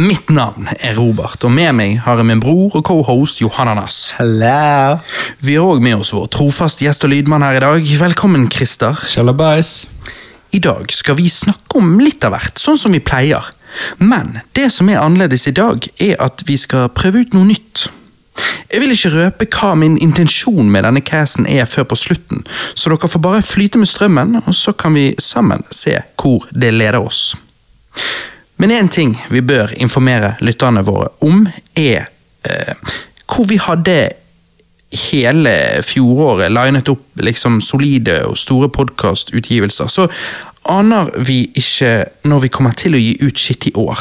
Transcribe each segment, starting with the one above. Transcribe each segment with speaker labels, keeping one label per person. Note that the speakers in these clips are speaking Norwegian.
Speaker 1: Mitt navn er Robert, og med meg har jeg min bror og co-host Johananas.
Speaker 2: Hello.
Speaker 1: Vi har òg med oss vår trofaste gjest og lydmann her i dag. Velkommen, Christer.
Speaker 3: Shalabais.
Speaker 1: I dag skal vi snakke om litt av hvert, sånn som vi pleier. Men det som er annerledes i dag, er at vi skal prøve ut noe nytt. Jeg vil ikke røpe hva min intensjon med denne casten er før på slutten, så dere får bare flyte med strømmen, og så kan vi sammen se hvor det leder oss. Men én ting vi bør informere lytterne våre om, er eh, hvor vi hadde hele fjoråret linet opp liksom solide og store podkastutgivelser, så aner vi ikke når vi kommer til å gi ut shit i år.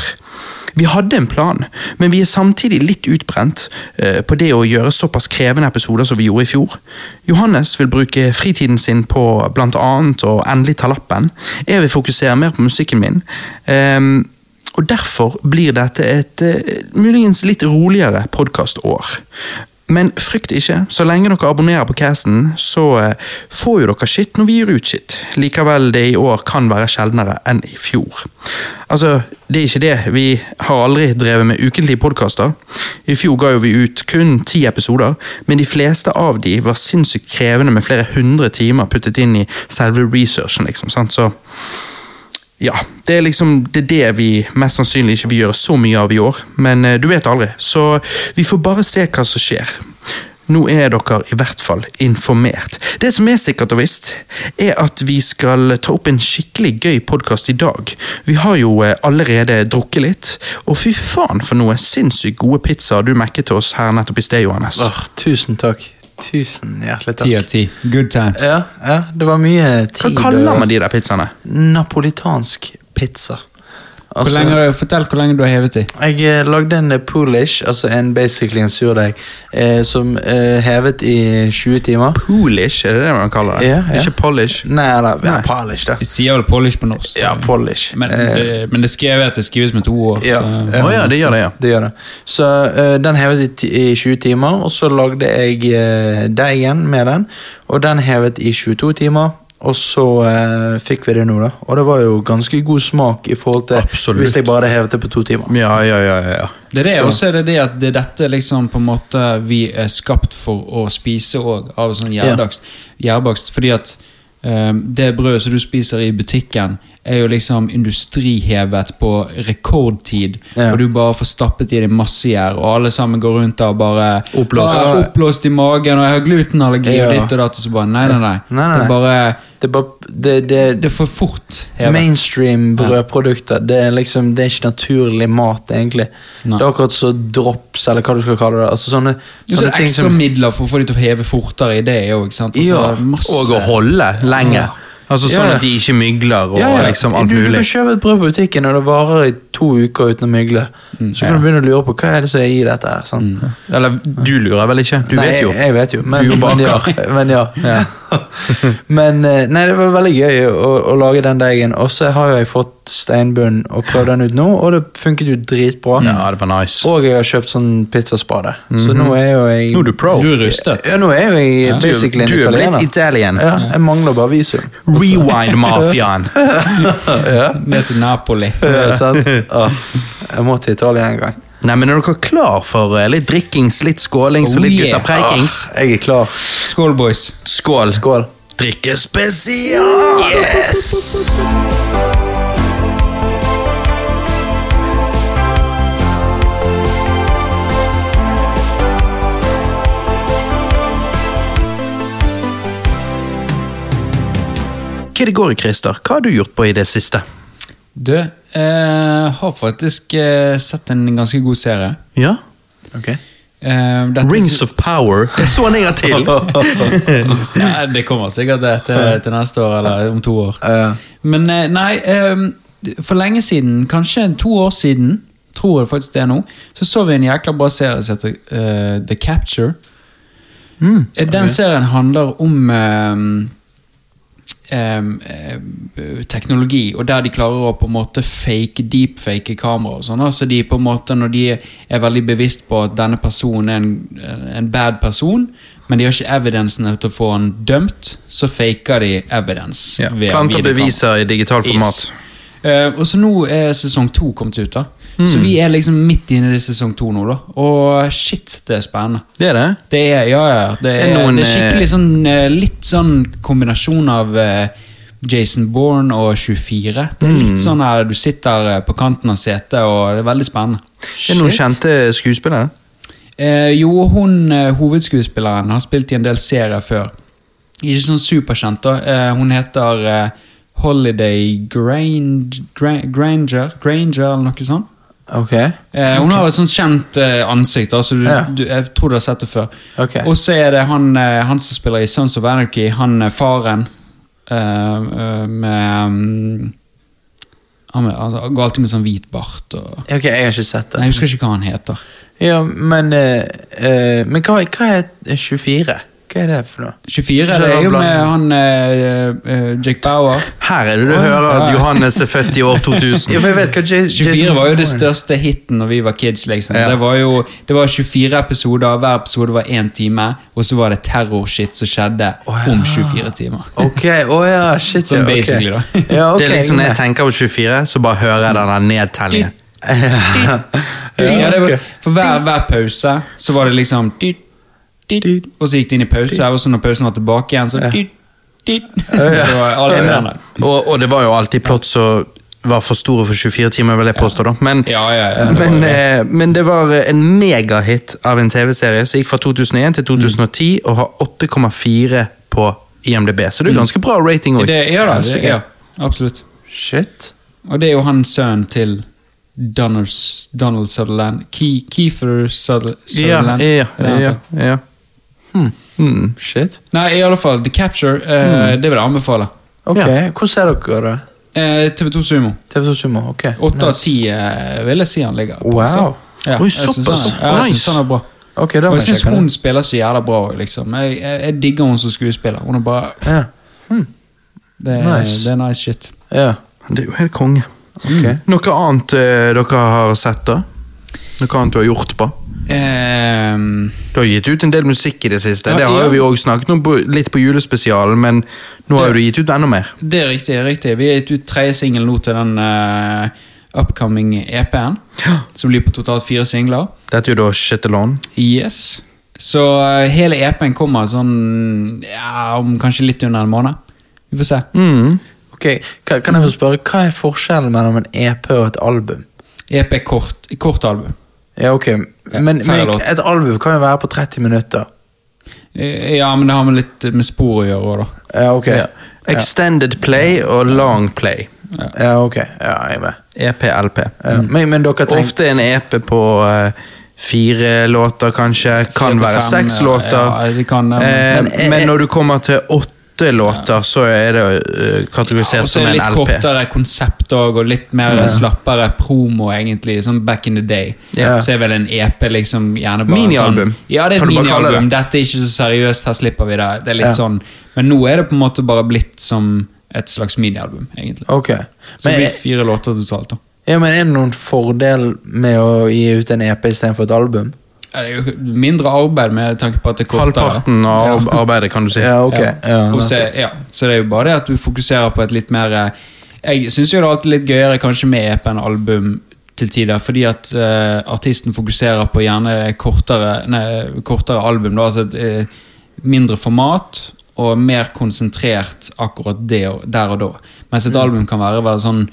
Speaker 1: Vi hadde en plan, men vi er samtidig litt utbrent eh, på det å gjøre såpass krevende episoder som vi gjorde i fjor. Johannes vil bruke fritiden sin på blant annet å endelig ta lappen. Jeg vil fokusere mer på musikken min. Ehm, og derfor blir dette et eh, muligens litt roligere podkastår. Men frykt ikke, så lenge dere abonnerer på casten, så eh, får jo dere shit når vi gir ut shit. Likevel, det i år kan være sjeldnere enn i fjor. Altså, det er ikke det. Vi har aldri drevet med ukentlige podkaster. I fjor ga jo vi ut kun ti episoder, men de fleste av de var sinnssykt krevende med flere hundre timer puttet inn i selve researchen, liksom, sant, så ja, det er liksom det, er det vi mest sannsynlig ikke vil gjøre så mye av i år, men eh, du vet aldri, så vi får bare se hva som skjer. Nå er dere i hvert fall informert. Det som er sikkert og visst, er at vi skal ta opp en skikkelig gøy podkast i dag. Vi har jo eh, allerede drukket litt, og fy faen for noe sinnssykt gode pizzaer du mekket til oss her nettopp i sted, Johannes.
Speaker 2: Åh, tusen takk. Tusen hjertelig
Speaker 3: Ti
Speaker 2: takk.
Speaker 3: av ti. Good times.
Speaker 2: Ja, ja, det var mye
Speaker 1: Hva
Speaker 2: tid.
Speaker 1: kaller
Speaker 2: og-
Speaker 1: man de der pizzaene?
Speaker 2: Napolitansk pizza.
Speaker 3: Hvor
Speaker 2: Altså,
Speaker 3: lenge har du, fortell hvor lenge du har hevet i.
Speaker 2: jeg eh, lagde en eh, poolish, altså en basically en surdeig, eh, som eh, hevet i 20 timer.
Speaker 1: Polish, er det det man kaller det?
Speaker 2: Ja, ja.
Speaker 1: Ikke polish?
Speaker 2: Nei da, ja,
Speaker 1: Nei.
Speaker 2: polish, da.
Speaker 3: Vi sier vel polish på norsk. så-
Speaker 2: Ja, polish.
Speaker 3: Men,
Speaker 2: Eh,
Speaker 3: eh, men det skrevet at det skrives med to ord.
Speaker 2: Ja.
Speaker 3: så-
Speaker 1: Å ja, det gjør det, ja.
Speaker 2: Det gjør det. Så eh, den hevet i, ti- i 20 timer, og så lagde jeg eh, deigen med den. Og den hevet i 22 timer, og så eh, fikk vi det nå, da. Og det var jo ganske god smak i forhold til
Speaker 1: Absolutt.
Speaker 2: hvis jeg bare hadde hevet det på to timer.
Speaker 1: Ja, ja, ja, ja. ja.
Speaker 3: Det er det,
Speaker 2: Så-
Speaker 3: og så er det det at det er dette liksom på en måte vi er skapt for å spise òg, av sånn gjærbakst. gjærbakst, Fordi at ehm, det brødet som du spiser i butikken, er jo liksom industrihevet på rekordtid.
Speaker 2: Ja.
Speaker 3: Og du bare får stappet i deg masse gjær, og alle sammen går rundt der og bare
Speaker 1: Oppblåst.
Speaker 3: «Ah, Oppblåst i magen, og jeg har glutenallergi og
Speaker 2: Ja.
Speaker 3: ditt og datt, og så bare nei, nei, nei.
Speaker 2: Nei, nei, Eh,
Speaker 3: Det er bare
Speaker 2: Det er bare Det, det,
Speaker 3: Det er for fort
Speaker 2: er
Speaker 3: hevet.
Speaker 2: mainstream brødprodukter. Det er liksom Det er ikke naturlig mat, egentlig.
Speaker 3: Nei.
Speaker 2: Det er akkurat så drops, eller hva du skal kalle det. Altså sånne,
Speaker 3: Og så er
Speaker 2: sånne
Speaker 3: det
Speaker 2: ting
Speaker 3: ekstra
Speaker 2: som
Speaker 3: midler for å få de til å heve fortere i Altså, det òg.
Speaker 2: Ja,
Speaker 1: Og å holde lenge. Altså Sånn
Speaker 2: Ja.
Speaker 1: at de ikke mygler og liksom alt
Speaker 2: du, du
Speaker 1: mulig.
Speaker 2: kan kjøpe et brød på butikken, og det varer i to uker uten å mygle.
Speaker 1: Mm,
Speaker 2: Så kan du begynne å lure på hva er det som er i dette. her, sant?
Speaker 1: Eller du lurer vel ikke? Mm. Du
Speaker 2: nei,
Speaker 1: vet jo.
Speaker 2: Jeg, jeg vet jo, men,
Speaker 1: Du er jo
Speaker 2: men ja.
Speaker 1: baker.
Speaker 2: Men, ja. men eh, nei, det var veldig gøy å, å lage den deigen, og så har jo jeg fått steinbunnen og prøvd den ut nå, og det funket jo dritbra.
Speaker 1: Ja, det var nice.
Speaker 2: Og jeg har kjøpt sånn pizzaspade, så nå er jo jeg
Speaker 1: Mhm. Nå er du pro.
Speaker 3: Du er rustet.
Speaker 2: ja, nå er jo jeg basically en
Speaker 1: Du er
Speaker 2: italiener.
Speaker 1: blitt italien.
Speaker 2: Ja, jeg mangler bare visum.
Speaker 1: Rewind-mafiaen.
Speaker 3: Ned til Napoli.
Speaker 2: Ja, Eh, sant? Ja. Jeg må til Italia en gang.
Speaker 1: Nei, men Er dere klar for eh, litt drikkings, litt skålings og
Speaker 3: Oh,
Speaker 1: litt
Speaker 3: yeah.
Speaker 1: gutterpreikings?
Speaker 2: Jeg er klar.
Speaker 3: Skål, boys.
Speaker 2: Ah.
Speaker 1: Skål!
Speaker 2: Skål.
Speaker 1: Drikkespesial! Yes! Hva er det går i, Christer? Hva har du gjort på i det siste?
Speaker 3: Du, eh, har faktisk eh, sett en ganske god serie.
Speaker 1: Ja?
Speaker 3: Eh, dette-
Speaker 1: Rings of Power. Det så jeg til!
Speaker 3: Nei, det kommer sikkert det til, til neste år, eller om to år.
Speaker 2: Eh,
Speaker 3: Men eh, nei, eh, for lenge siden, kanskje to år siden, tror jeg faktisk det er nå, så så vi en jækla bra serie som heter eh, The Capture. Eh, Den serien handler om eh, em, eh, teknologi, og der de klarer å på en måte fake, deepfake kameraer og sånn. da. Så de på en måte, når de er veldig bevisst på at denne personen er en, en bad person, men de har ikke evidensen til å få han dømt, så faker de evidence.
Speaker 1: Ja.
Speaker 3: via
Speaker 1: Planter
Speaker 3: videokamera.
Speaker 1: beviser i digitalt format.
Speaker 3: Yes. Eh, og så nå er sesong to kommet ut, da.
Speaker 1: Hmm.
Speaker 3: Så vi er liksom midt inne i sesong to nå, da. Og shit, det er spennende.
Speaker 1: Det er det.
Speaker 3: Det er, ja, ja, det er,
Speaker 1: Er noen,
Speaker 3: det er skikkelig
Speaker 1: eh,
Speaker 3: sånn eh, Litt sånn kombinasjon av eh, Jason Bourne og 24. Det er
Speaker 1: Mm.
Speaker 3: litt sånn her du sitter eh, på kanten av setet, og det er veldig spennende.
Speaker 1: Er det noen kjente skuespillere?
Speaker 3: Eh, jo, hun eh, hovedskuespilleren har spilt i en del serier før. Ikke sånn superkjent, da. Eh, hun heter eh, Holiday Grange, Gra- Granger, Granger, eller noe sånt.
Speaker 2: Ok.
Speaker 3: Eh, Hun har et sånt kjent eh, ansikt. Altså du,
Speaker 2: Ja.
Speaker 3: du, jeg tror du har sett det før.
Speaker 2: Ok.
Speaker 3: Og så er det han, eh, han som spiller i Sons of Anarchy, han eh, faren eh, eh, med mm, han med, altså, går alltid med sånn hvit bart og
Speaker 2: Ok, jeg har ikke sett
Speaker 3: Nei, Jeg
Speaker 2: det.
Speaker 3: husker ikke hva han heter.
Speaker 2: Ja, men eh, eh, Men hva, hva er 24? Hva er det for noe?
Speaker 3: 24
Speaker 2: Så
Speaker 3: det er jo
Speaker 2: blant-
Speaker 3: med han eh, eh, Jake Bauer.
Speaker 1: Her er det du hører at
Speaker 3: ja.
Speaker 1: Johannes er født i år
Speaker 2: Ja,
Speaker 1: 2000.
Speaker 2: men jeg vet hva Jas-
Speaker 3: 24
Speaker 2: Jason
Speaker 3: var jo det
Speaker 2: Bourne-
Speaker 3: største hiten når vi var kids. liksom.
Speaker 1: Ja.
Speaker 3: Det var jo det var 24 episoder, hver episode var én time, og så var det terrorshit som skjedde om 24 timer.
Speaker 2: Ok, å ja, shit.
Speaker 3: Sånn
Speaker 2: ja, ok.
Speaker 3: basically, da.
Speaker 2: Ja, ok,
Speaker 1: Det er liksom
Speaker 2: jeg
Speaker 1: Når
Speaker 2: er
Speaker 1: jeg tenker på 24, så bare hører jeg denne nedtellingen.
Speaker 3: Ja, det var,
Speaker 2: ok.
Speaker 3: for hver, hver pause så var det liksom dyt, dyt, Og så gikk det inn i pause, og så når pausen var tilbake igjen, så dyt, dyt. Det var alle
Speaker 2: Ja.
Speaker 1: Og, og det var jo alltid plott som var for store for 24 timer, vil jeg påstå. da. Men,
Speaker 3: Ja, ja, ja, det var
Speaker 1: men,
Speaker 3: jo
Speaker 1: eh, men det var en megahit av en TV-serie som gikk fra 2001 til 2010 og har 8,4 på IMDb. Så det er ganske bra rating òg.
Speaker 3: det. Ja da, det, ja, absolutt.
Speaker 2: Shit.
Speaker 3: Og det er jo han sønnen til Donald, S- Donald Sutherland. Ke, Keefer Suther-
Speaker 1: Ja,
Speaker 3: Sutherland.
Speaker 1: ja, Hmm.
Speaker 3: er det han
Speaker 1: ja,
Speaker 3: heter?
Speaker 1: ja.
Speaker 2: Shit.
Speaker 3: Nei, i alle fall, The Capture, eh,
Speaker 1: Mm.
Speaker 3: det vil jeg anbefale.
Speaker 2: Ok,
Speaker 1: Ja.
Speaker 2: hvordan er dere da?
Speaker 3: Eh, TV2 Sumo.
Speaker 2: TV 2 Sumo, ok.
Speaker 3: Åtte av
Speaker 2: Nice.
Speaker 3: ti eh, vil jeg si han ligger på.
Speaker 2: Wow.
Speaker 3: så. Ja,
Speaker 1: Oi,
Speaker 3: jeg synes
Speaker 1: såpass.
Speaker 3: han- ja, Jeg synes
Speaker 1: Nice.
Speaker 3: han er bra.
Speaker 2: Ok, da
Speaker 3: Og
Speaker 2: må
Speaker 3: jeg
Speaker 2: jeg
Speaker 3: syns
Speaker 2: sjekke
Speaker 3: hun
Speaker 2: det.
Speaker 3: spiller så jævla bra òg, liksom. Jeg, jeg, jeg digger hun som skuespiller. Hun er bare
Speaker 2: Ja,
Speaker 3: Det er
Speaker 2: Nice.
Speaker 3: nice, det er nice shit.
Speaker 2: ja,
Speaker 1: Det er jo helt konge.
Speaker 2: ok.
Speaker 3: Mm.
Speaker 1: Noe annet eh, dere har sett, da? Noe annet du har gjort på?
Speaker 3: Ehm,
Speaker 1: Du har gitt ut en del musikk i det siste.
Speaker 3: Ja,
Speaker 1: det har
Speaker 3: ja.
Speaker 1: jo vi også snakket om på, litt på julespesialen, men nå har jo du gitt ut enda mer.
Speaker 3: det er riktig. det er riktig Vi har gitt ut tredje singel nå til den eh, upcoming EP-en. Som blir på totalt fire singler.
Speaker 1: Dette er jo da Shit Alone.
Speaker 3: Yes. Så eh, hele EP-en kommer sånn ja, om kanskje litt under en måned. Vi får se.
Speaker 1: Mm.
Speaker 2: Ok, ka- kan jeg få spørre, hva er forskjellen mellom en EP og et album?
Speaker 3: EP er kort, kort album.
Speaker 2: Ja, ok, men,
Speaker 3: færre
Speaker 2: men
Speaker 3: låter.
Speaker 2: et album kan jo være på 30 minutter.
Speaker 3: Eh, Ja, men det har med litt med spor å gjøre òg, da.
Speaker 2: Ja, ok. Ja,
Speaker 1: Extended Play og Long Play. E
Speaker 2: ok, ja, jeg er med.
Speaker 1: EP-LP.
Speaker 2: Ja, Men, men dere tenkte...
Speaker 1: Ofte en EP på eh, fire låter, kanskje. Kan
Speaker 3: til
Speaker 1: være
Speaker 3: fem,
Speaker 1: seks
Speaker 3: ja,
Speaker 1: låter.
Speaker 3: ja, det kan, ja,
Speaker 1: eh,
Speaker 3: men-
Speaker 1: men, når du kommer til åtte låter, så er det eh, kategorisert
Speaker 3: Og så
Speaker 1: som
Speaker 3: er det
Speaker 1: en LP.
Speaker 3: litt kortere konsept òg, og litt mer slappere promo, egentlig. Sånn back in the day.
Speaker 2: Ja.
Speaker 3: Så er vel en EP liksom gjerne bare
Speaker 1: Minialbum,
Speaker 3: Sånn, ja, det er
Speaker 1: kan
Speaker 3: et
Speaker 1: du bare kalle
Speaker 3: minialbum. Dette er ikke så seriøst, her slipper vi det. Det er litt
Speaker 2: Ja.
Speaker 3: sånn Men nå er det på en måte bare blitt som et slags minialbum, egentlig.
Speaker 2: Ok,
Speaker 3: Så det
Speaker 2: men,
Speaker 3: blir fire låter totalt, da.
Speaker 2: ja, men er det noen fordel med å gi ut en EP i stedet for et album?
Speaker 3: Ja, det er jo mindre arbeid med tanke på at det er kortere.
Speaker 1: Halvparten av
Speaker 3: Ja.
Speaker 1: arbeidet, kan du si.
Speaker 2: Ja, ok.
Speaker 3: Ja.
Speaker 2: Ja,
Speaker 3: Og så, ja. så det er jo bare det at du fokuserer på et litt mer eh, Jeg syns jo det er alltid litt gøyere kanskje med EP enn album til tider, fordi at eh, artisten fokuserer på gjerne kortere, nei, kortere album, da, altså et eh, mindre format og mer konsentrert akkurat det og, der og da. Mens
Speaker 2: Mm.
Speaker 3: et album kan være, være sånn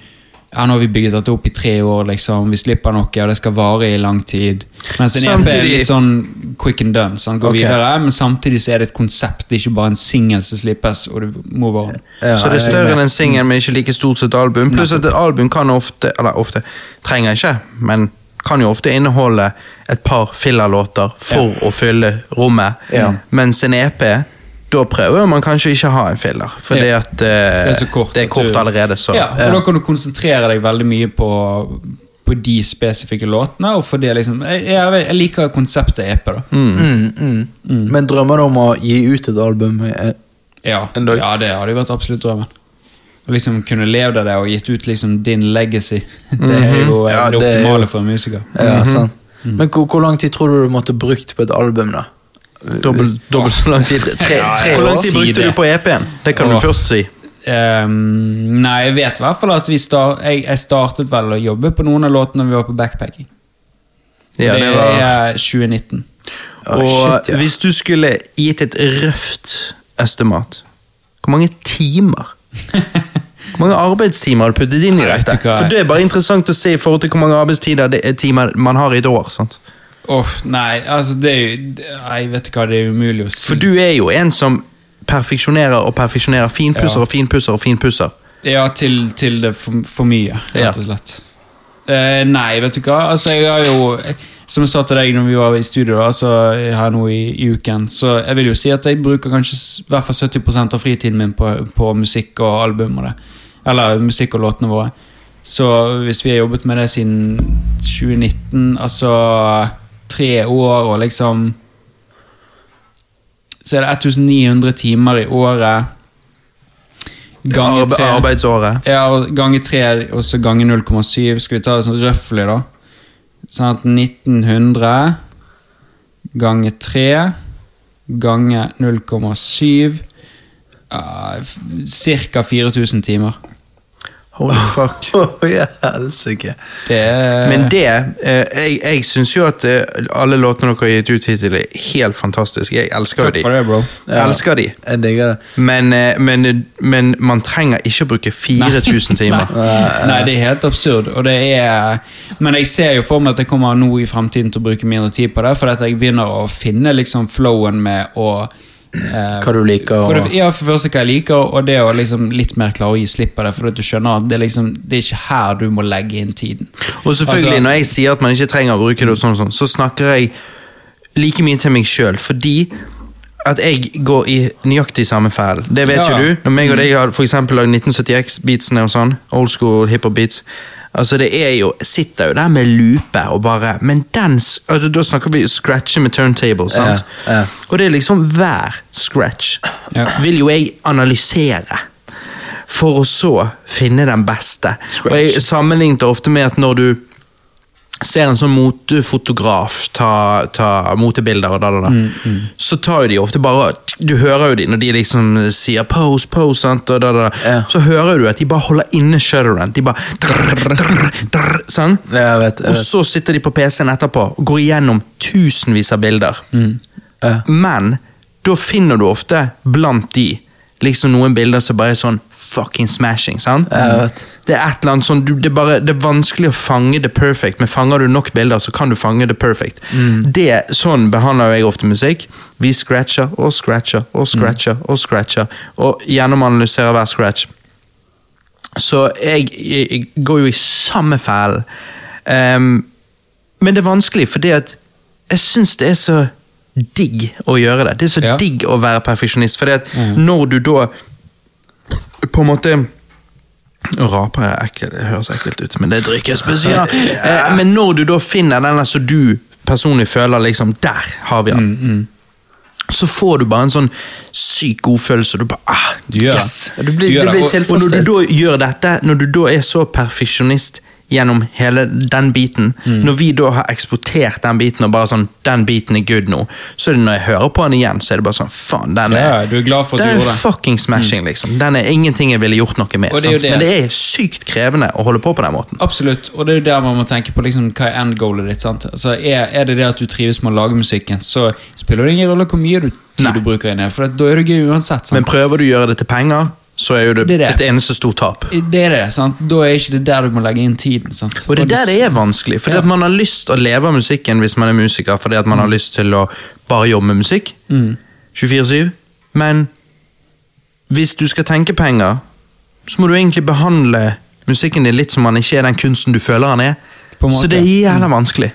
Speaker 3: ja, nå har vi bygget dette opp i tre år, liksom. Vi slipper noe, og det skal vare i lang tid. Mens en EP er
Speaker 1: Samtidig-
Speaker 3: litt sånn quick and done. Sånn, går
Speaker 2: Ok.
Speaker 3: videre, men samtidig så er det et konsept. Det er ikke bare en singel som slippes, og du må være
Speaker 2: Ja,
Speaker 1: så det er
Speaker 2: jeg
Speaker 1: større
Speaker 2: med.
Speaker 1: enn en singel, men ikke like stort som et album. Pluss at et album kan ofte, eller ofte, trenger ikke, men kan jo ofte inneholde et par fillerlåter for å fylle rommet.
Speaker 2: Ja.
Speaker 1: Mens en EP, da prøver man kanskje ikke ha en filler, fordi
Speaker 3: Ja.
Speaker 1: at eh,
Speaker 3: Det er så kort.
Speaker 1: det er
Speaker 3: at
Speaker 1: kort
Speaker 3: du-
Speaker 1: allerede, så eh,
Speaker 3: Ja, og da kan du konsentrere deg veldig mye på, på de spesifikke låtene, og for det liksom Jeg, jeg, jeg liker konseptet EP, da.
Speaker 2: Mm, mm. Men drømmer du om å gi ut et album? eh,
Speaker 3: Ja,
Speaker 2: En dag.
Speaker 3: ja, det hadde jo vært absolutt drømmen. Å liksom kunne levd av det og gitt ut liksom din legacy. Det er jo eh,
Speaker 2: Mhm. Ja,
Speaker 3: det
Speaker 2: det er jo-
Speaker 3: optimale for en musiker.
Speaker 2: Ja, sant. Men hvor, hvor lang tid tror du du måtte brukt på et album, da?
Speaker 1: dobbelt dobbelt så lang tid.
Speaker 2: Tre, tre
Speaker 1: Hvor lang
Speaker 2: år?
Speaker 1: tid
Speaker 3: Si
Speaker 1: brukte
Speaker 3: det.
Speaker 1: du på EP-en? Det kan
Speaker 3: Åh.
Speaker 1: du først si.
Speaker 3: ehm, Nei, jeg vet i hvert fall at vi star, jeg, jeg startet vel å jobbe på noen av låtene når vi var på backpacking.
Speaker 1: Ja,
Speaker 3: det,
Speaker 1: det var...
Speaker 3: er 2019.
Speaker 2: Ah,
Speaker 1: Og
Speaker 2: shit, ja.
Speaker 1: hvis du skulle gitt et røft estimat, hvor mange timer Hvor mange arbeidstimer har du puttet inn i
Speaker 3: Nei, vet
Speaker 1: dette?
Speaker 3: du hva?
Speaker 1: For Det er bare interessant å se i forhold til hvor mange arbeidstider det er timer man har i et år. sant?
Speaker 3: Åh, nei, altså det er jo det- Nei, vet du hva, det er umulig å si.
Speaker 1: For du er jo en som perfeksjonerer og perfeksjonerer, finpusser
Speaker 3: Ja.
Speaker 1: og finpusser og finpusser.
Speaker 3: Ja, til, til det for, for mye,
Speaker 1: Ja.
Speaker 3: rett og slett. Eh, nei, vet du hva. Altså, jeg har jo Som jeg sa til deg når vi var i studio, da, altså, her nå i, i uken, så jeg vil jo si at jeg bruker kanskje s- i hvert fall 70 av fritiden min på, på musikk og album og det. Eller musikk og låtene våre. Så hvis vi har jobbet med det siden 2019, altså tre år og liksom Så er det 1900 timer i året. Ganger
Speaker 1: Arbe
Speaker 3: tre.
Speaker 1: arbeidsåret.
Speaker 3: Ja, og gange 3 og så gange 0,7. Skal vi ta det sånn røffelig, da? Sånn at 1900 gange 3 gange 0,7 uh, Ca. 4000 timer.
Speaker 1: Holy fuck.
Speaker 2: Å, jeg helsike.
Speaker 3: Det er
Speaker 1: Men det eh, Jeg, jeg syns jo at eh, alle låtene dere har gitt ut hittil, er helt fantastiske. Jeg elsker jo
Speaker 3: Takk
Speaker 1: de.
Speaker 3: for det, bro.
Speaker 1: Jeg elsker de.
Speaker 2: Jeg digger det.
Speaker 1: Men, eh, men, men man trenger ikke å bruke 4000 timer. Eh.
Speaker 3: Nei. Nei, det er helt absurd. Og det er, men jeg ser jo for meg at jeg kommer nå i fremtiden til å bruke mindre tid på det, for at jeg begynner å finne liksom flowen med å eh,
Speaker 2: Hva du liker,
Speaker 3: For det,
Speaker 2: og-
Speaker 3: ja, for det første hva jeg liker, og det å liksom litt mer klare å gi slipp på det. For at du skjønner at det er, liksom, det er ikke her du må legge inn tiden.
Speaker 1: Og selvfølgelig,
Speaker 3: Altså-
Speaker 1: når jeg sier at man ikke trenger å bruke det, og sånn, og sånn så snakker jeg like mye til meg sjøl, fordi at jeg går i nøyaktig samme fæl. Det vet
Speaker 3: Ja, Mm.
Speaker 1: jo
Speaker 3: ja.
Speaker 1: du. Når meg og deg har for eksempel lagd 1970X-beatsene og sånn, old school hiphop-beats Altså det er jo, Sitter jo der med lupe og bare Men den s- altså, Da snakker vi scratche med turntable, sant?
Speaker 2: Ja, ja.
Speaker 1: Og det er liksom hver scratch
Speaker 3: Ja.
Speaker 1: vil jo jeg analysere. For å så finne den beste. Og jeg sammenlignet det ofte med at når du ser en sånn motefotograf ta, ta motebilder og da, da, da, så tar jo de ofte bare Du hører jo de når de liksom sier 'pose, pose', sant, og da, da, da.
Speaker 2: Ja.
Speaker 1: så hører du at de bare holder inne shutteren. De bare drr, drr, drr, sånn.
Speaker 2: Jeg vet, jeg
Speaker 1: Og
Speaker 2: vet.
Speaker 1: så sitter de på PC-en etterpå og går igjennom tusenvis av bilder.
Speaker 2: Mm.
Speaker 1: Eh,
Speaker 2: Ja.
Speaker 1: Men da finner du ofte blant de liksom noen bilder som bare er sånn fucking smashing. sant?
Speaker 2: Ja, jeg vet.
Speaker 1: Det er et eller annet sånn, du, det, er bare, det er vanskelig å fange det perfect, men fanger du nok bilder, så kan du fange det perfect.
Speaker 2: Mm.
Speaker 1: Det, sånn behandler jeg ofte musikk. Vi scratcher og scratcher og scratcher og scratcher, og gjennomanalyserer hver scratch. Så jeg, jeg, jeg går jo i samme fæl. Ehm, men det er vanskelig, fordi at jeg syns det er så digg å gjøre det. Det er så
Speaker 3: Ja. Mhm.
Speaker 1: digg å være perfeksjonist, fordi at når du da på en måte Å rape er ekkelt, det høres ekkelt ut, men det er drikkespesial. Eh, Men når du da finner den der som du personlig føler liksom Der har vi den.
Speaker 3: Mm,
Speaker 1: Så får du bare en sånn syk god følelse. og Du bare ah,
Speaker 3: Du gjør
Speaker 1: Yes!
Speaker 3: det.
Speaker 2: Du blir,
Speaker 3: Gjør
Speaker 2: du
Speaker 3: det,
Speaker 2: blir
Speaker 3: og-
Speaker 1: Og når du
Speaker 2: tilfredsstilt.
Speaker 1: da gjør dette, når du da er så perfeksjonist gjennom hele den biten,
Speaker 3: Mm.
Speaker 1: når vi da har eksportert den biten og bare sånn, den biten er good nå, så er det når jeg hører på den igjen, så er det bare sånn, faen, den er,
Speaker 3: Ja, du er glad for at
Speaker 1: den
Speaker 3: du
Speaker 1: er
Speaker 3: gjorde det. Mm.
Speaker 1: fucking smashing, liksom. Den er ingenting jeg ville gjort noe med,
Speaker 3: Og det er jo
Speaker 1: sant?
Speaker 3: det.
Speaker 1: men det er sykt krevende å holde på på den måten.
Speaker 3: Absolutt, og det er jo der man må tenke på liksom, hva er endgoalet ditt. sant? Altså, er, er det det at du trives med å lage musikken, så spiller det ingen rolle hvor mye du, tid
Speaker 1: Nei.
Speaker 3: du bruker inn i det, for at da er det gøy uansett. sant?
Speaker 1: Men prøver du å gjøre det til penger, så er jo det,
Speaker 3: Det er det.
Speaker 1: et eneste stort tap.
Speaker 3: Det er det, sant? Da er ikke det der du må legge inn tiden. sant?
Speaker 1: Og det er der det er vanskelig, fordi
Speaker 3: Ja.
Speaker 1: at man har lyst til å leve av musikken hvis man er musiker, fordi at man har lyst til å bare jobbe med musikk.
Speaker 3: Mm.
Speaker 1: 24-7. Men hvis du skal tenke penger, så må du egentlig behandle musikken din litt som man ikke er den kunsten du føler han er.
Speaker 3: På en måte. Mm.
Speaker 1: Så det er jævla vanskelig.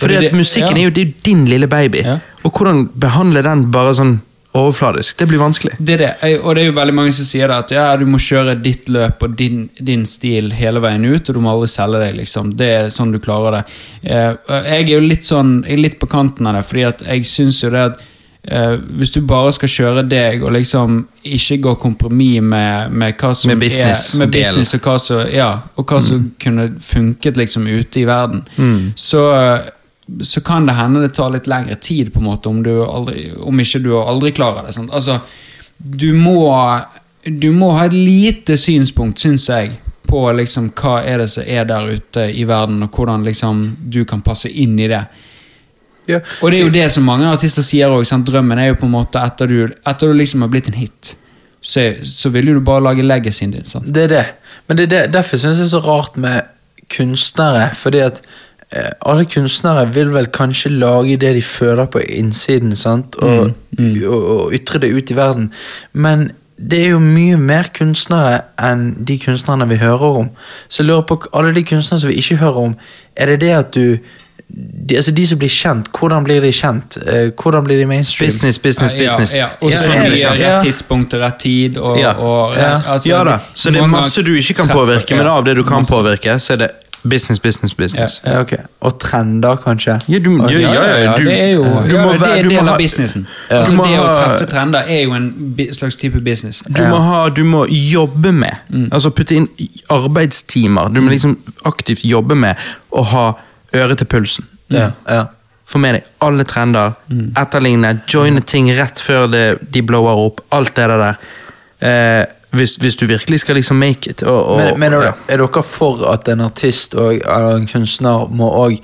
Speaker 1: Fordi
Speaker 3: det-
Speaker 1: at musikken
Speaker 3: ja.
Speaker 1: er jo det er jo din lille baby,
Speaker 3: Ja.
Speaker 1: og hvordan behandle den bare sånn overfladisk, det blir vanskelig.
Speaker 3: Det er det. Jeg- Og det er jo veldig mange som sier det at ja, du må kjøre ditt løp og din, din stil hele veien ut, og du må aldri selge deg, liksom. Det er sånn du klarer det. Eh, og Jeg er jo litt sånn, jeg er litt på kanten av det, fordi at jeg syns jo det at eh, hvis du bare skal kjøre deg og liksom ikke gå kompromiss med, med hva som
Speaker 1: Med business-
Speaker 3: er, med
Speaker 1: delen.
Speaker 3: business og hva som, ja, og hva som kunne funket liksom ute i verden, så, så kan det hende det tar litt lengre tid på en måte om, du aldri, om ikke du aldri klarer det. Sant? Altså, du må du må ha et lite synspunkt, syns jeg, på liksom hva er det som er der ute i verden, og hvordan liksom du kan passe inn i det.
Speaker 2: Ja.
Speaker 3: Og det er jo det som mange artister sier òg. Drømmen er jo på en måte etter du, etter du liksom har blitt en hit, så, så vil jo du bare lage legacyen din. sant?
Speaker 2: Det er det. Men det er det. derfor syns jeg det er så rart med kunstnere. Fordi at eh, alle kunstnere vil vel kanskje lage det de føler på innsiden, sant? Og,
Speaker 1: Mm.
Speaker 2: og, og ytre det ut i verden. Men det er jo mye mer kunstnere enn de kunstnerne vi hører om. Så jeg lurer på k- alle de kunstnerne som vi ikke hører om, er det det at du de, altså de som blir kjent, hvordan blir de kjent? Eh, hvordan blir de mainstream?
Speaker 1: Business, business, business.
Speaker 3: Ja, ja. Og
Speaker 2: Ja,
Speaker 3: så
Speaker 2: er
Speaker 3: er
Speaker 2: det
Speaker 3: det
Speaker 2: sant?
Speaker 3: rett tidspunkt til rett tid. Og,
Speaker 1: Ja.
Speaker 3: og,
Speaker 2: Ja.
Speaker 3: altså,
Speaker 1: ja da, så det er
Speaker 3: mange
Speaker 1: masse du ikke kan
Speaker 3: treffer-
Speaker 1: påvirke, men
Speaker 3: ja.
Speaker 1: av det du kan påvirke, så er det business, business, business.
Speaker 2: Ja, ok. Og trender, kanskje?
Speaker 1: Ja, du, ja, ja, ja, du,
Speaker 3: det er jo
Speaker 1: du må
Speaker 3: ja, det
Speaker 1: være-
Speaker 3: er
Speaker 1: du
Speaker 3: en
Speaker 1: må
Speaker 3: del
Speaker 1: ha-
Speaker 3: av businessen.
Speaker 1: Ja.
Speaker 3: Altså,
Speaker 1: Du må
Speaker 3: det å
Speaker 1: ha-
Speaker 3: treffe trender er jo en bi- slags type business.
Speaker 1: Du må, ha, du må jobbe med,
Speaker 3: Mm.
Speaker 1: altså putte inn i arbeidstimer. Du må liksom aktivt jobbe med å ha øret til pulsen.
Speaker 3: Mm.
Speaker 2: Ja, ja.
Speaker 1: Få med deg alle trender, etterligne,
Speaker 3: Mm.
Speaker 1: joine ting rett før det, de blower opp. Alt det der. Eh, hvis, hvis du virkelig skal liksom make it. Og, og,
Speaker 2: Men, men er,
Speaker 1: ja.
Speaker 2: er dere for at en artist og, eller en kunstner må òg,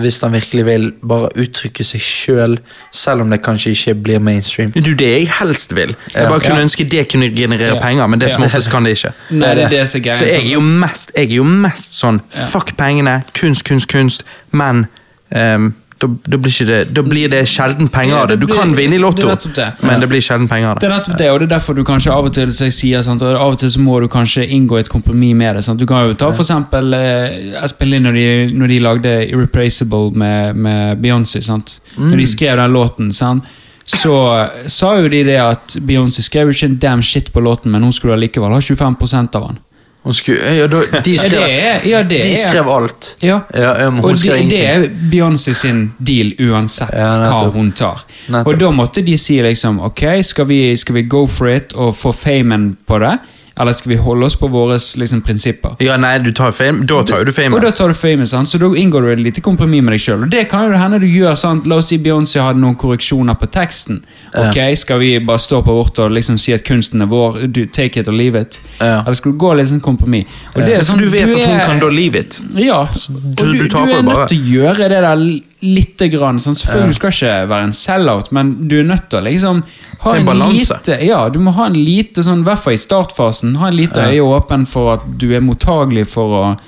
Speaker 2: hvis han virkelig vil, bare uttrykke seg sjøl, selv, om det kanskje ikke blir mainstream?
Speaker 1: Du, det jeg helst vil. Jeg bare kunne
Speaker 3: Ja.
Speaker 1: ønske det kunne generere
Speaker 3: Ja.
Speaker 1: penger, men det som
Speaker 3: Ja.
Speaker 1: oftest kan det ikke.
Speaker 3: Nei, det er det som er greia.
Speaker 1: Så jeg er jo mest, jeg er jo mest sånn Fuck pengene, kunst, kunst, kunst. Men ehm, da, da, blir ikke det, da blir det sjelden penger
Speaker 3: Ja,
Speaker 1: av det. Du
Speaker 3: det
Speaker 1: kan
Speaker 3: blir-
Speaker 1: vinne i
Speaker 3: det
Speaker 1: Lotto,
Speaker 3: er nettopp det.
Speaker 1: men det blir sjelden penger av
Speaker 3: Det
Speaker 1: det.
Speaker 3: er nettopp det, og det er derfor du kanskje av og til så jeg sier sant, og av og til så må du kanskje inngå et kompromiss med det. Sant? Du kan jo ta for eksempel eh, Espen Lind når de, når de lagde Irreplaceable med, med Beyoncé. sant? Når de
Speaker 2: Mm.
Speaker 3: skrev den låten, sant? så sa jo de det at Beyoncé skrev jo ikke en damn shit på låten, men hun skulle allikevel ha 25 av den.
Speaker 2: Hun skulle, ja, da, de
Speaker 3: Ja,
Speaker 2: skrev,
Speaker 3: det er, ja, det
Speaker 2: de
Speaker 3: er.
Speaker 2: skrev alt.
Speaker 3: Ja.
Speaker 2: Ja, ja, men Mhm. hun
Speaker 3: og det,
Speaker 2: skrev
Speaker 3: det
Speaker 2: ingenting.
Speaker 3: er Beyoncé sin deal uansett
Speaker 2: Ja,
Speaker 3: hva
Speaker 2: nettopp.
Speaker 3: hun tar.
Speaker 2: Nettopp.
Speaker 3: Og da måtte de si liksom Ok, skal vi, skal vi go for it og få famen på det? Eller skal vi holde oss på våre liksom, prinsipper?
Speaker 1: Ja, nei, du tar fame. Da tar jo du
Speaker 3: Og
Speaker 1: fame.
Speaker 3: da tar du fame, sant? så da inngår du et lite kompromiss med deg sjøl. Det kan jo hende du gjør. Sant? La oss si Beyoncé hadde noen korreksjoner på teksten. Ok, Skal vi bare stå på vårt og liksom si at kunsten er vår? Du, take it or leave it?
Speaker 2: Ja.
Speaker 3: Eller skulle du gå litt sånn kompromiss? Og det er sånn,
Speaker 1: Du vet at hun
Speaker 3: er-
Speaker 1: kan da leave it.
Speaker 3: ja,
Speaker 1: du-
Speaker 3: og du,
Speaker 1: du
Speaker 3: du
Speaker 1: taper
Speaker 3: er
Speaker 1: det bare.
Speaker 3: nødt til å gjøre det der lite grann. Sånn. Selvfølgelig du skal ikke være en sellout, men du er nødt til å liksom ha
Speaker 1: En
Speaker 3: en,
Speaker 1: balanse.
Speaker 3: lite Ja, du må ha en lite sånn, i hvert fall i startfasen, ha en lite øye åpen for at du er mottagelig for å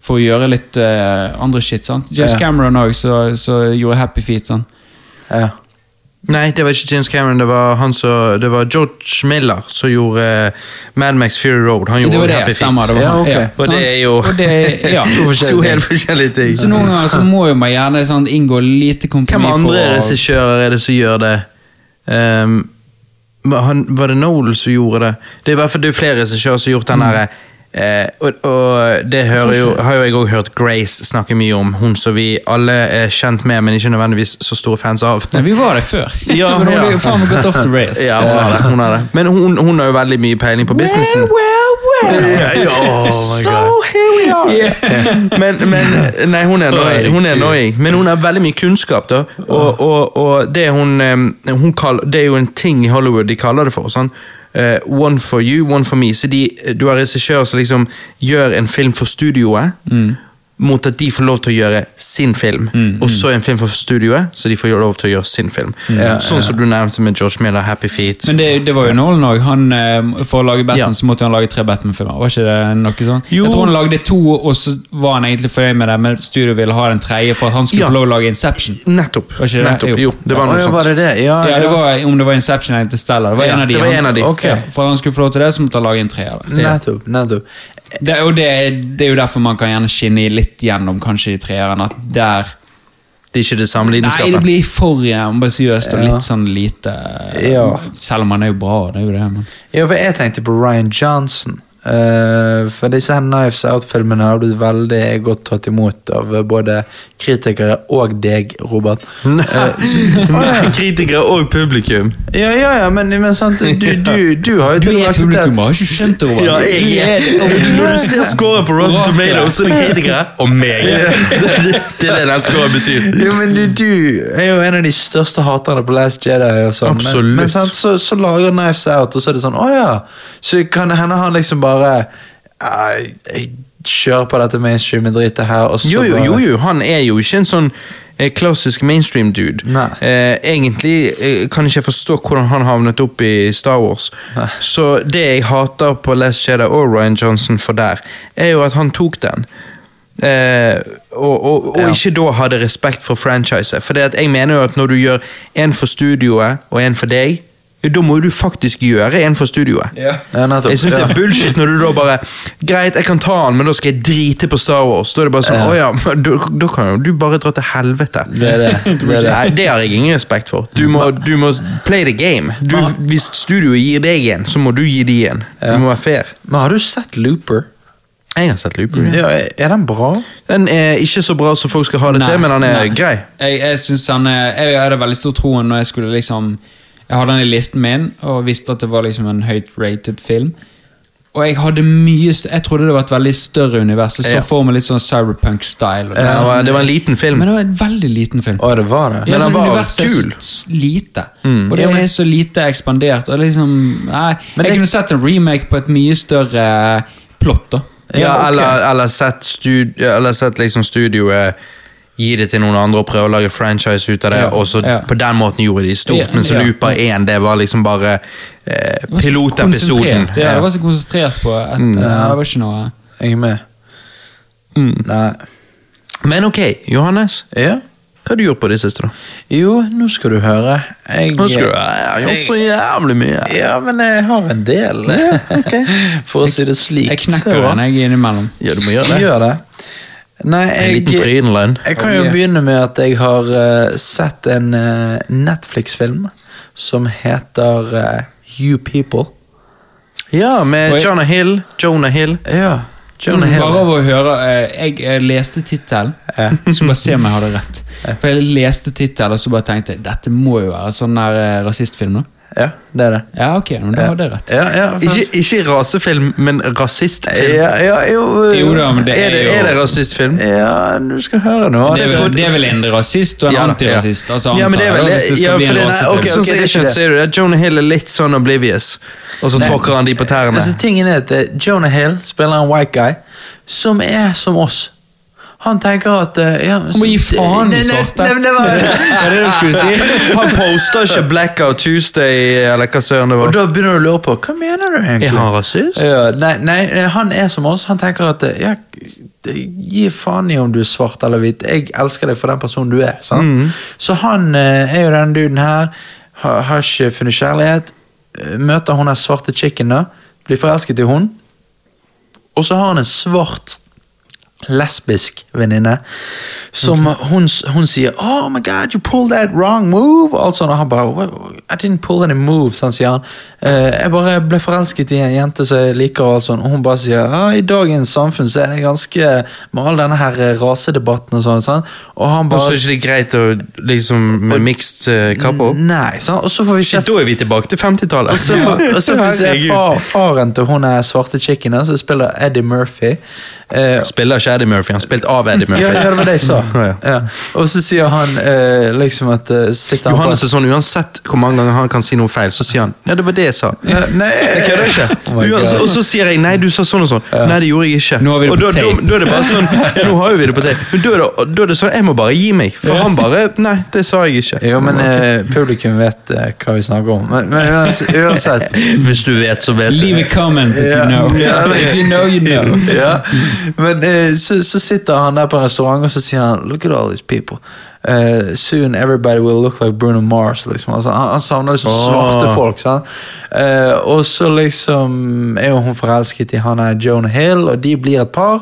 Speaker 3: for å gjøre litt eh, andre shit. sant? James
Speaker 2: Ja.
Speaker 3: Cameron òg, som gjorde Happy Feet. sånn.
Speaker 2: Ja.
Speaker 1: Nei, det var ikke James Cameron, det var, han som- det var George Miller som gjorde eh, Mad Max Fury Road. Han gjorde
Speaker 3: Det var det,
Speaker 1: Happy Feet.
Speaker 3: stemmer. Det var
Speaker 2: Ja,
Speaker 3: han,
Speaker 2: ok.
Speaker 1: Og
Speaker 3: sant?
Speaker 1: det er jo
Speaker 3: Og det- ja.
Speaker 1: to,
Speaker 2: forskjellige ting.
Speaker 1: helt forskjellige ting.
Speaker 3: Så noen ganger så må jo man gjerne sånn, inngå lite
Speaker 1: Hvem
Speaker 3: kompromiss
Speaker 1: andre
Speaker 3: for å
Speaker 1: regissører er det som gjør det? Ehm, var han, var det Noel som gjorde det? Det er i hvert fall det er flere regissører som har
Speaker 3: Mm.
Speaker 1: gjort den derre eh, og, og det hører jo, har jo jeg òg hørt Grace snakke mye om, hun som vi alle er kjent med, men ikke nødvendigvis så store fans av.
Speaker 3: Nei, vi var der før.
Speaker 1: Ja,
Speaker 3: Men hun
Speaker 1: ja.
Speaker 3: er jo faen meg gått off the rails.
Speaker 1: Ja, hun har det. Hun har det. Men hun, hun har jo veldig mye peiling på businessen.
Speaker 3: Eh,
Speaker 1: Ja, ja, so here we are! Men, men Nei, hun er annoying. Hun er annoying. Men hun har veldig mye kunnskap, da. Og, og, og det hun, eh, hun kaller, Det er jo en ting i Hollywood de kaller det for. sånn eh, one for you, one for me. Så de, Du har regissører som liksom gjør en film for studioet, mot at de får lov til å gjøre sin film. Og så en film for studioet, så de får lov til å gjøre sin film. Sånn som du nevnte med George Miller, Happy Feet.
Speaker 3: Men det, det var jo Nolan òg. Han, eh, For å lage Batman
Speaker 1: Ja.
Speaker 3: så måtte han lage tre Batman-filmer. Var ikke det noe sånn?
Speaker 1: Jo.
Speaker 3: Jeg tror han lagde to, og så var han egentlig fornøyd med det, men studio ville ha den tredje for at han skulle
Speaker 1: Ja.
Speaker 3: få lov å lage Inception.
Speaker 1: Nettopp.
Speaker 3: Var ikke det?
Speaker 1: nettopp.
Speaker 3: Jo.
Speaker 1: Jo, det var
Speaker 2: Å,
Speaker 1: noe
Speaker 2: ja,
Speaker 1: sånt.
Speaker 2: var det det? Ja,
Speaker 3: Ja,
Speaker 2: ja.
Speaker 3: det var, Om det var Inception eller Interstellar. Det var
Speaker 1: Ja,
Speaker 3: en av de.
Speaker 1: det var
Speaker 3: han-
Speaker 1: en av de.
Speaker 2: Ok.
Speaker 3: Ja, For at han skulle få lov til det, så måtte han lage en treer. da.
Speaker 2: Nettopp. nettopp.
Speaker 3: Det, og det, det er jo derfor man kan gjerne skinne i litt gjennom kanskje i treeren. At der
Speaker 1: Det er ikke det samme
Speaker 3: Nei,
Speaker 1: lidenskapet.
Speaker 3: det blir for eh, ambisiøst og
Speaker 2: Ja.
Speaker 3: litt sånn lite
Speaker 2: Ja.
Speaker 3: Selv om han er jo bra, det er jo det. Men.
Speaker 2: Ja, for jeg tenkte på Ryan Johnson. Eh, for disse her Knives Out-filmene har blitt veldig godt tatt imot av både kritikere og deg, Robert. Eh, så-
Speaker 1: Kritikere og publikum.
Speaker 2: ja, ja, ja, men, men sant, du, du, du har jo
Speaker 3: Du
Speaker 2: til og med
Speaker 3: er
Speaker 2: akseptert
Speaker 3: publikum, har ikke skjønt det? Roar.
Speaker 1: Ja,
Speaker 3: Du
Speaker 1: jeg
Speaker 3: er-
Speaker 1: er Når du ser scoren på Rotten
Speaker 3: Rock,
Speaker 1: Tomatoes,
Speaker 3: ja.
Speaker 1: så er det kritikere og meg. Det er det det er det den scoren betyr.
Speaker 2: Jo, men du, du er jo en av de største haterne på Last Jedi. og sånn.
Speaker 1: Absolutt.
Speaker 2: Men, men sant, så, så lager Knives Out, og så er det sånn Å ja. Så kan det hende han liksom bare «Nei, Jeg kjører på dette mainstream-dritet her, og så
Speaker 1: Jo, jo,
Speaker 2: bare-
Speaker 1: jo, jo, han er jo ikke en sånn eh, klassisk mainstream dude.
Speaker 2: Nei.
Speaker 1: Eh, egentlig eh, kan ikke jeg forstå hvordan han havnet opp i Star Wars. Så det jeg hater på Les Jedi og Ryan Johnson for der, er jo at han tok den. Eh, og og, og
Speaker 2: Ja.
Speaker 1: ikke da hadde respekt for franchiset. For det at jeg mener jo at når du gjør en for studioet og en for deg, jo, da må du faktisk gjøre en for studioet.
Speaker 3: Ja.
Speaker 2: Ja, nettopp.
Speaker 1: Jeg syns det er bullshit når du da bare Greit, jeg kan ta han, men da skal jeg drite på Star Wars. Da er det bare sånn,
Speaker 2: Ja.
Speaker 1: å ja, men da, da kan jo du bare dra til helvete.
Speaker 2: Det er det. det, er det.
Speaker 1: Nei, det har jeg ingen respekt for. Du må, du må play the game. Du, hvis studioet gir deg en, så må du gi de en. Du må være fair.
Speaker 2: Men har du sett Looper?
Speaker 1: Jeg har sett Looper.
Speaker 2: Ja, er- er den bra?
Speaker 1: Den er ikke så bra som folk skal ha det
Speaker 3: Nei,
Speaker 1: til, men han er
Speaker 3: nei.
Speaker 1: grei.
Speaker 3: Jeg, jeg synes han er Jeg hadde veldig stor troen når jeg skulle liksom Jeg hadde han i listen min og visste at det var liksom en høyt rated film. Og jeg hadde mye st Jeg trodde det var et veldig større univers. Jeg så
Speaker 1: Ja.
Speaker 3: for meg litt sånn cyberpunk-style. og det
Speaker 1: Det
Speaker 3: sånn-
Speaker 1: var, det var en liten film.
Speaker 3: Men det var en veldig liten film.
Speaker 2: Å, det var det?
Speaker 1: Ja.
Speaker 3: men
Speaker 1: den var kul.
Speaker 3: lite. Og det er så lite ekspandert. Og det er liksom, nei,
Speaker 2: det-
Speaker 3: jeg kunne sett en remake på et mye større eh, plott, da.
Speaker 1: Ja,
Speaker 2: ok.
Speaker 1: eller, eller sett, stud, eller sett liksom studioet gi det til noen andre og prøve å lage franchise ut av det,
Speaker 3: Ja,
Speaker 1: og så
Speaker 3: ja.
Speaker 1: på den måten gjorde de stort,
Speaker 3: Ja,
Speaker 1: men så
Speaker 3: ja.
Speaker 1: Looper 1, det var liksom bare eh,
Speaker 3: Det var så
Speaker 1: pilotepisoden.
Speaker 3: konsentrert, Ja, det var så konsentrert på et ja, Det var ikke noe
Speaker 2: Jeg er med.
Speaker 1: Mm.
Speaker 2: Nei.
Speaker 1: Men ok, Johannes,
Speaker 2: Ja.
Speaker 1: hva har du gjort på det siste, da?
Speaker 2: Jo, nå skal du høre. Jeg
Speaker 1: Nå skal du Jeg har gjort så jævlig mye.
Speaker 2: Ja, men jeg har en del. For å si det slik.
Speaker 3: Jeg knekker den jeg er innimellom.
Speaker 1: Ja, du må gjøre det.
Speaker 2: Gjør det. Nei,
Speaker 1: En
Speaker 2: jeg,
Speaker 1: liten Frydenlund.
Speaker 2: jeg kan jo
Speaker 3: Ja.
Speaker 2: begynne med at jeg har eh, sett en eh, Netflix-film som heter eh, You People.
Speaker 1: Ja, med
Speaker 3: Oi.
Speaker 1: Eh, Jonah Hill. Jonah Hill.
Speaker 2: Ja, Jonah Hill.
Speaker 3: Mm, Bare av å høre eh, Jeg, eh, leste tittelen.
Speaker 2: Ja.
Speaker 3: Skal bare se om jeg hadde rett. For jeg leste tittelen og så bare tenkte jeg, dette må jo være sånn der eh, rasistfilm. da
Speaker 2: Ja, det er det.
Speaker 3: Ja, ok, men da hadde jeg rett.
Speaker 2: Ja, ja,
Speaker 1: Ikke, ikke rasefilm, men rasistfilm.
Speaker 2: ja, ja, jo, eh,
Speaker 3: Jo da, men det
Speaker 1: Er
Speaker 3: er
Speaker 1: det,
Speaker 3: jo
Speaker 1: er det rasistfilm?
Speaker 2: Ja, du skal høre nå.
Speaker 3: Det er, vel, det er vel en rasist og en
Speaker 1: Ja da,
Speaker 3: antirasist? Altså,
Speaker 1: ja, men det er
Speaker 3: antar
Speaker 1: vel
Speaker 3: jeg, da, hvis det skal
Speaker 1: ja,
Speaker 3: bli
Speaker 1: for
Speaker 3: en
Speaker 1: det, nei,
Speaker 3: rasefilm.
Speaker 1: ok,
Speaker 2: Sånn
Speaker 1: ok,
Speaker 2: som
Speaker 1: det
Speaker 2: det
Speaker 1: skjønner,
Speaker 2: ikke-
Speaker 1: ser du det. Jonah Hill er litt sånn oblivious, og så
Speaker 2: Nei.
Speaker 1: tråkker han de på tærne.
Speaker 2: Altså, tingen er at eh, Jonah Hill spiller en white guy som er som oss. Han tenker at eh, ja,
Speaker 3: Han må gi faen i
Speaker 2: Nei, nei,
Speaker 3: svarte.
Speaker 2: nei, men det var-
Speaker 3: Var det det du skulle si?
Speaker 1: Han poster ikke Blackout Tuesday, eller hva søren det
Speaker 2: Og
Speaker 1: var.
Speaker 2: da begynner du å lure på hva mener du egentlig?
Speaker 1: Er han rasist?
Speaker 2: Ja, nei, nei, eh, han er som oss. Han tenker at eh, ja, gi faen i om du er svart eller hvit. Jeg elsker deg for den personen du er. Sant?
Speaker 1: Mm.
Speaker 2: Så han eh, er jo den duden her. Har, har ikke funnet kjærlighet. eh, Møter hun den svarte chicken da. Blir forelsket i hun. Og så har han en svart lesbisk venninne som
Speaker 1: Mhm.
Speaker 2: hun, hun sier Oh my god, you pulled that wrong move. Og alt sånt, og han bare "What- I didn't pull any moves, han sier han. «Eh, jeg bare ble forelsket i en jente som jeg liker, og alt sånt. Og hun bare sier ah, i dagens samfunn så er det ganske Med all denne her eh, rasedebatten og sånn, sånn. og han
Speaker 1: Og så
Speaker 2: bare
Speaker 1: er ikke det greit å liksom med mixed eh, couple?
Speaker 2: Nei, sant? Og så får vi se
Speaker 1: Shit, da er vi tilbake til 50-tallet.
Speaker 2: og så får- og så får vi se
Speaker 1: Herregud.
Speaker 2: far, faren til hun er svarte chicken, da, som spiller Eddie Murphy. Eh,
Speaker 1: Spiller ikke Eddie Murphy, han spilte av Eddie Murphy.
Speaker 2: Ja, ja, det var det jeg sa.
Speaker 1: Ja, ja.
Speaker 2: Ja. Og så sier han eh, liksom at eh, sitter han
Speaker 1: Johannes er sånn, Uansett hvor mange ganger han kan si noe feil, så sier han ja, det var det jeg sa.
Speaker 2: på Ja, Nei,
Speaker 1: Jeg kødder ikke.
Speaker 2: Oh my
Speaker 1: Uansett-
Speaker 2: God.
Speaker 1: altså, og så sier jeg nei, du sa sånn og sånn. Nei, det gjorde jeg ikke.
Speaker 3: Nå har vi det
Speaker 1: og
Speaker 3: på
Speaker 1: da, da,
Speaker 3: tape.
Speaker 1: da er det bare sånn Ja, nå har jo vi det på tape. Men da er det, da er det sånn, jeg må bare gi meg. For han bare Nei, det sa jeg ikke.
Speaker 2: Jo, men eh, publikum vet eh, hva vi snakker om. Men, men uans- uansett
Speaker 1: Hvis du vet, så vet
Speaker 3: Leave a comment if you
Speaker 2: Ja.
Speaker 3: know.
Speaker 2: Ja, det-
Speaker 3: If you know, you know.
Speaker 2: ja. Men eh, så, så sitter han der på en restaurant og så sier han Look at all these people. Eh, soon everybody will look like Bruno Mars. Liksom. Altså, han, han savner liksom
Speaker 1: Åh.
Speaker 2: svarte folk. Sant? Eh, og så liksom er jo hun forelsket i han er Jonah Hill, og de blir et par.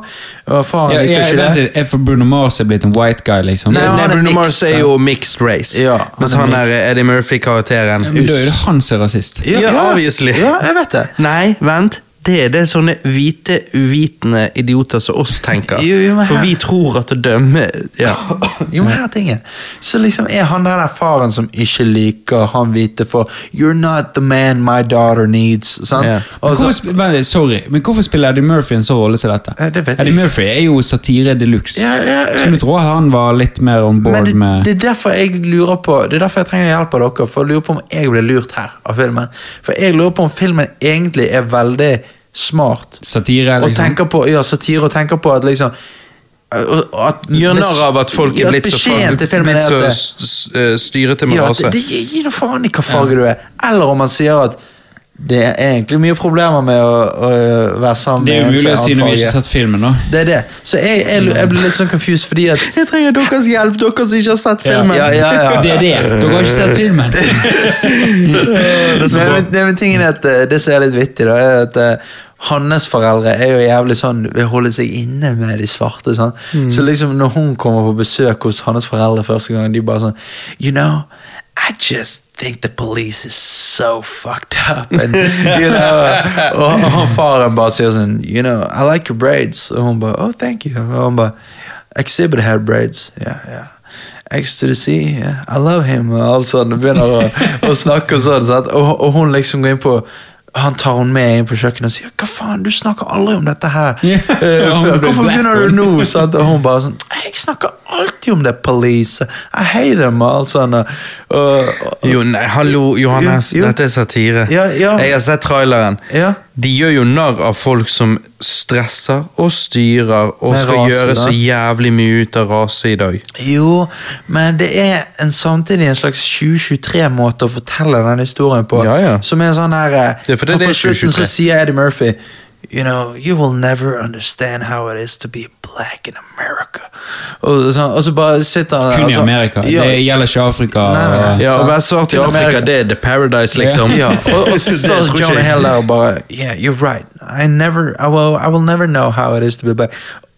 Speaker 2: Og faren
Speaker 3: Ja,
Speaker 2: liker
Speaker 3: ja,
Speaker 2: ikke
Speaker 3: vent
Speaker 2: det.
Speaker 3: litt, er for Bruno Mars er blitt en white guy, liksom?
Speaker 1: Nei,
Speaker 2: Nei, han er
Speaker 1: Bruno
Speaker 2: mixed,
Speaker 1: Mars er
Speaker 3: altså.
Speaker 2: sant?
Speaker 1: jo mixed race.
Speaker 2: Ja, han
Speaker 1: mens
Speaker 2: er
Speaker 1: han er Eddie Murphy-karakteren.
Speaker 3: Men da er det han som er rasist.
Speaker 1: Ja, obviously.
Speaker 2: Ja, jeg vet det.
Speaker 1: Nei, vent. Det er det sånne hvite, uvitende idioter som oss tenker.
Speaker 2: Jo, jo, men
Speaker 1: For
Speaker 2: her-
Speaker 1: vi tror at å dømme ja.
Speaker 2: Jo, men her er tingen. Så liksom er han der faren som ikke liker han hvite for You're not the man my daughter needs. Sant?
Speaker 1: Ja.
Speaker 2: Og så,
Speaker 3: Hvorfor, sp- vent, sorry, men hvorfor spiller Eddie Murphy en så rolle som dette?
Speaker 2: Eh, det vet jeg
Speaker 3: Eddie
Speaker 2: ikke.
Speaker 3: Murphy er jo satire de luxe.
Speaker 2: Ja, ja, ja.
Speaker 3: Skulle tro han var litt mer on
Speaker 2: men
Speaker 3: board
Speaker 2: det,
Speaker 3: med
Speaker 2: det er derfor jeg lurer på Det er derfor jeg trenger hjelp av dere, for jeg lurer på om jeg ble lurt her av filmen. For jeg lurer på om filmen egentlig er veldig smart.
Speaker 3: satire.
Speaker 2: Og
Speaker 3: Liksom.
Speaker 2: tenker på ja, satire og tenker på at liksom og- og at-
Speaker 1: Gjør narr av at folk
Speaker 2: Ja,
Speaker 1: er blitt så,
Speaker 2: beskjeden til
Speaker 1: faen-
Speaker 2: filmen
Speaker 1: blitt
Speaker 2: er
Speaker 1: så
Speaker 2: at det-
Speaker 1: s- s- eh, styrete med
Speaker 2: Ja,
Speaker 1: rase.
Speaker 2: det, det gi gi nå faen i hva farge du er. Eller om man sier at det er egentlig mye problemer med å, å være sammen
Speaker 3: Det er
Speaker 2: med en
Speaker 3: umulig å
Speaker 2: som
Speaker 3: si
Speaker 2: er
Speaker 3: når vi
Speaker 2: annen
Speaker 3: ikke har
Speaker 2: farge.
Speaker 3: sett filmen. nå
Speaker 2: Det er det. Så jeg, jeg, jeg ble litt sånn confused fordi at
Speaker 1: Jeg trenger deres hjelp, dere som ikke har sett
Speaker 3: Ja.
Speaker 1: filmen.
Speaker 2: Ja, ja, ja.
Speaker 3: Det er det. Dere har ikke sett filmen.
Speaker 2: Nei, men, nei, men tingen er at eh, Det som er litt vittig, da, er at eh, hans foreldre er jo jævlig sånn vil holde seg inne med de svarte. Sånn. Så liksom når hun kommer på besøk hos hans foreldre første gang, de bare sånn You know, I just think the police is so fucked up. And, you know, og, og faren bare sier sånn You know, I like your braids. Og hun bare Oh, thank you. Og hun bare Exhibit hair braids. Yeah, yeah. X to the sea, yeah. I love him og alt sånn, og begynner å, å snakke og sånn, sant? Og, og hun liksom går inn på han tar hun med inn på kjøkkenet og sier 'hva faen, du snakker aldri om dette her'.
Speaker 3: Ja,
Speaker 2: Eh,
Speaker 3: og hun
Speaker 2: før.
Speaker 3: blir
Speaker 2: Hvorfor begynner du
Speaker 3: blackballed."
Speaker 2: nå? Sant? Og hun bare sånn 'jeg snakker alltid om det, police'. I hate them, og alt sånn. Og, og, og,
Speaker 1: Jo, nei, hallo, Johannes.
Speaker 2: Jo, jo.
Speaker 1: Dette er satire.
Speaker 2: Ja, ja.
Speaker 1: Jeg har sett traileren.
Speaker 2: Ja.
Speaker 1: De gjør jo narr av folk som stresser og styrer og
Speaker 2: Med
Speaker 1: skal
Speaker 2: rase,
Speaker 1: gjøre
Speaker 2: da.
Speaker 1: så jævlig mye ut av rase i dag.
Speaker 2: jo, men det er en, samtidig en slags 2023-måte å fortelle den historien på.
Speaker 1: Ja, ja.
Speaker 2: Som er sånn her eh,
Speaker 1: Det er fordi
Speaker 2: og
Speaker 1: det
Speaker 2: På
Speaker 1: er
Speaker 2: slutten
Speaker 1: 2023.
Speaker 2: så sier Eddie Murphy You know, you will never understand how it is to be black in America. Og, så, og så bare sitter han der,
Speaker 3: Kun i
Speaker 2: altså-
Speaker 3: Amerika.
Speaker 2: Ja,
Speaker 3: Det gjelder ikke Afrika.
Speaker 2: Nei, nei, nei.
Speaker 3: og-
Speaker 1: Ja, Å
Speaker 2: Sant.
Speaker 1: være svart i
Speaker 2: Til
Speaker 1: Afrika,
Speaker 2: Amerika.
Speaker 1: det er the paradise, liksom.
Speaker 2: ja. Og, og så
Speaker 1: Det
Speaker 2: står
Speaker 1: tror ikke
Speaker 2: Jonah
Speaker 1: jeg.
Speaker 2: Hill der og bare Yeah, you're right. I never, I will, I will never know how it is to be black.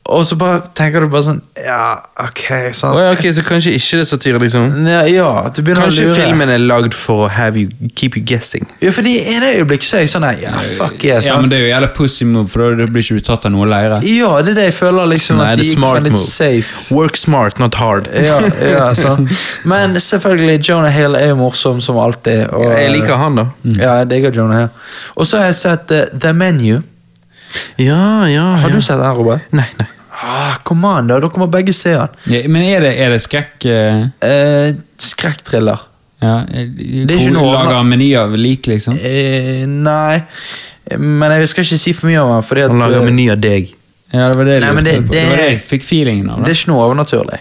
Speaker 2: Og så bare tenker du bare sånn Ja, ok, sant.
Speaker 1: Å ja, ok, så kanskje ikke det er satire, liksom?
Speaker 2: Ja, ja, at du begynner å
Speaker 1: Kanskje
Speaker 2: lure.
Speaker 1: filmen er lagd for å have you, keep you guessing.
Speaker 2: Ja, for i ene øyeblikk så er jeg sånn her, ja, fuck yeah,
Speaker 3: Ja, men
Speaker 2: sant?
Speaker 3: det er jo jævla pussy move, for da blir ikke du tatt av noe leire.
Speaker 2: Ja, det er det jeg føler liksom
Speaker 1: Nei,
Speaker 2: at
Speaker 1: det
Speaker 2: de
Speaker 1: er
Speaker 2: gikk
Speaker 1: smart
Speaker 2: for litt
Speaker 1: move.
Speaker 2: safe.
Speaker 1: Work smart, not hard.
Speaker 2: Ja, ja, sant. Men selvfølgelig, Jonah Hill er jo morsom som alltid. Og, Mm.
Speaker 1: Jeg liker han, da.
Speaker 2: Ja, jeg digger Jonah Hill. Og så har jeg sett eh, The Menu.
Speaker 1: Ja, ja,
Speaker 2: Har
Speaker 1: ja.
Speaker 2: du sett den, Robert?
Speaker 1: Nei, nei.
Speaker 2: Ah, kom an, da. Dere må begge se den.
Speaker 3: Ja, Men er det, er det skrekk eh,
Speaker 2: Eh, skrekktriller.
Speaker 3: ja, Det
Speaker 2: er ikke noe annet.
Speaker 3: Lager menyer lik, liksom?
Speaker 2: Eh, nei, men jeg skal ikke si for mye om den, fordi at
Speaker 1: Han lager
Speaker 2: eh,
Speaker 1: meny av deg.
Speaker 3: Ja, det var det jeg
Speaker 2: Nei, men
Speaker 3: lurte
Speaker 2: det-
Speaker 3: på.
Speaker 2: det-
Speaker 3: Det var det jeg fikk feelingen av.
Speaker 2: det
Speaker 3: Da.
Speaker 2: er ikke noe overnaturlig.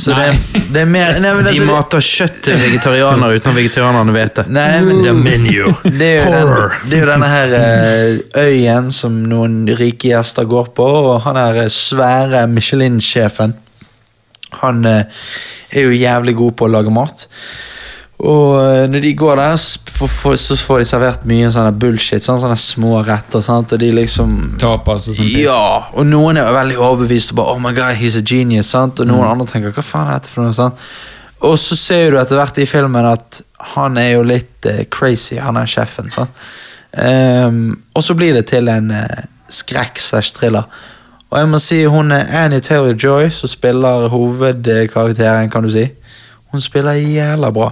Speaker 2: Så det,
Speaker 3: Nei.
Speaker 2: det er mer nei, men
Speaker 1: De
Speaker 2: altså, det-
Speaker 1: mater kjøtt til vegetarianere uten at vegetarianerne vet det.
Speaker 2: Nei, men-
Speaker 1: The menu.
Speaker 2: Mm. Det er jo,
Speaker 1: Horror.
Speaker 2: den, det er jo denne her eh, øyen som noen rike gjester går på, og han her eh, svære Michelin-sjefen Han eh, er jo jævlig god på å lage mat. Og eh, når de går der, s- får- får- så får de servert mye sånne bullshit. Sånne, sånne små retter. Sant? Og de liksom
Speaker 3: Tapas og sånt.
Speaker 2: ja, og noen er veldig overbevist og bare, oh my god, he's a genius, sant? Og noen andre tenker, hva faen er dette for noe, sant? Og så ser du etter hvert i filmen at han er jo litt eh, crazy, han er sjefen, sant? Ehm, og så blir det til en eh, skrekk slash thriller. Og jeg må si, hun er Annie Taylor-Joy, som spiller hovedkarakteren, kan du si. Hun spiller jævla bra.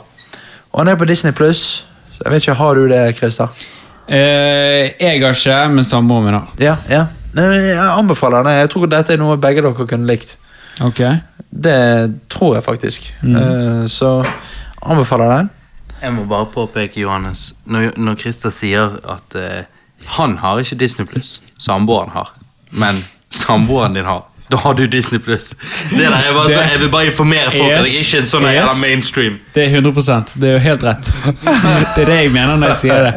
Speaker 2: Og han er på Disney+. Plus Jeg vet ikke, har du det, Krista?
Speaker 3: Eh, jeg har ikke, men samboeren min har.
Speaker 2: Ja, ja. Nei, men Jeg anbefaler den. Jeg tror dette er noe begge dere kunne likt.
Speaker 3: Ok.
Speaker 2: Det tror jeg faktisk.
Speaker 3: Mm.
Speaker 2: Eh, så anbefaler den.
Speaker 1: Jeg må bare påpeke, Johannes, når, når Christer sier at eh, han har ikke Disney Pluss, samboeren har, men samboeren din har, da har du Disney Pluss. Det der er bare
Speaker 3: Det-
Speaker 1: sånn- Jeg vil bare informere folk at jeg
Speaker 3: Yes,
Speaker 1: ikke er en sånn jævla
Speaker 3: yes.
Speaker 1: mainstream.
Speaker 3: Det er 100 Det er jo helt rett. Det er det jeg mener når jeg sier det.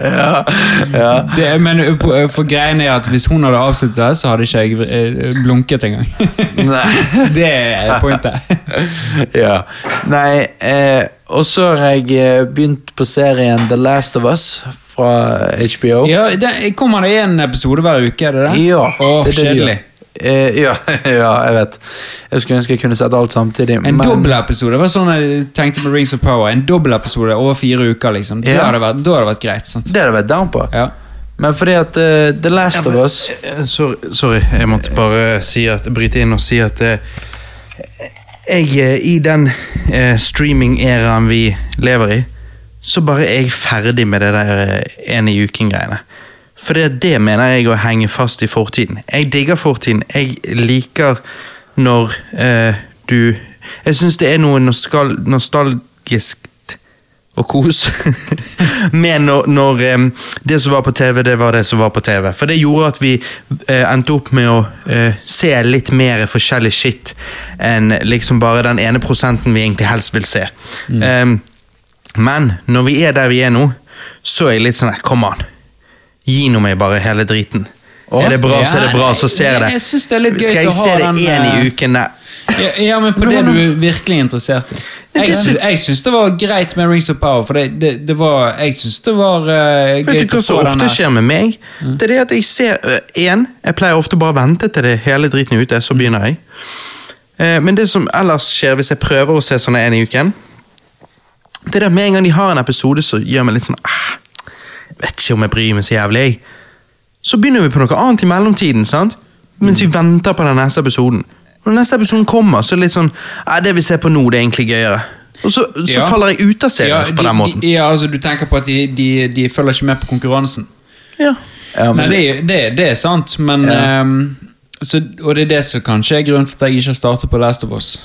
Speaker 3: det er- men eh, på- eh, for greien er at Hvis hun hadde avsluttet det, så hadde ikke jeg eh, blunket engang.
Speaker 2: Nei.
Speaker 3: Det er pointet.
Speaker 2: ja. Nei, eh, og så har jeg eh, begynt på serien The Last of Us fra HBO.
Speaker 3: Ja, det, Kommer det én episode hver uke? er det det?
Speaker 2: Oh. Ja,
Speaker 3: Åh,
Speaker 2: det er det de
Speaker 3: Kjedelig.
Speaker 2: gjør. Eh, ja, ja, jeg vet. Jeg skulle ønske jeg kunne sett alt samtidig.
Speaker 3: En dobbelepisode. Det var sånn jeg tenkte på Rings of Power. En dobbelepisode over fire uker. liksom. Det
Speaker 2: Ja.
Speaker 3: hadde vært, da hadde det vært greit. sant?
Speaker 2: det hadde jeg vært down på.
Speaker 3: Ja.
Speaker 2: Men fordi at eh, The Last of Us
Speaker 1: Eh, Sorry, sorry, jeg måtte bare si at, bryte inn og si at eh, jeg eh, i den eh, streaming-æraen vi lever i, så bare er jeg ferdig med det der eh, ene i uken-greiene. For det, det mener jeg å henge fast i fortiden. Jeg digger fortiden. Jeg liker når eh, du Jeg syns det er noe nostal nostalgisk og kos. Men når, når em, det som var på TV, det var det som var på TV. For det gjorde at vi eh, endte opp med å eh, se litt mer forskjellig shit enn liksom bare den ene prosenten vi egentlig helst vil se.
Speaker 3: Mm.
Speaker 1: Em, men når vi er der vi er nå, så er jeg litt sånn eh, Kom an. Gi nå meg bare hele driten.
Speaker 2: Å,
Speaker 1: er det bra, så er det bra. Så ser jeg det.
Speaker 3: Jeg synes det er litt gøy
Speaker 1: Skal
Speaker 3: å
Speaker 1: jeg
Speaker 3: ha
Speaker 1: se det
Speaker 3: den,
Speaker 1: én
Speaker 3: eh,
Speaker 1: i uken? Nei.
Speaker 3: Ja, ja, men på det du er virkelig interessert i. Jeg, sy- jeg syns det var greit med Rings of Power, for det, det, det var Jeg syns det var eh, gøy
Speaker 1: Vet du hva som ofte skjer med meg?
Speaker 3: Mm.
Speaker 1: Det er det at jeg ser øh, en, Jeg pleier ofte bare å vente til det hele driten er ute, så begynner jeg. Eh, Men det som ellers skjer hvis jeg prøver å se sånne en i uken, det er det at med en gang de har en episode som gjør meg litt sånn ah, Vet ikke om jeg bryr meg så jævlig, jeg. Så begynner vi på noe annet i mellomtiden, sant? mens vi
Speaker 3: Mm.
Speaker 1: venter på den neste episoden. Når neste episoden kommer, så er det litt sånn ah, Det vi ser på nå, det er egentlig gøyere. Og så, så
Speaker 3: Ja.
Speaker 1: faller jeg ut av serien
Speaker 3: ja,
Speaker 1: på
Speaker 3: de-
Speaker 1: den måten.
Speaker 3: De, ja, altså Du tenker på at de, de, de følger ikke med på konkurransen.
Speaker 1: Ja.
Speaker 3: Nei,
Speaker 2: ja, men,
Speaker 3: det, er- det, er- det er sant, men ehm, så, Og det er det som kanskje er grunnen til at jeg ikke har startet på Last of Us.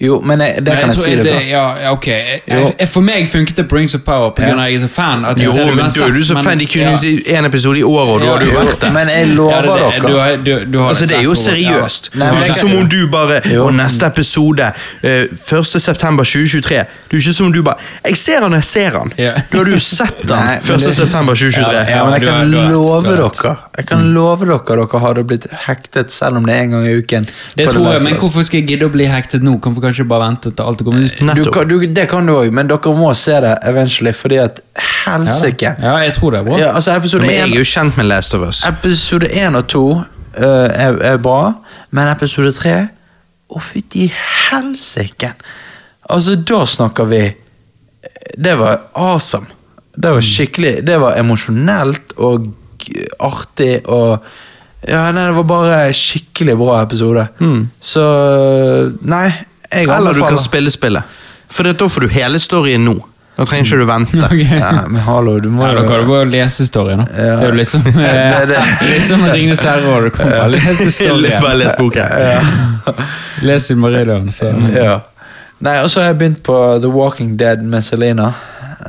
Speaker 2: Jo, men jeg, det
Speaker 3: Men
Speaker 2: kan jeg
Speaker 3: tror
Speaker 2: si det
Speaker 3: det,
Speaker 2: bra.
Speaker 3: ja, ja, ok jeg,
Speaker 2: Jo.
Speaker 3: jeg, For meg funket det på Rings of Power På
Speaker 2: Ja.
Speaker 3: grunn av at jeg er så fan. At jeg
Speaker 1: Jo,
Speaker 3: ser det
Speaker 1: men da er
Speaker 3: uansett,
Speaker 1: du så
Speaker 3: men-
Speaker 1: fan. De kunne
Speaker 3: ja.
Speaker 1: ut i en episode i året, og da
Speaker 2: Jo,
Speaker 1: hadde du vært der.
Speaker 2: Men jeg lover
Speaker 3: Ja, det- det-
Speaker 2: dere
Speaker 3: du har- du- du har
Speaker 1: Altså,
Speaker 3: rett,
Speaker 1: det er jo
Speaker 3: Robert.
Speaker 1: seriøst.
Speaker 2: Ja. Nei, men
Speaker 1: det er
Speaker 2: jeg-
Speaker 1: ikke som om du bare
Speaker 2: Jo.
Speaker 1: Og neste episode, eh, 1. september 2023 Det er jo ikke som om du bare Jeg ser han, jeg ser han.
Speaker 3: Ja.
Speaker 1: Da har du jo sett
Speaker 2: Nei,
Speaker 1: han
Speaker 2: men
Speaker 1: 1.
Speaker 2: det-
Speaker 1: september 2023.
Speaker 2: Ja, men jeg
Speaker 3: du har-
Speaker 2: kan
Speaker 3: du har rett,
Speaker 2: love
Speaker 3: du har rett. Mm.
Speaker 2: dere Jeg kan love dere dere hadde blitt hektet selv om det er en gang i uken.
Speaker 3: Det
Speaker 2: på The
Speaker 3: tror jeg,
Speaker 2: Last
Speaker 3: men
Speaker 2: of Us.
Speaker 3: hvorfor skal jeg gidde å bli hektet nå? Kan vi kanskje bare vente til alt det kommer ut?
Speaker 2: du
Speaker 1: Nettopp.
Speaker 2: kan, du, Det kan du òg, men dere må se det eventually, fordi at helsike
Speaker 3: Ja, jeg tror det er bra.
Speaker 2: ja, altså episode
Speaker 1: Men jeg er
Speaker 2: 1,
Speaker 1: jo kjent med Last of Us.
Speaker 2: episode 1 og 2 eh, er, er bra, men episode 3 Å, fytti helsike! Altså, da snakker vi eh, Det var awesome. Det var skikkelig Det var emosjonelt og g- artig og Ja, nei, det var bare skikkelig bra episode. Så eh, Nei, jeg
Speaker 1: Eller du kan
Speaker 2: anbefaler
Speaker 1: spille spillet. For det- da får du hele storyen nå. Da trenger ikke du vente.
Speaker 3: Ok.
Speaker 2: Nei, men hallo, du må
Speaker 3: Ja,
Speaker 2: jo
Speaker 3: da kan du bare lese storyen. da.
Speaker 2: Ja.
Speaker 3: Det er jo litt som eh,
Speaker 2: Det- det-
Speaker 3: Litt som Ringenes herre, og du kan bare lese
Speaker 1: Bare
Speaker 3: storyen.
Speaker 1: les boken.
Speaker 3: Les Silmarillion, så
Speaker 2: Ja. Nei, og så har jeg begynt på The Walking Dead med Selena.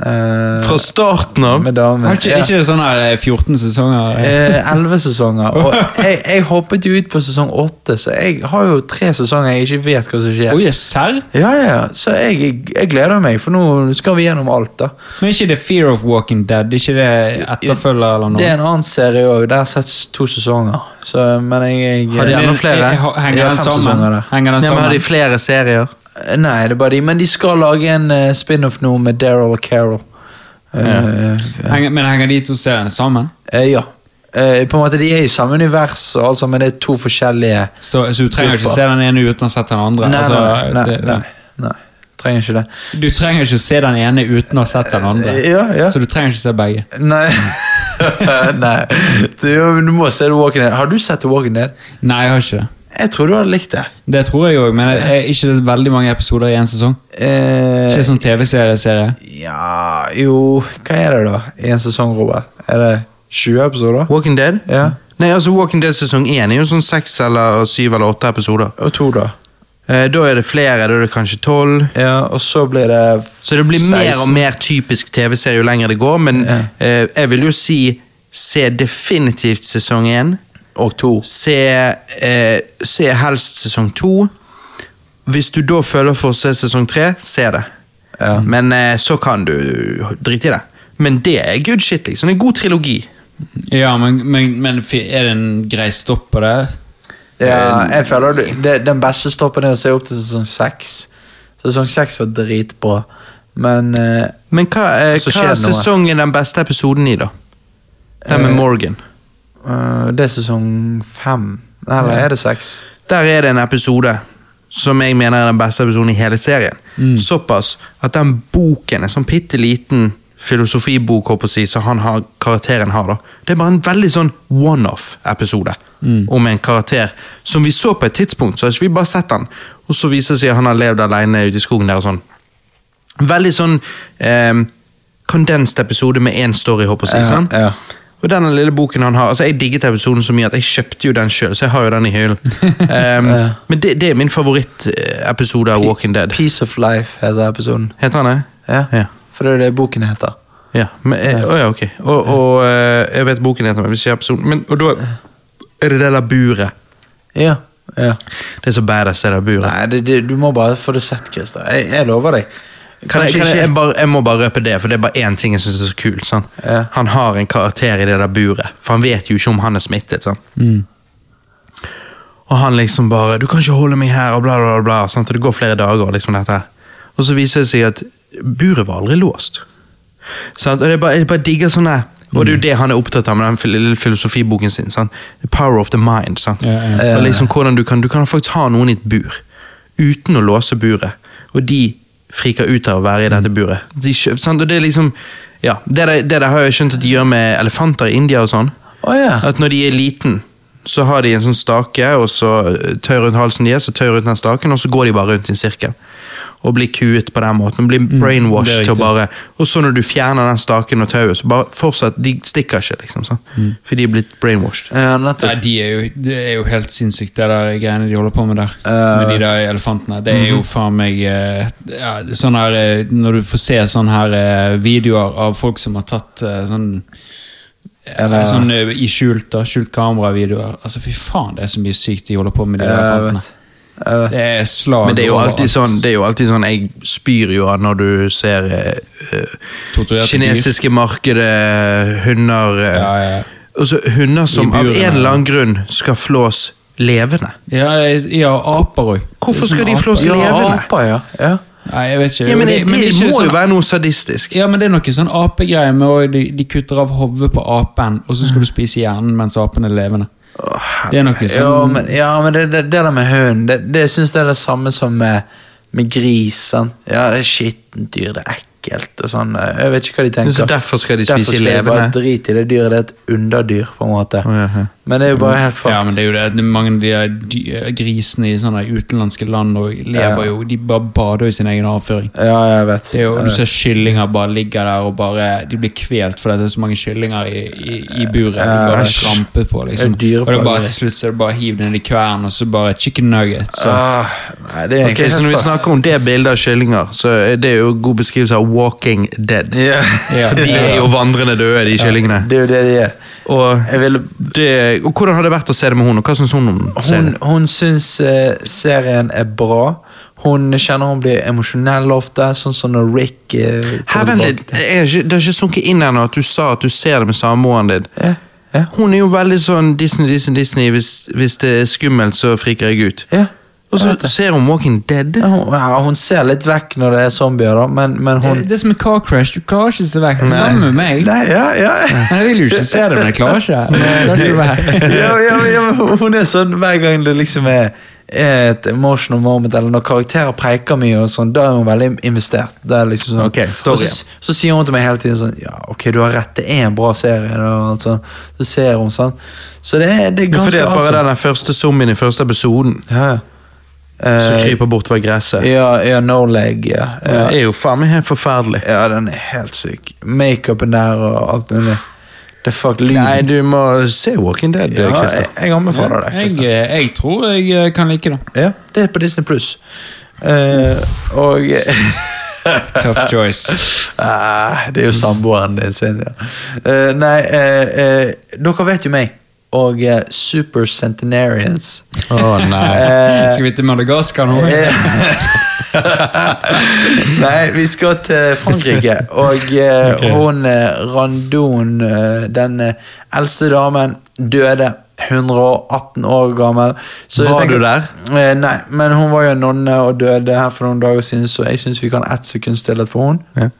Speaker 2: Eh,
Speaker 1: Fra starten av.
Speaker 2: med damen.
Speaker 3: Har ikke,
Speaker 2: Ja.
Speaker 3: ikke sånn her eh, 14 sesonger? eh?
Speaker 2: Eh, 11 sesonger. Og jeg, jeg hoppet jo ut på sesong 8, så jeg har jo tre sesonger jeg ikke vet hva som skjer.
Speaker 3: Oi, serr?
Speaker 2: Ja, ja, ja. Så jeg, jeg gleder meg, for nå skal vi gjennom alt, da.
Speaker 3: Men er ikke det Fear of Walking Dead? Ikke det etterfølger eller
Speaker 2: Det
Speaker 3: noe?
Speaker 2: er en annen serie òg. Der har jeg sett to sesonger. Så, men jeg,
Speaker 1: Har de
Speaker 2: jeg
Speaker 1: enda
Speaker 3: Men,
Speaker 1: flere?
Speaker 3: eh, ha-
Speaker 2: Ja,
Speaker 3: Henger den
Speaker 2: fem
Speaker 3: sammen?
Speaker 2: sesonger, da.
Speaker 3: Henger den
Speaker 1: Ja, men har de
Speaker 3: sammen?
Speaker 1: flere serier?
Speaker 2: Nei, det er bare de. Men de skal lage en eh, spin-off nå med Daryl og Carol. Eh,
Speaker 3: Henger, men henger de to seriene sammen?
Speaker 2: Eh, ja. Eh, på en måte De er i samme univers, og alt sånt, men det er to forskjellige
Speaker 3: Stå, så du trenger ikke
Speaker 2: Super.
Speaker 3: se den ene uten å ha sett den andre?
Speaker 2: Nei, nei,
Speaker 3: Altså,
Speaker 2: nei. nei,
Speaker 3: det-
Speaker 2: nei, nei. Trenger ikke det.
Speaker 3: Du trenger ikke se den ene uten å ha sett den andre.
Speaker 2: Ja, ja.
Speaker 3: Så du trenger ikke se begge.
Speaker 2: Nei. nei. Du, du må se The Walking Dead. Har du sett The Walking Dead?
Speaker 3: Nei, jeg har ikke det.
Speaker 2: Jeg tror du hadde likt det.
Speaker 3: Det tror jeg òg, men det er ikke det veldig mange episoder i en sesong?
Speaker 2: Eh,
Speaker 3: Ikke sånn TV-serieserie?
Speaker 2: ja Jo, hva er det, da? I en sesong, Robert? Er det 20 episoder?
Speaker 1: Walking Dead?
Speaker 2: Ja.
Speaker 1: Nei, altså Walking Dead sesong 1 er jo sånn seks eller syv eller åtte episoder.
Speaker 2: Og to, da.
Speaker 1: Eh, da er det flere, da er det kanskje tolv.
Speaker 2: Ja, og så blir det
Speaker 1: Så det blir mer
Speaker 2: 16.
Speaker 1: og mer typisk TV-serie jo lenger det går, men
Speaker 2: Ja.
Speaker 1: eh, jeg vil jo si se definitivt sesong 1.
Speaker 2: Og to.
Speaker 1: Se, eh, se helst sesong 2. Hvis du da føler for å se sesong 3, se det.
Speaker 2: Ja.
Speaker 1: Men eh, så kan du drite i det. Men det er good shit, liksom. Det er en god trilogi.
Speaker 3: Ja, men, men, men fi- er det en grei stopp på det?
Speaker 2: Ja, jeg føler det, det, Den beste stoppen er å se opp til sesong 6. Sesong 6 var dritbra, men eh,
Speaker 1: Men hva, eh,
Speaker 2: Så
Speaker 1: hva
Speaker 2: skjer det noe.
Speaker 1: sesong er den beste episoden i, da? Den med
Speaker 2: Eh,
Speaker 1: Morgan.
Speaker 2: eh, det er sesong 5. Eller er det 6?
Speaker 1: Der er det en episode som jeg
Speaker 2: Mm.
Speaker 1: mener er den beste episoden i hele serien. Såpass at den boken er sånn bitte liten filosofibok, håper jeg, å si, som han har, karakteren har. da. Det er bare en veldig sånn one-off-episode
Speaker 2: Mm.
Speaker 1: om en karakter som vi så på et tidspunkt. så har ikke vi bare sett han, Og så viser det seg at han har levd alene ute i skogen der og sånn. Veldig sånn eh, kondenst episode med én story, håper jeg. å si,
Speaker 2: Ja,
Speaker 1: sant?
Speaker 2: ja.
Speaker 1: Og denne lille boken han har, altså Jeg digget episoden så mye at jeg kjøpte jo den sjøl, så jeg har jo den i hyllen. Ehm, Men det, det er min favorittepisode av Walking Dead.
Speaker 2: Piece of Life heter episoden.
Speaker 1: Heter han det?
Speaker 2: Ja.
Speaker 1: Ja.
Speaker 2: For det er det boken heter.
Speaker 1: Ja, men, eh, å ja ok. Og, og eh, jeg vet boken heter, men vi ser episoden. Men, og da er det det der buret.
Speaker 2: Ja. ja.
Speaker 1: Det er så badass, det der buret.
Speaker 2: Nei, det, det, du må bare få det sett, Christer. Jeg, jeg lover deg.
Speaker 1: Kan jeg,
Speaker 2: Kanskje
Speaker 1: kan jeg,
Speaker 2: ikke-
Speaker 1: jeg, bare, jeg må bare røpe det, for det er bare én ting jeg syns er så kult. sant?
Speaker 2: Ja.
Speaker 1: Han har en karakter i det der buret, for han vet jo ikke om han er smittet. sant?
Speaker 2: Mm.
Speaker 1: Og han liksom bare 'Du kan ikke holde meg her', og bla, bla, bla. sant? Og det går flere dager, og liksom dette her. Og så viser det seg at buret var aldri låst. Sant? Og det er bare, jeg bare digger sånne Og
Speaker 2: Mm.
Speaker 1: det er jo det han er opptatt av med den fil- lille filosofiboken sin. sant? The power of the mind. sant?
Speaker 3: Ja, ja.
Speaker 1: Og liksom hvordan du kan, du kan faktisk ha noen i et bur uten å låse buret, og de friker ut av å være i
Speaker 3: Mm.
Speaker 1: dette buret. De, kjø- sant? Og det er liksom, ja, det, der, det der har jeg skjønt at de gjør med elefanter i India og sånn.
Speaker 2: Å ja.
Speaker 1: At når de er liten, så har de en sånn stake, og så eh, tøy rundt halsen deres, og tøy rundt den staken, og så går de bare rundt i en sirkel. Og blir kuet på den måten, og blir
Speaker 3: Mm. det
Speaker 1: brainwashed
Speaker 3: er
Speaker 1: til å
Speaker 3: riktig.
Speaker 1: bare Og så når du fjerner den staken og tauet, så bare fortsatt De stikker ikke, liksom. sant?
Speaker 3: Mm.
Speaker 1: For de er blitt brainwashed.
Speaker 2: Ja,
Speaker 3: Nei,
Speaker 2: nettopp.
Speaker 3: de er jo, det er jo helt sinnssykt, det der greiene de holder på med der.
Speaker 2: Ja,
Speaker 3: med de
Speaker 2: Eh, vet.
Speaker 3: der elefantene. Det er
Speaker 1: Mhm.
Speaker 3: jo faen meg eh, ja, sånn her, eh, Når du får se sånne her eh, videoer av folk som har tatt eh, sånn eh,
Speaker 2: Eller-
Speaker 3: Sånn eh, i skjult da, skjult kameravideoer. Altså, fy faen, det er så mye sykt de holder på med, de der
Speaker 2: Ja, Eh, jeg
Speaker 3: elefantene.
Speaker 2: vet. Jeg vet.
Speaker 3: Det er slag
Speaker 1: Men det er jo
Speaker 3: overalt.
Speaker 1: alltid sånn, det er jo alltid sånn Jeg spyr jo av når du ser eh, eh,
Speaker 3: Torturerte dyr.
Speaker 1: kinesiske markedet, hunder eh,
Speaker 3: Ja, ja.
Speaker 1: Altså hunder som av
Speaker 3: burene,
Speaker 1: en eller
Speaker 3: ja.
Speaker 1: annen grunn skal flås levende.
Speaker 3: Ja, det er- ja, aper òg.
Speaker 1: Hvorfor skal de flås
Speaker 2: Ja,
Speaker 1: levende?
Speaker 2: aper, ja. ja.
Speaker 3: sånn Nei, jeg vet ikke.
Speaker 1: Ja, men
Speaker 3: Jo,
Speaker 1: det,
Speaker 3: men er ikke
Speaker 1: må
Speaker 3: sånn-
Speaker 1: jo være noe sadistisk.
Speaker 3: Ja, men det er noe sånn apegreie med å- de, de kutter av hodet på apen, og så skal du spise hjernen mens apen er levende. Det er noe
Speaker 2: Ja,
Speaker 3: sånn
Speaker 2: men, ja, men det, det, det der med hund, det, det jeg synes det er det samme som med, med gris. Sant? Ja, det er skittent dyr, det er ekkelt og sånn. Jeg vet ikke hva de tenker.
Speaker 1: Så derfor skal de
Speaker 2: Derfor
Speaker 1: spise
Speaker 2: skal de bare
Speaker 1: levende?
Speaker 2: drite i det dyret. Det er et underdyr, på en måte.
Speaker 1: Å, ja, ja.
Speaker 2: Men det er jo bare helt fucked.
Speaker 3: Ja, men det er jo det, det er mange av de der dy- eh, grisene i sånne utenlandske land og lever jo De bare bader jo i sin egen avføring.
Speaker 2: Ja, jeg vet.
Speaker 3: Det er jo,
Speaker 2: Jeg
Speaker 3: du
Speaker 2: vet.
Speaker 3: ser kyllinger bare ligger der og bare De blir kvelt fordi det er så mange kyllinger i, i, i buret. De bare
Speaker 2: Æsj.
Speaker 3: tramper på, liksom.
Speaker 2: Det er
Speaker 3: Og det er bare
Speaker 2: dyreplageri.
Speaker 3: til slutt så er det bare å hive det ned i kvernen, og så bare chicken nuggets. Og,
Speaker 2: Ah, nei, det er
Speaker 1: Ok,
Speaker 2: egentlig
Speaker 1: så
Speaker 2: helt
Speaker 1: Når vi
Speaker 2: fucked.
Speaker 1: snakker om det bildet av kyllinger, så er det jo god beskrivelse av walking dead.
Speaker 2: Ja.
Speaker 3: Ja.
Speaker 1: For de er jo vandrende døde, de kyllingene.
Speaker 2: Det er jo det de er.
Speaker 1: Og,
Speaker 2: Jeg ville
Speaker 1: det, og Hvordan har det vært å se det med hun, og hva syns hun om serien?
Speaker 2: Hun, hun syns eh, serien er bra. Hun kjenner hun blir emosjonell ofte, sånn som når Rick eh, kommer
Speaker 1: Her, vent
Speaker 2: tilbake
Speaker 1: litt, jeg er ikke, Det har ikke sunket inn ennå at du sa at du ser det med samboeren din.
Speaker 2: til- Ja, ja,
Speaker 1: Hun er jo veldig sånn Disney, Disney, Disney. Hvis, hvis det er skummelt, så friker jeg ut.
Speaker 2: ja.
Speaker 1: Og så
Speaker 2: Jeg vet det.
Speaker 1: ser hun Walking Dead.
Speaker 2: Ja, hun, ja, hun ser litt vekk når det er zombier, da, men, men hun
Speaker 3: det, det er som en car crash. Du klarer ikke å se vekk. Det er samme med meg.
Speaker 2: Nei, ja, ja.
Speaker 3: Men jeg vil jo ikke se det, men jeg klarer ikke. Men jeg klarer ikke å være-
Speaker 2: ja, ja, ja, men hun er sånn hver gang det liksom er er et emotional moment, eller når karakterer preker mye, og sånn, da er hun veldig investert. Det er liksom sånn,
Speaker 1: Ok, story.
Speaker 2: Og så, så sier hun til meg hele tiden sånn Ja, ok, du har rett, det er en bra serie. Da, og sånn. så ser hun sånn. Så det er, det er
Speaker 1: For det
Speaker 2: ganske
Speaker 1: er bare
Speaker 2: awesome.
Speaker 1: den der første zombien i første episoden
Speaker 2: Ja, ja.
Speaker 1: som
Speaker 2: Eh,
Speaker 1: kryper bortover gresset.
Speaker 2: ja, ja, no leg, ja. ja.
Speaker 1: Det er jo faen meg helt forferdelig.
Speaker 2: Ja, den er helt syk. Makeupen der og alt mulig. Det er fuck lyden.
Speaker 1: Nei, du må se Walking Dead,
Speaker 2: ja,
Speaker 1: Christer.
Speaker 2: jeg, jeg anbefaler det.
Speaker 3: Jeg, eh,
Speaker 2: Christian.
Speaker 3: jeg tror jeg eh, kan like det.
Speaker 2: Ja, det er på Disney Pluss. og
Speaker 3: Tough choice.
Speaker 2: ah, Det er jo samboeren din sin, ja. Eh, nei, eh, eh, dere vet jo meg. Og eh, Super Centenarians.
Speaker 1: Å nei.
Speaker 2: Eh,
Speaker 3: Skal vi til Madagaskar nå?
Speaker 2: eh, Nei, vi skal til Frankrike, og eh, hun eh, Randon, eh, den eh, eldste damen, døde 118 år gammel. Så jeg
Speaker 1: Var du
Speaker 2: tenker-
Speaker 1: der?
Speaker 2: Eh, nei, men hun var jo nonne og døde her for noen dager siden, så jeg syns vi kan ett sekund stillhet for hun
Speaker 1: Ja.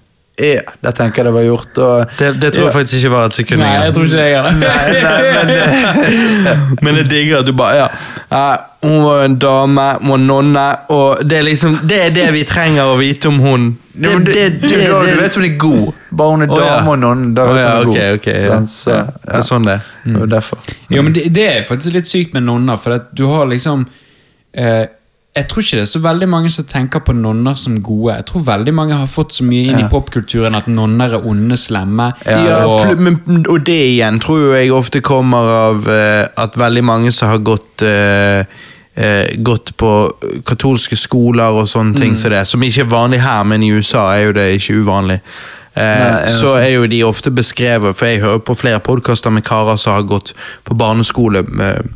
Speaker 2: ja, der tenker jeg det var gjort. Og,
Speaker 1: Det, det tror jeg
Speaker 2: Ja.
Speaker 1: faktisk ikke var et sekund
Speaker 3: Nei, jeg
Speaker 1: engang.
Speaker 3: tror ikke jeg gjør det.
Speaker 2: Nei, nei, men, eh,
Speaker 1: Men jeg digger at du bare ja. ja, Hun var en dame, hun var nonne, og det er liksom Det er det vi trenger å vite om hun.
Speaker 2: det,
Speaker 1: Det,
Speaker 2: det, det, det, du vet hun er god. Bare hun er
Speaker 1: Å,
Speaker 2: dame
Speaker 1: ja.
Speaker 2: og nonne. Da
Speaker 1: Å,
Speaker 2: vet
Speaker 1: ja,
Speaker 2: hun er god.
Speaker 1: ok, ok, ja.
Speaker 2: Sant, så,
Speaker 1: Ja, det er sånn det er.
Speaker 2: Det var derfor.
Speaker 3: Jo, men det, det er faktisk litt sykt med nonner, for at du har liksom eh, Jeg tror ikke det er så veldig mange som tenker på nonner som gode. Jeg tror veldig mange har fått så mye inn i
Speaker 2: Ja.
Speaker 3: popkulturen at nonner er onde, slemme.
Speaker 1: Ja, pl-
Speaker 3: og,
Speaker 1: men, og det igjen tror jo jeg ofte kommer av eh, at veldig mange som har gått eh, eh, Gått på katolske skoler og sånne ting som det, som ikke er vanlig her, men i USA er jo det ikke uvanlig. Eh,
Speaker 2: Nei, ja,
Speaker 1: så er jo de ofte beskrevet, for jeg hører på flere podkaster med karer som har gått på barneskole, med,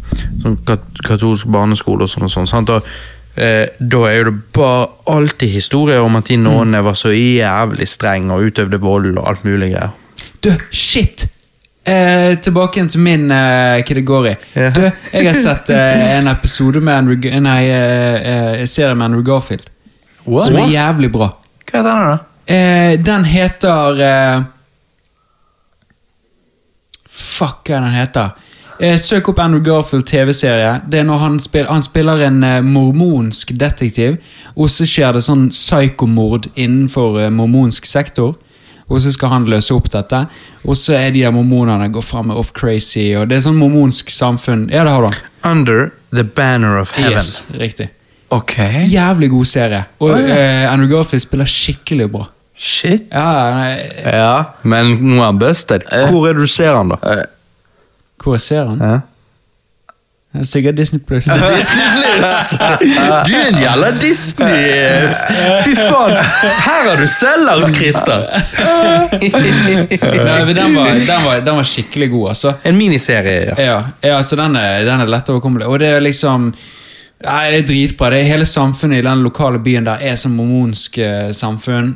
Speaker 1: sånn kat katolsk barneskole og sånn og sånn. sant? Og, eh, da er jo det bare alltid historier om at de nonnene var så jævlig strenge og utøvde vold og alt mulig greier.
Speaker 3: Du, shit! Eh, tilbake igjen til min eh, kategori.
Speaker 1: Ja.
Speaker 3: Du, jeg har sett eh, en episode med Andrew, G- nei, eh, eh, en serie med Andrew Garfield.
Speaker 2: What?
Speaker 3: Som er jævlig bra.
Speaker 2: Hva heter den, da?
Speaker 3: Eh, den heter eh, Fuck, hva er den heter? Eh, søk opp Andrew Garfield TV-serie. Det er når han, spil han spiller en eh, mormonsk detektiv, og så skjer det sånn psykomord innenfor eh, mormonsk sektor. Og så skal han løse opp dette, og så er de der mormonene går fram med off crazy. og Det er sånn mormonsk samfunn. Ja, det har du. han.
Speaker 1: Under the banner of heaven.
Speaker 3: Yes, riktig.
Speaker 2: Ok.
Speaker 3: Jævlig god serie. Og
Speaker 2: Å, ja.
Speaker 3: eh, Andrew Garfield spiller skikkelig bra.
Speaker 2: Shit.
Speaker 3: Ja, nei,
Speaker 1: Ja, men nå er han busted. Hvor er det du ser han da?
Speaker 2: Eh,
Speaker 3: Hvor ser han?
Speaker 2: ja.
Speaker 3: Det er Sikkert Disney Plus.
Speaker 1: Disney Plus! Du er en jævla Disney! Fy faen, her har du selv lagd Christer!
Speaker 3: Nei, men den, var, den, var, den var skikkelig god, altså.
Speaker 1: En miniserie, ja.
Speaker 3: Ja, ja altså den, er, den er lett overkommelig. Og det er liksom Nei, det er dritbra. Det er hele samfunnet i den lokale byen der er som mormonsk eh, samfunn.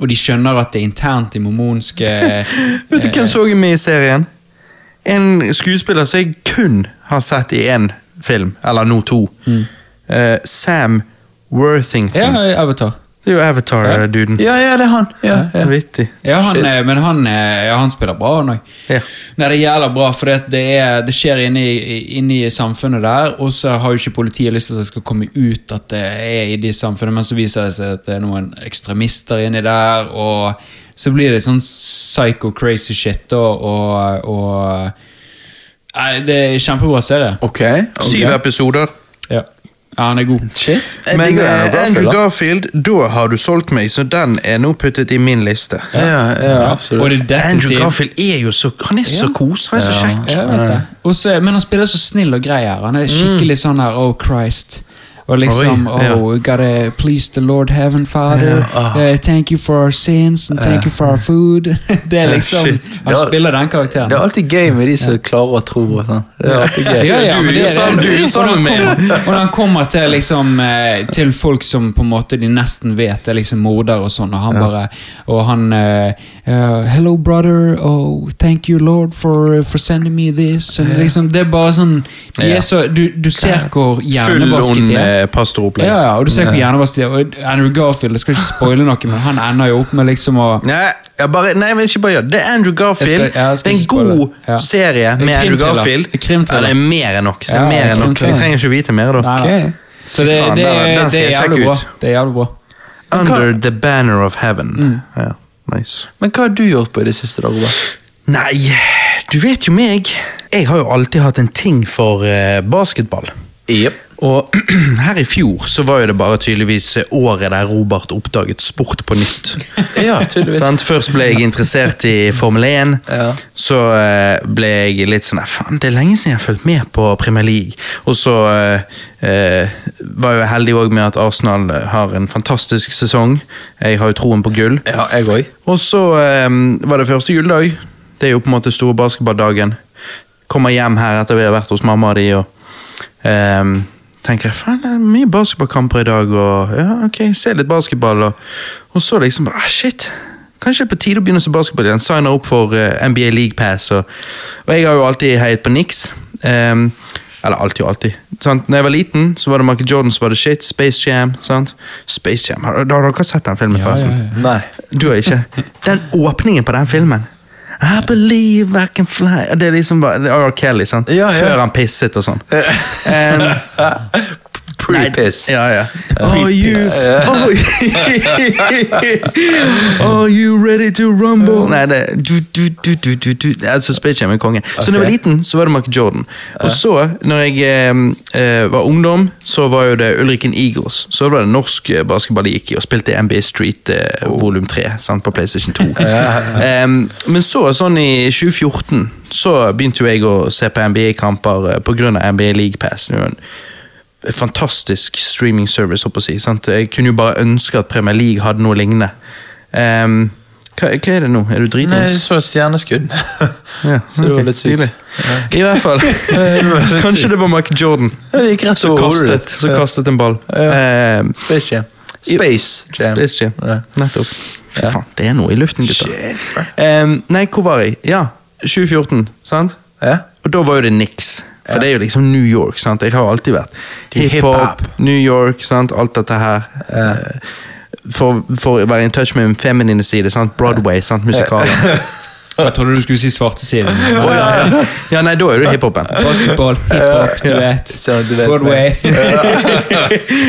Speaker 3: Og de skjønner at det er internt i eh, mormonske
Speaker 1: Vet du hvem så jeg med i serien? En skuespiller som jeg kun har sett i én film, eller nå to. Eh, Sam Worthington.
Speaker 3: Ja, Avatar.
Speaker 1: Det er jo Avatar-duden.
Speaker 2: ja, ja, det er han. Ja, ja.
Speaker 1: Vittig.
Speaker 3: Ja, han,
Speaker 2: Shit.
Speaker 3: er- men han, er- ja, han spiller bra, han òg.
Speaker 1: Ja.
Speaker 3: Nei, det gjelder bra, for det, det, er, det skjer inne i, inne i samfunnet der, og så har jo ikke politiet lyst til at det skal komme ut at det er i de samfunnene, men så viser det seg at det er noen ekstremister inni der, og så blir det sånn psycho-crazy shit, og, og, og Nei, det er en kjempebra serie.
Speaker 2: Ok.
Speaker 1: Syv episoder.
Speaker 3: Ja. ja, han er god.
Speaker 2: Shit. Jeg
Speaker 1: Men
Speaker 2: digger
Speaker 1: eh,
Speaker 2: Andrew Garfield,
Speaker 1: Andrew
Speaker 2: da.
Speaker 1: Garfield, da har du solgt meg, så den er nå puttet i min liste.
Speaker 2: Ja, ja, absolutt.
Speaker 3: Og det er
Speaker 1: Andrew
Speaker 3: detektiv.
Speaker 1: Garfield er jo så Han er så kos, han er så kjekk.
Speaker 3: Ja, jeg vet det. Og så- men han spiller så snill og grei her. Han er skikkelig sånn her Oh Christ. Og liksom
Speaker 1: Mm. Oi, ja.
Speaker 3: Oh, we gotta please the Lord Heaven Father. Eh, thank you for our sins and thank you for our food. det er liksom
Speaker 1: shit.
Speaker 2: Det
Speaker 3: Han
Speaker 2: er-
Speaker 3: spiller den karakteren.
Speaker 2: Det er alltid gøy med de som klarer å tro og sånn. Det er alltid gøy.
Speaker 3: Ja, ja,
Speaker 1: Du
Speaker 3: men
Speaker 1: er
Speaker 3: det
Speaker 1: jo sammen- du er jo
Speaker 3: Og
Speaker 1: sammen
Speaker 3: når han
Speaker 1: med-
Speaker 3: kommer- Og når han kommer til, liksom, eh, til folk som på en måte de nesten vet er liksom morder og sånn, og han bare Og han eh, eh, Hello, brother. Oh, thank you, Lord, for, for sending me this. Og liksom, det er bare sånn de er
Speaker 1: Ja.
Speaker 3: så, du, du ser hvor
Speaker 1: Full
Speaker 3: hjernevasket
Speaker 1: on
Speaker 3: de er.
Speaker 1: eh, pastoropplegg.
Speaker 3: Ja, ja, og du ser hvor hjernevasket de er. Og Andrew Garfield, jeg skal ikke spoile noe, men han ender jo opp med liksom å
Speaker 1: Nei, jeg bare, nei, men ikke bare gjør det. Det er Andrew Garfield.
Speaker 3: Jeg skal- ja, jeg
Speaker 1: det
Speaker 3: skal
Speaker 1: er en
Speaker 3: ikke spoile
Speaker 1: god
Speaker 3: det. Ja.
Speaker 1: serie
Speaker 3: En
Speaker 1: med Andrew
Speaker 3: krimthriller.
Speaker 1: Garfield.
Speaker 3: En
Speaker 1: Ja,
Speaker 3: krimthriller.
Speaker 1: det er mer enn nok. Det er
Speaker 3: Ja,
Speaker 1: mer
Speaker 3: en
Speaker 1: enn nok.
Speaker 3: krimthriller.
Speaker 1: Vi trenger ikke vite mer, da.
Speaker 3: Nei, nei.
Speaker 2: Ok.
Speaker 3: Så
Speaker 1: Fy
Speaker 3: det,
Speaker 1: faen,
Speaker 3: det,
Speaker 1: den-
Speaker 3: er-
Speaker 1: den
Speaker 3: det
Speaker 1: skal
Speaker 3: er
Speaker 1: jeg
Speaker 3: jævlig
Speaker 1: sjekke
Speaker 3: bra.
Speaker 1: ut.
Speaker 3: Det er jævlig bra.
Speaker 1: Under the banner of heaven.
Speaker 3: Mm.
Speaker 1: Ja, nice.
Speaker 2: Men hva har du gjort på i det siste, da, Robert?
Speaker 1: Nei, du vet jo meg. Jeg har jo alltid hatt en ting for eh, basketball.
Speaker 2: Yep.
Speaker 1: Og her i fjor så var jo det bare tydeligvis eh, året der Robert oppdaget sport på nytt.
Speaker 2: Ja, tydeligvis.
Speaker 1: Sant? Først ble jeg interessert i Formel 1.
Speaker 2: Ja.
Speaker 1: Så eh, ble jeg litt sånn "Nei, Faen, det er lenge siden jeg har fulgt med på Premier League. Og så eh, eh, var jeg heldig òg med at Arsenal har en fantastisk sesong. Jeg har jo troen på gull.
Speaker 2: Ja, jeg òg.
Speaker 1: Og så eh, var det første juledag. Det er jo på en måte store basketballdagen. Kommer hjem her etter vi har vært hos mamma og de og eh, tenker faen, det er mye basketballkamper i dag. Og ja, ok, se litt basketball. Og, og så liksom bare ah, shit. Kanskje det er på tide å begynne å se basketball igjen. Signer opp for eh, NBA League Pass. Og, og jeg har jo alltid heiet på Nix. Eller alltid og alltid. Sant? Når jeg var liten, så var det Michael Jordan som var det shit. Space Jam. sant? Space Jam, Har, har dere sett den filmen,
Speaker 3: Ja,
Speaker 1: forresten?
Speaker 3: ja, ja.
Speaker 2: Nei.
Speaker 1: Du har ikke? Den åpningen på den filmen. I believe I can fly. Det er liksom bare det er R. Kelly, sant?
Speaker 2: Ja, ja.
Speaker 1: Før han pisset og sånn. Um,
Speaker 2: Pre-piss.
Speaker 1: nei, Ja, ja. Are you, oh, are you ready to rumble? Nei, det er du, du, du, du, du, du. Altså, Space Jam er konge. Så da jeg var liten, så var det Mark Jordan. Og så, når jeg eh, eh, var ungdom, så var jo det Ulriken Eagles. Så var det norsk eh, basketball jeg gikk i, og spilte NBA Street eh, volum 3 sant, på PlayStation 2. Em, men så, sånn i 2014, så begynte jo jeg å se på NBA-kamper eh, på grunn av NBA League Pass. Det er jo en fantastisk streaming service, håper jeg å si. Sant? Jeg kunne jo bare ønske at Premier League hadde noe lignende. Ehm, hva, hva er det nå? Er du
Speaker 2: Nei, jeg
Speaker 1: dritings?
Speaker 2: så stjerneskudd.
Speaker 1: Ja,
Speaker 2: så det var
Speaker 1: ok,
Speaker 2: litt sykt.
Speaker 1: stilig. I hvert fall. Kanskje det var Mike Jordan
Speaker 2: Det gikk rett
Speaker 1: som
Speaker 2: over
Speaker 1: kastet, som
Speaker 2: Ja.
Speaker 1: kastet en ball.
Speaker 2: Ja.
Speaker 1: Ehm,
Speaker 2: Space Jam. Space Jam.
Speaker 1: Space Jam.
Speaker 2: Ja.
Speaker 1: Nettopp. Fy faen, det er noe i luften, gutter.
Speaker 2: Shit, bro.
Speaker 1: Ehm, nei, hvor var jeg? Ja, 2014, sant?
Speaker 2: Ja.
Speaker 1: Og da var jo det niks. For det er jo liksom New York. sant? Jeg har jo alltid vært
Speaker 2: Det er
Speaker 1: hiphop,
Speaker 2: hiphop.
Speaker 1: New York, sant? alt dette her. Eh, For, for å være in touch med min feminine side. sant? Broadway, sant? musikalen.
Speaker 3: Jeg trodde du skulle si svartesiden. men-
Speaker 1: Ja, nei, da er du hiphopen.
Speaker 3: Basketball, hiphop, duett,
Speaker 2: Så du vet
Speaker 3: Broadway.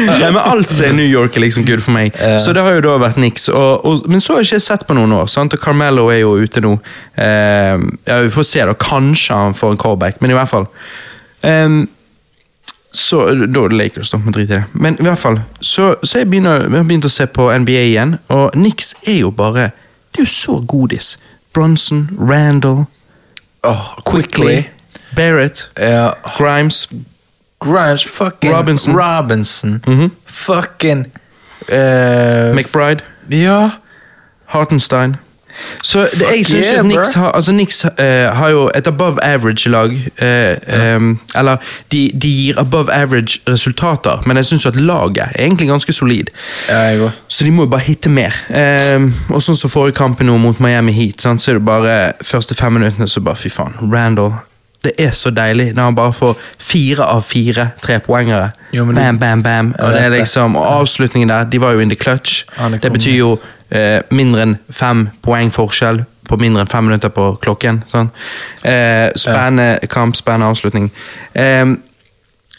Speaker 1: Nei, men alt som er New York, er liksom good for meg. Så det har jo da vært niks. Og, og, men så har jeg ikke sett på noen år. sant? Og Carmelo er jo ute nå. Eh, ja, Vi får se, da. Kanskje han får en callback, men i hvert fall. Ehm, så Da er det Lakers, da. Men drit i det. Men i hvert fall, så, så jeg, begynner, jeg har begynt å se på NBA igjen, og Nix er jo bare Det er jo så godis. Bronson, Randall,
Speaker 2: Åh,
Speaker 1: Quickly, Barrett,
Speaker 2: Ja.
Speaker 1: Grimes
Speaker 2: Grimes fucking
Speaker 1: Robinson. Mhm.
Speaker 2: Robinson. Fucking eh,
Speaker 1: McBride.
Speaker 2: Ja.
Speaker 1: Hartenstein. Så det, jeg
Speaker 2: Fuck
Speaker 1: synes
Speaker 2: yeah,
Speaker 1: at
Speaker 2: bro.
Speaker 1: Knicks har, altså Knicks, eh, har jo et above average-lag. Eller de, de gir above average resultater, men jeg syns at laget er egentlig ganske solid.
Speaker 2: Ja, jeg går.
Speaker 1: Så de må jo bare hitte mer. Ehm, og sånn som forrige kampen nå mot Miami Heat, sant, så er det bare første fem minuttene så bare fy faen. Randall. Det er så deilig når han bare får fire av fire trepoengere.
Speaker 2: Jo, men det-
Speaker 1: Bam, bam, bam. Og, det er
Speaker 2: vet det.
Speaker 1: liksom, og avslutningen der, de var jo in the clutch.
Speaker 2: Han er
Speaker 1: Det betyr jo eh, mindre enn fem poeng forskjell på mindre enn fem minutter på klokken. Sånn. Eh, spennende kamp, spennende avslutning. Ehm,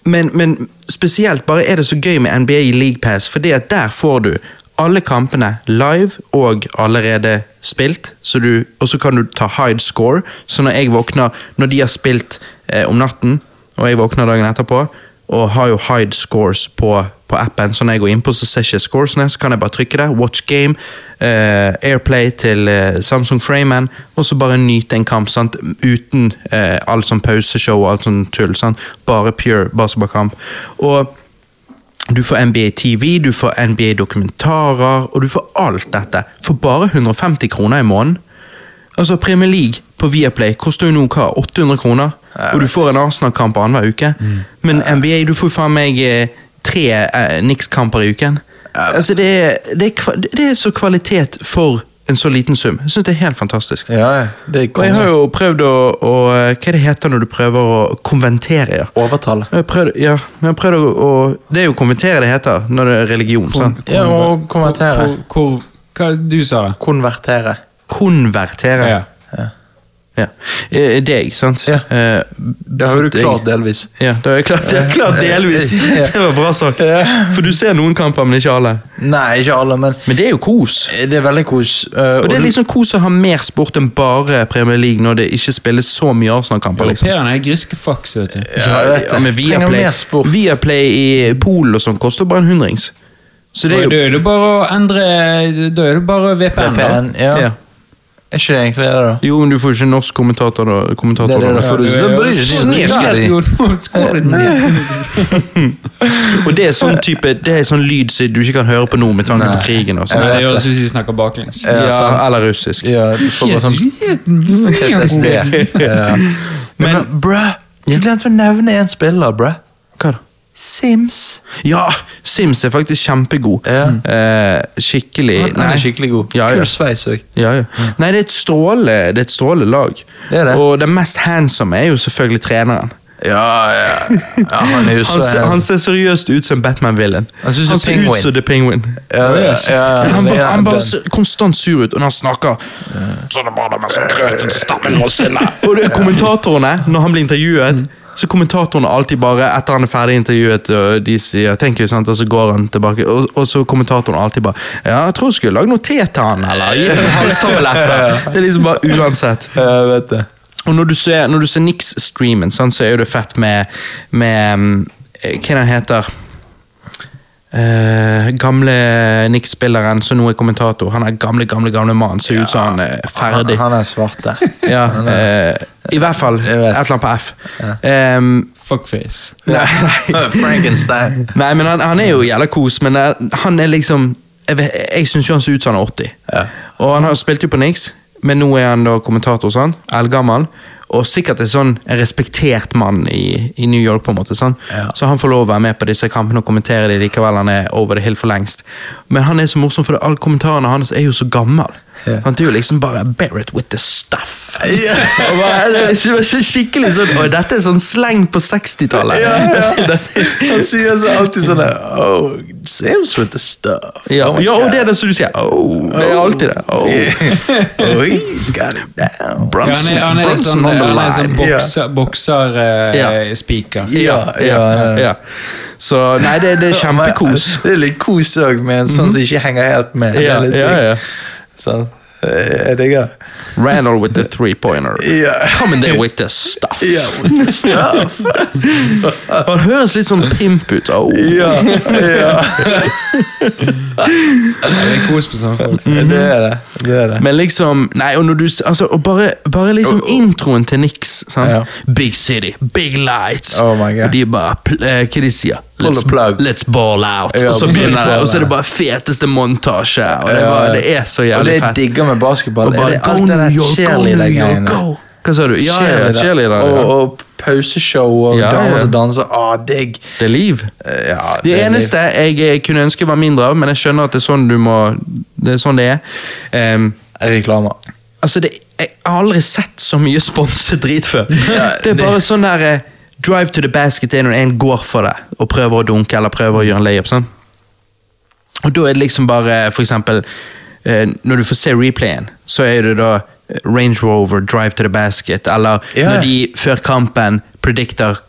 Speaker 1: men, men spesielt bare er det så gøy med NBA i League Pass, fordi at der får du alle kampene live og allerede spilt, så du, og så kan du ta hide score. Så når jeg våkner, når de har spilt eh, om natten, og jeg våkner dagen etterpå, og har jo hide scores på, på appen, så når jeg går inn på så ser jeg ikke scoresene, så kan jeg bare trykke der, watch game, eh, airplay til eh, Samsung Freyman, og så bare nyte en kamp, sant? uten eh, alt sånn pauseshow og alt sånn tull, sant? bare pure basketballkamp. Og du får NBA TV, du får NBA dokumentarer, og du får alt dette for bare 150 kroner i måneden. Altså Premier League på Viaplay koster jo nå hva, 800 kroner, og du får en Arsenal-kamp annenhver uke.
Speaker 2: Mm.
Speaker 1: Men NBA, du får faen meg eh, tre eh, Nix-kamper i uken. Altså det er, det, er, kva- det er så kvalitet for en så liten sum. Jeg syns det er helt fantastisk.
Speaker 2: eh, Ja, ja, det er
Speaker 1: Og jeg har
Speaker 2: konge.
Speaker 1: jo prøvd å, å eh, Hva er det heter når du prøver å konventere? ja?
Speaker 2: Overtale.
Speaker 1: Jeg har prøvd, ja, men jeg har prøvd å, å Det er jo konvertere det heter når det er religion. sant?
Speaker 2: Ja, og konvertere.
Speaker 3: Hvor, hvor, hva du sa det?
Speaker 2: Konvertere.
Speaker 1: Konvertere.
Speaker 3: Ja.
Speaker 1: Ja. Eh, Deg, sant?
Speaker 2: Ja.
Speaker 1: Eh,
Speaker 2: Det har jo du
Speaker 1: deg.
Speaker 2: klart delvis.
Speaker 1: Ja, det har jeg klart, det er klart delvis.
Speaker 2: Ja.
Speaker 1: Det var bra sagt. For du ser noen kamper, men ikke alle.
Speaker 2: Nei, ikke alle, men
Speaker 1: Men det er jo kos.
Speaker 2: det er veldig kos. eh,
Speaker 1: Og det er liksom kos å ha mer sport enn bare Premier League når det ikke spilles så mye Arsenal-kamper. liksom.
Speaker 3: Europeerne er griske fucks, vet du.
Speaker 2: Ja, jeg vet det.
Speaker 1: Ja, men
Speaker 2: Trenger
Speaker 1: Viaplay,
Speaker 2: mer sport.
Speaker 1: Viaplay i Polen og sånn koster bare en hundrings. Så det er
Speaker 3: Da
Speaker 1: jo
Speaker 3: er det bare å endre Da er det bare VPN, da.
Speaker 2: VPN, ja.
Speaker 1: Ja.
Speaker 2: Er ikke det egentlig det, da?
Speaker 1: Jo, men du får ikke norsk kommentator da. Kommentator,
Speaker 2: Det er det,
Speaker 1: da.
Speaker 2: da får du-
Speaker 3: Ja,
Speaker 2: det
Speaker 3: ja,
Speaker 2: blir ikke
Speaker 3: ja.
Speaker 2: så mye
Speaker 3: Skadelig.
Speaker 2: skadelig.
Speaker 3: Skadelig.
Speaker 1: Og det er sånn type Det er sånn lyd som du ikke kan høre på nå med tanke på krigen. og
Speaker 3: Nei,
Speaker 1: sånn.
Speaker 3: Det gjøres hvis de snakker baklengs.
Speaker 2: Ja,
Speaker 1: Ja,
Speaker 2: sant.
Speaker 1: eller russisk.
Speaker 2: Ja, du får bare sånn PTSD. Ja. Men, men bruh, du glemte å nevne en spiller, bruh.
Speaker 1: Hva da?
Speaker 2: Sims.
Speaker 1: Ja! Sims er faktisk kjempegod.
Speaker 2: Ja.
Speaker 1: Eh, skikkelig
Speaker 2: Han, han er skikkelig god.
Speaker 1: Ja, ja.
Speaker 2: Kul sveis òg.
Speaker 1: Ja, ja. Nei, det er et stråle, det er et stråle lag.
Speaker 2: Mm. Det er det.
Speaker 1: Og den mest handsome er jo selvfølgelig treneren.
Speaker 2: Ja, ja. ja han er jo så
Speaker 1: Han, ser- han ser seriøst ut som en Batman-villain.
Speaker 2: Han ser ut som
Speaker 1: Han ser ut
Speaker 2: Penguin.
Speaker 1: som The Penguin.
Speaker 2: ja, ja, Eh, ja,
Speaker 1: han,
Speaker 2: det
Speaker 1: bare,
Speaker 2: er
Speaker 1: han bare
Speaker 2: den.
Speaker 1: ser konstant sur ut, og når han snakker
Speaker 4: Så det var det med sånn grøten til stammen og sinnet.
Speaker 1: Og det er kommentatorene, når han blir intervjuet, så kommentatorene alltid bare etter han er ferdig intervjuet, og de sier 'thank you', sant? og så går han tilbake, og, og så kommentatorene alltid bare 'ja, jeg tror jeg skulle lage noe te til han', eller gi ham en halstablett. Det er liksom bare uansett.
Speaker 2: Ja, jeg vet det.
Speaker 1: Og når du ser, når du ser Nix-streamen, sant, så er jo det fett med, med mm, Hva er den heter? Eh, gamle Nix-spilleren som nå er kommentator. Han er gamle, gamle gamle mann. Ser ut som han er ferdig.
Speaker 2: Han, han er svarte.
Speaker 1: Ja, eh, I hvert fall et
Speaker 2: Jeg
Speaker 1: eller
Speaker 2: vet.
Speaker 1: annet på F. Ehm,
Speaker 3: Fuckface.
Speaker 1: nei, nei.
Speaker 2: Frankenstein.
Speaker 1: nei, men han, han er jo jævla kos, men eh, han er liksom Jeg, vet- jeg syns jo han ser ut som han er 80.
Speaker 2: Ja.
Speaker 1: Og han har spilt jo på Nix, men nå er han da kommentator, sant? Eldgammel. Og sikkert en sånn en respektert mann i, i New York, på en måte. sant?
Speaker 2: Ja.
Speaker 1: Så han får lov å være med på disse kampene og kommentere de likevel. Han er over the hill for lengst. Men han er så morsom, for alle kommentarene hans er jo så gammel.
Speaker 2: Ja.
Speaker 1: Han er jo liksom bare 'bear it with the stuff'. Og bare, det var så skikkelig sånn «Oi, dette er sånn sleng på 60-tallet.
Speaker 2: Ja, ja. Han sier så alltid sånn der, Oh, Sam's with the stuff.
Speaker 1: Ja,
Speaker 2: Oh my
Speaker 1: ja, og
Speaker 2: God.
Speaker 1: det er det som du sier. Oh, det er alltid det. Oh.
Speaker 2: oh, he's got it down.
Speaker 3: Ja,
Speaker 1: Brunson,
Speaker 3: han er, han er
Speaker 1: Brunson on
Speaker 3: sånn,
Speaker 1: the
Speaker 3: han er
Speaker 1: line.
Speaker 3: sånn bokser, bokser eh, speaker.
Speaker 1: Ja, ja, ja. Så nei, det, det er kjempekos.
Speaker 2: Det er litt kos òg, med en sånn som ikke henger helt med. Det er
Speaker 1: Ja,
Speaker 2: litt
Speaker 1: ja,
Speaker 2: digg.
Speaker 1: ja.
Speaker 2: Sånn. Eh, Jeg digger det.
Speaker 1: Randall with the three-pointer.
Speaker 2: Ja.
Speaker 1: Coming there with the stuff.
Speaker 2: Ja, with the stuff.
Speaker 1: Han høres litt sånn pimp ut. Oh.
Speaker 2: ja, ja.
Speaker 3: Ja, det er kos på sånne folk.
Speaker 2: Det er det. det, er det.
Speaker 1: Men liksom Nei, og når du s- altså, og bare, bare liksom introen til Nix. Sant?
Speaker 2: Ja.
Speaker 1: Big city, big lights.
Speaker 2: Oh my God.
Speaker 1: Og de bare pl- eh, Hva de sier
Speaker 2: Pull the plug.
Speaker 1: let's ball out.
Speaker 2: Ja,
Speaker 1: og så
Speaker 2: pull the
Speaker 1: begynner det,
Speaker 2: ball
Speaker 1: og så er det
Speaker 2: out.
Speaker 1: bare feteste montasje. Og det, bare, det er så
Speaker 2: Og
Speaker 1: jævlig
Speaker 2: det jeg
Speaker 1: fett.
Speaker 2: digger med basketball,
Speaker 1: Og
Speaker 2: er
Speaker 1: bare
Speaker 2: det
Speaker 1: go
Speaker 2: alt det
Speaker 1: New
Speaker 2: der
Speaker 1: York, go New York,
Speaker 2: cheerleader-greiene.
Speaker 1: go! Hva sa du? Ja, ja, ja, cheerleader. ja.
Speaker 2: Og, og pauseshow og
Speaker 1: Ja, ja.
Speaker 2: damer som danser. Ah, digg.
Speaker 1: Det er liv.
Speaker 2: Eh, Ja,
Speaker 1: Det,
Speaker 2: er
Speaker 1: eneste jeg eh, kunne ønske var mindre av, men jeg skjønner at det er sånn du må Det er sånn det er. Ehm,
Speaker 2: litt- Reklamer.
Speaker 1: Altså, det, jeg har aldri sett så mye sponset drit før. Det er bare sånn der eh, Drive to the basket er når en går for det og prøver å dunke eller prøver å gjøre en layup. Sånn. Og da er det liksom bare eh, for eksempel eh, Når du får se replayen, så er det da eh, Range Rover, Drive to the basket, eller
Speaker 2: Ja.
Speaker 1: når de før kampen predikter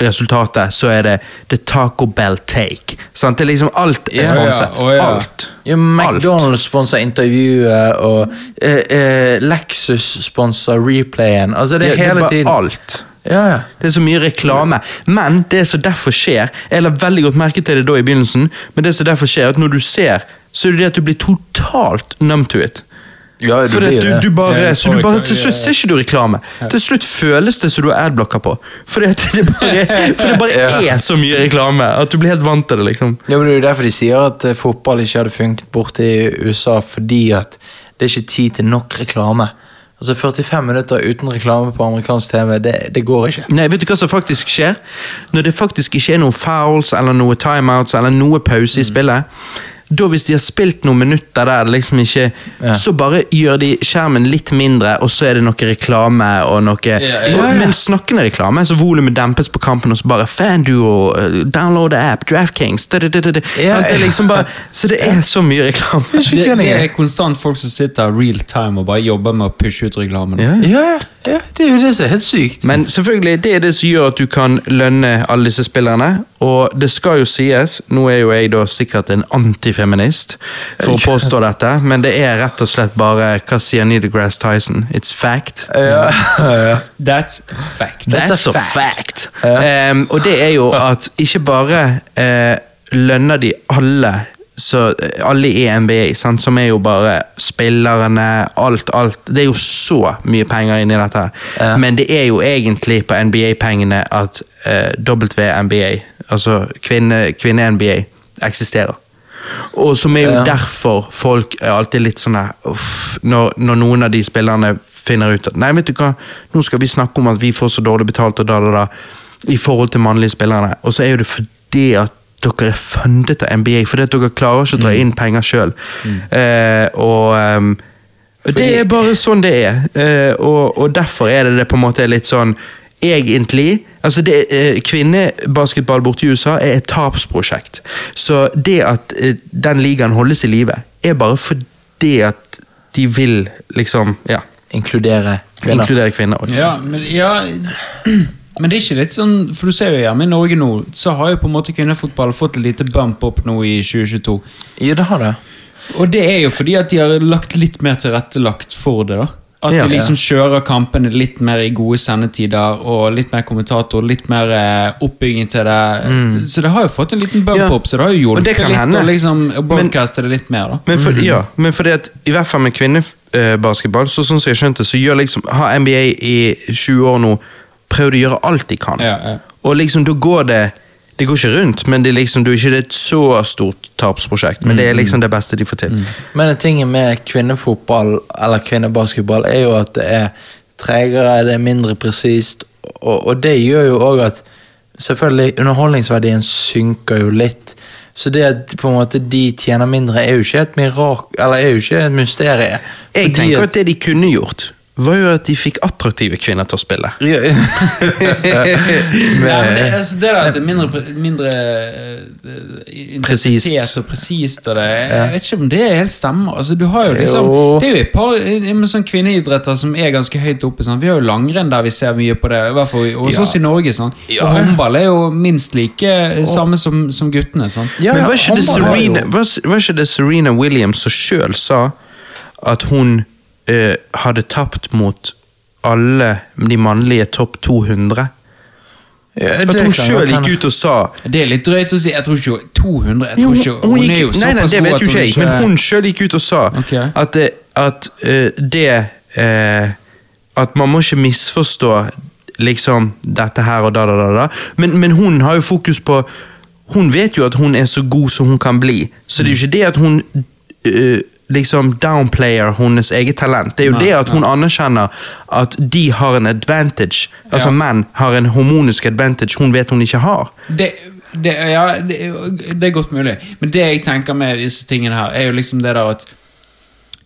Speaker 1: resultatet, så er det The Taco Bell Take. Sant? Det er liksom alt
Speaker 2: Ja,
Speaker 1: er
Speaker 2: ja,
Speaker 1: sponset.
Speaker 3: å ja.
Speaker 1: Alt.
Speaker 2: Ja,
Speaker 1: Alt.
Speaker 2: McDonald's sponser intervjuet, og eh, eh, Lexus sponser replayen. Altså, det
Speaker 1: Ja,
Speaker 2: er
Speaker 1: det er
Speaker 2: hele
Speaker 1: bare
Speaker 2: tiden.
Speaker 1: alt.
Speaker 2: Ja, ja.
Speaker 1: Det er så mye reklame. Men det som derfor skjer Jeg la veldig godt merke til det da i begynnelsen, men det som derfor skjer, er at når du ser, så er det det at du blir totalt numb to it.
Speaker 2: Ja, du
Speaker 1: For at
Speaker 2: blir det.
Speaker 1: du, du
Speaker 3: Ja,
Speaker 1: bare,
Speaker 3: du
Speaker 1: så
Speaker 3: får
Speaker 1: du bare,
Speaker 3: ikke-
Speaker 1: til slutt ser ikke du reklame. Til slutt føles det som du har adblocker på. For det, det bare, for det bare
Speaker 2: Ja.
Speaker 1: er så mye reklame at du blir helt vant til det. liksom
Speaker 2: Ja, men det er jo derfor de sier at eh, fotball ikke hadde funket borte i USA, fordi at det er ikke tid til nok reklame. Altså 45 minutter uten reklame på amerikansk TV, det, det går ikke.
Speaker 1: Nei, vet du hva som faktisk skjer? Når det faktisk ikke er noen fouls eller noen timeouts eller noe pause
Speaker 3: Mm.
Speaker 1: i spillet, da hvis de har spilt noen minutter der det liksom ikke
Speaker 2: Ja.
Speaker 1: Så bare gjør de skjermen litt mindre, og så er det noe reklame og noe
Speaker 3: ja,
Speaker 1: Og- Men snakkende reklame, så volumet dempes på kampen, og så bare Fanduo, eh, download the app, Draftkings da, da, da, da, da.
Speaker 2: Ja,
Speaker 1: Det er
Speaker 2: ja.
Speaker 1: liksom bare, Så det er så mye reklame.
Speaker 3: Det,
Speaker 2: Skikkelig
Speaker 3: det
Speaker 2: gøy.
Speaker 3: er konstant folk som sitter real time og bare jobber med å pushe ut reklamen.
Speaker 1: Ja.
Speaker 2: Ja, ja, ja, det er jo det som er helt sykt.
Speaker 1: Men selvfølgelig, det er det som gjør at du kan lønne alle disse spillerne. Og det skal jo sies, nå er jo jeg da sikkert en antifeminist for å påstå dette, men det er rett og slett bare Hva sier Neil deGrasse Tyson? It's fact.
Speaker 3: That's fact.
Speaker 1: That's a fact. Em, og det er jo at ikke bare eh, lønner de alle så eh, alle i NBA, sant, som er jo bare spillerne, alt, alt. Det er jo så mye penger inni dette. her. Men det er jo egentlig på NBA-pengene at eh, WNBA, altså kvinne- kvinne-NBA, eksisterer. Og som er jo derfor folk er alltid litt sånn der uff, når, når noen av de spillerne finner ut at Nei, vet du hva, nå skal vi snakke om at vi får så dårlig betalt og da, da, da i forhold til mannlige spillerne. Og så er jo det fordi at dere er fundet av NBA, fordi at dere klarer ikke å dra inn penger sjøl. Eh, og ehm, det er bare sånn det er, eh, og, og derfor er det det på en måte litt sånn egentlig altså det, eh, Kvinnebasketball borte i USA er et tapsprosjekt. Så det at eh, den ligaen holdes i live, er bare fordi at de vil liksom ja,
Speaker 2: Inkludere kvinner.
Speaker 1: inkludere kvinner. Også.
Speaker 3: Ja, men, ja, men det er ikke litt sånn For du ser jo hjemme i Norge nå, så har jo på en måte kvinnefotball fått et lite bump opp nå i 2022.
Speaker 2: ja, det har det.
Speaker 3: Og det er jo fordi at de har lagt litt mer tilrettelagt for det, da. At
Speaker 1: Ja.
Speaker 3: de liksom kjører kampene litt mer i gode sendetider, og litt mer kommentator, litt mer eh, oppbygging til det. Så det har jo fått en liten bump
Speaker 1: Mm. Ja.
Speaker 3: opp, så det har
Speaker 1: Og
Speaker 3: jo hjulpet
Speaker 1: det kan
Speaker 3: litt
Speaker 1: hende.
Speaker 3: å liksom
Speaker 1: Men-
Speaker 3: broadcaste det litt mer, da.
Speaker 1: Men for, ja, men fordi at i hvert fall med kvinnebasketball, så sånn som jeg skjønte, så gjør liksom, har NBA i 20 år nå prøvd å gjøre alt de kan.
Speaker 3: Ja, ja.
Speaker 1: Og liksom, da går det Det går ikke rundt, men det er liksom, det er ikke et så stort tapsprosjekt. Men det
Speaker 2: Mm.
Speaker 1: er liksom det beste de får til.
Speaker 2: Men tingen med kvinnefotball eller kvinnebasketball er jo at det er tregere, det er mindre presist, og, og det gjør jo òg at Selvfølgelig, underholdningsverdien synker jo litt. Så det at på en måte de tjener mindre, er jo ikke et mirak... Eller er jo ikke et mysterium.
Speaker 1: Jeg
Speaker 2: Fordi
Speaker 1: tenker at det de kunne gjort, var jo at de fikk attraktive kvinner til å spille.
Speaker 3: Nei, men det, altså, det der at det er mindre, pre- mindre eh,
Speaker 1: Presist.
Speaker 3: intensitet og presist og det, jeg vet ikke om det helt stemmer. Altså, du har jo liksom,
Speaker 2: Jo.
Speaker 3: Det er jo et par eh, med sånne kvinneidretter som er ganske høyt oppe. Sant? Vi har jo langrenn der vi ser mye på det, i hvert fall hos oss i Norge. Sant? Og håndball er jo minst like eh, samme som, som guttene. Sant?
Speaker 2: Ja,
Speaker 1: men
Speaker 2: ja,
Speaker 1: var ikke, det
Speaker 2: håndball har jo-
Speaker 1: Serena, var, var ikke det Serena Williams som sjøl sa at hun eh, hadde tapt mot alle de mannlige topp 200?
Speaker 2: Ja, det
Speaker 1: At
Speaker 2: kan
Speaker 1: hun
Speaker 2: godt
Speaker 1: sjøl
Speaker 2: hende.
Speaker 1: gikk ut og sa
Speaker 3: Det er litt drøyt å si. Jeg tror ikke hun- 200 jeg
Speaker 1: Jo,
Speaker 3: tror
Speaker 1: men
Speaker 3: ikke,
Speaker 1: hun
Speaker 3: Hun
Speaker 1: gikk-
Speaker 3: er jo
Speaker 1: Nei, nei,
Speaker 3: såpass
Speaker 1: det
Speaker 3: god
Speaker 1: vet
Speaker 3: at
Speaker 1: jo ikke jeg, men hun sjøl gikk ut og sa
Speaker 3: Ok.
Speaker 1: at det, at, eh, det eh, At man må ikke misforstå liksom dette her og da, da, da. da. Men, men hun har jo fokus på Hun vet jo at hun er så god som hun kan bli, så det er jo ikke det at hun eh, liksom downplayer hennes eget talent. Det er jo
Speaker 3: Nei,
Speaker 1: det at hun anerkjenner at de har en advantage. Altså
Speaker 3: Ja.
Speaker 1: menn har en hormonisk advantage hun vet hun ikke har.
Speaker 3: det, det, ja, det, det er godt mulig. Men det jeg tenker med disse tingene her, er jo liksom det der at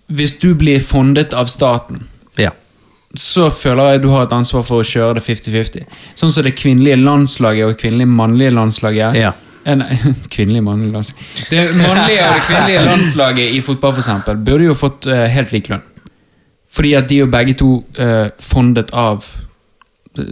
Speaker 3: Hvis du blir fondet av staten,
Speaker 1: Ja.
Speaker 3: så føler jeg du har et ansvar for å kjøre det 50-50. Sånn som det kvinnelige landslaget og kvinnelige mannlige landslaget.
Speaker 1: Ja.
Speaker 3: Eh, nei, kvinnelige mannlige landslag Det mannlige og det kvinnelige landslaget i fotball for eksempel, burde jo fått eh, helt lik lønn. Fordi at de er jo begge to eh, fondet av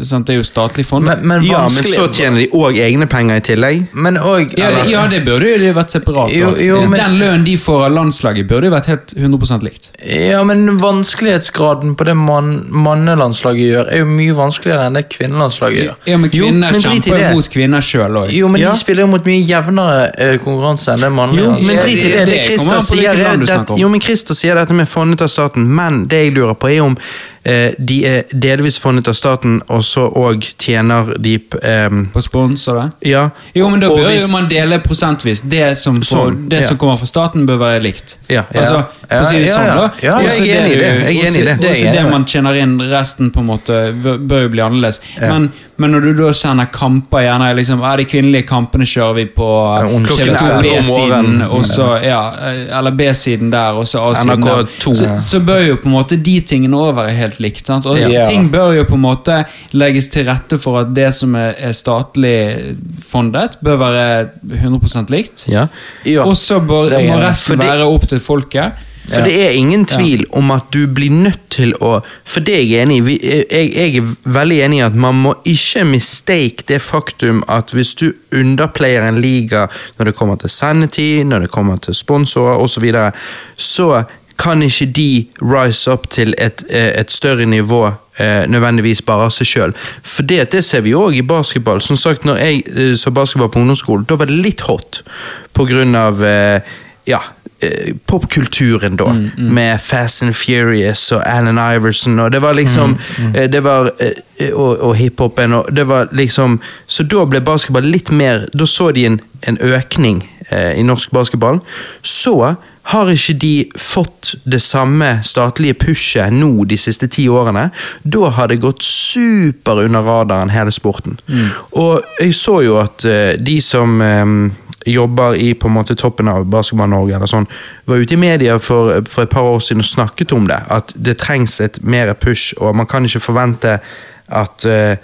Speaker 3: sant? Det er jo statlig fondet.
Speaker 2: Men, men
Speaker 1: ja, men
Speaker 2: vanskelig-
Speaker 1: så tjener de òg egne penger i tillegg.
Speaker 2: Men òg
Speaker 3: Ja, ja, det burde jo det vært separat. da.
Speaker 2: Jo, jo, men-
Speaker 3: Den lønnen de får av landslaget, burde jo vært helt 100 likt.
Speaker 2: Ja, men vanskelighetsgraden på det mann- mannelandslaget gjør, er jo mye vanskeligere enn det kvinnelandslaget gjør.
Speaker 3: Ja, men
Speaker 1: Jo,
Speaker 3: Kvinner
Speaker 1: men drit i
Speaker 3: kjemper
Speaker 1: det.
Speaker 3: jo mot kvinner sjøl òg.
Speaker 2: Jo, men
Speaker 1: Ja.
Speaker 2: de spiller jo mot mye jevnere eh, konkurranse enn det mannlige.
Speaker 1: Jo,
Speaker 2: landslaget.
Speaker 1: men
Speaker 3: Ja,
Speaker 1: drit i
Speaker 3: det-
Speaker 1: det.
Speaker 3: det
Speaker 1: det
Speaker 3: kommer
Speaker 1: Christer
Speaker 3: an på hvilket
Speaker 1: sier, er,
Speaker 3: land du snakker
Speaker 1: det,
Speaker 3: om.
Speaker 1: jo, men Christer sier dette med fondet av staten, men det jeg lurer på, er om eh, de er delvis fondet av staten, og så òg tjener de ehm,
Speaker 3: På spons og det.
Speaker 1: Ja.
Speaker 3: Jo, men da
Speaker 1: og
Speaker 3: bør jo
Speaker 1: hvis-
Speaker 3: man dele prosentvis. Det som, får,
Speaker 1: Sånn,
Speaker 3: det
Speaker 1: ja.
Speaker 3: som kommer fra staten, bør være likt.
Speaker 1: Ja, ja.
Speaker 3: altså, for å si det
Speaker 2: Ja,
Speaker 3: sånn,
Speaker 2: ja,
Speaker 3: da.
Speaker 2: ja. Ja, jeg er
Speaker 3: Også
Speaker 1: enig i det. Jeg
Speaker 3: du-
Speaker 1: er enig i det.
Speaker 3: også-
Speaker 1: Det er
Speaker 3: Også
Speaker 1: jeg
Speaker 3: det
Speaker 1: enig i.
Speaker 3: man tjener inn, resten på en måte bør- bør jo bli annerledes. Men, men når du da sender kamper gjerne liksom, ja, De kvinnelige kampene kjører vi på
Speaker 2: onsdag.
Speaker 3: TV2
Speaker 2: Klokken elleve om
Speaker 3: B-siden,
Speaker 2: morgenen.
Speaker 3: og så ja, eh, eller B-siden der, og så A-siden
Speaker 1: NRK
Speaker 3: der.
Speaker 1: to.
Speaker 3: Så, så bør jo på en måte de tingene òg være helt likt. Sant? Og
Speaker 2: Ja.
Speaker 3: ting bør jo på en måte legges til rette for at det som er, er statlig fondet, bør være 100 likt.
Speaker 1: ja.
Speaker 2: Ja.
Speaker 3: Og så bør,
Speaker 2: Det er
Speaker 3: må
Speaker 2: enig.
Speaker 3: resten
Speaker 1: Fordi-
Speaker 3: være opp til folket.
Speaker 1: For det er ingen tvil om at du blir nødt til å For det er jeg enig i. Vi- Jeg, jeg er veldig enig i at man må ikke mistake det faktum at hvis du underplayer en liga når det kommer til sendetid, når det kommer til sponsorer osv., så, videre, så kan ikke de rise up til et, eh, et større nivå eh, nødvendigvis bare av seg sjøl. For det, det ser vi òg i basketball. Som sagt, når jeg eh, så basketball på ungdomsskolen, da var det litt hot på grunn av eh, ja, eh, popkulturen da, med Fast and Furious og Alan Iverson, og det var liksom eh, det var, eh, Og, og hiphopen, og det var liksom Så da ble basketball litt mer Da så de en, en økning eh, i norsk basketball. Så har ikke de fått det samme statlige pushet nå de siste ti årene. Da har det gått super under radaren, hele sporten. Og jeg så jo at eh, de som eh, jobber i på en måte toppen av Basketball-Norge, eller sånn, var ute i media for, for et par år siden og snakket om det. At det trengs et mer push, og man kan ikke forvente at eh,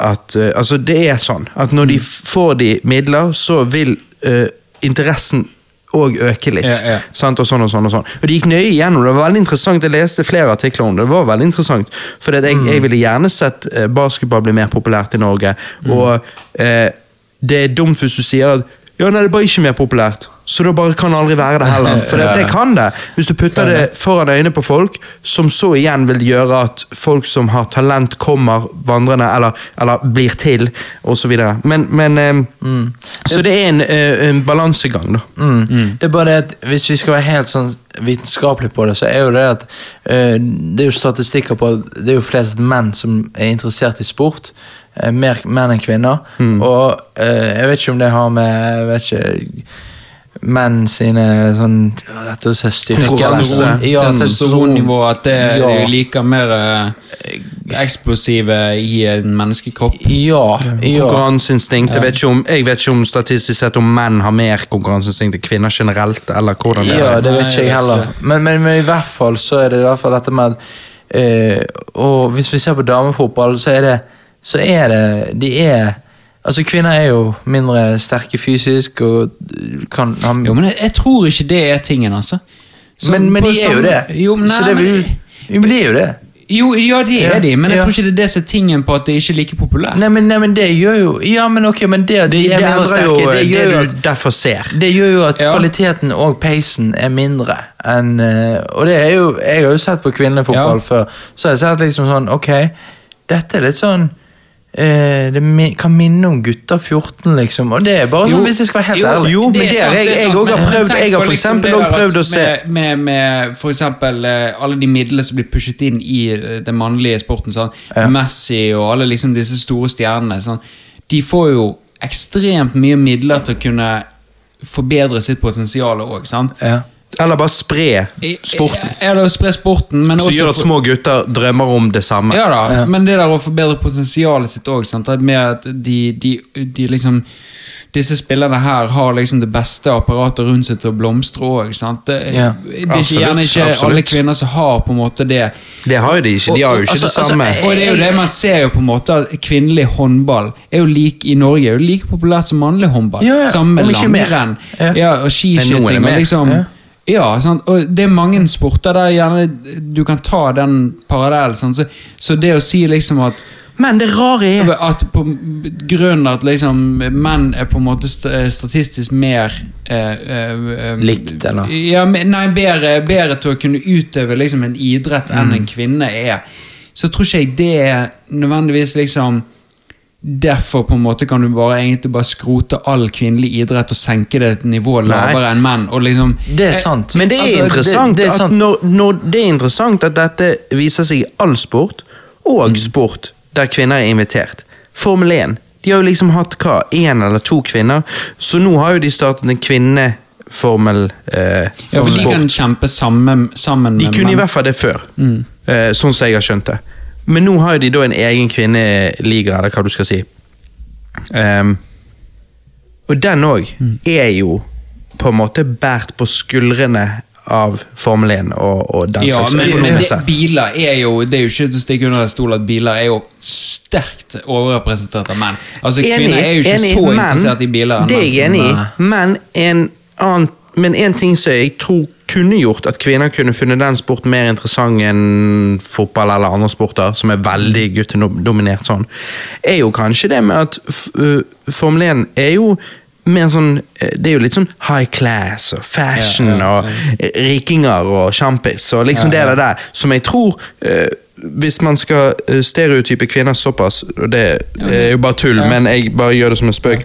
Speaker 1: at eh, Altså, det er sånn at når de
Speaker 3: Mm.
Speaker 1: får de midler, så vil eh, interessen òg øke litt.
Speaker 3: Ja, ja.
Speaker 1: Sant? Og sånn og sånn og sånn. Og de gikk nøye gjennom det. det var veldig interessant, Jeg leste flere artikler om det. det var veldig interessant, For jeg, jeg ville gjerne sett eh, basketball bli mer populært i Norge. Og eh, det er dumt hvis du sier at ja, nei, det blir ikke mer populært. Så da bare kan det aldri være det heller. For det, det kan det. Hvis du putter det foran øynene på folk, som så igjen vil gjøre at folk som har talent, kommer vandrende, eller, eller blir til, osv. Men, men eh, Så det er en, eh, en balansegang, da.
Speaker 2: Mm. Det er bare det at Hvis vi skal være helt sånn vitenskapelig på det, så er jo det at eh, det er jo statistikker på at det er jo flest menn som er interessert i sport. eh, mer menn enn kvinner. Og eh, jeg vet ikke om det har med jeg vet ikke, menn sine sånn ja, Dette å se styrke
Speaker 3: Altså,
Speaker 1: Konkurranse.
Speaker 2: Ja, altså,
Speaker 3: Testosteronnivå, at det,
Speaker 2: Ja.
Speaker 3: de liker mer eh, eksplosive i en menneskekropp.
Speaker 2: Ja. ja.
Speaker 1: Konkurranseinstinkt. Jeg vet, ikke om, jeg vet ikke om statistisk sett om menn har mer konkurranseinstinkt enn kvinner generelt. eller hvordan det
Speaker 2: Ja,
Speaker 1: er.
Speaker 2: det
Speaker 3: Nei,
Speaker 2: vet ikke
Speaker 3: jeg
Speaker 2: jeg heller.
Speaker 3: vet
Speaker 2: Men, men, men i hvert fall så er det i hvert fall dette med at eh, Og hvis vi ser på damefotball, så er det Så er det De er Altså, kvinner er jo mindre sterke fysisk og kan ha
Speaker 3: Jo, men jeg, jeg tror ikke det er tingen, altså. Som-
Speaker 2: men, men
Speaker 3: på-
Speaker 2: de er jo
Speaker 3: som-
Speaker 2: det.
Speaker 3: Jo, men-
Speaker 2: så det
Speaker 3: nei,
Speaker 2: vil jo
Speaker 3: men-
Speaker 2: Jo, men de er jo det.
Speaker 3: Jo, ja, det er
Speaker 2: Ja,
Speaker 3: de, men jeg
Speaker 2: ja.
Speaker 3: tror ikke det er det som er tingen på at det ikke er like populært.
Speaker 2: Nei, men, nei, men det gjør jo Ja, men ok, men det at de
Speaker 1: Det
Speaker 2: er mindre
Speaker 1: endrer jo
Speaker 2: sterke, det
Speaker 1: det
Speaker 2: gjør jo at
Speaker 1: du derfor ser.
Speaker 2: Det gjør jo at
Speaker 3: Ja.
Speaker 2: kvaliteten og peisen er mindre enn eh, Og det er jo, jeg har jo sett på
Speaker 3: Ja.
Speaker 2: kvinnefotball før, så har jeg sett liksom sånn Ok, dette er litt sånn eh, Det mi- kan minne om gutter 14, liksom. Og det er bare
Speaker 3: Jo,
Speaker 2: sånn, hvis jeg skal være helt
Speaker 3: jo,
Speaker 2: ærlig.
Speaker 1: Jo, men det
Speaker 3: er
Speaker 1: har jeg-
Speaker 3: det er
Speaker 1: jeg
Speaker 3: sant,
Speaker 1: også har
Speaker 3: men
Speaker 1: prøvd-
Speaker 3: tenk
Speaker 1: jeg har
Speaker 3: på liksom
Speaker 1: for eksempel
Speaker 3: det
Speaker 1: også
Speaker 3: der at
Speaker 1: prøvd å se-
Speaker 3: Med, med, med for eksempel eh, alle de midlene som blir pushet inn i eh, den mannlige sporten. Sånn. Messi og alle liksom disse store stjernene. Sånn. De får jo ekstremt mye midler til å kunne forbedre sitt potensial òg.
Speaker 2: Ja.
Speaker 1: Eller bare spre sporten.
Speaker 3: eh, Eller spre sporten, men
Speaker 1: Som
Speaker 3: også
Speaker 1: gjør at
Speaker 3: for-
Speaker 1: små gutter drømmer om det samme.
Speaker 3: ja da, men det der å forbedre potensialet sitt òg. Med at de, de, de liksom Disse spillerne her har liksom det beste apparatet rundt seg til å blomstre òg. Det,
Speaker 2: Ja,
Speaker 3: det er ikke, gjerne
Speaker 1: absolutt,
Speaker 3: ikke alle
Speaker 1: absolutt.
Speaker 3: kvinner som har på en måte det.
Speaker 1: Det har jo de ikke. De har jo ikke
Speaker 2: Altså,
Speaker 1: det samme.
Speaker 2: altså,
Speaker 3: Og det er jo det man ser jo på en måte at kvinnelig håndball er jo lik i Norge er jo like populært som mannlig håndball.
Speaker 2: Ja, ja,
Speaker 3: Sammen med
Speaker 2: om ikke mer.
Speaker 3: langrenn
Speaker 2: Ja.
Speaker 3: ja, og
Speaker 1: Men noen er
Speaker 3: skiskyting.
Speaker 1: mer.
Speaker 3: Og liksom,
Speaker 2: Ja.
Speaker 3: ja, sant? og det er mange sporter der gjerne du kan ta den parallellen. sant? Så, så det å si liksom at
Speaker 1: Men det rare er
Speaker 3: at på grunn av at liksom menn er på en måte st- eh, statistisk mer eh, eh, eh,
Speaker 2: Likt, eller?
Speaker 3: Ja, men- nei, bedre, bedre til å kunne utøve liksom en idrett enn
Speaker 2: Mm.
Speaker 3: en kvinne er. Så tror ikke jeg det er nødvendigvis liksom Derfor på en måte kan du bare egentlig bare skrote all kvinnelig idrett og senke det et nivå lavere enn menn. Og liksom
Speaker 2: Det er sant.
Speaker 1: Men det er
Speaker 2: Altså,
Speaker 1: interessant
Speaker 2: det, det er sant.
Speaker 1: at når, når det er interessant at dette viser seg i all sport,
Speaker 2: Mm.
Speaker 1: og sport der kvinner er invitert. Formel 1. De har jo liksom hatt hva, én eller to kvinner, så nå har jo de startet en kvinneformel eh,
Speaker 3: ja, for de
Speaker 1: sport.
Speaker 3: kan kjempe sammen, sammen
Speaker 1: De
Speaker 3: med
Speaker 1: kunne i
Speaker 3: menn.
Speaker 1: hvert fall det før,
Speaker 3: Mm.
Speaker 1: eh, sånn som jeg har skjønt det. Men nå har jo de da en egen kvinneliga, eller hva du skal si. Ehm, og den òg
Speaker 3: Mm.
Speaker 1: er jo på en måte båret på skuldrene av Formel 1 og, og den
Speaker 3: Ja,
Speaker 1: slags
Speaker 3: men
Speaker 1: økonomisk
Speaker 3: det,
Speaker 1: sett.
Speaker 3: biler er jo Det er jo ikke til å stikke under en stol at biler er jo sterkt overrepresentert av menn. Altså,
Speaker 1: Enig,
Speaker 3: kvinner er jo ikke
Speaker 1: enig,
Speaker 3: så
Speaker 1: men-
Speaker 3: interessert i biler. enn
Speaker 1: Det er jeg
Speaker 3: menn.
Speaker 1: enig i, men en annen men en ting som jeg tror kunne gjort at kvinner kunne funnet den sporten mer interessant enn fotball eller andre sporter, som er veldig guttedominert sånn, er jo kanskje det med at f- øh, Formel 1 er jo mer sånn eh, Det er jo litt sånn high class og fashion og eh, rikinger og sjampis og liksom det der der, som jeg tror eh, hvis man skal eh, stereotype kvinner såpass, og det er jo bare tull, men jeg bare gjør det som en spøk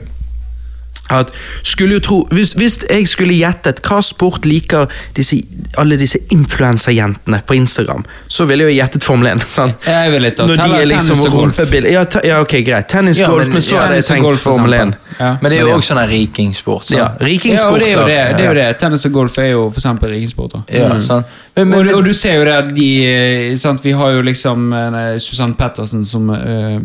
Speaker 1: at skulle jo tro, hvis, hvis jeg skulle gjettet hva sport liker disse, alle disse influenserjentene på Instagram, så ville jeg jo gjettet Formel 1. Sant?
Speaker 3: Jeg ville tatt
Speaker 1: Når de
Speaker 3: heller
Speaker 1: er liksom
Speaker 3: tennis og golf.
Speaker 1: rumpebilder ja, ta, ja, ok, greit. Tennis,
Speaker 2: Ja,
Speaker 1: golf,
Speaker 2: men-
Speaker 1: men så
Speaker 2: ja,
Speaker 1: hadde jeg
Speaker 3: tennis og
Speaker 1: tenkt
Speaker 3: golf, for
Speaker 1: Formel 1.
Speaker 3: eksempel. Ja.
Speaker 2: Men det er jo
Speaker 1: Men ja.
Speaker 2: også sånn her rikingsport.
Speaker 1: Ja,
Speaker 2: sant?
Speaker 3: Ja, og det er jo
Speaker 1: Rikingsporter.
Speaker 3: det. det, er jo det. Tennis og golf er jo for eksempel rikingssporter.
Speaker 2: Ja, sant. Men, men,
Speaker 3: Mm. og, og du ser jo det at de eh, sant, Vi har jo liksom eh, Susann Pettersen som eh,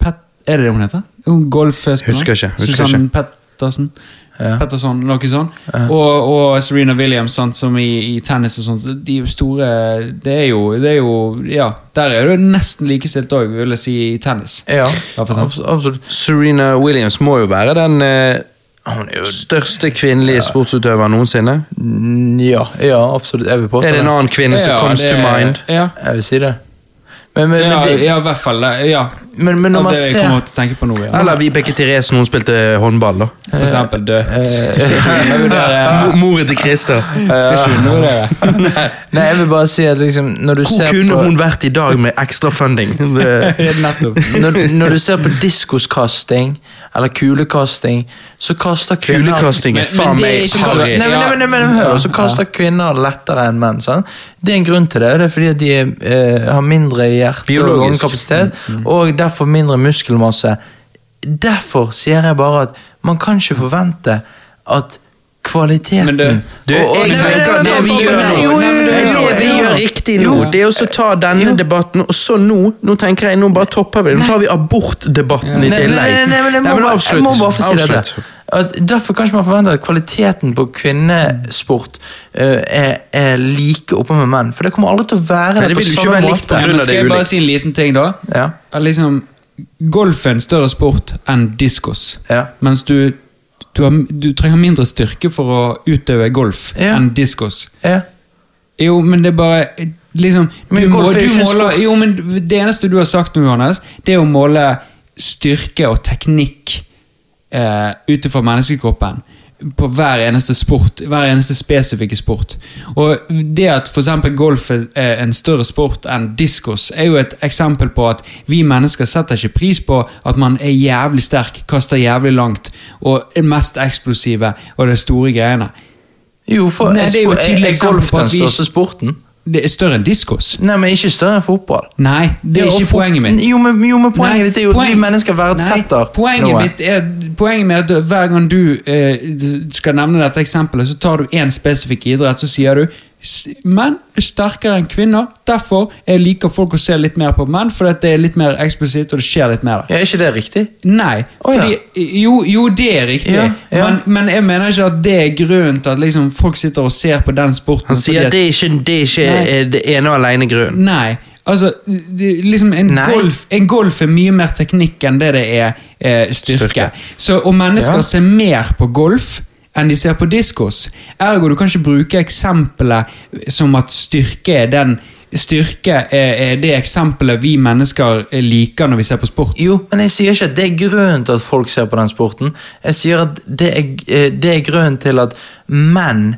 Speaker 3: Pet, Er det det hun heter? Hun golfspiller?
Speaker 1: Husker ikke, husker
Speaker 3: Susann Pettersen.
Speaker 2: Ja.
Speaker 3: Petterson, noe sånt. Og, og Serena Williams, sant, som i, i tennis og sånt. De er jo store Det er jo, det er jo Ja, der er det jo nesten likestilt òg, vil jeg si, i tennis.
Speaker 2: Ja,
Speaker 3: Ja, for sant.
Speaker 2: abs- absolutt.
Speaker 1: Serena Williams må jo være den eh,
Speaker 2: Hun er jo
Speaker 1: største kvinnelige sportsutøveren noensinne.
Speaker 2: Mm, Ja, ja, absolutt. Jeg vil påstå
Speaker 1: Er det en annen kvinne som
Speaker 3: Ja,
Speaker 1: comes
Speaker 3: det-
Speaker 1: to mind?
Speaker 3: Ja,
Speaker 2: Jeg vil si det. Men, men,
Speaker 3: ja,
Speaker 2: men, det,
Speaker 3: ja i hvert fall. det- Ja.
Speaker 2: men, men når
Speaker 3: Ja,
Speaker 2: man
Speaker 3: det jeg
Speaker 2: ser
Speaker 3: kommer til å tenke på nå, ja.
Speaker 1: Eller Vibeke Therese når hun spilte håndball, da.
Speaker 3: For eksempel dødt.
Speaker 1: Mo- Moren til Christer.
Speaker 3: Skal ikke unne det.
Speaker 2: Nei, jeg vil bare si at liksom Når du
Speaker 1: Hvor
Speaker 2: ser
Speaker 1: kunne
Speaker 2: på
Speaker 1: hun vært i dag med ekstra funding? Det,
Speaker 3: Nettopp.
Speaker 2: når, når du ser på diskoskasting eller kulekasting, så kaster kvinner
Speaker 1: kulekasting
Speaker 3: Men-
Speaker 1: er
Speaker 3: men
Speaker 1: faen
Speaker 3: det er
Speaker 1: meg
Speaker 3: ikke så-
Speaker 1: harry.
Speaker 2: Nei, men, nei, men, nei, men hør,
Speaker 3: Ja.
Speaker 2: så kaster kvinner lettere enn menn. Sant? Det er en grunn til det. og Det er fordi at de eh, har mindre hjerte- og
Speaker 1: Biologisk.
Speaker 2: lungekapasitet, og derfor mindre muskelmasse. Derfor sier jeg bare at man kan ikke forvente at kvaliteten
Speaker 3: Men du-
Speaker 1: Du,
Speaker 2: Og- og-
Speaker 1: jeg
Speaker 2: Nei, men-
Speaker 1: tenker at
Speaker 2: nei,
Speaker 1: det
Speaker 2: men-
Speaker 1: vi
Speaker 2: men-
Speaker 1: gjør
Speaker 2: nei,
Speaker 1: nå-
Speaker 2: jo, jo,
Speaker 1: Nei, men det
Speaker 2: jo, jo,
Speaker 1: vi
Speaker 2: jo,
Speaker 1: gjør
Speaker 2: jo.
Speaker 1: riktig nå, det er også å ta denne debatten, og så nå Nå tenker jeg, nå bare topper vi det. Nå tar vi abortdebatten i
Speaker 2: Nei,
Speaker 1: tillegg.
Speaker 2: Nei, nei, nei, men jeg må,
Speaker 1: Nei, men
Speaker 2: bare- jeg
Speaker 1: avslutt.
Speaker 2: må bare få si
Speaker 1: Avslutt.
Speaker 2: dette. At derfor kan ikke man forvente at kvaliteten på kvinnesport eh, er, er like oppe med menn. For det kommer aldri til å være
Speaker 1: Nei,
Speaker 2: det
Speaker 1: det
Speaker 2: på
Speaker 1: vil jo ikke
Speaker 2: samme
Speaker 1: være likt på
Speaker 2: måte.
Speaker 3: Ja,
Speaker 1: grunn
Speaker 3: men
Speaker 1: av
Speaker 3: skal
Speaker 1: det
Speaker 3: jeg bare
Speaker 1: ulikt.
Speaker 3: si en liten ting, da?
Speaker 2: Ja,
Speaker 3: At liksom, golf er en større sport enn diskos.
Speaker 2: Ja.
Speaker 3: Mens du, du, har, du trenger mindre styrke for å utøve golf
Speaker 2: Ja.
Speaker 3: enn diskos.
Speaker 2: ja.
Speaker 3: Jo, men det er bare liksom,
Speaker 2: Men
Speaker 3: du må,
Speaker 2: golf er jo
Speaker 3: du
Speaker 2: ikke en
Speaker 3: måler,
Speaker 2: sport.
Speaker 3: jo, men Det eneste du har sagt nå, Johannes, det er å måle styrke og teknikk eh, ut ifra menneskekroppen. På hver eneste sport, hver eneste spesifikke sport. Og det at f.eks. golf er- er en større sport enn diskos, er jo et eksempel på at vi mennesker setter ikke pris på at man er jævlig sterk, kaster jævlig langt og er mest eksplosive og de store greiene.
Speaker 2: Jo, for
Speaker 3: Nei, det er jo et
Speaker 2: er-
Speaker 3: tydelig
Speaker 2: er
Speaker 3: eksempel
Speaker 2: golf
Speaker 3: på at
Speaker 2: den
Speaker 3: vi-
Speaker 2: største sporten?
Speaker 3: Det er større enn diskos.
Speaker 2: Nei, men ikke større enn fotball.
Speaker 3: Nei, det er
Speaker 2: Ja, og
Speaker 3: ikke
Speaker 2: fot-
Speaker 3: poenget mitt.
Speaker 2: Jo, men, jo, men poenget
Speaker 3: Nei,
Speaker 2: ditt er jo at vi
Speaker 3: poeng-
Speaker 2: mennesker verdsetter
Speaker 3: Nei, poenget Mitt er, poenget mitt er at hver gang du eh, skal nevne dette eksempelet, så tar du én spesifikk idrett, så sier du "S- Menn er sterkere enn kvinner, derfor jeg liker folk å se litt mer på menn, fordi at det er litt mer eksplosivt, og det skjer litt mer der.
Speaker 2: Ja, er ikke det riktig?
Speaker 3: Nei,
Speaker 2: Å, ja.
Speaker 3: fordi, jo, jo, det er riktig,
Speaker 2: Ja, ja.
Speaker 3: Men, men jeg mener ikke at det er grunnen til at liksom, folk sitter og ser på den sporten.
Speaker 1: Han
Speaker 3: fordi
Speaker 1: sier
Speaker 3: at-
Speaker 1: at det er ikke det, er ikke
Speaker 3: Nei.
Speaker 1: er det ene og alene grunnen.
Speaker 3: Nei. Altså, det- liksom en,
Speaker 2: Nei.
Speaker 3: Golf, en golf er mye mer teknikk enn det det er eh, styrke.
Speaker 1: Styrke.
Speaker 3: Så, og mennesker
Speaker 2: Ja.
Speaker 3: ser mer på golf enn de ser på diskos. Ergo, du kan ikke bruke eksempelet som at styrke er den Styrke er, er det eksempelet vi mennesker liker når vi ser på sport.
Speaker 2: Jo, men jeg sier ikke at det er grunnen til at folk ser på den sporten. Jeg sier at det er, eh, det er grunnen til at menn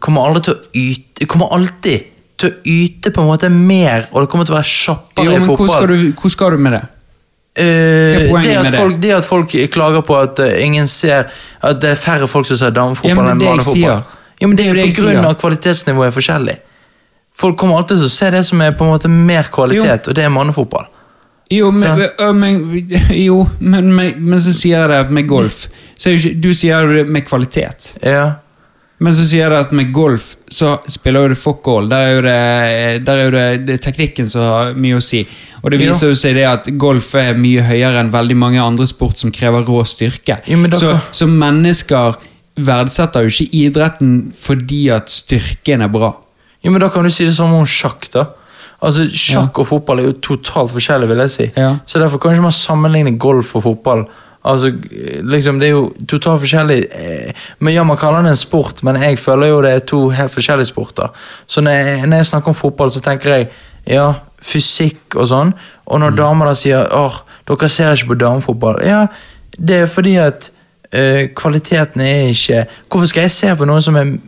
Speaker 2: kommer aldri til å yte Kommer alltid til å yte på en måte mer, og det kommer til å være
Speaker 3: Jo,
Speaker 2: kjappere i
Speaker 3: men hvor
Speaker 2: fotball.
Speaker 3: skal, du, hvor skal du med det?
Speaker 2: Eh,
Speaker 3: Hva er poenget
Speaker 2: det,
Speaker 3: med
Speaker 2: at
Speaker 3: det?
Speaker 2: folk, det at folk klager på at eh, ingen ser At det er færre folk som ser
Speaker 3: Ja, men
Speaker 2: damefotball
Speaker 3: det er det
Speaker 2: enn
Speaker 3: jeg
Speaker 2: mannefotball.
Speaker 3: sier.
Speaker 2: Ja, men det er
Speaker 3: Det er
Speaker 2: jo på
Speaker 3: det jeg
Speaker 2: grunn
Speaker 3: sier.
Speaker 2: av kvalitetsnivået er forskjellig. Folk kommer alltid til å se det som er på en måte mer kvalitet, og det er mannefotball.
Speaker 3: Jo, men,
Speaker 2: Sant?
Speaker 3: ø, men, jo men, men, men så sier jeg det at med golf så er jo ikke, Du sier det med kvalitet.
Speaker 2: Ja.
Speaker 3: Men så sier det at med golf så spiller jo det fuck all. Der er jo det, der er jo det, det er teknikken som har mye å si. Og det
Speaker 2: Ja.
Speaker 3: viser jo seg det at golf er mye høyere enn veldig mange andre sport som krever rå styrke.
Speaker 2: Ja, men
Speaker 3: så,
Speaker 2: dere-
Speaker 3: så mennesker verdsetter jo ikke idretten fordi at styrken er bra.
Speaker 2: Jo, men da kan du si det samme om sjakk, da. Altså, Sjakk og fotball er jo totalt forskjellig, vil jeg si.
Speaker 3: Ja.
Speaker 2: Så derfor kan ikke man sammenligne golf og fotball. Altså, eh, liksom, Det er jo totalt forskjellig. eh, Men ja, Man kaller det en sport, men jeg føler jo det er to helt forskjellige sporter. Så når jeg, når jeg snakker om fotball, så tenker jeg ja, fysikk og sånn. Og
Speaker 3: Mm.
Speaker 2: når damer da sier åh, dere ser ikke på damefotball, ja, det er fordi at eh, kvaliteten er ikke Hvorfor skal jeg se på noe som er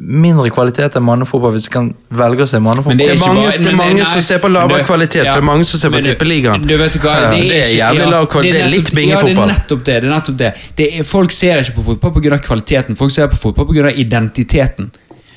Speaker 2: mindre kvalitet enn mannefotball hvis jeg kan velge å se mannefotball?
Speaker 3: Men
Speaker 1: Det er
Speaker 3: ikke
Speaker 1: mange- det er
Speaker 3: men-
Speaker 1: mange som ser på lavere
Speaker 3: men
Speaker 1: kvalitet, for det er mange som ser på
Speaker 3: men du-
Speaker 1: Tippeligaen.
Speaker 3: Du vet hva,
Speaker 1: Ja,
Speaker 3: det er,
Speaker 1: det er
Speaker 3: ikke-
Speaker 1: jævlig lav kvalitet. Det er litt
Speaker 3: nettopp- Ja,
Speaker 1: bingefotball.
Speaker 3: det er nettopp det. det, er nettopp det. det er, folk ser ikke på fotball pga. kvaliteten, folk ser på fotball pga. identiteten.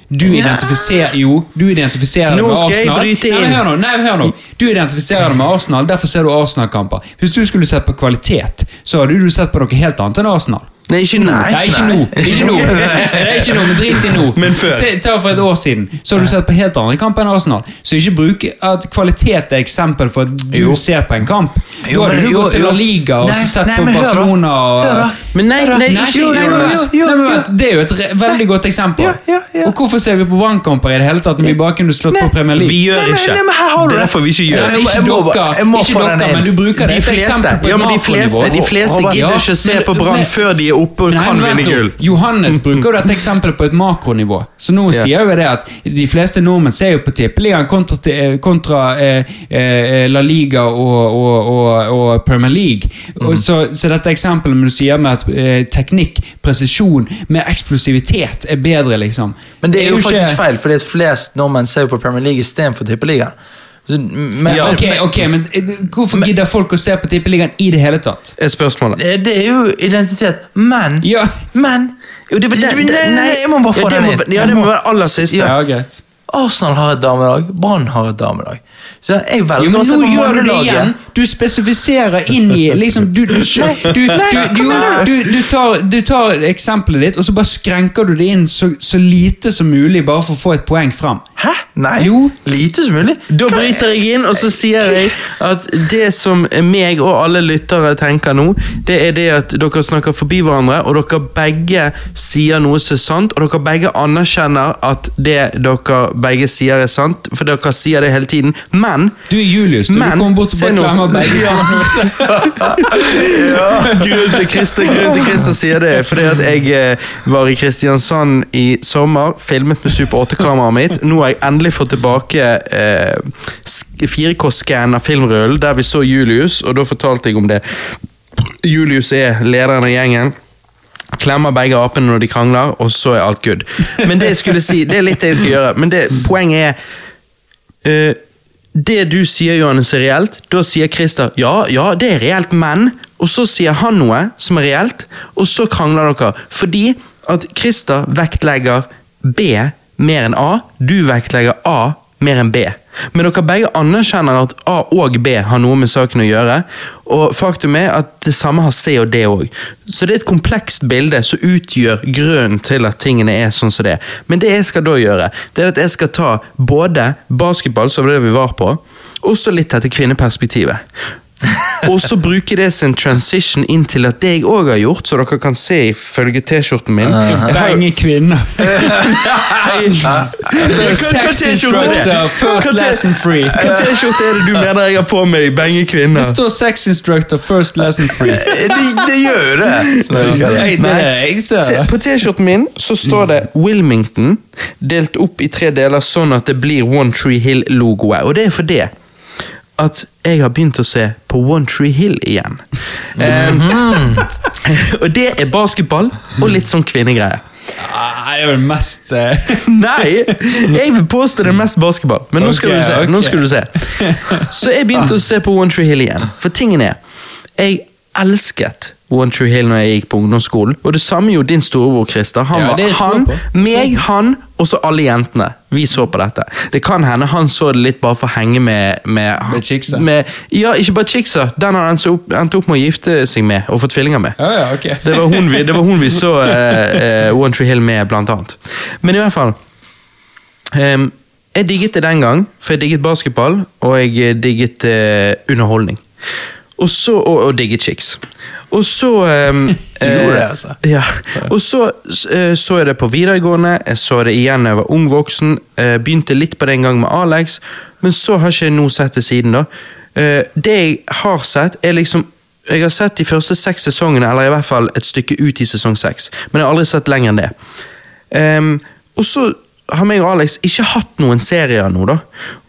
Speaker 3: Du identifiserer jo, du identifiserer deg
Speaker 1: Nå
Speaker 3: med
Speaker 1: skal jeg
Speaker 3: Arsenal.
Speaker 1: bryte
Speaker 3: Nei, men
Speaker 1: inn.
Speaker 3: hør nå, nei, hør nå. Du identifiserer deg med Arsenal, derfor ser du Arsenal-kamper. Hvis du skulle sett på kvalitet, så hadde du sett på noe helt annet enn Arsenal.
Speaker 1: Nei, ikke nå.
Speaker 3: Nei, ikke nå. Ikke nå. Det er ikke nå, men drit i nå.
Speaker 1: Men før.
Speaker 3: Se, ta for et år siden, så har du sett på helt andre kamper enn Arsenal. Så ikke bruk at kvalitet er eksempel for at du
Speaker 2: Jo.
Speaker 3: ser på en kamp.
Speaker 2: Jo,
Speaker 3: da hadde
Speaker 2: men-
Speaker 3: du
Speaker 2: jo,
Speaker 3: gått til
Speaker 2: jo.
Speaker 3: La Liga og
Speaker 2: Nei,
Speaker 3: så sett
Speaker 2: nei,
Speaker 3: på
Speaker 2: men hør da.
Speaker 3: Barcelona
Speaker 2: Hør da.
Speaker 3: og
Speaker 1: Men nei, nei,
Speaker 3: Nei,
Speaker 1: ikke
Speaker 3: jo, nei, jo,
Speaker 1: Jonas.
Speaker 3: jo, jo, Nei, men vent, Det er jo et re- veldig godt eksempel.
Speaker 2: Ja, ja, ja.
Speaker 3: Og hvorfor ser vi på vannkamper i det hele tatt når vi bare kunne slått på Premier League?
Speaker 1: Vi gjør
Speaker 2: Nei, men-
Speaker 1: ikke.
Speaker 2: nei, men her har du
Speaker 1: Det er
Speaker 2: det.
Speaker 1: derfor vi ikke gjør
Speaker 3: Ja,
Speaker 1: det.
Speaker 2: Jeg må-
Speaker 3: Altså, ikke
Speaker 2: jeg
Speaker 3: dere,
Speaker 2: må bare- jeg må
Speaker 3: ikke
Speaker 2: få den
Speaker 3: dere
Speaker 2: inn.
Speaker 3: men du bruker det
Speaker 1: De
Speaker 3: som
Speaker 1: fleste,
Speaker 3: eksempel på
Speaker 1: ja, men de
Speaker 3: makronivå.
Speaker 1: fleste, de fleste
Speaker 3: Ja,
Speaker 1: gidder ikke å se
Speaker 3: men-
Speaker 1: på Brann
Speaker 3: men-
Speaker 1: før de er oppe og
Speaker 3: Men
Speaker 1: kan
Speaker 3: vent
Speaker 1: vinne
Speaker 3: nå,
Speaker 1: gull.
Speaker 3: Johannes bruker jo dette eksempelet på et makronivå. Så nå
Speaker 1: Ja.
Speaker 3: sier jo det at de fleste nordmenn ser jo på Tippeligaen kontra, til- eh, kontra eh, eh, La Liga og, og, og, og Premier League.
Speaker 1: Mhm.
Speaker 3: Og så, så dette eksempelet men du sier med at eh, teknikk, presisjon, med eksplosivitet er bedre, liksom.
Speaker 2: Men det er jo
Speaker 3: ikke-
Speaker 2: faktisk feil, fordi at flest nordmenn ser jo på Premier League istedenfor Tippeligaen. Så- Men,
Speaker 1: Ja,
Speaker 3: Ok, ok, men eh, hvorfor gidder folk å se på Tippeligaen i det hele tatt?
Speaker 1: Er spørsmålet.
Speaker 2: men- det er jo identitet. Men
Speaker 3: Ja.
Speaker 2: Men jo, det, det, nei, nei, nei, jeg må bare få
Speaker 1: ja, det
Speaker 2: den
Speaker 1: må,
Speaker 2: inn.
Speaker 1: Ja,
Speaker 2: Jeg
Speaker 1: det må
Speaker 2: må-
Speaker 1: være aller siste.
Speaker 3: Ja, greit.
Speaker 2: Arsenal har et damelag, Brann har et damelag. Så jeg velger
Speaker 3: Jo, men
Speaker 2: å se
Speaker 3: nå
Speaker 2: på
Speaker 3: gjør du det
Speaker 2: mannelaget.
Speaker 3: igjen. Du spesifiserer inn i liksom, du, du, du, du, du, du, du, du, tar, du tar eksempelet ditt, og så bare skrenker du det inn så, så lite som mulig, bare for å få et poeng fram.
Speaker 2: Hæ? Nei.
Speaker 3: Jo.
Speaker 2: Lite som mulig.
Speaker 1: Da bryter jeg inn, og så sier jeg at det som meg og alle lyttere tenker nå, det er det at dere snakker forbi hverandre, og dere begge sier noe som er sant, og dere begge anerkjenner at det dere begge sier er sant, for dere sier det hele tiden, men
Speaker 3: Du er Julius, du, du
Speaker 1: Men,
Speaker 3: kommer bort og
Speaker 1: se
Speaker 3: bare
Speaker 1: nå.
Speaker 3: klemmer begge to.
Speaker 1: Grunnen til Christer, grunnen til Christer sier det, er fordi at jeg eh, var i Kristiansand i sommer, filmet med Super 8-kameraet mitt. Nå har jeg endelig fått tilbake eh, 4K-scan av filmrullen, der vi så Julius, og da fortalte jeg om det. Julius er lederen av gjengen. Klemmer begge apene når de krangler, og så er alt good. Men det jeg skulle si, det er litt det jeg skal gjøre, men det, poenget er Eh, det du sier, Johannes, er reelt. Da sier Christer ja, ja, det er reelt, men Og så sier han noe som er reelt, og så krangler dere. Fordi at Christer vektlegger B mer enn A. Du vektlegger A mer enn B. Men dere begge anerkjenner at A og B har noe med saken å gjøre. Og faktum er at det samme har C og D òg. Så det er et komplekst bilde som utgjør grunnen til at tingene er sånn som det er. Men det jeg skal da gjøre, det er at jeg skal ta både basketball, som var det vi var på, og så litt dette kvinneperspektivet. og så bruke det som en transition inn til at det jeg òg har gjort, så dere kan se ifølge T-skjorten min Jeg har jo-
Speaker 3: Begge kvinner. Det er jo
Speaker 1: Hva- hva
Speaker 3: Sex
Speaker 1: T-skjorte er det?
Speaker 3: instructor, first
Speaker 1: Hva T-
Speaker 3: lesson free.
Speaker 1: Hva T-skjorte er det du mener jeg har på meg? Benge kvinner.
Speaker 3: Det står sex instructor, first lesson free.
Speaker 2: Det, det gjør jo det.
Speaker 3: Nei, det er jeg
Speaker 1: T-
Speaker 3: ser.
Speaker 1: På T-skjorten min så står det Wilmington delt opp i tre deler sånn at det blir One Tree Hill-logoet. Og det er fordi at jeg har begynt å se på One Tree Hill igjen. Eh, og det er basketball og litt sånn kvinnegreier.
Speaker 3: Ah, Det er vel mest eh,
Speaker 1: Nei! Jeg vil påstå det er mest basketball. Men nå skal,
Speaker 3: Ok,
Speaker 1: du se, nå
Speaker 3: ok.
Speaker 1: skal du se. Så jeg begynte å se på One Tree Hill igjen. For tingen er, jeg elsket One Tree Hill når jeg gikk på ungdomsskolen. Og det samme gjorde din storebror, Christer. Han,
Speaker 3: Ja,
Speaker 1: var-
Speaker 3: det tror jeg
Speaker 1: han
Speaker 3: på.
Speaker 1: meg, han og så alle jentene. Vi så på dette. Det kan hende han så det litt bare for å henge med Med,
Speaker 3: Med chicksa.
Speaker 1: med Ja, ikke bare chicksa. Den har han så opp- endte opp med å gifte seg med og fått tvillinger med.
Speaker 3: Ja, ja, ok.
Speaker 1: Det var hun vi, det var hun vi så eh, eh, One Tree Hill med, blant annet. Men i hvert fall ehm, Jeg digget det den gang, for jeg digget basketball, og jeg eh, digget eh, underholdning. Og så Og, og digget chicks. Og så ehm,
Speaker 2: gjorde det,
Speaker 1: eh,
Speaker 2: altså.
Speaker 1: ja. Og så eh, så jeg det på videregående, jeg så det igjen da jeg var ung voksen. eh, Begynte litt på det en gang med Alex, men så har ikke jeg noe sett det siden. da. Eh, Det jeg har sett, er liksom Jeg har sett de første seks sesongene, eller i hvert fall et stykke ut i sesong seks, men jeg har aldri sett lenger enn det. Ehm, og så har meg og Alex ikke hatt noen serier nå, da.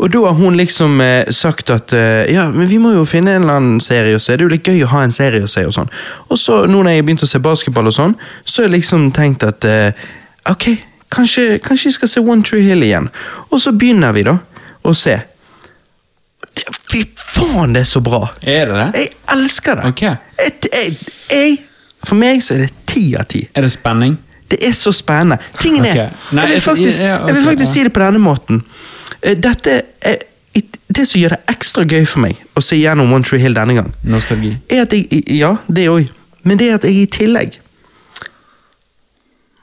Speaker 1: Og da har hun liksom eh, sagt at eh, ja, men vi må jo finne en eller annen serie å se. Det er jo litt gøy å ha en serie å se og sånn. Og så, nå når jeg begynte å se basketball og sånn, så har jeg liksom tenkt at eh, ok, kanskje, kanskje jeg skal se One True Hill igjen. Og så begynner vi, da, å se. Det- Fy faen, det er så bra!
Speaker 3: Er det det?
Speaker 1: Jeg elsker det.
Speaker 3: Ok.
Speaker 1: Jeg, jeg, jeg, for meg så er det ti av ti.
Speaker 3: Er det spenning?
Speaker 1: Det er så spennende. Tingen er,
Speaker 3: Ok. Nei,
Speaker 1: jeg, vil
Speaker 3: jeg-
Speaker 1: faktisk,
Speaker 3: ja, ok,
Speaker 1: jeg vil faktisk
Speaker 3: ja.
Speaker 1: si det på denne måten. Eh, Dette er, it- det som gjør det ekstra gøy for meg å se gjennom One Tree Hill denne gang,
Speaker 3: Nostalgi.
Speaker 1: er at jeg, ja, det òg, men det er at jeg i tillegg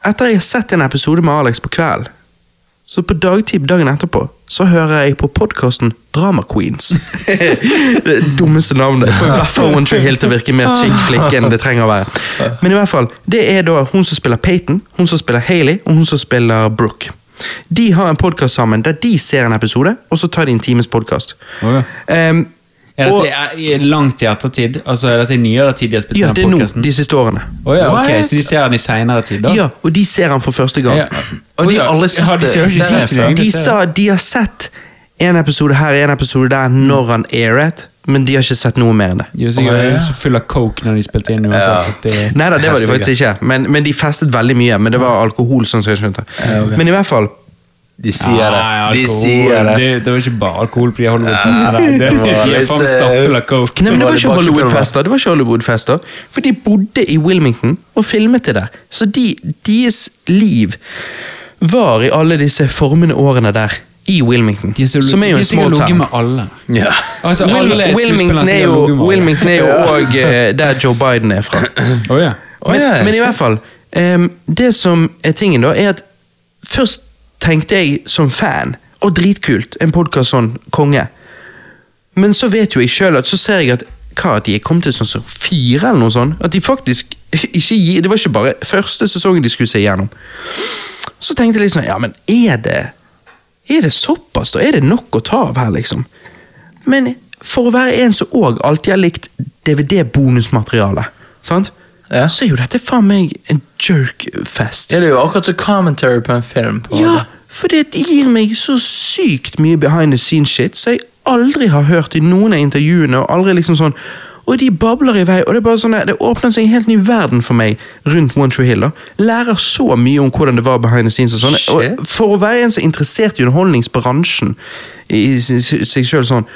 Speaker 1: Etter jeg har sett en episode med Alex på kvelden, Så på dagtid dagen etterpå så hører jeg på podkasten Drama Queens. det dummeste navnet. For i hvert fall One Tree Hill til å virke mer chic flikke enn det trenger å være. Men i hvert fall, det er da hun som spiller Peyton, hun som spiller Hailey, og hun som spiller Brooke. De har en podkast sammen der de ser en episode, og så tar de en times podkast.
Speaker 3: Ok.
Speaker 1: Ehm,
Speaker 3: Er
Speaker 1: og-
Speaker 3: dette i- i- langt i ettertid? Altså, er dette i nyere tid de har spilt
Speaker 1: ja,
Speaker 3: den
Speaker 1: det er nå,
Speaker 3: podcasten?
Speaker 1: de siste årene.
Speaker 3: Å ja, ok,
Speaker 2: What?
Speaker 3: Så de ser den i seinere tid, da?
Speaker 1: Ja, Og de ser han for første gang.
Speaker 3: Ja.
Speaker 2: Og de
Speaker 3: Å ja,
Speaker 2: har alle sett
Speaker 3: ja, de
Speaker 2: det.
Speaker 3: ser jo ikke tid
Speaker 2: Ser det
Speaker 3: til det,
Speaker 2: før.
Speaker 3: egentlig.
Speaker 1: De
Speaker 3: ser-
Speaker 1: sa de har sett en episode her en episode
Speaker 3: Mm.
Speaker 1: der når han airet, men de har ikke sett noe mer enn det.
Speaker 3: De var
Speaker 2: Å, ja.
Speaker 3: sikkert så full av coke når de spilte inn.
Speaker 2: Ja.
Speaker 3: uansett at det-
Speaker 1: Nei da, det var de
Speaker 2: Helt
Speaker 1: faktisk ikke, men, men de festet veldig mye. Men det var alkohol, sånn som jeg skjønte.
Speaker 2: Ja, ok.
Speaker 1: Men i hvert fall
Speaker 2: De sier det.
Speaker 3: Nei,
Speaker 2: De
Speaker 3: alkohol.
Speaker 2: sier det.
Speaker 3: Ah, det. Det var ikke bare alkohol på de Hollywood-festene. der. Det-
Speaker 2: det var
Speaker 3: De er
Speaker 2: litt,
Speaker 3: faen
Speaker 2: eh,
Speaker 3: stappfulle av coke.
Speaker 1: Nei, men det var
Speaker 2: Var
Speaker 1: ikke
Speaker 2: det bak i
Speaker 1: Hollywood-fester, det var ikke Hollywood-fester. For de bodde i Wilmington og filmet det der. Så de, deres liv var i alle disse formende årene der, i Wilmington.
Speaker 3: De er så-
Speaker 1: som er jo
Speaker 3: de
Speaker 1: en
Speaker 3: er sikkert
Speaker 1: small
Speaker 3: ligget
Speaker 1: town.
Speaker 3: med alle.
Speaker 2: Ja.
Speaker 3: Altså,
Speaker 1: Wil-
Speaker 3: alle
Speaker 1: Wilmington
Speaker 3: skuespillerne
Speaker 1: er
Speaker 3: sikkert ligget med
Speaker 1: jo,
Speaker 3: alle.
Speaker 1: Wilmington er jo og, eh, der Joe Biden er fra.
Speaker 3: Å ja.
Speaker 2: Å,
Speaker 1: Men,
Speaker 2: ja.
Speaker 1: men i hvert fall, em, det som er tingen da, er at først tenkte jeg som fan, og dritkult, en podcast sånn, konge. Men så vet jo jeg selv at så ser jeg at hva, at de er kommet til sånn som fire eller noe sånt. At de faktisk ikke gir, det var ikke bare første sesongen de skulle se igjennom. Så tenkte jeg litt sånn, ja, men er det, er det såpass da? Er det nok å ta av her, liksom? Men for å være en som òg alltid har likt DVD-bonusmateriale, sant?
Speaker 2: Ja.
Speaker 1: så er jo dette faen meg en jerkfest.
Speaker 2: Det er jo akkurat som commentary på en film. på en
Speaker 1: Ja,
Speaker 2: måte.
Speaker 1: for det gir meg så sykt mye behind the scenes shit som jeg aldri har hørt i noen av intervjuene. Og aldri liksom sånn og de babler i vei, og det er bare sånn der, det åpner seg en helt ny verden for meg rundt One Tree Hill. da. Lærer så mye om hvordan det var behind the scenes. og sånn. Og
Speaker 2: Shit.
Speaker 1: For å være en som er interessert i underholdningsbransjen i s- s- seg sjøl sånn,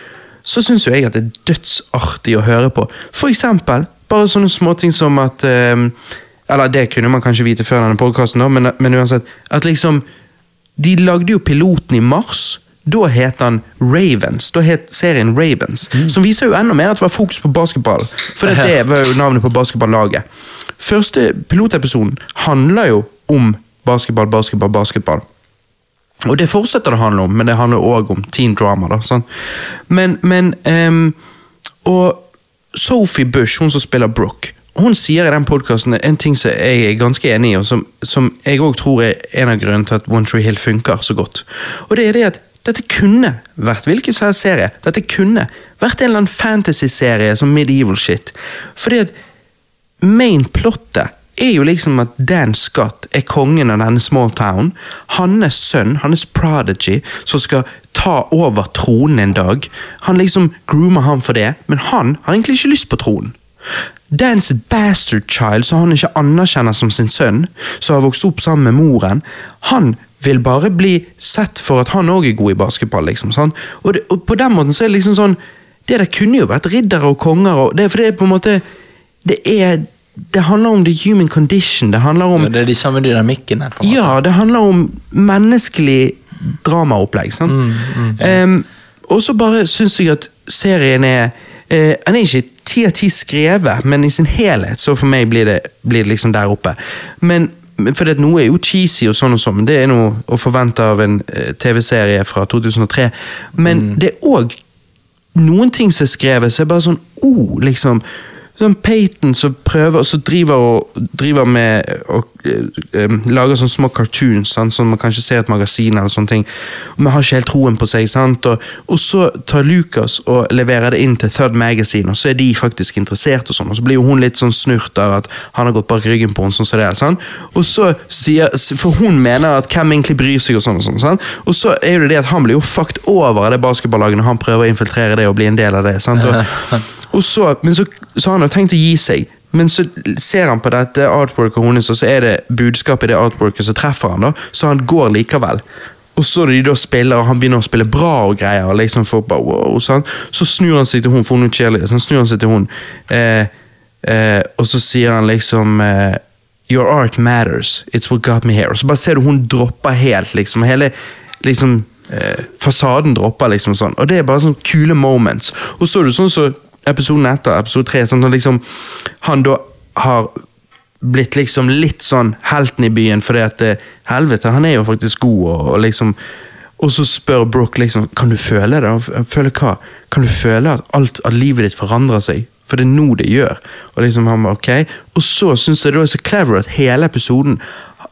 Speaker 1: så syns jo jeg at det er dødsartig å høre på. For eksempel bare sånne småting som at eh, Eller det kunne man kanskje vite før denne podkasten, men, men uansett. At liksom de lagde jo piloten i mars. Da het han Ravens. Da het serien Ravens. Som viser jo enda mer at det var fokus på basketball. For det- det var jo navnet på basketballaget. Første pilotepisoden handler jo om basketball, basketball, basketball. Og det fortsetter det å handle om, men det handler òg om teen drama. da, sant? Men, men ehm, Og Sophie Bush, hun som spiller Brooke, hun sier i den podkasten en ting som jeg er ganske enig i, og som, som jeg òg tror er en av grunnene til at One Tree Hill funker så godt. Og det er det at dette kunne vært hvilken som helst serie. Dette kunne vært en eller annen fantasy-serie som medieval shit. Fordi at main plottet er jo liksom at Dan Scott er kongen av denne small town. Hans sønn, hans prodigy, som skal ta over tronen en dag. Han liksom groomer han for det, men han har egentlig ikke lyst på tronen. Dans bastard child, som han ikke anerkjenner som sin sønn, som har vokst opp sammen med moren, han vil bare bli sett for at han òg er god i basketball, liksom. sant? Og, det, og på den måten så er det liksom sånn Det der kunne jo vært riddere og konger, og det, for det er på en måte det er Det handler om the human condition. Det handler om
Speaker 2: Det er de samme dynamikkene. på en måte.
Speaker 1: Ja, det handler om menneskelig dramaopplegg. sant?
Speaker 2: Mm,
Speaker 1: Em, og så bare syns jeg at serien er eh, Den er ikke ti av ti skrevet, men i sin helhet så for meg blir det, blir det liksom der oppe. Men for det, at noe er jo cheesy, og sånn og sånn, det er noe å forvente av en eh, TV-serie fra 2003. Men
Speaker 2: Mm.
Speaker 1: det er òg noen ting som er skrevet, så er bare sånn oh, liksom. Sånn Peyton som prøver og så driver og driver med og eh, eh, lager sånne små cartoons, sant? som man kanskje ser i et magasin, eller sånne ting. men har ikke helt troen på seg. sant? Og, og så tar Lucas og leverer det inn til Third Magazine, og så er de faktisk interessert, og sånn, og så blir jo hun litt sånn snurt av at han har gått bak ryggen på henne. sånn som det er, sant? Og så sier, For hun mener at hvem egentlig bryr seg, og sånn og sånn. sant? Og så er jo det det at han blir jo fucked over av det basketballaget når han prøver å infiltrere det og bli en del av det. sant? Og, og så, men så, så har han jo tenkt å gi seg. Men så ser han på dette artworket hennes, og så er det budskapet i det artworket som treffer han da, så han går likevel. Og så når de da spiller, og han begynner å spille bra og greier, og liksom folk bare wow, sant? så snur han seg til hun, for hun er cheerleader, så han snur han seg til hun, eh, eh, og så sier han liksom eh, Your art matters, it's what got me here. Og så bare ser du hun dropper helt, liksom. Hele liksom, eh, fasaden dropper, liksom sånn. Og det er bare sånn kule moments. Og så er det sånn så episoden etter, episode tre, sånn at liksom han da har blitt liksom litt sånn helten i byen, fordi at eh, helvete, han er jo faktisk god, og, og liksom Og så spør Brooke liksom Kan du føle det? Han f- han føler hva? Kan du føle at alt av livet ditt forandrer seg? For det er nå det gjør. Og liksom han var ok. Og så syns jeg det var så clever at hele episoden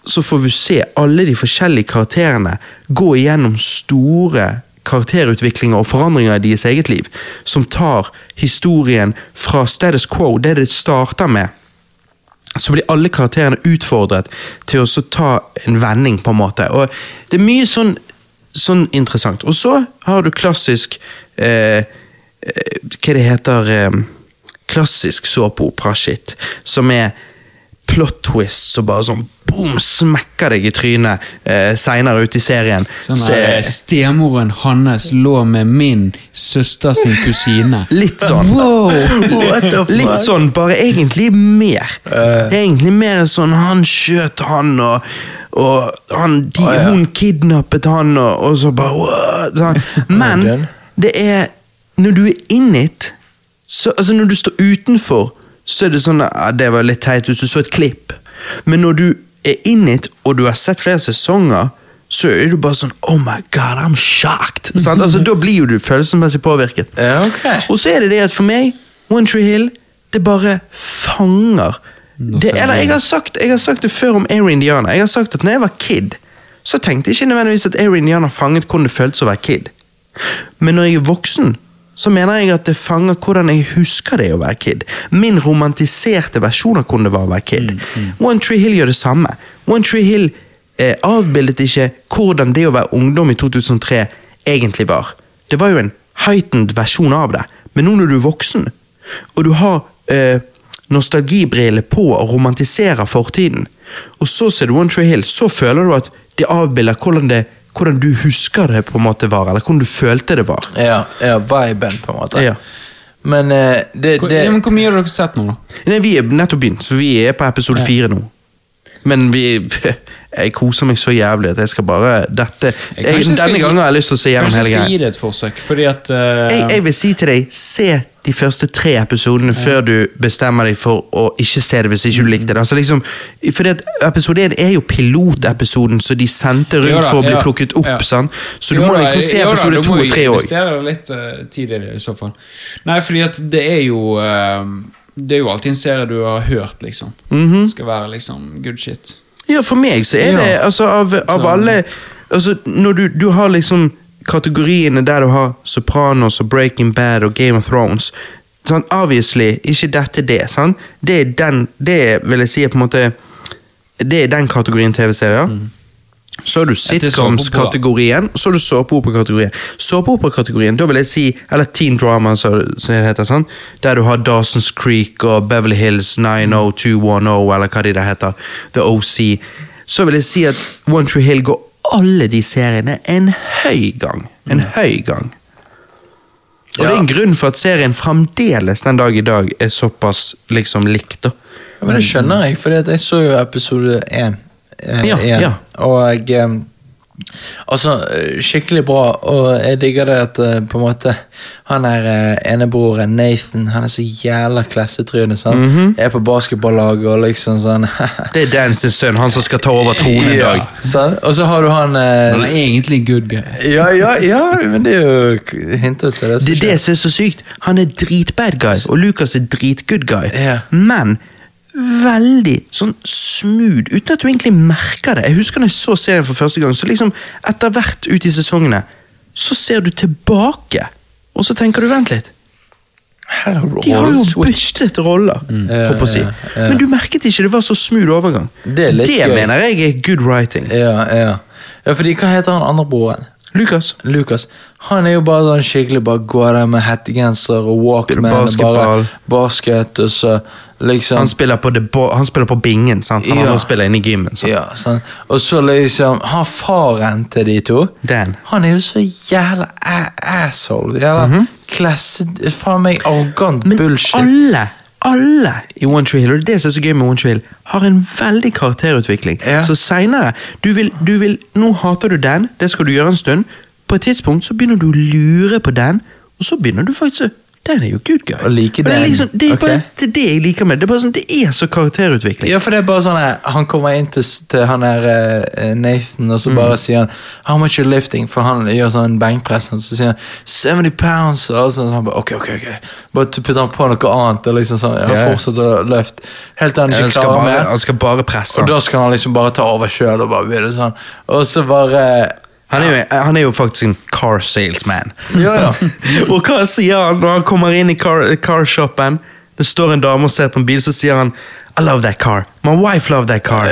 Speaker 1: så får vi se alle de forskjellige karakterene gå igjennom store karakterutviklinger og forandringer i deres eget liv, som tar historien fra status quo, det det starter med, så blir alle karakterene utfordret til å så ta en vending, på en måte. Og det er mye sånn, sånn interessant. Og så har du klassisk eh, eh, Hva det heter eh, Klassisk såpeopera-shit, som er plot twist som bare sånn boom, smekker deg i trynet eh, seinere ute i serien.
Speaker 3: Sånn
Speaker 1: Så eh,
Speaker 3: der,
Speaker 1: er-
Speaker 3: Stemoren hans lå med min søster sin kusine.
Speaker 1: Litt sånn. Litt sånn, bare egentlig mer.
Speaker 2: Eh.
Speaker 1: Egentlig mer sånn han skjøt han, og, og han, de,
Speaker 2: Å, ja.
Speaker 1: hun kidnappet han, og, og så bare «What?» sånn. Men
Speaker 2: den.
Speaker 1: det er Når du er in it, så, altså når du står utenfor, så er det sånn ja, Det var litt teit hvis du så et klipp. Men når du er in it, og du har sett flere sesonger, så er du bare sånn Oh my God, I'm shocked! Sant? Altså, da blir jo du følelsesmessig påvirket.
Speaker 2: Ja, ok.
Speaker 1: Og så er det det at for meg, One Tree Hill, det bare fanger. Det,
Speaker 3: ser jeg
Speaker 1: eller
Speaker 3: det.
Speaker 1: jeg har, sagt, jeg har sagt det før om Air Indiana. Jeg har sagt at når jeg var kid, så tenkte jeg ikke nødvendigvis at Air Indiana fanget hvordan det føltes å være kid. Men når jeg er voksen, så mener jeg at det fanger hvordan jeg husker det å være kid. Min romantiserte versjon av hvordan det var å være kid. One Tree Hill gjør det samme. One Tree Hill eh, avbildet ikke hvordan det å være ungdom i 2003 egentlig var. Det var jo en heightened versjon av det. Men nå når du er voksen, og du har eh, nostalgibriller på og romantiserer fortiden. Og så ser du One Tree Hill, så føler du at det avbilder hvordan, det, hvordan du husker det på en måte var, eller hvordan du følte det var.
Speaker 2: Ja, ja viben, på en måte.
Speaker 1: Ja.
Speaker 2: Men eh, det,
Speaker 3: Hvor,
Speaker 2: det
Speaker 3: ja, men hvor mye har dere sett nå, da?
Speaker 1: Nei, vi er nettopp begynt, så vi er på episode fire nå. Men vi Jeg koser meg så jævlig at jeg skal bare Dette
Speaker 3: Jeg
Speaker 1: jeg,
Speaker 3: kanskje skal
Speaker 1: Denne
Speaker 3: gi-
Speaker 1: gangen har jeg lyst til å se gjennom
Speaker 3: Kanskje jeg
Speaker 1: hele
Speaker 3: skal
Speaker 1: greia.
Speaker 3: gi det et forsøk, fordi at eh,
Speaker 1: Jeg, jeg vil si til deg, se de første tre episodene før du bestemmer deg for å ikke se det hvis ikke
Speaker 3: Mm.
Speaker 1: du likte det. Altså liksom, fordi at Episode 1 er jo pilotepisoden som de sendte rundt
Speaker 3: Jo da,
Speaker 1: for å bli
Speaker 3: ja,
Speaker 1: plukket opp.
Speaker 3: ja.
Speaker 1: sant? Så du
Speaker 3: Jo
Speaker 1: må
Speaker 3: da,
Speaker 1: liksom se
Speaker 3: jo da,
Speaker 1: episode
Speaker 3: da
Speaker 1: 2
Speaker 3: må
Speaker 1: og 3
Speaker 3: Jeg
Speaker 1: òg.
Speaker 3: investerer litt eh, tid i det, i så fall. Nei, fordi at det er jo eh, Det er jo alltid en serie du har hørt, liksom.
Speaker 1: Mhm.
Speaker 3: Skal være liksom good shit.
Speaker 1: Ja, for meg så er
Speaker 2: Ja.
Speaker 1: det altså av, av
Speaker 3: Så-
Speaker 1: alle altså Når du, du har liksom kategoriene der du har Sopranos og Breaking Bad og Game of Thrones sånn, Obviously, ikke dette det. sant? Det er den Det er, vil jeg si er på en måte Det er den kategorien TV-serier. Så har du sitcoms-kategorien, og så har du såpeopera-kategorien. Såpeopera-kategorien, da vil jeg si, eller teen drama, som som det heter, sånn, der du har Dawson's Creek og Beverly Hills 90210, eller hva de der heter, The OC, så vil jeg si at One Tree Hill går alle de seriene en høy gang. En høy gang. Og det er en grunn for at serien fremdeles den dag i dag er såpass liksom likt, da.
Speaker 2: Ja, men det skjønner jeg, for jeg så jo episode én. eh,
Speaker 1: Ja,
Speaker 2: igjen.
Speaker 1: ja.
Speaker 2: Og jeg eh, Altså, eh, skikkelig bra, og jeg digger det at eh, på en måte Han der eh, enebroren Nathan, han er så jævla klassetryne. sant?
Speaker 1: Mhm.
Speaker 2: Er på basketballaget og liksom sånn
Speaker 1: Det er Dan sin sønn, han som skal ta over tronen en dag.
Speaker 2: sant? Og så har du han eh,
Speaker 3: Han er egentlig en good guy.
Speaker 2: Ja, ja, ja, men det er jo k- hintet til det. som
Speaker 1: Det er
Speaker 2: skjer.
Speaker 1: det som er så sykt. Han er dritbad guy, og Lucas er dritgood guy.
Speaker 2: Ja.
Speaker 1: Men veldig sånn smooth, uten at du egentlig merker det. Jeg husker da jeg så serien for første gang, så liksom etter hvert ut i sesongene, så ser du tilbake, og så tenker du, vent litt.
Speaker 2: Her har du
Speaker 1: De har jo
Speaker 2: Rolls Witch.
Speaker 1: byttet roller, holdt på å si.
Speaker 2: Mm. Ja, ja, ja.
Speaker 1: Men du merket ikke, det var så smooth overgang.
Speaker 2: Det er litt gøy.
Speaker 1: mener jeg er good writing.
Speaker 2: Ja, ja. ja, fordi hva heter han andre broren?
Speaker 1: Lucas.
Speaker 2: Lucas. Han er jo bare sånn skikkelig bare går der med hettegenser og walkman
Speaker 1: Basketball.
Speaker 2: og bare basket og så liksom
Speaker 1: Han spiller på, det bo- han spiller på bingen, sant? Han
Speaker 2: Ja.
Speaker 1: andre spiller inne i gymmen. sant?
Speaker 2: ja, sånn. Og så liksom Han faren til de to
Speaker 1: Dan.
Speaker 2: Han er jo så jævla a- asshole. Jævla klasse... Faen meg arrogant
Speaker 1: Mhm. Men
Speaker 2: bullshit.
Speaker 1: alle alle i One Tree Hill, og det er det som er så gøy med One Tree Hill, har en veldig karakterutvikling.
Speaker 2: Ja.
Speaker 1: Så senere, du vil, du vil, Nå hater du Dan, det skal du gjøre en stund. På et tidspunkt så begynner du å lure på Dan, og så begynner du faktisk å Der er det jo good guy.
Speaker 2: Å like
Speaker 1: Og det, er
Speaker 2: den,
Speaker 1: liksom, det, er bare,
Speaker 2: ok.
Speaker 1: det er det jeg liker med det. Det er bare sånn, det er så karakterutvikling.
Speaker 2: Ja, for det er bare sånn eh, Han kommer inn til, s- til han der eh, Nathan, og
Speaker 1: Mm.
Speaker 2: så bare sier han How much you lifting? For han gjør sånn benkpress, og så sier han 70 pounds. Og sånn, så han bare ok, ok, ok. Bare t- putter han på noe annet og liksom sånn, ja,
Speaker 1: Ja.
Speaker 2: fortsetter å løfte. Helt til han
Speaker 1: Han
Speaker 2: ikke
Speaker 1: skal
Speaker 2: klarer
Speaker 1: bare, altså-
Speaker 2: mer.
Speaker 1: han skal bare presse
Speaker 2: Og
Speaker 1: han.
Speaker 2: da skal han liksom bare ta over sjøl og bare begynne sånn. Og så bare
Speaker 1: Han er, jo, eh, han er jo faktisk en car salesman.
Speaker 2: Ja, ja.
Speaker 1: og hva sier han når han kommer inn i car, carshoppen? Det står en dame og ser på en bil, så sier han I love that car. My wife love that car.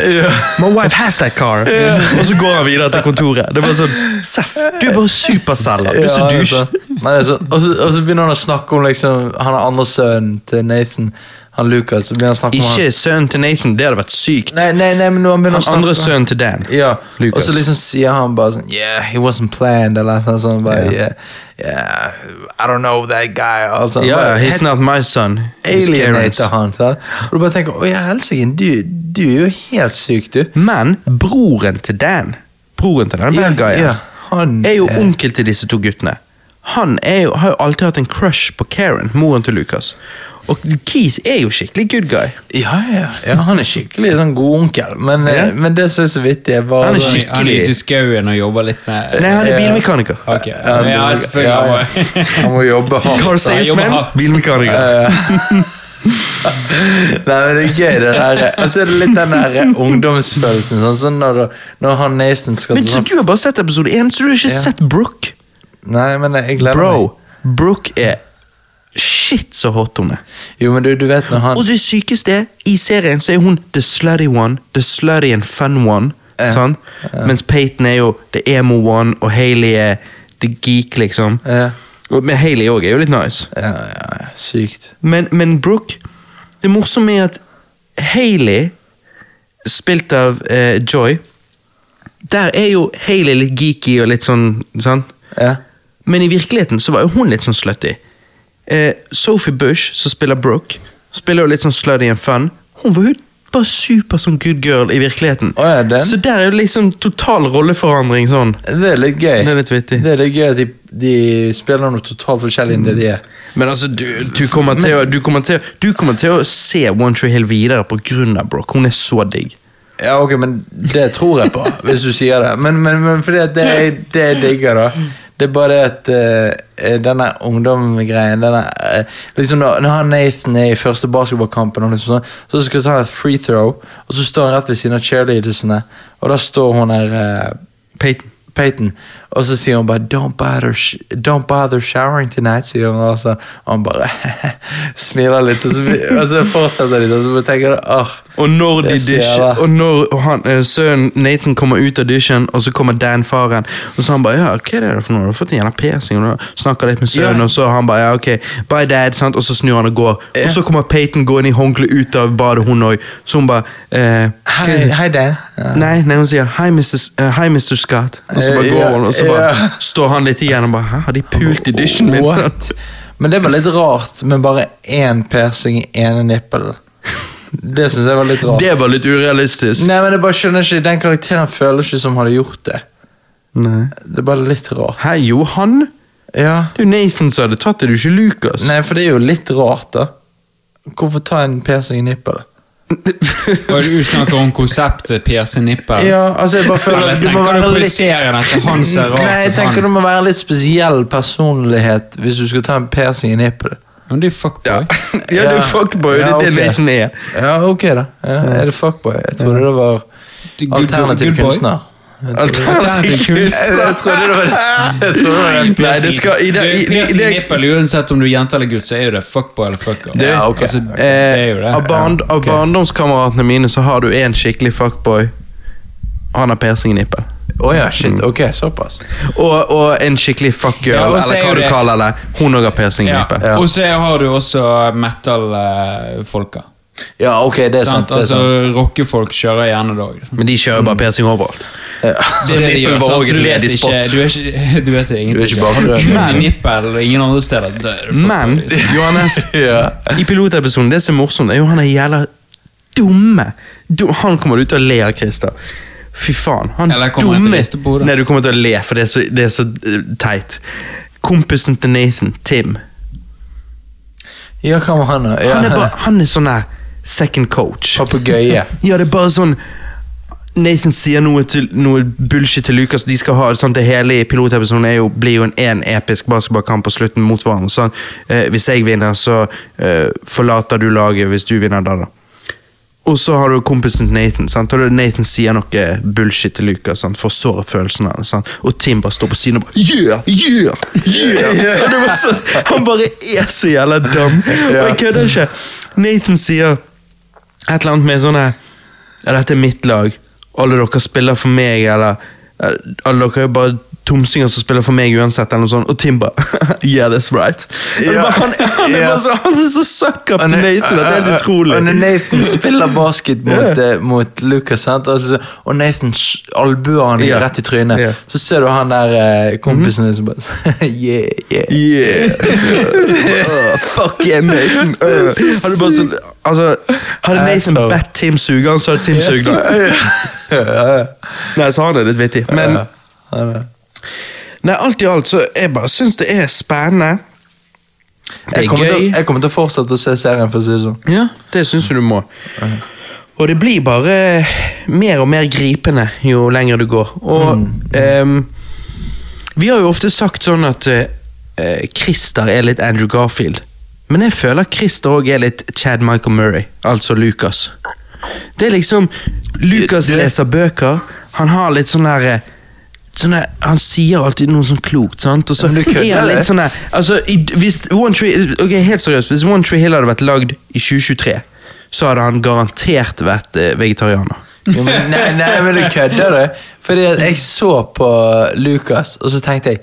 Speaker 1: My wife has that car. Og så går han videre til kontoret. Det var sånn, Seff, du er bare superselger. Du er så
Speaker 2: Ja, det er
Speaker 1: douche.
Speaker 2: så- Nei, det er så- Og så og så begynner han å snakke om liksom Han er andre sønnen til Nathan, han Lucas. Så begynner han å snakke om han-
Speaker 1: Ikke sønnen til Nathan, det hadde vært sykt.
Speaker 2: Nei, nei, nei, men når han begynner
Speaker 1: Han
Speaker 2: å snakke
Speaker 1: andre sønnen til Dan.
Speaker 2: Ja, og
Speaker 1: Lucas.
Speaker 2: så liksom sier han bare sånn Yeah, he wasn't planned, eller noe sånt. Bare, yeah. yeah, I don't know that guy. Altså,
Speaker 1: Ja, ja,
Speaker 2: bare,
Speaker 1: he's not my son. He's Karen's.
Speaker 2: alienater han. sant? Og du bare tenker Å ja, helsike, du, du er jo helt syk, du.
Speaker 1: Men broren til Dan, broren til den bad guyen,
Speaker 2: ja, han
Speaker 1: er jo
Speaker 2: er-
Speaker 1: onkel til disse to guttene. Han er jo, har jo alltid hatt en crush på Karen, moren til Lucas. Og Keith er jo skikkelig good guy.
Speaker 2: Ja, ja, ja, han er skikkelig sånn god onkel, men, eh,
Speaker 1: Ja.
Speaker 2: men det som er så vittig, er
Speaker 1: Han
Speaker 2: bare sånn-
Speaker 1: er
Speaker 3: Han
Speaker 1: skikkelig-
Speaker 3: er- Han er ute i skauen og jobber litt med
Speaker 1: Nei, han er bilmekaniker.
Speaker 3: Eh, Ok, Ja,
Speaker 2: Ja,
Speaker 3: selvfølgelig.
Speaker 2: ja. Han må jobbe hardt.
Speaker 1: Car
Speaker 3: jobber
Speaker 1: salesman,
Speaker 3: hardt.
Speaker 1: bilmekaniker.
Speaker 2: Eh, Nei, men det er gøy, det der. Og så er det litt den der eh, ungdomsfølelsen. Sånn, sånn når, du- når han Nathan skal
Speaker 1: Men
Speaker 2: til
Speaker 1: Så
Speaker 2: sånn-
Speaker 1: du har bare sett episode 1, så du har ikke
Speaker 2: Ja.
Speaker 1: sett Brooke?
Speaker 2: Nei, men jeg gleder meg.
Speaker 1: Bro, Brooke er shit så hot hun er.
Speaker 2: Jo, men du, du vet når han
Speaker 1: Og det sykeste er, i serien så er hun the slutty one, the slutty and fun one.
Speaker 2: Ja.
Speaker 1: sant? Mens Peyton er jo the emo one, og Hailey er the geek, liksom.
Speaker 2: Ja.
Speaker 1: Og- Men Hailey òg er jo litt nice.
Speaker 2: ja, ja, ja, Sykt.
Speaker 1: Men, men Brooke Det morsomme er at Hailey, spilt av eh, Joy Der er jo Hailey litt geeky og litt sånn, sant?
Speaker 2: Ja.
Speaker 1: Men i virkeligheten så var jo hun litt sånn slutty. Eh, Sophie Bush, som spiller Brooke, spiller jo litt sånn slutty and fun. Hun var jo bare super sånn good girl i virkeligheten.
Speaker 2: Å ja, den?
Speaker 1: så der er jo liksom total rolleforandring sånn.
Speaker 2: Det er litt gøy.
Speaker 1: Det er litt vittig.
Speaker 2: Det er litt gøy at de, de spiller noe totalt forskjellig enn det de er.
Speaker 1: Men altså, du, du, kommer til å, du, kommer til, å- du kommer til å se One Tree Hill videre på grunn av Brooke. Hun er så digg.
Speaker 2: Ja, ok, men Det tror jeg på, hvis du sier det. Men, men, men fordi at det, jeg- det jeg digger, da Det er bare det at eh, denne ungdomgreien denne, eh, liksom når, når han Nathan er i første basketballkampen, og liksom sånn, så skal han ta et free throw, og så står han rett ved siden av cheerleadersene, og da står hun der eh,
Speaker 1: Peyton.
Speaker 2: Peyton. Og så sier hun bare 'Don't bother, sh don't bother showering tonight', sier hun. Og, så, og han bare smiler litt, og så, og så fortsetter de. Og så bare tenker jeg åh.
Speaker 1: Og når, de
Speaker 2: Det sier jeg,
Speaker 1: dusjer,
Speaker 2: da.
Speaker 1: og når han, eh, sønnen Nathan kommer ut av dusjen, og så kommer Dan faren, og så han bare ja, hva er det for noe, du har fått en jævla piercing, og da snakker litt med sønnen,
Speaker 2: Ja.
Speaker 1: og så han bare ja, ok, bye dad, sant? og så snur han og går. Og så kommer Peyton gående i håndkle ut av badet, hun òg, så hun bare eh, hva-
Speaker 2: Hei, hei Dan. Ja.
Speaker 1: Nei, nei, hun sier hi Mrs., eh, hi, Mr. Scott, og så bare
Speaker 2: Eh,
Speaker 1: går
Speaker 2: ja,
Speaker 1: hun, og så bare
Speaker 2: ja.
Speaker 1: står han litt igjen og bare hæ, har de pult i dusjen min?
Speaker 2: What? Men det var litt rart med bare én piercing i ene nippelen. Det syns jeg var litt rart.
Speaker 1: Det var litt urealistisk.
Speaker 2: Nei, men jeg bare skjønner ikke Den karakteren føler ikke som hadde gjort det.
Speaker 1: Nei.
Speaker 2: Det er bare litt rart.
Speaker 1: Hei, jo, han?
Speaker 2: Ja
Speaker 1: Det er jo Nathan som hadde tatt det, det er jo ikke Lucas.
Speaker 2: Nei, for det er jo litt rart, da. Hvorfor ta en piercing i nippelen?
Speaker 3: Og du snakker om konseptet pierce nipper.
Speaker 2: Ja, altså, jeg bare føler
Speaker 3: Eller
Speaker 2: at du må
Speaker 3: tenker du
Speaker 2: være litt
Speaker 3: projiserer den til han ser rart
Speaker 2: Nei, jeg
Speaker 3: ut,
Speaker 2: tenker
Speaker 3: han-
Speaker 2: du må være litt spesiell personlighet hvis du skal ta en piercing i nippelen.
Speaker 3: Men det er fuckboy.
Speaker 1: Ja, ja du er fuckboy, det er
Speaker 2: Ja,
Speaker 1: det
Speaker 2: ok.
Speaker 1: Nathan er.
Speaker 2: Ja, ok, da. Ja, er det fuckboy? Jeg trodde det var
Speaker 3: Du- good boy-
Speaker 2: alternativ
Speaker 3: good boy.
Speaker 2: kunstner.
Speaker 3: Alternativ
Speaker 1: Alternativ
Speaker 3: kunst.
Speaker 1: kunst.
Speaker 2: Jeg trodde det var Jeg trodde det var
Speaker 1: Nei, det skal i det, i, i,
Speaker 3: Piercing
Speaker 1: det,
Speaker 3: nippel, uansett om du er jente eller gutt, så er jo det fuckboy eller fucker.
Speaker 1: Du,
Speaker 2: Ja, ok.
Speaker 3: altså, det er jo
Speaker 1: eh, Av,
Speaker 3: det.
Speaker 1: barn, av barndomskameratene mine så har du en skikkelig fuckboy. Han har piercing i nippel.
Speaker 2: Å ja, shit. Ok, såpass.
Speaker 1: Og, og en skikkelig fuckgirl,
Speaker 3: Ja, og så
Speaker 1: eller
Speaker 3: er jo
Speaker 1: hva du
Speaker 3: det-
Speaker 1: kaller det. Hun òg har piercing i
Speaker 3: Ja.
Speaker 1: nippel.
Speaker 2: Ja.
Speaker 3: Og så har du også metal-folka.
Speaker 2: Ja, ok, det er sant.
Speaker 3: Sant?
Speaker 2: Det er
Speaker 3: Altså,
Speaker 2: sant.
Speaker 3: Rockefolk kjører gjerne det òg.
Speaker 1: Men de kjører bare piercing overalt.
Speaker 3: Det er det de
Speaker 1: nippel
Speaker 3: gjør,
Speaker 1: Altså, var
Speaker 3: sant?
Speaker 1: også
Speaker 3: Så du
Speaker 1: et
Speaker 3: vet
Speaker 1: ledig
Speaker 3: ikke,
Speaker 1: spot.
Speaker 3: du er ikke Du vet
Speaker 2: Du er ikke
Speaker 3: ingenting.
Speaker 2: bare
Speaker 3: Har du kun
Speaker 1: Men-
Speaker 3: en nippel og ingen andre steder? Da er du fuckboy,
Speaker 1: Men
Speaker 3: liksom.
Speaker 1: Johannes,
Speaker 2: Ja.
Speaker 1: i pilotepisoden, det som er morsomt, er jo han er jævla dumme. Du- han kommer du til å le av, Christer. Fy faen. Han
Speaker 3: Eller kommer jeg til å
Speaker 1: dumme
Speaker 3: liste på hodet?
Speaker 1: Nei, du kommer til å le, for det er så, det er så eh, teit. Kompisen til Nathan, Tim.
Speaker 2: Ja, hva var han da? Ja.
Speaker 1: Han er, bare, han er sånn der second coach.
Speaker 2: Papegøye.
Speaker 1: Ja, det er bare sånn Nathan sier noe, til, noe bullshit til Lucas. De skal ha sånn, Det hele i pilotepisoden er jo, blir jo en én episk basketballkamp på slutten mot hverandre. Sånn, eh, hvis jeg vinner, så eh, forlater du laget hvis du vinner da, da. Og så har du kompisen til Nathan. Sant? Og Nathan sier noe bullshit til Lucas. Sant? For å såre følelsene hans. sant? Og Tim bare står på siden og bare Yeah! Yeah! Yeah! Og det var sånn, han bare er så jævla dum. Og jeg kødder ikke. Nathan sier et eller annet med sånn her ja, Dette er mitt lag. Alle dere spiller for meg, eller eh, Alle dere er jo bare tomsinger som spiller for meg uansett, eller noe sånt. Og Tim bare Yeah, that's right. Og det
Speaker 2: Ja.
Speaker 1: bare- Han, han, er
Speaker 2: Ja.
Speaker 1: bare så, han er så suck up til Nathan at det er helt utrolig.
Speaker 2: Og når Nathan spiller basket mot, eh, mot Lucas, sant? Og så- og Nathan s- albuer han
Speaker 1: Ja.
Speaker 2: rett i trynet,
Speaker 1: Ja.
Speaker 2: så ser du han der eh,
Speaker 1: Mhm.
Speaker 2: kompisen din som bare Yeah, yeah.
Speaker 1: Yeah. uh, fuck yeah, Nathan. Uh. Hadde bare sånn, altså, hadde Nathan
Speaker 2: Asshole.
Speaker 1: bedt Tim suge han, så hadde Tim sugd han. Nei, så han er litt vittig. Men Nei, alt i alt så jeg bare syns det er spennende. Det
Speaker 2: Jeg
Speaker 1: er
Speaker 2: kommer, til,
Speaker 1: gøy.
Speaker 2: å- jeg kommer til å fortsette å se serien, for å si det sånn.
Speaker 1: Ja, det syns jeg du må. Og det blir bare mer og mer gripende jo lenger du går. Og ehm, Vi har jo ofte sagt sånn at eh, eh, Christer er litt Andrew Garfield. Men jeg føler Christer òg er litt Chad Michael Murray, altså Lucas. Det er liksom Lucas leser bøker, han har litt sånn der eh, sånn der- han sier alltid noe sånn klokt, sant? Og så
Speaker 2: men du kødder, eh?
Speaker 1: er han litt
Speaker 2: det.
Speaker 1: sånn der altså, i, hvis, One Tree, ok, helt seriøst, hvis One Tree Hill hadde vært lagd i 2023, så hadde han garantert vært eh, vegetarianer.
Speaker 2: Jo, men, nei, nei, men du kødder, du. Fordi at jeg så på Lucas, og så tenkte jeg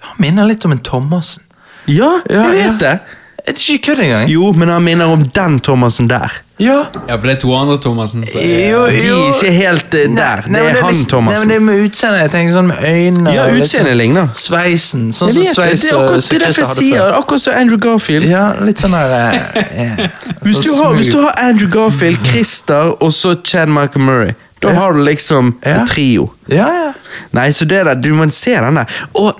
Speaker 2: Han minner litt om en Thomassen.
Speaker 1: Ja, jeg vet
Speaker 2: ja.
Speaker 1: det!
Speaker 2: Er det ikke kødd engang?
Speaker 1: Jo, men han minner om den Thomassen der.
Speaker 2: Ja.
Speaker 3: Ja, for det er to andre Thomassen. Så,
Speaker 2: Jo,
Speaker 1: De er ikke helt eh, der.
Speaker 2: Nei,
Speaker 1: det
Speaker 2: men
Speaker 1: er han
Speaker 2: liksom- Nei,
Speaker 1: Thomassen.
Speaker 2: men det er med utseendet. Jeg tenker sånn med øynene
Speaker 1: Ja,
Speaker 2: og litt
Speaker 1: utseendet
Speaker 2: sånn-
Speaker 1: ligner.
Speaker 2: Sveisen. Sånn
Speaker 1: Jeg vet
Speaker 2: som
Speaker 1: det,
Speaker 2: sveis
Speaker 1: det er akkurat,
Speaker 2: som
Speaker 1: det er derfor
Speaker 2: Christer
Speaker 1: jeg
Speaker 2: hadde
Speaker 1: sier
Speaker 2: før.
Speaker 1: akkurat som Andrew Garfield.
Speaker 2: Ja, litt sånn der eh, eh,
Speaker 1: Hvis
Speaker 2: sånn
Speaker 1: du, har, hvis
Speaker 2: smooth.
Speaker 1: du har Andrew Garfield, Christer og så Chad Michael Murray, da har du liksom
Speaker 2: Ja.
Speaker 1: en trio.
Speaker 2: Ja, ja.
Speaker 1: Nei, så det der, du må se den der. Og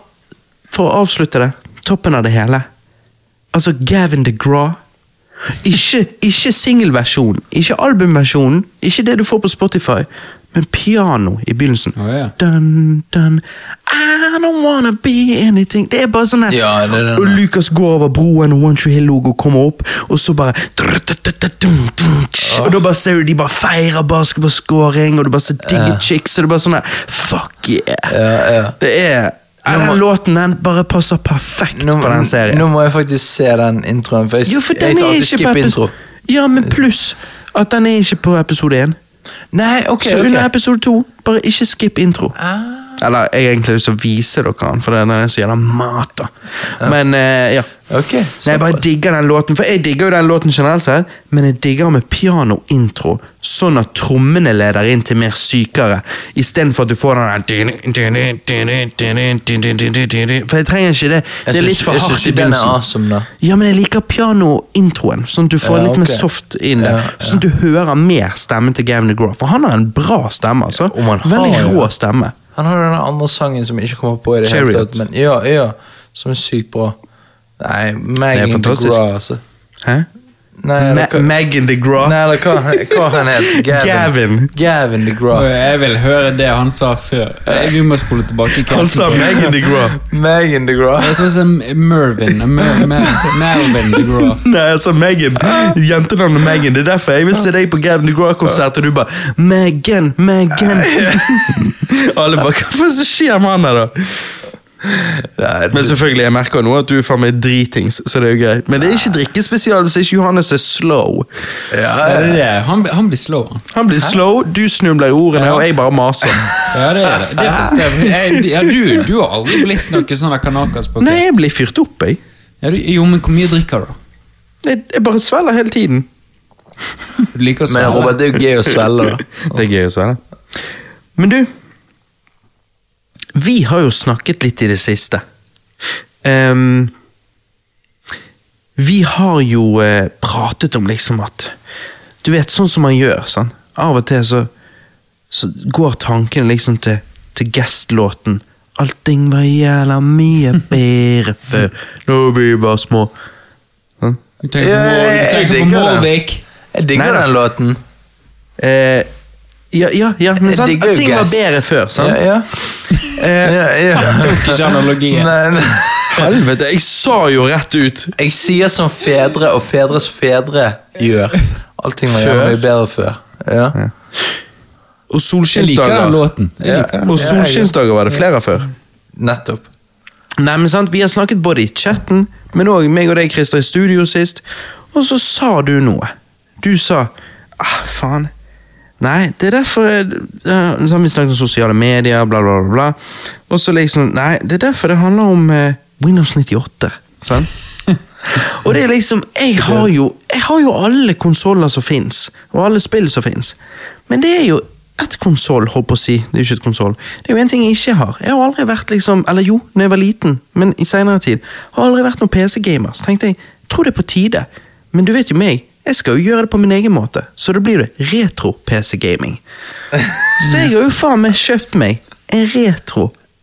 Speaker 1: for å avslutte det, toppen av det hele. Altså Gavin DeGraw. Ikke, ikke singelversjonen, ikke albumversjonen, ikke det du får på Spotify, men piano i begynnelsen.
Speaker 3: Å, ja.
Speaker 1: Dun, dun, I don't wanna be anything. Det er bare sånn her.
Speaker 2: Ja, det er den,
Speaker 1: og
Speaker 2: ja.
Speaker 1: Lucas går over broen, og One Tree Hill-logo kommer opp, og så bare Og da bare ser du de bare feirer basketballscoring, og du bare ser digge chicks, og det er bare sånn her Fuck yeah! Det er ja, Den låten den bare passer perfekt
Speaker 2: Nå,
Speaker 1: på den serien.
Speaker 2: nå må jeg faktisk se den introen, for jeg,
Speaker 1: jo, for
Speaker 2: jeg
Speaker 1: den
Speaker 2: tar
Speaker 1: er
Speaker 2: alltid
Speaker 1: ikke
Speaker 2: skip
Speaker 1: på
Speaker 2: intro.
Speaker 1: episode Ja, men pluss at den er ikke på episode én.
Speaker 2: Nei, ok, Ah.
Speaker 1: så
Speaker 2: ok.
Speaker 1: under episode to, bare ikke skip intro. Eller jeg har egentlig lyst til å vise dere den, for den er så jævla mat. da. Men eh, ja.
Speaker 2: Ok,
Speaker 1: Nei, jeg bare digger den låten, for jeg digger jo den låten generelt sett, men jeg digger med pianointro, sånn at trommene leder inn til mer sykere, istedenfor at du får den der For jeg trenger ikke det. Det er
Speaker 2: Jeg syns-
Speaker 1: litt for hardt i
Speaker 2: jeg syns ikke den er
Speaker 1: begynnelsen.
Speaker 2: awesome, da.
Speaker 1: Ja, men jeg liker pianointroen, sånn at du får
Speaker 2: Ja,
Speaker 1: litt mer
Speaker 2: ok.
Speaker 1: soft inn det.
Speaker 2: Ja, ja.
Speaker 1: Sånn at du hører mer stemmen til Gavin DeGraw, for han har en bra stemme, altså.
Speaker 2: Om han har,
Speaker 1: Veldig
Speaker 2: ja.
Speaker 1: rå stemme.
Speaker 2: Han har den andre sangen som jeg ikke kommer på i det hele
Speaker 1: Chariot.
Speaker 2: tatt, men ja, ja, som er sykt bra. Nei,
Speaker 1: Det er
Speaker 2: Megan
Speaker 1: fantastisk.
Speaker 2: DeGraw, altså.
Speaker 1: Hæ?
Speaker 2: Nei, eller
Speaker 1: Ma
Speaker 2: hva-
Speaker 1: Megan DeGraw.
Speaker 2: Nei, eller hva, hva han het?
Speaker 1: Gavin.
Speaker 2: Gavin
Speaker 3: Å,
Speaker 2: DeGraw.
Speaker 3: Jeg vil høre det han sa før. Eh, Vi må spole tilbake. i
Speaker 1: Han sa
Speaker 3: casten.
Speaker 2: altså,
Speaker 1: Megan DeGraw.
Speaker 2: Megan DeGraw.
Speaker 3: Jeg tror det er Mervin. Mer, mer, Melvin DeGraw.
Speaker 1: Nei, altså Megan. Jentenavnet Megan. Det er derfor jeg vil se deg på Gavin DeGraw-konsert, og du bare Megan, Megan. Alle bare Hva faen som skjer med han her, da? Men selvfølgelig, jeg merker nå at du er faen meg dritings, så det er jo greit. Men det er ikke drikkespesial hvis ikke Johannes er slow. Eh,
Speaker 3: Ja, det er det. Han, blir- han blir slow. han.
Speaker 1: Han blir slow, du snubler i ordene, og jeg bare maser.
Speaker 3: Ja, det er det. det, er faktisk det. Jeg, ja, du, du har aldri blitt noe sånn der kanakas på
Speaker 1: Nei,
Speaker 3: fest.
Speaker 1: jeg blir fyrt opp, jeg.
Speaker 3: Ja, du, jo, men hvor mye drikker du? da?
Speaker 1: Jeg, jeg bare svelger hele tiden.
Speaker 3: Du liker å
Speaker 2: Men
Speaker 3: svelle.
Speaker 2: Robert, det er jo gøy å svelge, da.
Speaker 1: Det er gøy å svelge. Men du Vi har jo snakket litt i det siste. Ehm, vi har jo eh, pratet om liksom at Du vet, sånn som man gjør. Sånn. Av og til så, så går tankene liksom til, til Guest-låten. Allting var jævla mye bedre før, når vi var små. Sånn.
Speaker 3: Du tenker på,
Speaker 2: Ja,
Speaker 3: Mor- du
Speaker 2: jeg
Speaker 3: tenker på
Speaker 2: digger det.
Speaker 3: Målvik.
Speaker 2: Jeg digger
Speaker 1: Neida.
Speaker 2: den låten.
Speaker 1: Eh, ja, ja, ja, men
Speaker 2: Jeg
Speaker 1: sant?
Speaker 2: digger jo
Speaker 1: ting var
Speaker 2: Guess.
Speaker 1: bedre før. sant? Eh,
Speaker 2: Ja, ja. ja, ja.
Speaker 3: Tok ikke analogien.
Speaker 2: Nei, nei.
Speaker 1: Helvete, jeg sa jo rett ut!
Speaker 2: Jeg sier som fedre og fedres fedre gjør. Allting var
Speaker 1: Før.
Speaker 2: gjerne mye bedre før. Ja.
Speaker 1: Og
Speaker 3: Jeg liker den
Speaker 1: solskinnsdager.
Speaker 3: låten. Jeg
Speaker 2: Ja.
Speaker 3: liker den.
Speaker 1: Og
Speaker 2: Ja,
Speaker 1: solskinnsdager var det flere før.
Speaker 2: Nettopp.
Speaker 1: Nei, men sant, Vi har snakket både i chatten, men òg meg og deg, Christer, i studio sist. Og så sa du noe. Du sa ah, faen. Nei, det er derfor jeg, ja, sånn, Vi snakket om sosiale medier, bla, bla, bla. bla. Og så liksom Nei, det er derfor det handler om eh, Windows 98. Sant? og det er liksom Jeg har jo, jeg har jo alle konsoller som fins, og alle spill som fins. Men det er jo ett konsoll, holdt på å si. Det er jo ikke et konsoll. Det er jo en ting jeg ikke har. Jeg har aldri vært liksom Eller jo, da jeg var liten, men i seinere tid. Har aldri vært noen PC-gamer. Så tenkte jeg, tror det er på tide. Men du vet jo meg. Jeg skal jo gjøre det på min egen måte, så da blir det retro-PC-gaming. Så jeg har jo faen meg kjøpt meg en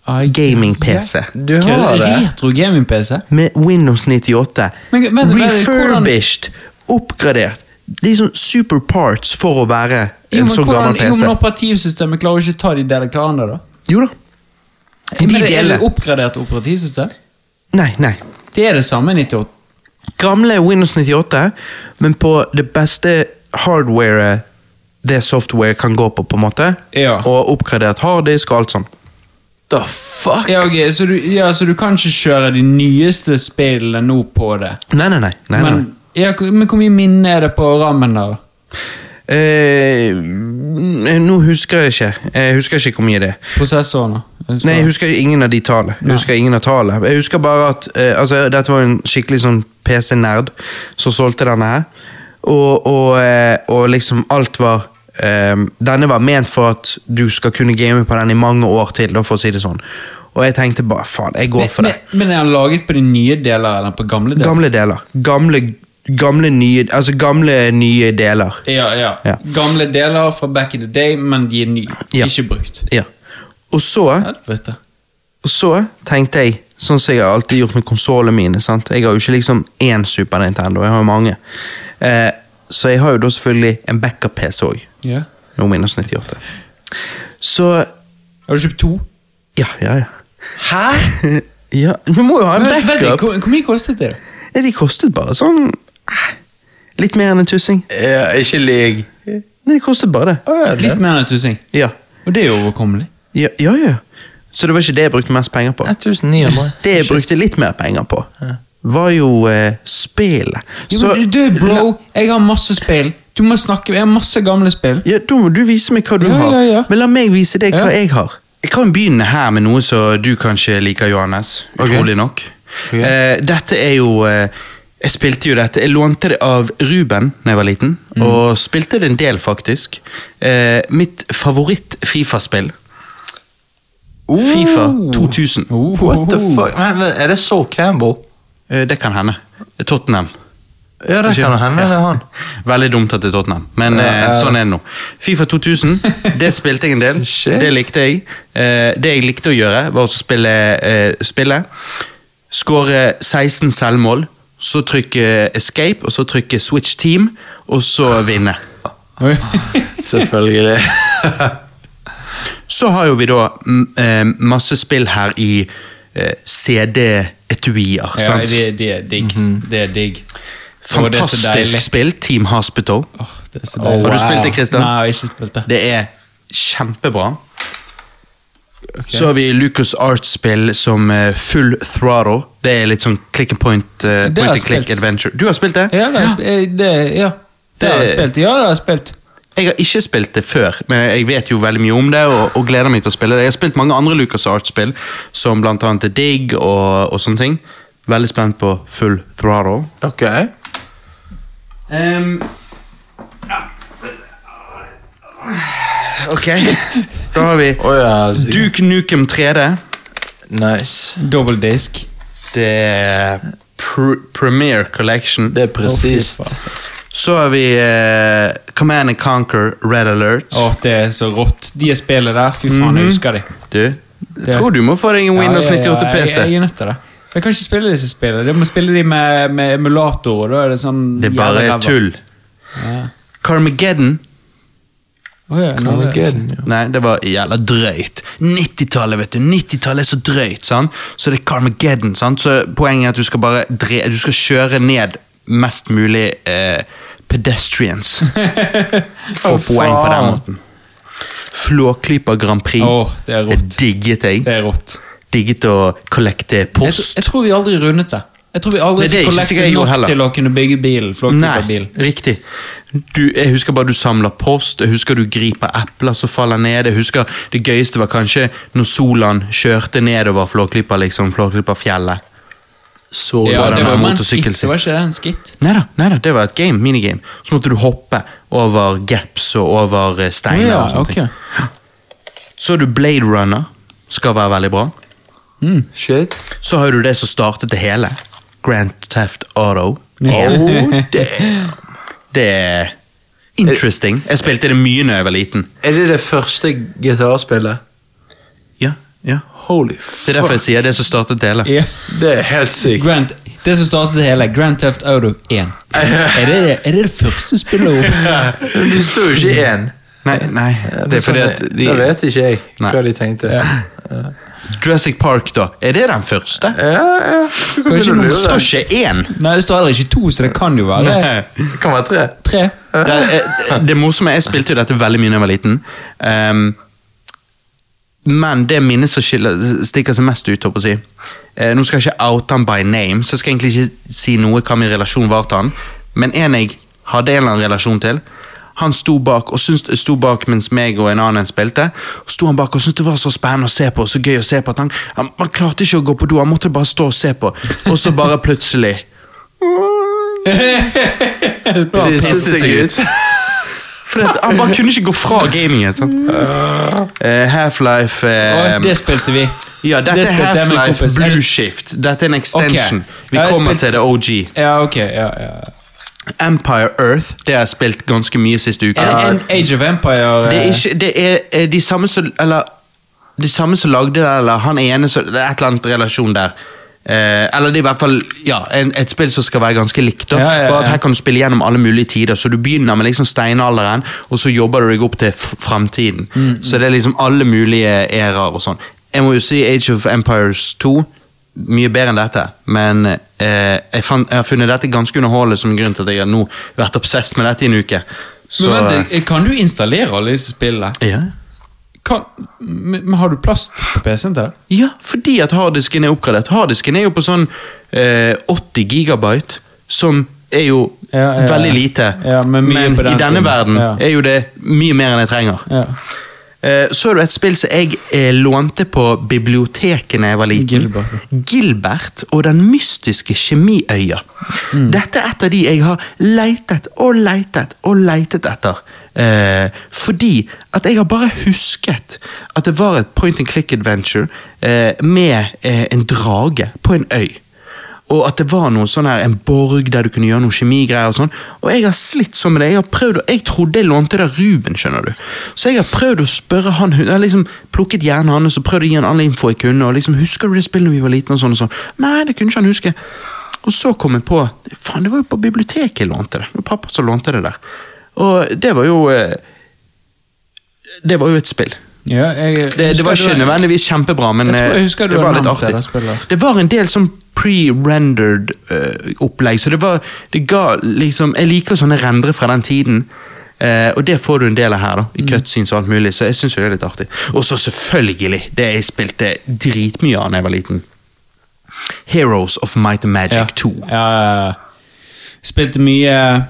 Speaker 1: retro-gaming-PC.
Speaker 2: Du
Speaker 3: Hva
Speaker 2: har
Speaker 3: er det?
Speaker 2: det.
Speaker 3: Retro gaming-PC?
Speaker 1: Med Windows 98.
Speaker 3: Men- men- men-
Speaker 1: refurbished. Oppgradert. Det er sånn super parts for å være
Speaker 3: Jo,
Speaker 1: en
Speaker 3: men
Speaker 1: så
Speaker 3: hvordan-
Speaker 1: gammel
Speaker 3: Jo, men
Speaker 1: PC.
Speaker 3: operativsystemet klarer jo ikke å ta de delene hverandre, da.
Speaker 1: Jo da. De
Speaker 3: Men det er
Speaker 1: deler.
Speaker 3: det oppgradert operativsystem?
Speaker 1: Nei, nei.
Speaker 3: Det er det samme 98.
Speaker 1: Gamle Windows 98, men på det beste hardwaret det software kan gå på, på en måte.
Speaker 3: Ja.
Speaker 1: Og oppgradert harddisk og alt sånn.
Speaker 2: The fuck?
Speaker 3: Ja, ok, så, du, ja, så du kan ikke kjøre de nyeste spillene nå på det?
Speaker 1: Nei, nei, nei. nei, nei.
Speaker 3: Men, ja, hvor- men hvor mye minne er det på rammen der? da?
Speaker 1: Eh, nå husker jeg ikke. Jeg husker ikke hvor mye det er.
Speaker 3: Prosessoren, da? Jeg husker-
Speaker 1: Nei, jeg husker ingen av de tallene. Jeg husker ingen av tallene. Jeg husker bare at eh, altså, Dette var en skikkelig sånn PC-nerd som solgte denne her. Og, og, eh, og liksom alt var eh, Denne var ment for at du skal kunne game på den i mange år til, da, for å si det sånn. Og jeg tenkte bare faen, jeg går for det.
Speaker 3: Men, men er den laget på de nye deler eller på gamle deler?
Speaker 1: Gamle deler. Gamle, gamle nye Altså gamle, nye deler.
Speaker 3: ja, ja.
Speaker 1: Ja.
Speaker 3: Gamle deler fra back in the day, men de er nye.
Speaker 1: Ja.
Speaker 3: Ikke brukt.
Speaker 1: Ja. Og så
Speaker 3: Helvete.
Speaker 1: Og så tenkte jeg, sånn som jeg har alltid gjort med konsolene mine sant? Jeg har jo ikke liksom én Super Nintendo, jeg har jo mange. Eh, så jeg har jo da selvfølgelig en backup-PC òg.
Speaker 3: Ja.
Speaker 1: Nå minus 98. Så
Speaker 3: Har du kjøpt to?
Speaker 1: Ja, ja, ja.
Speaker 2: Hæ?
Speaker 1: ja du må jo ha en
Speaker 3: Men, vent litt,
Speaker 1: backup!
Speaker 3: hvor, hvor mye kostet det? da?
Speaker 1: Nei, De kostet bare sånn eh, Litt mer enn en tussing.
Speaker 2: Ja, ikke lyg.
Speaker 1: Nei, de kostet bare det.
Speaker 3: Litt mer enn en tusen.
Speaker 1: Ja.
Speaker 3: Og det er jo overkommelig.
Speaker 1: Ja, ja, ja. Så det var ikke det jeg brukte mest penger på.
Speaker 2: 1900.
Speaker 1: Det jeg brukte litt mer penger på, var jo eh, spillet.
Speaker 3: Jo,
Speaker 1: Så-
Speaker 3: men du, du, bro, jeg har masse spill. Du må snakke, Jeg har masse gamle spill.
Speaker 1: Ja, Da må du vise meg hva du
Speaker 3: Ja,
Speaker 1: har.
Speaker 3: ja, ja.
Speaker 1: Men la meg vise deg hva
Speaker 3: Ja.
Speaker 1: jeg har. Jeg kan begynne her med noe som du kanskje liker, Johannes.
Speaker 2: Ok.
Speaker 1: Utrolig nok.
Speaker 2: Ok.
Speaker 1: Eh, dette er jo eh, Jeg spilte jo dette. Jeg lånte det av Ruben da jeg var liten, og spilte det en del, faktisk. Eh, mitt favoritt-Fifa-spill. Oh. Fifa 2000.
Speaker 3: Oh,
Speaker 2: What the fuck? Men, men, er det Saul Campbell?
Speaker 1: Eh, det kan hende. Tottenham.
Speaker 2: Ja, det kan hende det er han.
Speaker 1: Veldig dumt at det er Tottenham, men
Speaker 2: Ja,
Speaker 1: eh,
Speaker 2: ja.
Speaker 1: sånn er det nå. Fifa 2000, det spilte jeg en del.
Speaker 2: Shit.
Speaker 1: Det likte jeg. Eh, det jeg likte å gjøre, var å spille eh, spille. Skåre 16 selvmål, så trykke escape, og så trykke switch team, og så vinne.
Speaker 3: Oi.
Speaker 2: Selvfølgelig.
Speaker 1: Så har jo vi da mm, eh, masse spill her i eh, CD-etuier.
Speaker 3: Ja,
Speaker 1: sant?
Speaker 3: det, det er digg. Det er digg. Å, det er så
Speaker 1: Fantastisk
Speaker 3: deilig.
Speaker 1: spill. Team Hospital.
Speaker 3: Åh, det er så
Speaker 2: Åh,
Speaker 3: deilig.
Speaker 1: Har
Speaker 2: Wow.
Speaker 1: du spilt det, Christian?
Speaker 3: Nei, jeg har ikke spilt det.
Speaker 1: Det er kjempebra. Så har vi Lucas Arts-spill som eh, Full Throttle. Det er litt sånn click and point, eh,
Speaker 3: Det
Speaker 1: point
Speaker 3: har jeg
Speaker 1: and click
Speaker 3: spilt.
Speaker 1: adventure. Du har spilt det?
Speaker 3: Ja, det har jeg sp- eh, det, ja. det har jeg
Speaker 1: Det-
Speaker 3: spilt. Ja, det har jeg spilt.
Speaker 1: Jeg har ikke spilt det før, men jeg vet jo veldig mye om det og, og gleder meg til å spille det. Jeg har spilt mange andre Lucas Arts-spill, som blant annet er Dig og, og sånne ting. Veldig spent på Full Throttle.
Speaker 2: Ok.
Speaker 1: ok. Da har vi
Speaker 2: Å ja. det er sikkert-
Speaker 1: Duke Nukem 3D.
Speaker 2: Nice.
Speaker 3: Double disk.
Speaker 1: Det er pr Premiere Collection.
Speaker 2: Det er presist.
Speaker 3: Å, fy faen, altså.
Speaker 1: Så har vi eh, Command and Conquer Red Alert.
Speaker 3: Åh, det er så rått. De
Speaker 1: Mhm.
Speaker 3: spillene der, fy faen, jeg husker de.
Speaker 1: Du, jeg tror du må få deg en Windows
Speaker 3: Ja, ja, ja,
Speaker 1: 98 PC.
Speaker 3: Jeg, jeg er nødt til det. Jeg kan ikke spille disse spillene. Jeg må spille de med, med emulator. og Da er det sånn
Speaker 1: Det er bare
Speaker 3: jævla ræva.
Speaker 1: tull.
Speaker 3: Ja.
Speaker 1: Carmageddon
Speaker 3: Å ja, nå er det-
Speaker 2: Armageddon, ja.
Speaker 1: Nei, det var jævla drøyt. 90-tallet, vet du. 90-tallet er så drøyt, sant? Så det er Carmageddon, sant? Så poenget er at du skal bare dre du skal kjøre ned mest mulig eh, pedestrians. Få poeng på den
Speaker 2: faen.
Speaker 1: måten. Flåklypa Grand Prix.
Speaker 3: Åh, det er
Speaker 1: Jeg
Speaker 3: rått.
Speaker 1: digget jeg.
Speaker 3: Det er rått.
Speaker 1: Digget å kollekte
Speaker 3: Jeg, tr-
Speaker 1: post.
Speaker 3: jeg tror vi aldri rundet det. Jeg tror vi aldri
Speaker 1: Nei, det er
Speaker 3: fikk
Speaker 1: ikke sikkert jeg
Speaker 3: kollektet
Speaker 1: gjorde
Speaker 3: nok
Speaker 1: heller.
Speaker 3: til å kunne bygge bilen.
Speaker 1: Nei,
Speaker 3: Bil.
Speaker 1: riktig. Du, jeg husker bare du samler post, jeg husker du griper epler som faller ned. Jeg husker Det gøyeste var kanskje når Solan kjørte nedover Flåklypa, liksom, Flåklypa-fjellet. Så
Speaker 3: Ja,
Speaker 1: var
Speaker 3: det
Speaker 1: den der
Speaker 3: var jo en skitt,
Speaker 1: motorsykkelen
Speaker 3: det
Speaker 1: sin.
Speaker 3: var ikke det en skitt?
Speaker 1: Neida, neida, det var et game, minigame. Så måtte du hoppe over gaps og over eh,
Speaker 3: Å
Speaker 1: steiner.
Speaker 3: ja,
Speaker 1: og sånne
Speaker 3: ok.
Speaker 1: ting. Så har du Blade Runner, skal være veldig bra.
Speaker 2: Shit.
Speaker 1: Så har du det som startet det hele. Grand Theft Auto.
Speaker 3: Ja.
Speaker 1: Oh, damn. Det er interesting. Jeg spilte det mye når jeg var liten.
Speaker 2: Er det det første gitarspillet?
Speaker 1: Ja, ja.
Speaker 2: Holy
Speaker 1: Det er derfor jeg sier det som startet det hele.
Speaker 3: Ja.
Speaker 2: Det er helt sykt.
Speaker 3: Grand, det som startet det hele, Grand Theft Auto 1. Er det er det, det første spillet? over?
Speaker 2: Du sto jo ikke én.
Speaker 1: Nei, nei, det er fordi at de,
Speaker 2: Da vet ikke jeg
Speaker 1: Nei.
Speaker 2: hva de tenkte.
Speaker 1: Jurassic Park, da. Er det den første?
Speaker 2: Ja, ja. Du kan
Speaker 1: Det
Speaker 2: begynne å lure
Speaker 1: står
Speaker 2: deg.
Speaker 1: ikke én!
Speaker 3: Nei, det står heller ikke to, så det kan jo være
Speaker 2: Det kan være tre.
Speaker 3: tre.
Speaker 1: Det, er- eh, det morsomme er, Jeg spilte jo dette veldig mye da jeg var liten. Ehm, men det minnet som skiller, stikker seg mest ut, håper jeg å si eh, Nå skal jeg ikke oute han by name, så jeg skal egentlig ikke si noe hva min relasjon var til han. Men en jeg hadde en eller annen relasjon til, han sto bak, og syntes, sto bak mens meg og en annen spilte. Og sto han bak og syntes det var så spennende å se på, og så gøy å se på at han, han, han klarte ikke å gå på do, han måtte bare stå og se på. Og så bare plutselig
Speaker 2: De
Speaker 1: pisset
Speaker 2: pisset
Speaker 1: seg
Speaker 2: seg
Speaker 1: ut.
Speaker 2: ut.
Speaker 1: Fordi at han bare kunne ikke gå fra gamingen. sant? Eh, Half-Life eh,
Speaker 3: Å, det spilte vi.
Speaker 1: Ja, dette
Speaker 3: det
Speaker 1: er
Speaker 3: spilte jeg med en
Speaker 1: Half-Life
Speaker 3: kompis. Er
Speaker 1: Blue
Speaker 3: det-
Speaker 1: Shift. Dette er en extension.
Speaker 3: Ok.
Speaker 1: Vi
Speaker 3: Ja, jeg
Speaker 1: kommer
Speaker 3: spilte-
Speaker 1: til det OG.
Speaker 3: Ja, ok. Ja, ja.
Speaker 1: Empire Earth det har jeg spilt ganske mye siste uke.
Speaker 3: Er det en Age of Empire?
Speaker 1: Det er
Speaker 3: eh,
Speaker 1: ikke Det er eh, de samme som Eller de samme som lagde det, eller han ene som Det er et eller annet relasjon der. Eh, eller det er i hvert fall ja, en, et spill som skal være ganske likt. Da.
Speaker 3: Ja, ja, ja.
Speaker 1: Bare at Her kan du spille gjennom alle mulige tider. Så Du begynner med liksom steinalderen, og så jobber du deg opp til f- framtiden.
Speaker 3: Mm.
Speaker 1: Så det er liksom alle mulige æraer og sånn. Jeg må jo si Age of Empires 2 mye bedre enn dette, men eh, jeg, fant, jeg har funnet dette ganske underholdende som grunn til at jeg har nå vært obsessed med dette i en uke. Så, eh,
Speaker 3: Men vent, eh, Kan du installere alle disse spillene?
Speaker 1: ja.
Speaker 3: Kan, men men har du plass på PC-en til det?
Speaker 1: Ja, fordi at harddisken er oppgradert. Harddisken er jo på sånn eh, 80 gigabyte, som er jo
Speaker 3: Ja, ja,
Speaker 1: veldig
Speaker 3: ja.
Speaker 1: lite.
Speaker 3: Ja, men mye på den
Speaker 1: i denne
Speaker 3: tiden.
Speaker 1: verden
Speaker 3: Ja.
Speaker 1: er jo det mye mer enn jeg trenger.
Speaker 3: Ja.
Speaker 1: Eh, så er det et spill som jeg eh, lånte på biblioteket da jeg var liten.
Speaker 3: Gilbert.
Speaker 1: Gilbert og den mystiske kjemiøya.
Speaker 3: Mm.
Speaker 1: Dette er et av de jeg har leitet og leitet og leitet etter. Eh, fordi at jeg har bare husket at det var et point and click adventure eh, med eh, en drage på en øy. Og at det var noe sånn her, en borg der du kunne gjøre noe kjemigreier. Og sånn. Og jeg har slitt sånn med det. Jeg har prøvd, å- jeg trodde jeg lånte det av Ruben, skjønner du. Så jeg har prøvd å spørre han, jeg har liksom plukket hjernen hans og prøvd å gi han all info jeg kunne. og liksom, Husker du det spillet da vi var liten? Og sånn og sånn. Nei, det kunne ikke han huske. Og så kom jeg på Faen, det var jo på biblioteket jeg lånte det. Det var pappa som lånte det der. Og det var jo eh, Det var jo et spill.
Speaker 3: Ja, jeg,
Speaker 1: Det, det var
Speaker 3: husker
Speaker 1: ikke
Speaker 3: du-
Speaker 1: nødvendigvis kjempebra, men
Speaker 3: Jeg tror- jeg
Speaker 1: eh,
Speaker 3: husker du
Speaker 1: det
Speaker 3: har
Speaker 1: var litt
Speaker 3: nevnt det,
Speaker 1: artig.
Speaker 3: det spillet.
Speaker 1: Det var en del sånn pre-rendered eh, opplegg, så det var Det ga liksom Jeg liker sånne rendere fra den tiden. eh, og det får du en del av her, da
Speaker 3: Mm.
Speaker 1: i cutscenes og alt mulig. Så jeg synes jo det er litt artig. Og så selvfølgelig det jeg spilte dritmye av da jeg var liten. Heroes of Might and Magic
Speaker 3: ja.
Speaker 1: 2.
Speaker 3: Ja, ja, ja. Spilte mye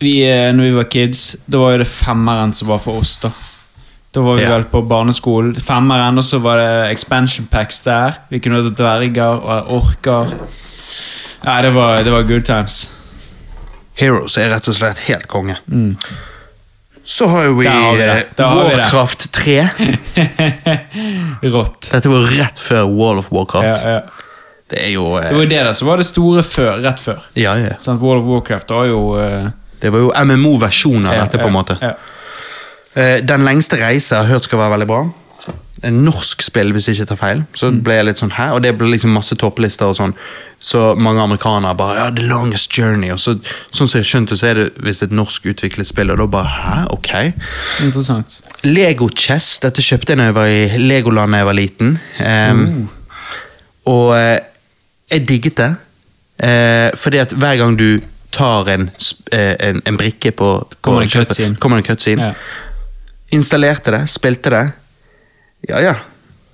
Speaker 3: vi, eh, Når vi var kids, da var jo det femmeren som var for oss, da. Da var vi
Speaker 1: Ja.
Speaker 3: vel på barneskolen. Femmeren, og så var det expansion packs der. Vi kunne ha dverger og orker. Nei, det var, det var good times.
Speaker 1: Heroes er rett og slett helt konge. Så har jo vi,
Speaker 3: Mm. Der har vi det.
Speaker 1: eh,
Speaker 3: Der har vi det.
Speaker 1: Warcraft 3.
Speaker 3: Rått.
Speaker 1: Dette var rett før Wall of
Speaker 3: Ja,
Speaker 1: Warcraft.
Speaker 3: ja.
Speaker 1: Det er jo eh,
Speaker 3: Det var jo det der som var det store før, rett før.
Speaker 1: Ja, ja.
Speaker 3: Sant? World of Warcraft var jo eh,
Speaker 1: Det var jo MMO-versjonen av
Speaker 3: ja,
Speaker 1: dette, på en
Speaker 3: ja,
Speaker 1: måte.
Speaker 3: Ja.
Speaker 1: Eh, Den lengste reise jeg har hørt skal være veldig bra. en norsk spill, hvis jeg ikke tar feil. Så
Speaker 3: Mm.
Speaker 1: ble jeg litt sånn her, og det ble liksom masse topplister og sånn. Så mange amerikanere bare ja, 'The Longest Journey'. Og så, sånn som jeg skjønte, så er det visst et norsk utviklet spill, og da bare hæ, ok.
Speaker 3: Interessant.
Speaker 1: Lego Chess. Dette kjøpte jeg da jeg var i Legoland da jeg var liten. Ehm, Og eh, jeg digget det. Eh, fordi at hver gang du tar en, sp- eh, en, en brikke på, på
Speaker 3: Kommer det en
Speaker 1: kjøpet,
Speaker 3: cutscene.
Speaker 1: Kommer det en cutscene.
Speaker 3: Ja.
Speaker 1: Installerte det, spilte det. Ja, ja.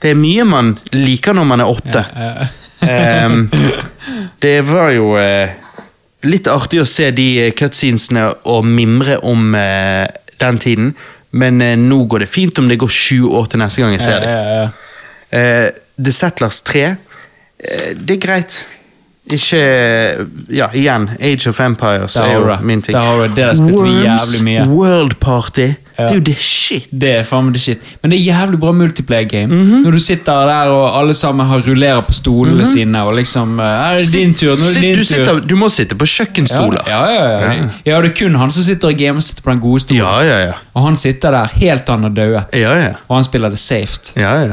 Speaker 1: Det er mye man liker når man er åtte.
Speaker 3: Eh,
Speaker 1: Ehm, det var jo eh, litt artig å se de eh, cutscenesene og mimre om eh, den tiden. Men eh, nå går det fint om det går sju år til neste gang jeg ser
Speaker 3: ja,
Speaker 1: dem.
Speaker 3: ja, ja.
Speaker 1: Eh, The Settlers 3, eh, det er greit. Ikke Ja, igjen. Age of Empires
Speaker 3: Der
Speaker 1: er jo
Speaker 3: har du det.
Speaker 1: min ting.
Speaker 3: Der har du det. Det har jeg spilt jævlig mye.
Speaker 1: World Party. Det er jo det shit.
Speaker 3: Det er faen meg det shit. Men det er jævlig bra multiplayer game.
Speaker 1: Mhm.
Speaker 3: Når du sitter der og alle sammen har rullerer på stolene sine og liksom eh, Er det din tur? Nå er det
Speaker 1: Sitt-
Speaker 3: din
Speaker 1: Mhm. du,
Speaker 3: tur.
Speaker 1: sitter, du må sitte på kjøkkenstoler.
Speaker 3: Ja, ja, ja, ja. ja, det er kun han som sitter og gamer sitter på den gode stolen.
Speaker 1: Ja, ja, ja.
Speaker 3: Og han sitter der helt til han er dauet.
Speaker 1: ja, ja.
Speaker 3: Og han spiller det safe.
Speaker 1: ja, ja.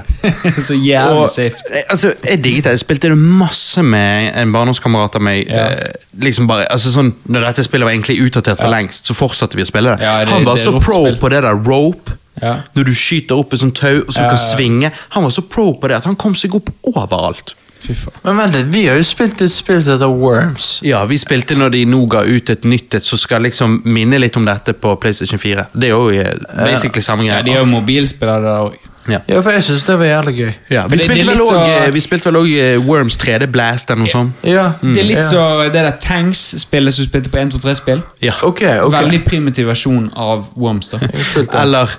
Speaker 3: så jævlig
Speaker 1: Og,
Speaker 3: safe.
Speaker 1: eh, altså, jeg digget det. Jeg spilte det masse med en barndomskamerat av meg.
Speaker 3: Ja.
Speaker 1: Eh, liksom bare, altså sånn, når dette spillet var egentlig utdatert for lengst, så fortsatte vi å spille det.
Speaker 3: Ja, det-
Speaker 1: Han var
Speaker 3: det er
Speaker 1: så
Speaker 3: rått
Speaker 1: pro
Speaker 3: spill.
Speaker 1: på det der rope.
Speaker 3: Ja.
Speaker 1: Når du skyter opp et sånt tau og så
Speaker 3: Ja,
Speaker 1: kan
Speaker 3: ja.
Speaker 1: svinge. Han var så pro på det at han kom seg opp overalt.
Speaker 3: Fy faen.
Speaker 2: Men vent litt, vi har jo spilt et spill som heter Worms.
Speaker 1: Ja, Vi spilte når de nå ga ut et nytt et som skal liksom minne litt om dette på PlayStation 4. Det er jo eh, basically samme
Speaker 3: Ja,
Speaker 1: greie.
Speaker 3: de er jo mobilspillere der òg.
Speaker 1: Ja.
Speaker 2: Ja, for jeg syns det var jævlig gøy.
Speaker 1: Ja, vi,
Speaker 3: Men det- det
Speaker 1: spilte
Speaker 3: er
Speaker 1: vel
Speaker 3: litt
Speaker 1: også,
Speaker 3: så-
Speaker 1: eh, vi spilte vel òg Worms 3D Blast eller noe sånt.
Speaker 2: Ja.
Speaker 3: Det er litt
Speaker 2: ja.
Speaker 3: så det der Tanks-spillet som du spilte på 1-2-3-spill.
Speaker 1: Ja.
Speaker 2: Ok, ok.
Speaker 3: Veldig primitiv versjon av Worms. da
Speaker 2: Jeg har spilt det.
Speaker 1: Eller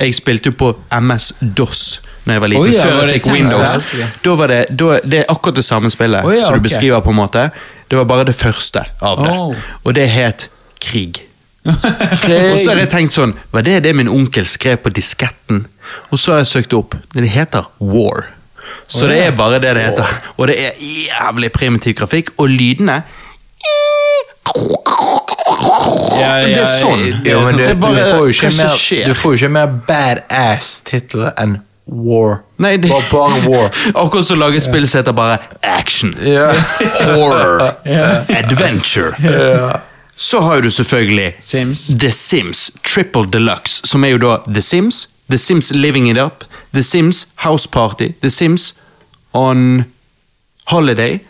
Speaker 1: jeg spilte jo på MS-DOS Når jeg var liten.
Speaker 3: Oi, ja, var
Speaker 1: før
Speaker 3: det
Speaker 1: jeg fikk
Speaker 3: Tanks,
Speaker 1: Windows.
Speaker 2: ja.
Speaker 1: Da var det, da, det er akkurat det samme spillet
Speaker 3: Oi, ja,
Speaker 1: som du
Speaker 3: ok.
Speaker 1: beskriver. på en måte Det var bare det første av det.
Speaker 3: Oh.
Speaker 1: Og det het Krig. Og så har jeg tenkt sånn Var det det min onkel skrev på disketten? Og så har jeg søkt opp. Det heter War. Så det er bare det det heter. Og det er jævlig primitiv grafikk. Og lydene
Speaker 3: Ja, ja,
Speaker 1: Det er sånn.
Speaker 3: det er
Speaker 2: Jo, men
Speaker 3: sånn.
Speaker 2: du,
Speaker 1: Det er bare-
Speaker 2: du, får jo ikke
Speaker 1: hva som skjer?
Speaker 2: mer, du får jo ikke mer badass-tittel enn War.
Speaker 1: Nei, det
Speaker 2: Bare, bare War.
Speaker 1: Akkurat som laget spill som heter bare action.
Speaker 2: Ja.
Speaker 1: Horror. Adventure. Så har jo du selvfølgelig
Speaker 3: Sims.
Speaker 1: The Sims Triple Deluxe, som er jo da The Sims, The Sims Living It Up, The Sims House Party, The Sims On Holiday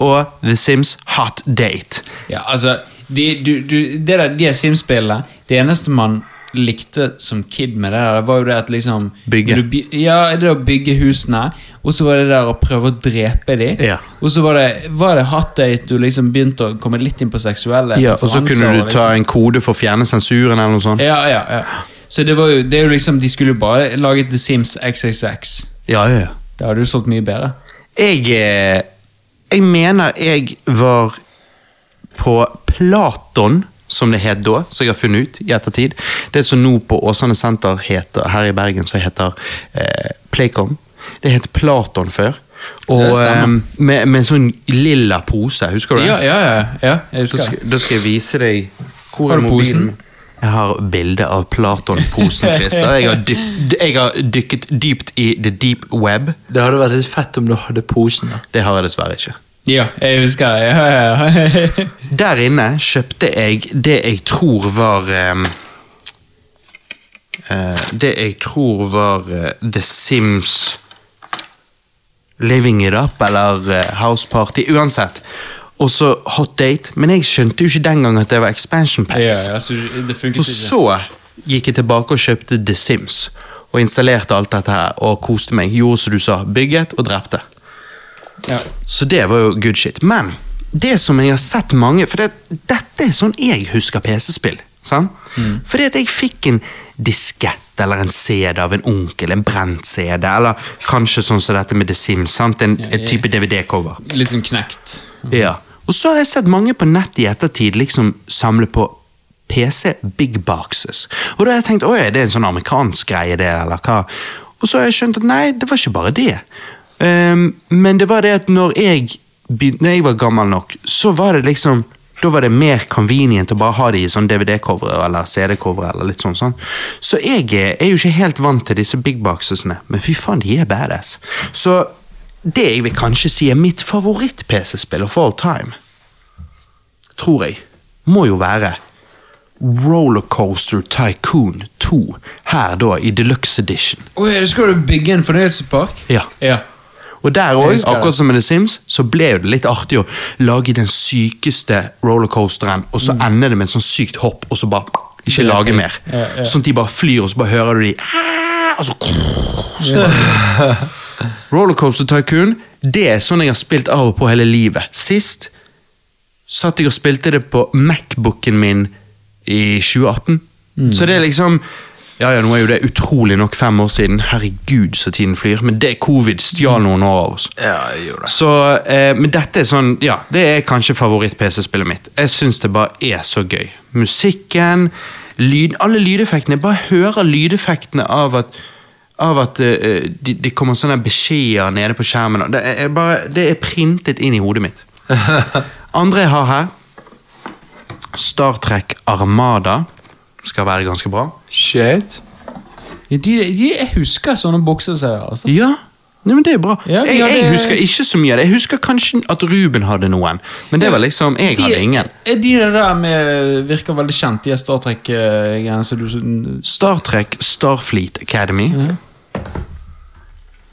Speaker 1: og The Sims Hot Date.
Speaker 3: Ja, altså de, du, du, det der, de Sims-spillene Det eneste man likte som kid med det der, var jo det at liksom
Speaker 1: Bygge.
Speaker 3: du by- ja, det å bygge husene, og så var det der å prøve å drepe dem.
Speaker 1: Ja.
Speaker 3: Og så var det, var det hot date du liksom begynte å komme litt inn på seksuelle
Speaker 1: Ja, og så kunne
Speaker 3: preferanser,
Speaker 1: du ta en kode for å fjerne sensuren eller noe sånt.
Speaker 3: liksom. Ja, ja, ja. Så det var jo, det er jo liksom De skulle jo bare laget The Sims XXX.
Speaker 1: Ja, ja, ja.
Speaker 3: Det hadde jo solgt mye bedre.
Speaker 1: Jeg eh, Jeg mener jeg var på Platon, som det het da, som jeg har funnet ut i ettertid. Det som nå på Åsane senter heter, her i Bergen, som heter eh, Playcom. Det het Platon før. Og
Speaker 3: Det stemmer.
Speaker 1: eh, med, med en sånn lilla pose, husker du det?
Speaker 3: Ja, ja, ja. ja
Speaker 1: Da
Speaker 3: jeg husker.
Speaker 1: skal, da skal jeg vise deg hvor
Speaker 3: Har
Speaker 1: er
Speaker 3: du
Speaker 1: mobilen
Speaker 3: posen?
Speaker 1: Jeg har bilde av Platon-posen, Christer. Jeg har, dyp, jeg har dykket dypt i the deep web.
Speaker 2: Det hadde vært litt fett om du hadde posen. da.
Speaker 1: Det har jeg dessverre ikke.
Speaker 3: Ja, jeg husker det. Ja, ja, ja.
Speaker 1: Der inne kjøpte jeg det jeg tror var ehm, eh, Det jeg tror var eh, The Sims Living It Up eller eh, House Party. Uansett. Og så Hot Date. Men jeg skjønte jo ikke den gang at det var expansion packs.
Speaker 3: Ja, ja, så det funket
Speaker 1: Og
Speaker 3: ikke.
Speaker 1: så gikk jeg tilbake og kjøpte The Sims. Og installerte alt dette her og koste meg. Gjorde som du sa. Bygget og drepte.
Speaker 3: Ja.
Speaker 1: Så det var jo good shit. Men det som jeg har sett mange For det, dette er sånn jeg husker PC-spill. sant? Fordi at jeg fikk en diskett eller en CD av en onkel, en brent CD, eller kanskje sånn som dette med The Sims. sant? En, en type DVD-cover.
Speaker 3: Litt sånn knekt.
Speaker 1: Mm. Ja. Og så har jeg sett mange på nett i ettertid liksom samle på PC big boxes. Og da har jeg tenkt åja, det er en sånn amerikansk greie, det, eller hva? Og så har jeg skjønt at nei, det var ikke bare det. Ehm, men det var det at når jeg, begyn- når jeg var gammel nok, så var det liksom Da var det mer convenient å bare ha de i sånn DVD-covere eller CD-covere. eller litt sånn sånn. Så jeg er er jo ikke helt vant til disse big boxesene, men fy faen, de er badass. Så det jeg vil kanskje si er mitt favoritt-PC-spill of all time, tror jeg, må jo være Rollercoaster Tycoon 2, her da i deluxe edition.
Speaker 3: Oi, da skal du bygge en fornøyelsespark?
Speaker 1: Ja.
Speaker 3: Ja.
Speaker 1: Og der
Speaker 3: Jeg
Speaker 1: òg,
Speaker 3: husker det.
Speaker 1: akkurat som i The Sims, så ble jo det litt artig å lage den sykeste rollercoasteren, og så ender det med et sånn sykt hopp, og så bare ikke lage mer.
Speaker 3: Mm. Ja, ja.
Speaker 1: Sånn at de bare flyr, og så bare hører du de «Ah!» og så, så bare- Rollercoaster Tycoon, det er sånn jeg har spilt av og på hele livet. Sist satt jeg og spilte det på Macbooken min i 2018.
Speaker 3: Mm.
Speaker 1: Så det er liksom Ja, ja, nå er jo det utrolig nok fem år siden. Herregud, så tiden flyr. Men det covid stjal noen år av oss.
Speaker 2: Ja, jeg gjorde det.
Speaker 1: Så, eh, men dette er sånn, ja, det er kanskje favoritt-PC-spillet mitt. Jeg syns det bare er så gøy. Musikken, lyd, alle lydeffektene. Jeg bare hører lydeffektene av at, av at eh, de, de kommer sånne beskjeder nede på skjermen. og Det er, er bare, det er printet inn i hodet mitt. Andre jeg har her, Star Trek Armada, skal være ganske bra.
Speaker 2: Shit.
Speaker 3: De, de, jeg husker sånne bokser som det der, altså.
Speaker 1: Ja, Nei, men det er bra.
Speaker 3: Ja, vi
Speaker 1: jeg, jeg
Speaker 3: hadde-
Speaker 1: husker ikke så mye av det. Jeg husker kanskje at Ruben hadde noen, men det var liksom, jeg
Speaker 3: De-
Speaker 1: hadde ingen.
Speaker 3: er De der med virker veldig kjent, de er Star Trek-greiene som du som-
Speaker 1: Star Trek Starfleet Academy.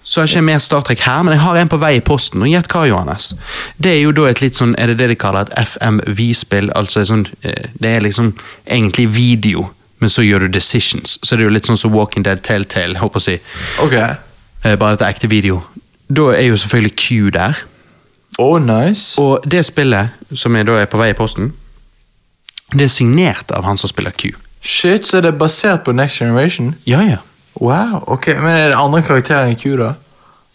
Speaker 1: Så har ikke jeg mer Star Trek her, men jeg har en på vei i posten. Og gjett hva, Johannes? Det er jo da et litt sånn, er det det de kaller et FMV-spill? Altså et sånn, eh, det er liksom egentlig video, men så gjør du decisions. Så det er jo litt sånn som Walking Dead Telltale, håper jeg å si.
Speaker 2: Ok.
Speaker 1: Eh, Bare at det er ekte video. Da er jo selvfølgelig Q der.
Speaker 2: Oh, nice.
Speaker 1: Og det spillet, som jeg da er på vei i posten, det er signert av han som spiller Q.
Speaker 2: Shit, så det er basert på Next Generation?
Speaker 1: Ja, ja.
Speaker 2: Wow, ok. Men er det andre karakterer enn Q, da?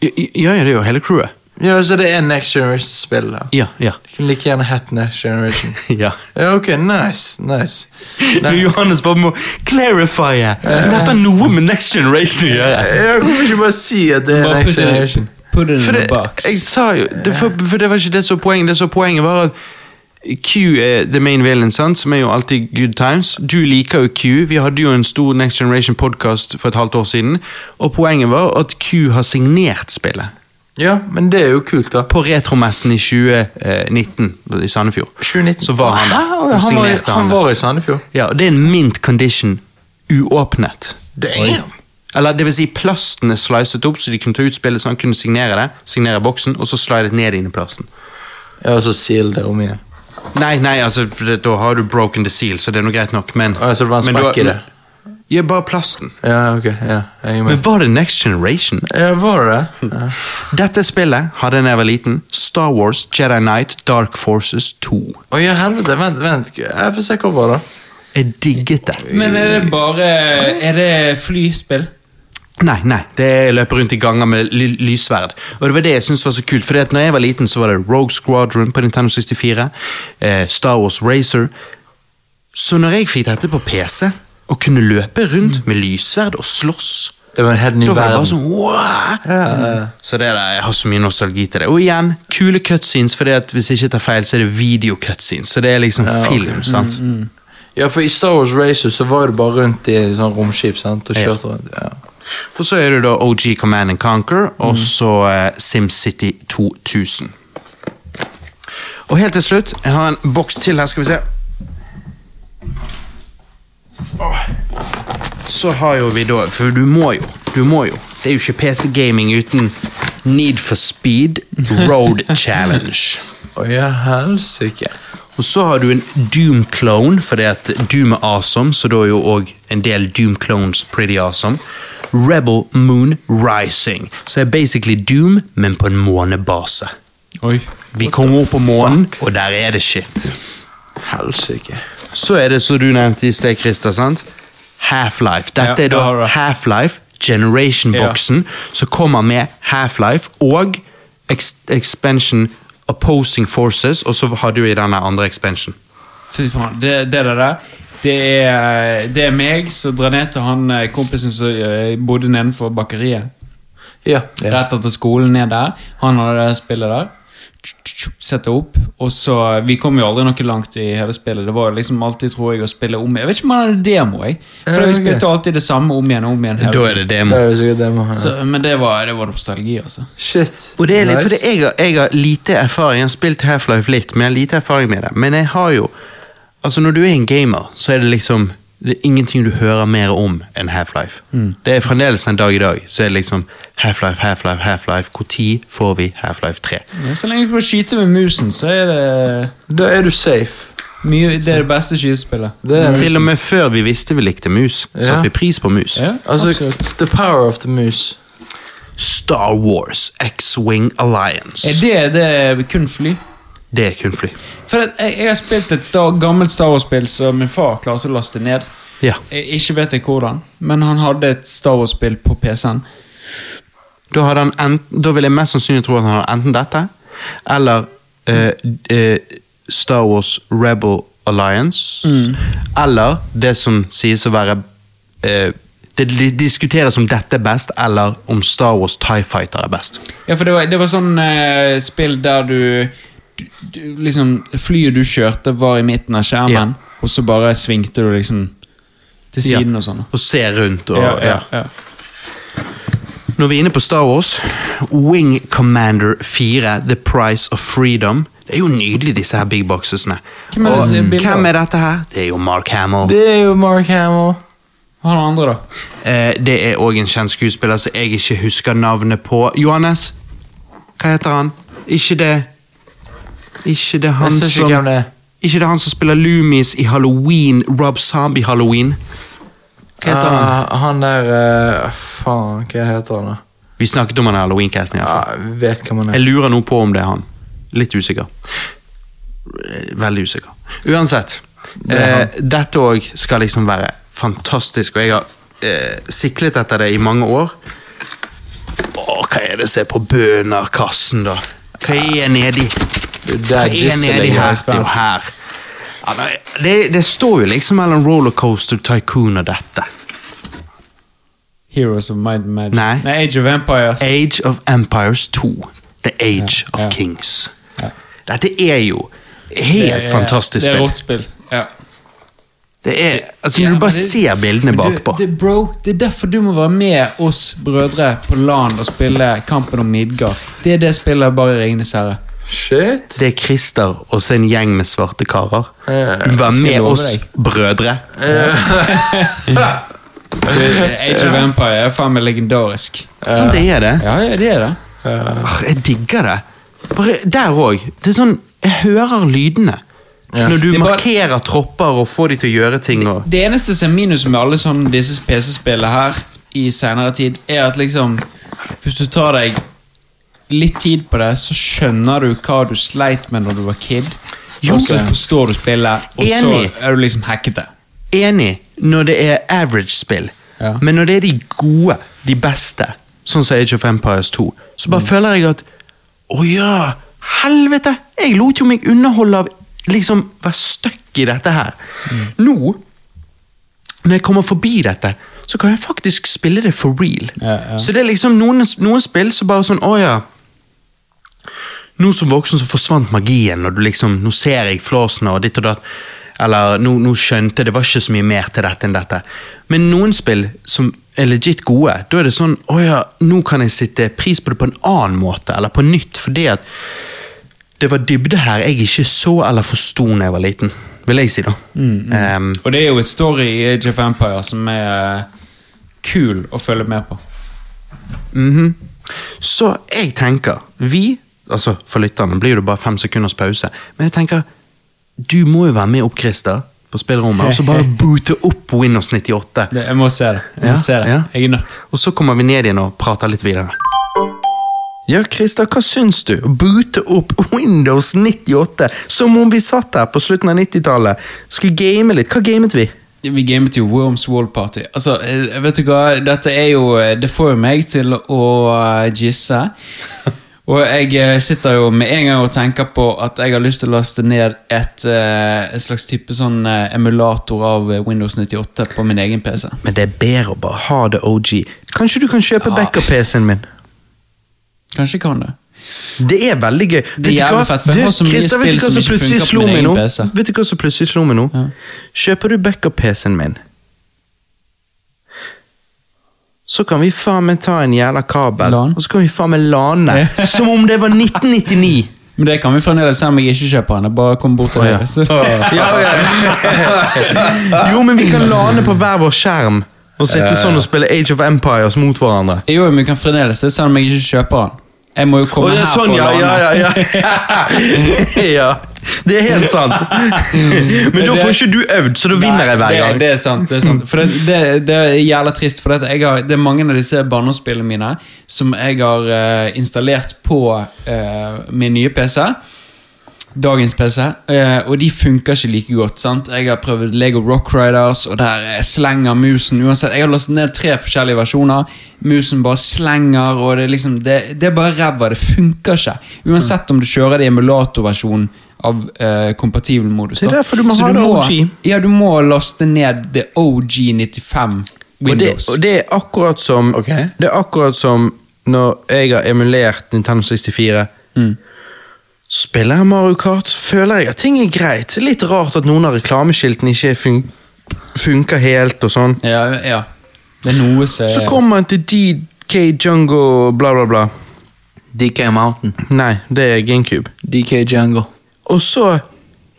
Speaker 1: Ja, ja, det er jo hele crewet.
Speaker 2: Ja, så det er Next Generation-spill, da?
Speaker 1: Ja, ja.
Speaker 2: Det kunne like gjerne hett Next Generation.
Speaker 1: ja.
Speaker 2: Ja, ok, nice, nice. Nei.
Speaker 1: Johannes bare må clarifye. Dette har noe med Next Generation å gjøre.
Speaker 2: Ja, hvorfor ikke bare si at det er
Speaker 3: Bare
Speaker 2: Next
Speaker 3: putte det-
Speaker 2: Generation?
Speaker 3: Put it
Speaker 1: For
Speaker 3: in a
Speaker 1: det,
Speaker 3: box.
Speaker 1: jeg sa jo, det, for, for det var ikke det som var poenget. Det som var poenget var at Q er the main villain, sant? som er jo alltid good times. Du liker jo Q. Vi hadde jo en stor Next Generation-podkast for et halvt år siden. Og poenget var at Q har signert spillet.
Speaker 2: Ja, men det er jo kult, da.
Speaker 1: På retromessen i 2019 i Sandefjord.
Speaker 2: 2019.
Speaker 1: Så var han der.
Speaker 2: Hæ? Å,
Speaker 1: Og
Speaker 2: ja, Han var, i-
Speaker 1: signerte han
Speaker 2: han
Speaker 1: det.
Speaker 2: var i Sandefjord.
Speaker 1: Ja, og det er en mint condition. Uåpnet.
Speaker 2: Damn.
Speaker 1: Eller det vil si plasten er slicet opp, så de kunne ta ut spillet så han kunne signere det, signere boksen, og så slidet ned inn i plasten.
Speaker 2: Ja, og så seal det om igjen.
Speaker 1: Nei, nei, altså, for det, da har du broken the seal, så det er noe greit nok, men...
Speaker 2: Å, ja, så det var en
Speaker 1: men du har-
Speaker 2: sprekk i det?
Speaker 1: Ja, bare plasten.
Speaker 2: Ja, ok. ja, jeg er med.
Speaker 1: Men var det Next Generation?
Speaker 2: Ja, var det det? Ja.
Speaker 1: Dette spillet hadde jeg da jeg var liten. Star Wars, Jedi Knight, Dark Forces 2.
Speaker 2: Å ja, helvete. Vent, vent. Jeg får se hva var det.
Speaker 1: Jeg digget det.
Speaker 3: Men er det bare Er det flyspill?
Speaker 1: Nei, nei, det løper rundt i ganger med ly lyssverd. Og det var det jeg syntes var så kult, for når jeg var liten så var det Rogue Squadron på Nintendo 64, eh, Star Wars Racer. Så når jeg fikk dette på PC, og kunne løpe rundt med lyssverd og slåss,
Speaker 2: Det var en helt ny
Speaker 1: da var det
Speaker 2: verden.
Speaker 1: bare sånn wow!
Speaker 2: Ja, ja.
Speaker 1: Så det der, jeg har så mye nostalgi til det. Og igjen, kule cutscenes, for hvis jeg ikke tar feil, så er det video-cutscenes. Så det er liksom
Speaker 2: Mm,
Speaker 1: film, sant?
Speaker 2: ja, for i Star Wars Racer så var det bare rundt i sånn romskip, sant? Og kjørte rundt. Ja.
Speaker 1: Og så er det da OG Command and Conquer, og så eh, SimCity 2000. Og helt til slutt, jeg har en boks til her, skal vi se. Åh. Så har jo vi da, for du må jo, du må jo. Det er jo ikke PC gaming uten Need for Speed Road Challenge.
Speaker 2: Å ja, helsike.
Speaker 1: Og så har du en Doom Clone, fordi at Doom er awesome, så da er jo òg en del Doom Clones pretty awesome. Rebel Moon Rising. Så er basically Doom, men på en månebase.
Speaker 3: Oi.
Speaker 1: Vi kommer opp på månen, og der er det shit.
Speaker 2: Helsike.
Speaker 1: Så er det, som du nevnte i sted, Christer, sant? Half-Life. Dette er
Speaker 3: Ja, det har
Speaker 1: da
Speaker 3: du.
Speaker 1: Half-Life, Generation-boksen, som kommer med Half-Life og ex expansion Opposing Forces, og så har du i denne andre expansion.
Speaker 3: Fy faen. Det, det der der. Det er, det er meg som drar ned til han eh, kompisen som eh, bodde nedenfor bakeriet.
Speaker 2: Ja. ja.
Speaker 3: Rett etter skolen ned der. Han hadde det spillet der. sette opp. Og så, Vi kom jo aldri noe langt i hele spillet. Det var jo liksom alltid, tror jeg, å spille om Jeg vet ikke om han hadde demo, jeg. For
Speaker 2: Ja,
Speaker 3: vi
Speaker 2: ok.
Speaker 3: spilte alltid det samme om igjen og om igjen. hele
Speaker 1: Da
Speaker 3: tiden.
Speaker 1: er det
Speaker 2: Da
Speaker 1: demo.
Speaker 2: er det sikkert det må
Speaker 3: så, men det var, det var nostalgi, altså.
Speaker 2: Shit.
Speaker 1: Og det er litt,
Speaker 2: Nice.
Speaker 1: fordi jeg, har- jeg har lite erfaring. Jeg har spilt Half-Life litt, men jeg har lite erfaring med det. Men jeg har jo Altså, når du er en gamer, så er det liksom det er ingenting du hører mer om enn Half-Life. Det er fremdeles en dag i dag. Så er det liksom Half-Life, Half-Life, Half-Life. Når får vi Half-Life 3?
Speaker 3: Ja, Så lenge du får skyte med musen, så er det
Speaker 2: Da er du safe.
Speaker 3: mye, det, er det beste skytespillet.
Speaker 2: Det er
Speaker 1: Til og med før vi visste vi likte mus,
Speaker 2: Ja.
Speaker 1: satte vi pris på mus.
Speaker 3: Ja,
Speaker 2: Altså,
Speaker 3: absolutt.
Speaker 2: the power of the moose.
Speaker 1: Star Wars X-Wing Alliance.
Speaker 3: Er det, det er kun fly?
Speaker 1: Det er kun fly.
Speaker 3: For at jeg, jeg har spilt et star, gammelt Star Wars-spill som min far klarte å laste ned.
Speaker 1: Ja.
Speaker 3: Jeg, ikke vet jeg hvordan, men han hadde et Star Wars-spill på PC-en.
Speaker 1: Da, hadde han ent- da vil jeg mest sannsynlig tro at han har enten dette, eller eh, eh, Star Wars Rebel Alliance,
Speaker 3: Mm.
Speaker 1: eller det som sies å være eh, Det de- diskuteres om dette er best, eller om Star Wars Tie Fighter er best.
Speaker 3: Ja, for det var, det var sånn eh, spill der du, du, du Liksom, flyet du kjørte, var i midten av skjermen,
Speaker 1: Ja.
Speaker 3: og så bare svingte du liksom til
Speaker 1: Ja.
Speaker 3: siden og sånn.
Speaker 1: Og se rundt og
Speaker 3: Ja, ja,
Speaker 1: ja.
Speaker 3: ja.
Speaker 1: Når vi er inne på Star Wars, Wing Commander 4, The Price of Freedom. Det er jo nydelig, disse her big boxesene.
Speaker 3: Hvem er det
Speaker 1: Og
Speaker 3: som er bildet av?
Speaker 1: hvem er dette her? Det er jo Mark Hamill.
Speaker 2: Det er jo Mark Hamill.
Speaker 3: Han andre, da?
Speaker 1: Eh, det er òg en kjent skuespiller som jeg ikke husker navnet på. Johannes, hva heter han? Ikke det Ikke det
Speaker 2: Jeg
Speaker 1: han
Speaker 2: ser ikke
Speaker 1: som
Speaker 2: hvem det er.
Speaker 1: Ikke det han som spiller Loomis i Halloween, Rob Zombie Halloween? Hva heter han?
Speaker 2: Ah, han der eh, Faen, hva heter han, da?
Speaker 1: Vi snakket om han i Halloween-casten. i hvert fall.
Speaker 2: Ja, jeg vet hvem han
Speaker 1: Jeg
Speaker 2: er.
Speaker 1: lurer nå på om det er han. Litt usikker. Eh, Veldig usikker. Uansett.
Speaker 2: er han.
Speaker 1: eh, dette òg skal liksom være fantastisk, og jeg har eh, siklet etter det i mange år. Å, hva er det som er på bønderkassen, da? Hva er nedi? Hva
Speaker 2: Der
Speaker 1: er
Speaker 2: gisler
Speaker 1: nedi
Speaker 2: jeg
Speaker 1: her?
Speaker 2: er
Speaker 1: Det er jo her. Ja, nei, det, det står jo liksom mellom Rollercoaster Tycoon og dette.
Speaker 3: Heroes of Might and Magic.
Speaker 1: Nei.
Speaker 3: Age of Empires.
Speaker 1: Age of Empires 2. The Age of
Speaker 3: ja.
Speaker 1: Kings. Dette er jo helt
Speaker 3: Det er-
Speaker 1: fantastisk
Speaker 3: Det er
Speaker 1: spill.
Speaker 3: rått spill. Ja.
Speaker 1: Det er, altså Når
Speaker 3: Ja,
Speaker 1: du bare
Speaker 3: men det-
Speaker 1: ser bildene
Speaker 3: Men du-
Speaker 1: bakpå
Speaker 3: Det, bro, det er derfor du må være med oss brødre på LAN og spille Kampen om Midgard. Det er det spillet bare Ringenes herre.
Speaker 2: Shit.
Speaker 1: Det er Christer og så en gjeng med svarte karer. Vær
Speaker 3: jeg
Speaker 1: med
Speaker 3: love
Speaker 1: oss,
Speaker 3: deg.
Speaker 1: brødre.
Speaker 3: Age of Empire er faen meg legendarisk.
Speaker 1: Sånn det er det.
Speaker 3: Ja, ja, det er det.
Speaker 1: Åh, Jeg digger det. Bare der òg. Det er sånn Jeg hører lydene. Når du
Speaker 3: Det er bare-
Speaker 1: markerer tropper og får de til å gjøre ting og
Speaker 3: Det eneste som er minus med alle sånne disse PC-spillene her i senere tid, er at liksom Hvis du tar deg litt tid på det, så skjønner du hva du sleit med når du var kid.
Speaker 1: Jo.
Speaker 3: Og så forstår du spillet, og så
Speaker 1: Enig.
Speaker 3: er du liksom hackete.
Speaker 1: Enig når det er average-spill,
Speaker 3: Ja.
Speaker 1: men når det er de gode, de beste, sånn som Age of Empires 2, så
Speaker 3: Mm.
Speaker 1: bare føler jeg at Å ja, helvete! Jeg lot jo meg underholde av liksom være stuck i dette her.
Speaker 3: Mm.
Speaker 1: Nå, når jeg kommer forbi dette, så kan jeg faktisk spille det for real.
Speaker 3: Ja, ja.
Speaker 1: Så det er liksom noen, noen spill som bare sånn Å ja. Nå som voksen så forsvant magien, og du liksom, nå ser jeg flåsene og ditt og datt. Eller nå, nå skjønte jeg, det var ikke så mye mer til dette enn dette. Men noen spill som er legit gode, da er det sånn Å ja, nå kan jeg sitte pris på det på en annen måte, eller på nytt, fordi at det var dybde her jeg ikke så eller forsto da jeg var liten. Vil jeg si, da. Ehm,
Speaker 3: Og det er jo et story i Age of Empire som er eh, kul å følge med på.
Speaker 1: Så jeg tenker, vi, altså for lytterne blir det bare fem sekunders pause, men jeg tenker, du må jo være med opp, Christer, på spillerommet, og så bare boote opp Windows 98.
Speaker 3: Det, jeg må se det. Jeg, må
Speaker 1: Ja,
Speaker 3: se det.
Speaker 1: ja.
Speaker 3: jeg er nødt.
Speaker 1: Og så kommer vi ned igjen og prater litt videre. Ja, Christer, hva syns du? Å Boote opp Windows 98, som om vi satt her på slutten av 90-tallet. Skulle game litt. Hva gamet vi?
Speaker 3: Vi gamet jo Worms Wall Party. Altså, eh, vet du hva, dette er jo eh, Det får jo meg til å eh, gisse. Og jeg eh, sitter jo med en gang og tenker på at jeg har lyst til å laste ned et, eh, et slags type sånn eh, emulator av eh, Windows 98 på min egen PC.
Speaker 1: Men det er bedre å bare ha det OG. Kanskje du kan kjøpe backup-PC-en min?
Speaker 3: Kanskje jeg kan det.
Speaker 1: Det er veldig gøy. Vet du
Speaker 3: jævlig
Speaker 1: hva?
Speaker 3: fett, for jeg
Speaker 1: Du,
Speaker 3: har så mye
Speaker 1: Christer, vet
Speaker 3: spill
Speaker 1: du hva
Speaker 3: som
Speaker 1: som
Speaker 3: ikke
Speaker 1: plutselig
Speaker 3: funker på
Speaker 1: slo
Speaker 3: min
Speaker 1: meg
Speaker 3: egen
Speaker 1: nå?
Speaker 3: PC.
Speaker 1: Vet du hva som plutselig slo meg nå?
Speaker 3: Ja.
Speaker 1: Kjøper du backup-PC-en min, så kan vi faen meg ta en jævla kabel,
Speaker 3: LAN.
Speaker 1: og så kan vi faen meg lane.
Speaker 3: Ja.
Speaker 1: Som om det var 1999!
Speaker 3: Men det kan vi fremdeles se om jeg ikke kjøper den. Jeg bare kom bort til
Speaker 1: Å, ja.
Speaker 3: dere. Så-
Speaker 1: Jo, men vi kan lane på hver vår skjerm og sitte sånn og spille Age of Empires mot hverandre.
Speaker 3: Jo, men vi kan fremdeles det, selv om jeg ikke kjøper den. Jeg må jo
Speaker 1: Å,
Speaker 3: komme
Speaker 1: ja,
Speaker 3: her
Speaker 1: sånn,
Speaker 3: for
Speaker 1: ja,
Speaker 3: å låne.
Speaker 1: ja, ja, ja. ja. Det er helt sant. Men da
Speaker 3: Mm. Det-
Speaker 1: får ikke du øvd, så da vinner jeg hver
Speaker 3: det,
Speaker 1: gang.
Speaker 3: Det er sant. Det er sant. For det, det, det er jævla trist, for det, jeg har, det er mange av disse barndomsspillene mine som jeg har eh, installert på eh, min nye PC. Dagens PC. eh, og de funker ikke like godt. sant? Jeg har prøvd Lego Rock Riders, og der eh, slenger musen uansett. Jeg har lastet ned tre forskjellige versjoner. Musen bare slenger, og det er liksom Det, det er bare ræva. Det funker ikke. Uansett om du kjører det i emulatorversjonen av eh, kompatibel modus.
Speaker 1: Det er
Speaker 3: da.
Speaker 1: derfor du må
Speaker 3: Så
Speaker 1: ha det
Speaker 3: må-
Speaker 1: OG.
Speaker 3: ja, du må laste ned The OG95
Speaker 1: Og det,
Speaker 3: Windows.
Speaker 1: og det er akkurat som
Speaker 2: Ok.
Speaker 1: Det er akkurat som når jeg har emulert Nintendo 64.
Speaker 3: Mm.
Speaker 1: Spiller jeg Mario Kart, føler jeg at ting er greit. Litt rart at noen av reklameskiltene ikke fun funker helt og sånn.
Speaker 3: ja, ja. Det er noe som
Speaker 1: Så kommer han til DK Jungo, bla, bla, bla.
Speaker 2: DK Mountain.
Speaker 1: Nei, det er GameCube.
Speaker 2: DK Jungle.
Speaker 1: Og så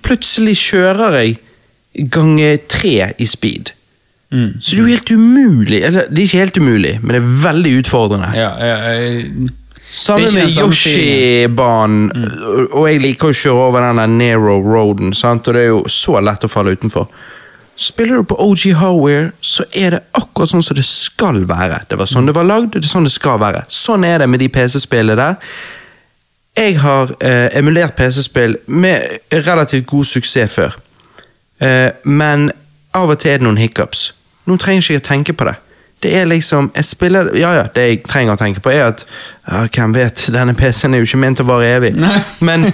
Speaker 1: plutselig kjører jeg gange tre i speed.
Speaker 3: Mm.
Speaker 1: Så det er jo helt umulig. Eller, det er ikke helt umulig, men det er veldig utfordrende.
Speaker 3: ja, ja, ja.
Speaker 1: Samme
Speaker 3: Det er ikke
Speaker 1: med
Speaker 3: den samme Mm.
Speaker 1: Yoshi-banen, og jeg liker å kjøre over den der narrow roaden, sant? og det er jo så lett å falle utenfor. Spiller du på OG Hardware, så er det akkurat sånn som det skal være. Det var sånn det var lagd, det er sånn det skal være. Sånn er det med de PC-spillene der. Jeg har eh, emulert PC-spill med relativt god suksess før. Eh, men av og til er det noen hiccups. Nå trenger ikke jeg å tenke på det. Det er liksom, jeg spiller, ja ja, Det jeg trenger å tenke på, er at ja, hvem vet, denne PC-en er jo ikke ment å vare evig.
Speaker 3: Nei.
Speaker 1: Men,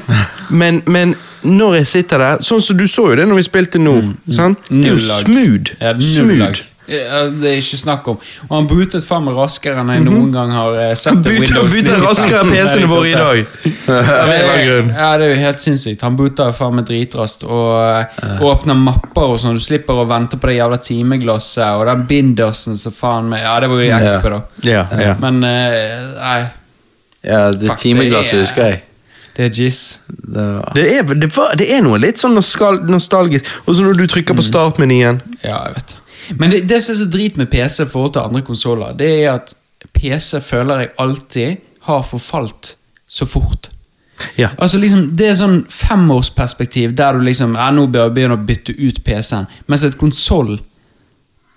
Speaker 1: men, men når jeg sitter der Sånn som du så jo det når vi spilte nå. sant? Det er jo
Speaker 3: Mm, Null lag.
Speaker 1: smooth.
Speaker 3: Ja, null lag.
Speaker 1: smooth.
Speaker 3: Ja, det er ikke snakk om. Og han bootet faen meg raskere enn jeg
Speaker 1: Mhm.
Speaker 3: noen gang har eh, sett det
Speaker 1: Buter
Speaker 3: Windows
Speaker 1: buter
Speaker 3: 95.
Speaker 1: raskere enn PC-ene våre i dag. Av en eller annen grunn.
Speaker 3: Ja, sånn det er jo helt sinnssykt. Han booter jo faen meg dritraskt og eh, åpner mapper og sånn. Du slipper å vente på det jævla timeglasset og den bindersen som faen meg Ja, det var jo
Speaker 2: Ja.
Speaker 3: XP, da.
Speaker 1: Ja, ja.
Speaker 3: Men eh, nei,
Speaker 2: Ja, det
Speaker 3: Fuck,
Speaker 2: timeglasset
Speaker 3: det er-
Speaker 2: husker jeg.
Speaker 3: det er jizz.
Speaker 2: Det var.
Speaker 1: Det er, det, var, det er noe litt sånn nostal- nostalgisk. Og så når du trykker
Speaker 3: Mm.
Speaker 1: på startmenyen
Speaker 3: Ja, jeg vet. Men det, det som er så drit med PC i forhold til andre konsoller, det er at PC føler jeg alltid har forfalt så fort.
Speaker 1: Ja.
Speaker 3: Altså liksom, Det er sånn femårsperspektiv der du liksom ja, nå bør jeg begynne å bytte ut PC-en. Mens et konsoll,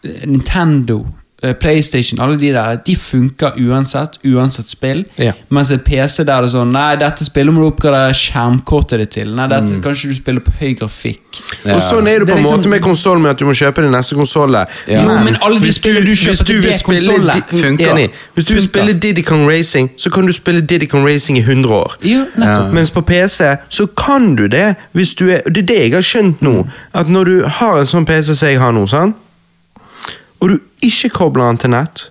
Speaker 3: eh, Nintendo, eh, PlayStation, alle de der, de funker uansett. Uansett spill.
Speaker 1: Ja.
Speaker 3: Mens et PC der det er sånn Nei, dette spillet må du oppgradere skjermkortet ditt til. Nei, dette kan ikke du spille på høy grafikk.
Speaker 2: Ja.
Speaker 1: Mm. Og sånn er det
Speaker 3: Det er
Speaker 1: på en
Speaker 3: liksom-
Speaker 1: måte med konsoll, med at du må kjøpe den neste konsollen.
Speaker 2: Jo,
Speaker 3: men alle de spillene du kjøper til det konsollet
Speaker 2: funker.
Speaker 1: Enig. Hvis du vil
Speaker 3: Funker.
Speaker 1: spille Diddy Kong Racing, så kan du spille Diddy Kong Racing i 100 år.
Speaker 3: Ja, nettopp.
Speaker 1: Mens på PC så kan du det hvis du er og Det er det jeg har skjønt nå. At når du har en sånn PC som jeg har nå, sant? og du ikke kobler den til nett,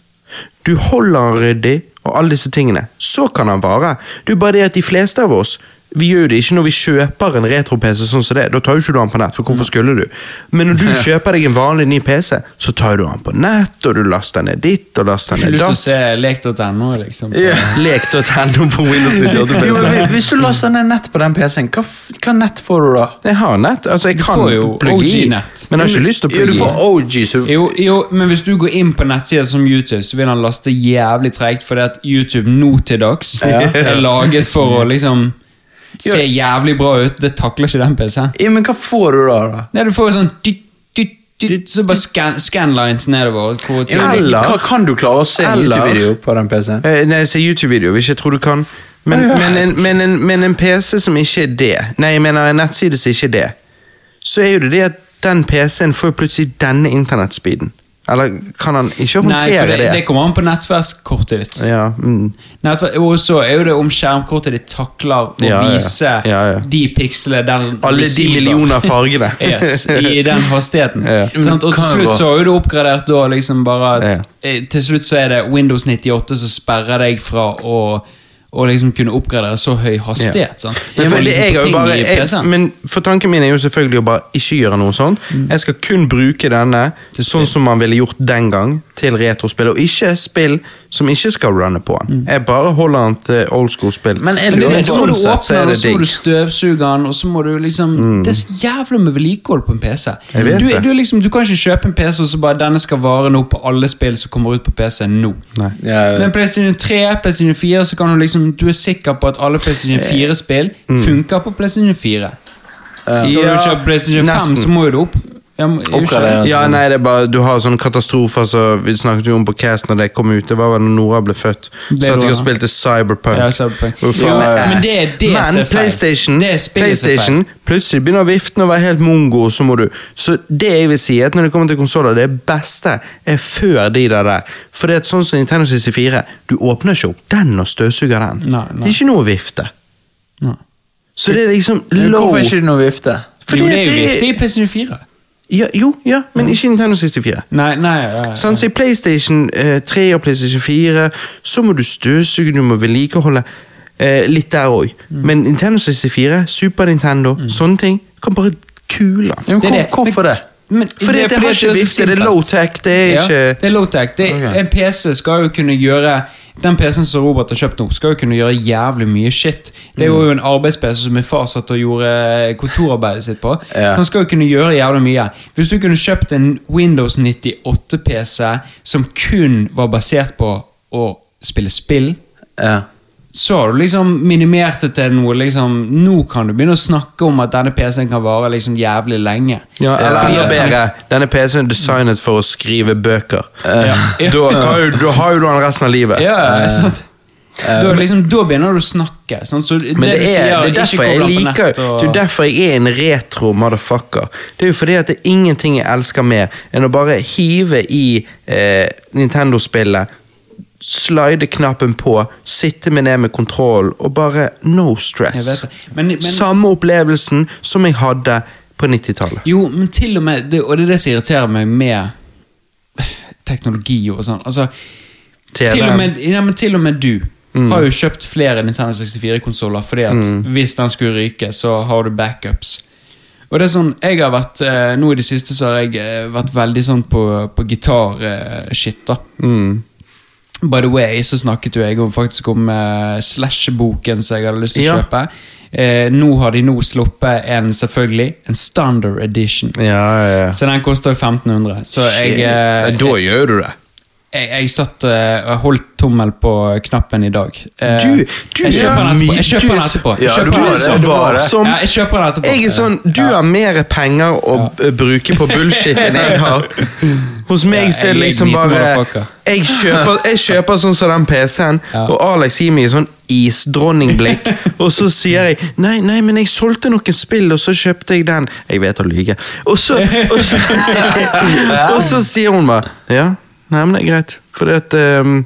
Speaker 1: du holder den ryddig og alle disse tingene, så kan den vare. Det er bare det at de fleste av oss vi gjør jo det ikke når vi kjøper en retro-PC, sånn som det, da tar jo ikke du den på nett, for hvorfor skulle du? Men når du kjøper deg en vanlig ny PC, så tar du den på nett, og du laster ned ditt, og laster
Speaker 3: Har
Speaker 1: ned
Speaker 3: du lyst til å
Speaker 1: datt.
Speaker 3: se lek.no, liksom?
Speaker 1: Lek.no på Windows 98
Speaker 2: Jo,
Speaker 1: PC.
Speaker 2: men hvis du laster ned nett på den PC-en, hva, f- hva nett får du da?
Speaker 1: Jeg har nett, altså jeg kan
Speaker 3: får jo
Speaker 1: plugge i, men
Speaker 3: OG-nett.
Speaker 1: jeg har ikke lyst til å
Speaker 2: Jo, du
Speaker 1: plugge
Speaker 2: får
Speaker 1: i.
Speaker 2: OG, så
Speaker 3: Jo, jo, men hvis du går inn på nettsider som YouTube, så vil han laste jævlig tregt fordi at YouTube nå til dags er laget for å liksom se jævlig bra ut. Det takler ikke den PC-en.
Speaker 2: Ja, men hva får du da? da?
Speaker 3: Nei, du får jo sånn dytt, dytt, dytt, Så bare scan, scanlines nedover. Hvor
Speaker 2: Ja,
Speaker 3: til,
Speaker 2: men
Speaker 1: Eller-
Speaker 2: hva kan du klare å se en
Speaker 1: Eller-
Speaker 2: YouTube-video på den PC-en?
Speaker 1: Eh, Nei, jeg ser YouTube-video, hvis jeg tror du kan. Men, men, en, men, en, men en PC som ikke er det, nei, jeg mener en nettside som ikke er det, så er jo det det at den PC-en får jo plutselig denne internettspeeden. Eller kan han ikke
Speaker 3: nei,
Speaker 1: håndtere
Speaker 3: for det,
Speaker 1: det?
Speaker 3: det kommer an på nettverkskortet ditt.
Speaker 1: Ja, mm.
Speaker 3: Nettver- altså, Og så er jo det om skjermkortet ditt takler å
Speaker 1: Ja, ja.
Speaker 3: vise
Speaker 1: Ja, ja.
Speaker 3: de pikslene den
Speaker 1: Alle de
Speaker 3: receiver.
Speaker 1: millioner fargene.
Speaker 3: Yes, i den hastigheten.
Speaker 1: Ja.
Speaker 3: Sant? Og til
Speaker 2: Kan gå.
Speaker 3: slutt så har jo du oppgradert da liksom bare at eh, Til slutt så er det Windows 98 som sperrer deg fra å å liksom kunne oppgradere så høy hastighet. sant?
Speaker 2: Ja,
Speaker 3: Du får
Speaker 2: men, det,
Speaker 3: liksom
Speaker 2: jeg har jo
Speaker 3: ting
Speaker 2: bare,
Speaker 3: i
Speaker 2: jeg,
Speaker 3: PC-en.
Speaker 2: men
Speaker 1: For tanken min er jo selvfølgelig å bare ikke gjøre noe sånt. Jeg skal kun bruke denne
Speaker 3: Mm. Til spill.
Speaker 1: sånn som man ville gjort den gang, til retrospill. Og ikke spill som ikke skal runne på den. Jeg bare holder den til old school-spill.
Speaker 2: Men
Speaker 1: Men
Speaker 2: er det-
Speaker 1: det-
Speaker 3: Mm. Men så må
Speaker 2: sånn
Speaker 3: du
Speaker 2: sett så
Speaker 3: åpne
Speaker 2: er
Speaker 3: den, og
Speaker 2: det
Speaker 3: så må du
Speaker 2: digg.
Speaker 3: støvsuge den, og så må du liksom Det er så jævla med vedlikehold på en PC.
Speaker 1: Mm. Jeg vet
Speaker 3: du,
Speaker 1: det.
Speaker 3: du, er liksom, du kan ikke kjøpe en PC og så bare denne skal vare nå på alle spill som kommer ut på PC nå.
Speaker 1: Nei.
Speaker 2: Ja,
Speaker 3: Men PlayStation 3, PlayStation 4, så kan du liksom Du er sikker på at alle PlayStation
Speaker 1: Eh,
Speaker 3: 4-spill funker på PlayStation 4. Skal
Speaker 1: mm. Eh, Ja,
Speaker 3: du kjøpe PlayStation 5,
Speaker 1: nesten.
Speaker 3: så må jo du opp... ja, må- jo, ikke-
Speaker 2: Oppgradere.
Speaker 1: Ja, nei, det er bare, Du har sånne katastrofer som vi snakket jo om på Cast når det kom ut. Det var da Nora ble født.
Speaker 3: Ble
Speaker 1: Så at
Speaker 3: du
Speaker 1: jeg
Speaker 3: da?
Speaker 1: spilte Cyberpunk.
Speaker 3: Ja, Cyberpunk.
Speaker 1: Hvor faen
Speaker 3: Jo,
Speaker 1: er
Speaker 3: men
Speaker 1: ass?
Speaker 3: det er det
Speaker 1: Men
Speaker 3: som er feil.
Speaker 1: PlayStation,
Speaker 3: Det er spillet som er
Speaker 1: PlayStation plutselig begynner viften å være helt mongo, så må du Så det jeg vil si, er at når det kommer til konsoller, det beste er før de der der. For det er sånn som Nintendo 64, du åpner ikke opp den og støvsuger den.
Speaker 3: Nei, nei.
Speaker 1: Det er ikke noe å vifte.
Speaker 3: Nei.
Speaker 1: Så det er liksom
Speaker 2: Men
Speaker 1: low
Speaker 2: Hvorfor er ikke det noe vifte?
Speaker 1: Fordi
Speaker 3: Jo, det er jo Mm.
Speaker 1: det-
Speaker 3: vifte i PlayStation 4.
Speaker 1: ja, Jo, ja, men ikke Nintendo 64.
Speaker 3: Nei, nei, ja, ja.
Speaker 1: Sånn, så I PlayStation eh, 3 og PlayStation 4 så må du støvsuge, du må vedlikeholde. Eh, litt der òg.
Speaker 3: Mm.
Speaker 1: Men Nintendo 64, Super Nintendo, sånne ting kan bare kule.
Speaker 2: Ja, men
Speaker 3: Det er
Speaker 2: hvor,
Speaker 3: det.
Speaker 2: hvorfor det?
Speaker 3: Men-
Speaker 1: Fordi det,
Speaker 3: er
Speaker 1: har
Speaker 3: at
Speaker 1: ikke vifte,
Speaker 3: så
Speaker 1: det er
Speaker 3: simpelt.
Speaker 1: low-tech, det er
Speaker 3: Ja,
Speaker 1: ikke øh,
Speaker 3: det er low-tech. Det-
Speaker 2: Ok.
Speaker 3: En PC skal jo kunne gjøre Den PC-en som Robert har kjøpt nå, skal jo kunne gjøre jævlig mye shit. Det er
Speaker 1: Mm.
Speaker 3: jo en arbeids-PC som min far satt og gjorde eh, kontorarbeidet sitt på.
Speaker 2: Ja.
Speaker 3: Han skal jo kunne gjøre jævlig mye. Hvis du kunne kjøpt en Windows 98-PC som kun var basert på å spille spill,
Speaker 2: Ja.
Speaker 3: så har du liksom minimert det til noe liksom, Nå kan du begynne å snakke om at denne PC-en kan vare liksom jævlig lenge.
Speaker 1: ja, Eller
Speaker 3: Fordi
Speaker 1: enda
Speaker 3: at han-
Speaker 1: bedre, denne PC-en er designet for å skrive bøker.
Speaker 3: Ja.
Speaker 1: Da, kan jo, da har jo du den resten av livet.
Speaker 3: Ja,
Speaker 1: Eh,
Speaker 3: sant? Da, liksom, da begynner du å snakke. Sant? Så det,
Speaker 1: Men det,
Speaker 3: du
Speaker 1: er,
Speaker 3: sier,
Speaker 1: det er
Speaker 3: ikke
Speaker 1: derfor jeg
Speaker 3: koblet på
Speaker 1: liker
Speaker 3: nett og-
Speaker 1: Det er jo derfor jeg er en retro motherfucker. Det er jo fordi at det er ingenting jeg elsker mer enn å bare hive i eh, Nintendo-spillet, slide knappen på, sitte med det med kontroll og bare no
Speaker 3: Jeg
Speaker 1: stress.
Speaker 3: vet det. Men- men-
Speaker 1: Samme opplevelsen som jeg hadde på 90-tallet.
Speaker 3: Jo, men til og med det, Og det er det som irriterer meg med teknologi og sånn. Altså, til, og med, ja, men til og med du
Speaker 1: Mm.
Speaker 3: har jo kjøpt flere Nintendo 64-konsoller fordi at hvis den skulle ryke, så har du backups. Og det er sånn, jeg har vært, eh, Nå i det siste så har jeg eh, vært veldig sånn på, på gitar-shit. da.
Speaker 1: Mm.
Speaker 3: By the way, så snakket jo jeg om, faktisk om eh, Slash-boken som jeg hadde lyst til å
Speaker 1: Ja.
Speaker 3: kjøpe. Eh, nå har de nå sluppet en selvfølgelig, en standard edition.
Speaker 1: Ja, ja, ja.
Speaker 3: Så den koster jo 1500. Så jeg, eh,
Speaker 1: Shit. Da gjør du det.
Speaker 3: jeg, jeg satt eh, og holdt tommel på knappen i dag. Eh,
Speaker 1: Du- du
Speaker 3: jeg
Speaker 1: er
Speaker 3: kjøper den etterpå.
Speaker 1: mye-
Speaker 3: Jeg kjøper
Speaker 1: du er
Speaker 3: den
Speaker 1: så-
Speaker 3: etterpå. Jeg
Speaker 2: ja,
Speaker 3: kjøper
Speaker 2: du
Speaker 3: den
Speaker 2: er
Speaker 3: etterpå.
Speaker 2: så var
Speaker 1: som-
Speaker 3: Ja, jeg kjøper den etterpå.
Speaker 1: Jeg er sånn, Du har mer penger å b- bruke på bullshit enn jeg har. Hos meg
Speaker 3: Ja,
Speaker 1: så er
Speaker 3: jeg
Speaker 1: det
Speaker 3: er
Speaker 1: liksom
Speaker 3: en liten
Speaker 1: bare
Speaker 3: motherfucker.
Speaker 1: jeg kjøper, jeg kjøper sånn som den PC-en,
Speaker 3: Ja.
Speaker 1: og Alex gir meg sånn isdronningblikk. Og så sier jeg nei, nei, men jeg solgte noen spill, og så kjøpte jeg den. Jeg vet å lyge. Og så, og så, og så sier hun bare ja, nei, men det er greit. Fordi at ehm,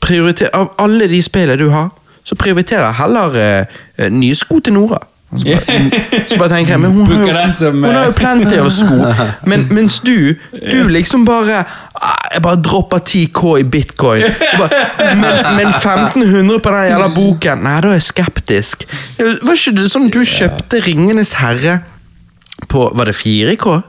Speaker 1: prioriter, Av alle de spillene du har, så prioriterer jeg heller eh, eh, nye sko til Nora. Og Så bare, så bare tenker jeg, men hun har
Speaker 3: Bruker den
Speaker 1: jo,
Speaker 3: som,
Speaker 1: hun har jo
Speaker 3: eh,
Speaker 1: plenty av sko. Men, mens du, du liksom bare ah, Jeg bare dropper 10K i bitcoin. Du Bare, men, men 1500 på den jævla boken? Nei, da er jeg skeptisk. Var ikke det sånn du kjøpte Ringenes herre på Var det 4K?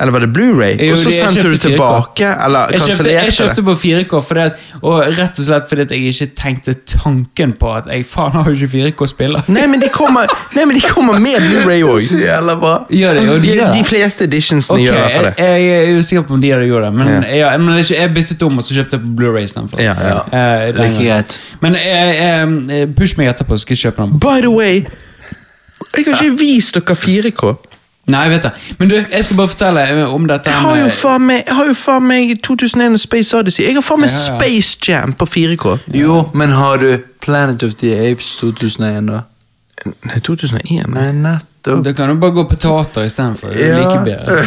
Speaker 1: Eller var det Blu-ray?
Speaker 3: Jo,
Speaker 1: Og så
Speaker 3: det- jeg
Speaker 1: sendte
Speaker 3: kjøpte
Speaker 1: du
Speaker 3: 4K.
Speaker 1: tilbake? Eller
Speaker 3: Jeg kjøpte, jeg
Speaker 1: kansellerte
Speaker 3: kjøpte
Speaker 1: det?
Speaker 3: på 4K, fordi at, og rett og slett fordi at jeg ikke tenkte tanken på at jeg faen har jo ikke 4K-spiller.
Speaker 1: Nei, men de kommer, nei, men de kommer med Blu-ray òg.
Speaker 2: Så jævla bra.
Speaker 3: Gjør det, jo, de
Speaker 1: De,
Speaker 3: gjør det.
Speaker 1: de fleste editionsene
Speaker 3: Ok,
Speaker 1: gjør i hvert fall
Speaker 3: jeg,
Speaker 1: det.
Speaker 3: jeg er usikker på om de hadde gjort det, men,
Speaker 1: Ja.
Speaker 3: ja. men jeg, jeg byttet om og så kjøpte jeg på Blu-ray istedenfor.
Speaker 1: Ja, ja.
Speaker 3: Eh, den
Speaker 2: Like
Speaker 3: gangen.
Speaker 2: greit.
Speaker 3: men eh, eh, push meg etterpå, så skal jeg kjøpe den.
Speaker 1: By the way, jeg har ikke vist dere 4K.
Speaker 3: Nei, jeg vet det. Men du, jeg skal bare fortelle eh, om dette.
Speaker 1: Jeg har jo
Speaker 3: med-
Speaker 1: faen meg, jeg har jo faen meg 2001 og Space Odyssey. Jeg har faen meg
Speaker 3: Ja, ja.
Speaker 1: Space Jam på 4K.
Speaker 2: Jo, men har du Planet of the Apes 2001, da?
Speaker 1: Nei, 2001? Nei.
Speaker 2: Nei, nettopp.
Speaker 3: Da kan du bare gå på teater istedenfor. Det er
Speaker 2: Ja.
Speaker 3: like bedre.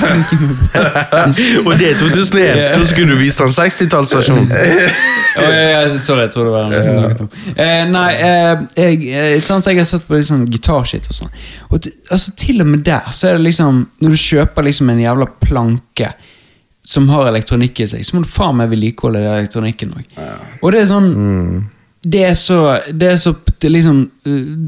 Speaker 1: Og det er 2001. Da skulle du vist den 60-tallsversjonen.
Speaker 3: Å, ja, ja, sorry, jeg trodde det var noe vi snakket om. Eh, nei, eh, jeg, eh, sant, jeg har sett på litt sånn gitarshit og sånn. Og t altså, til og med der, så er det liksom Når du kjøper liksom en jævla planke som har elektronikk i seg, så må du faen meg vedlikeholde den elektronikken òg. Og det er sånn det er så Det er så det er liksom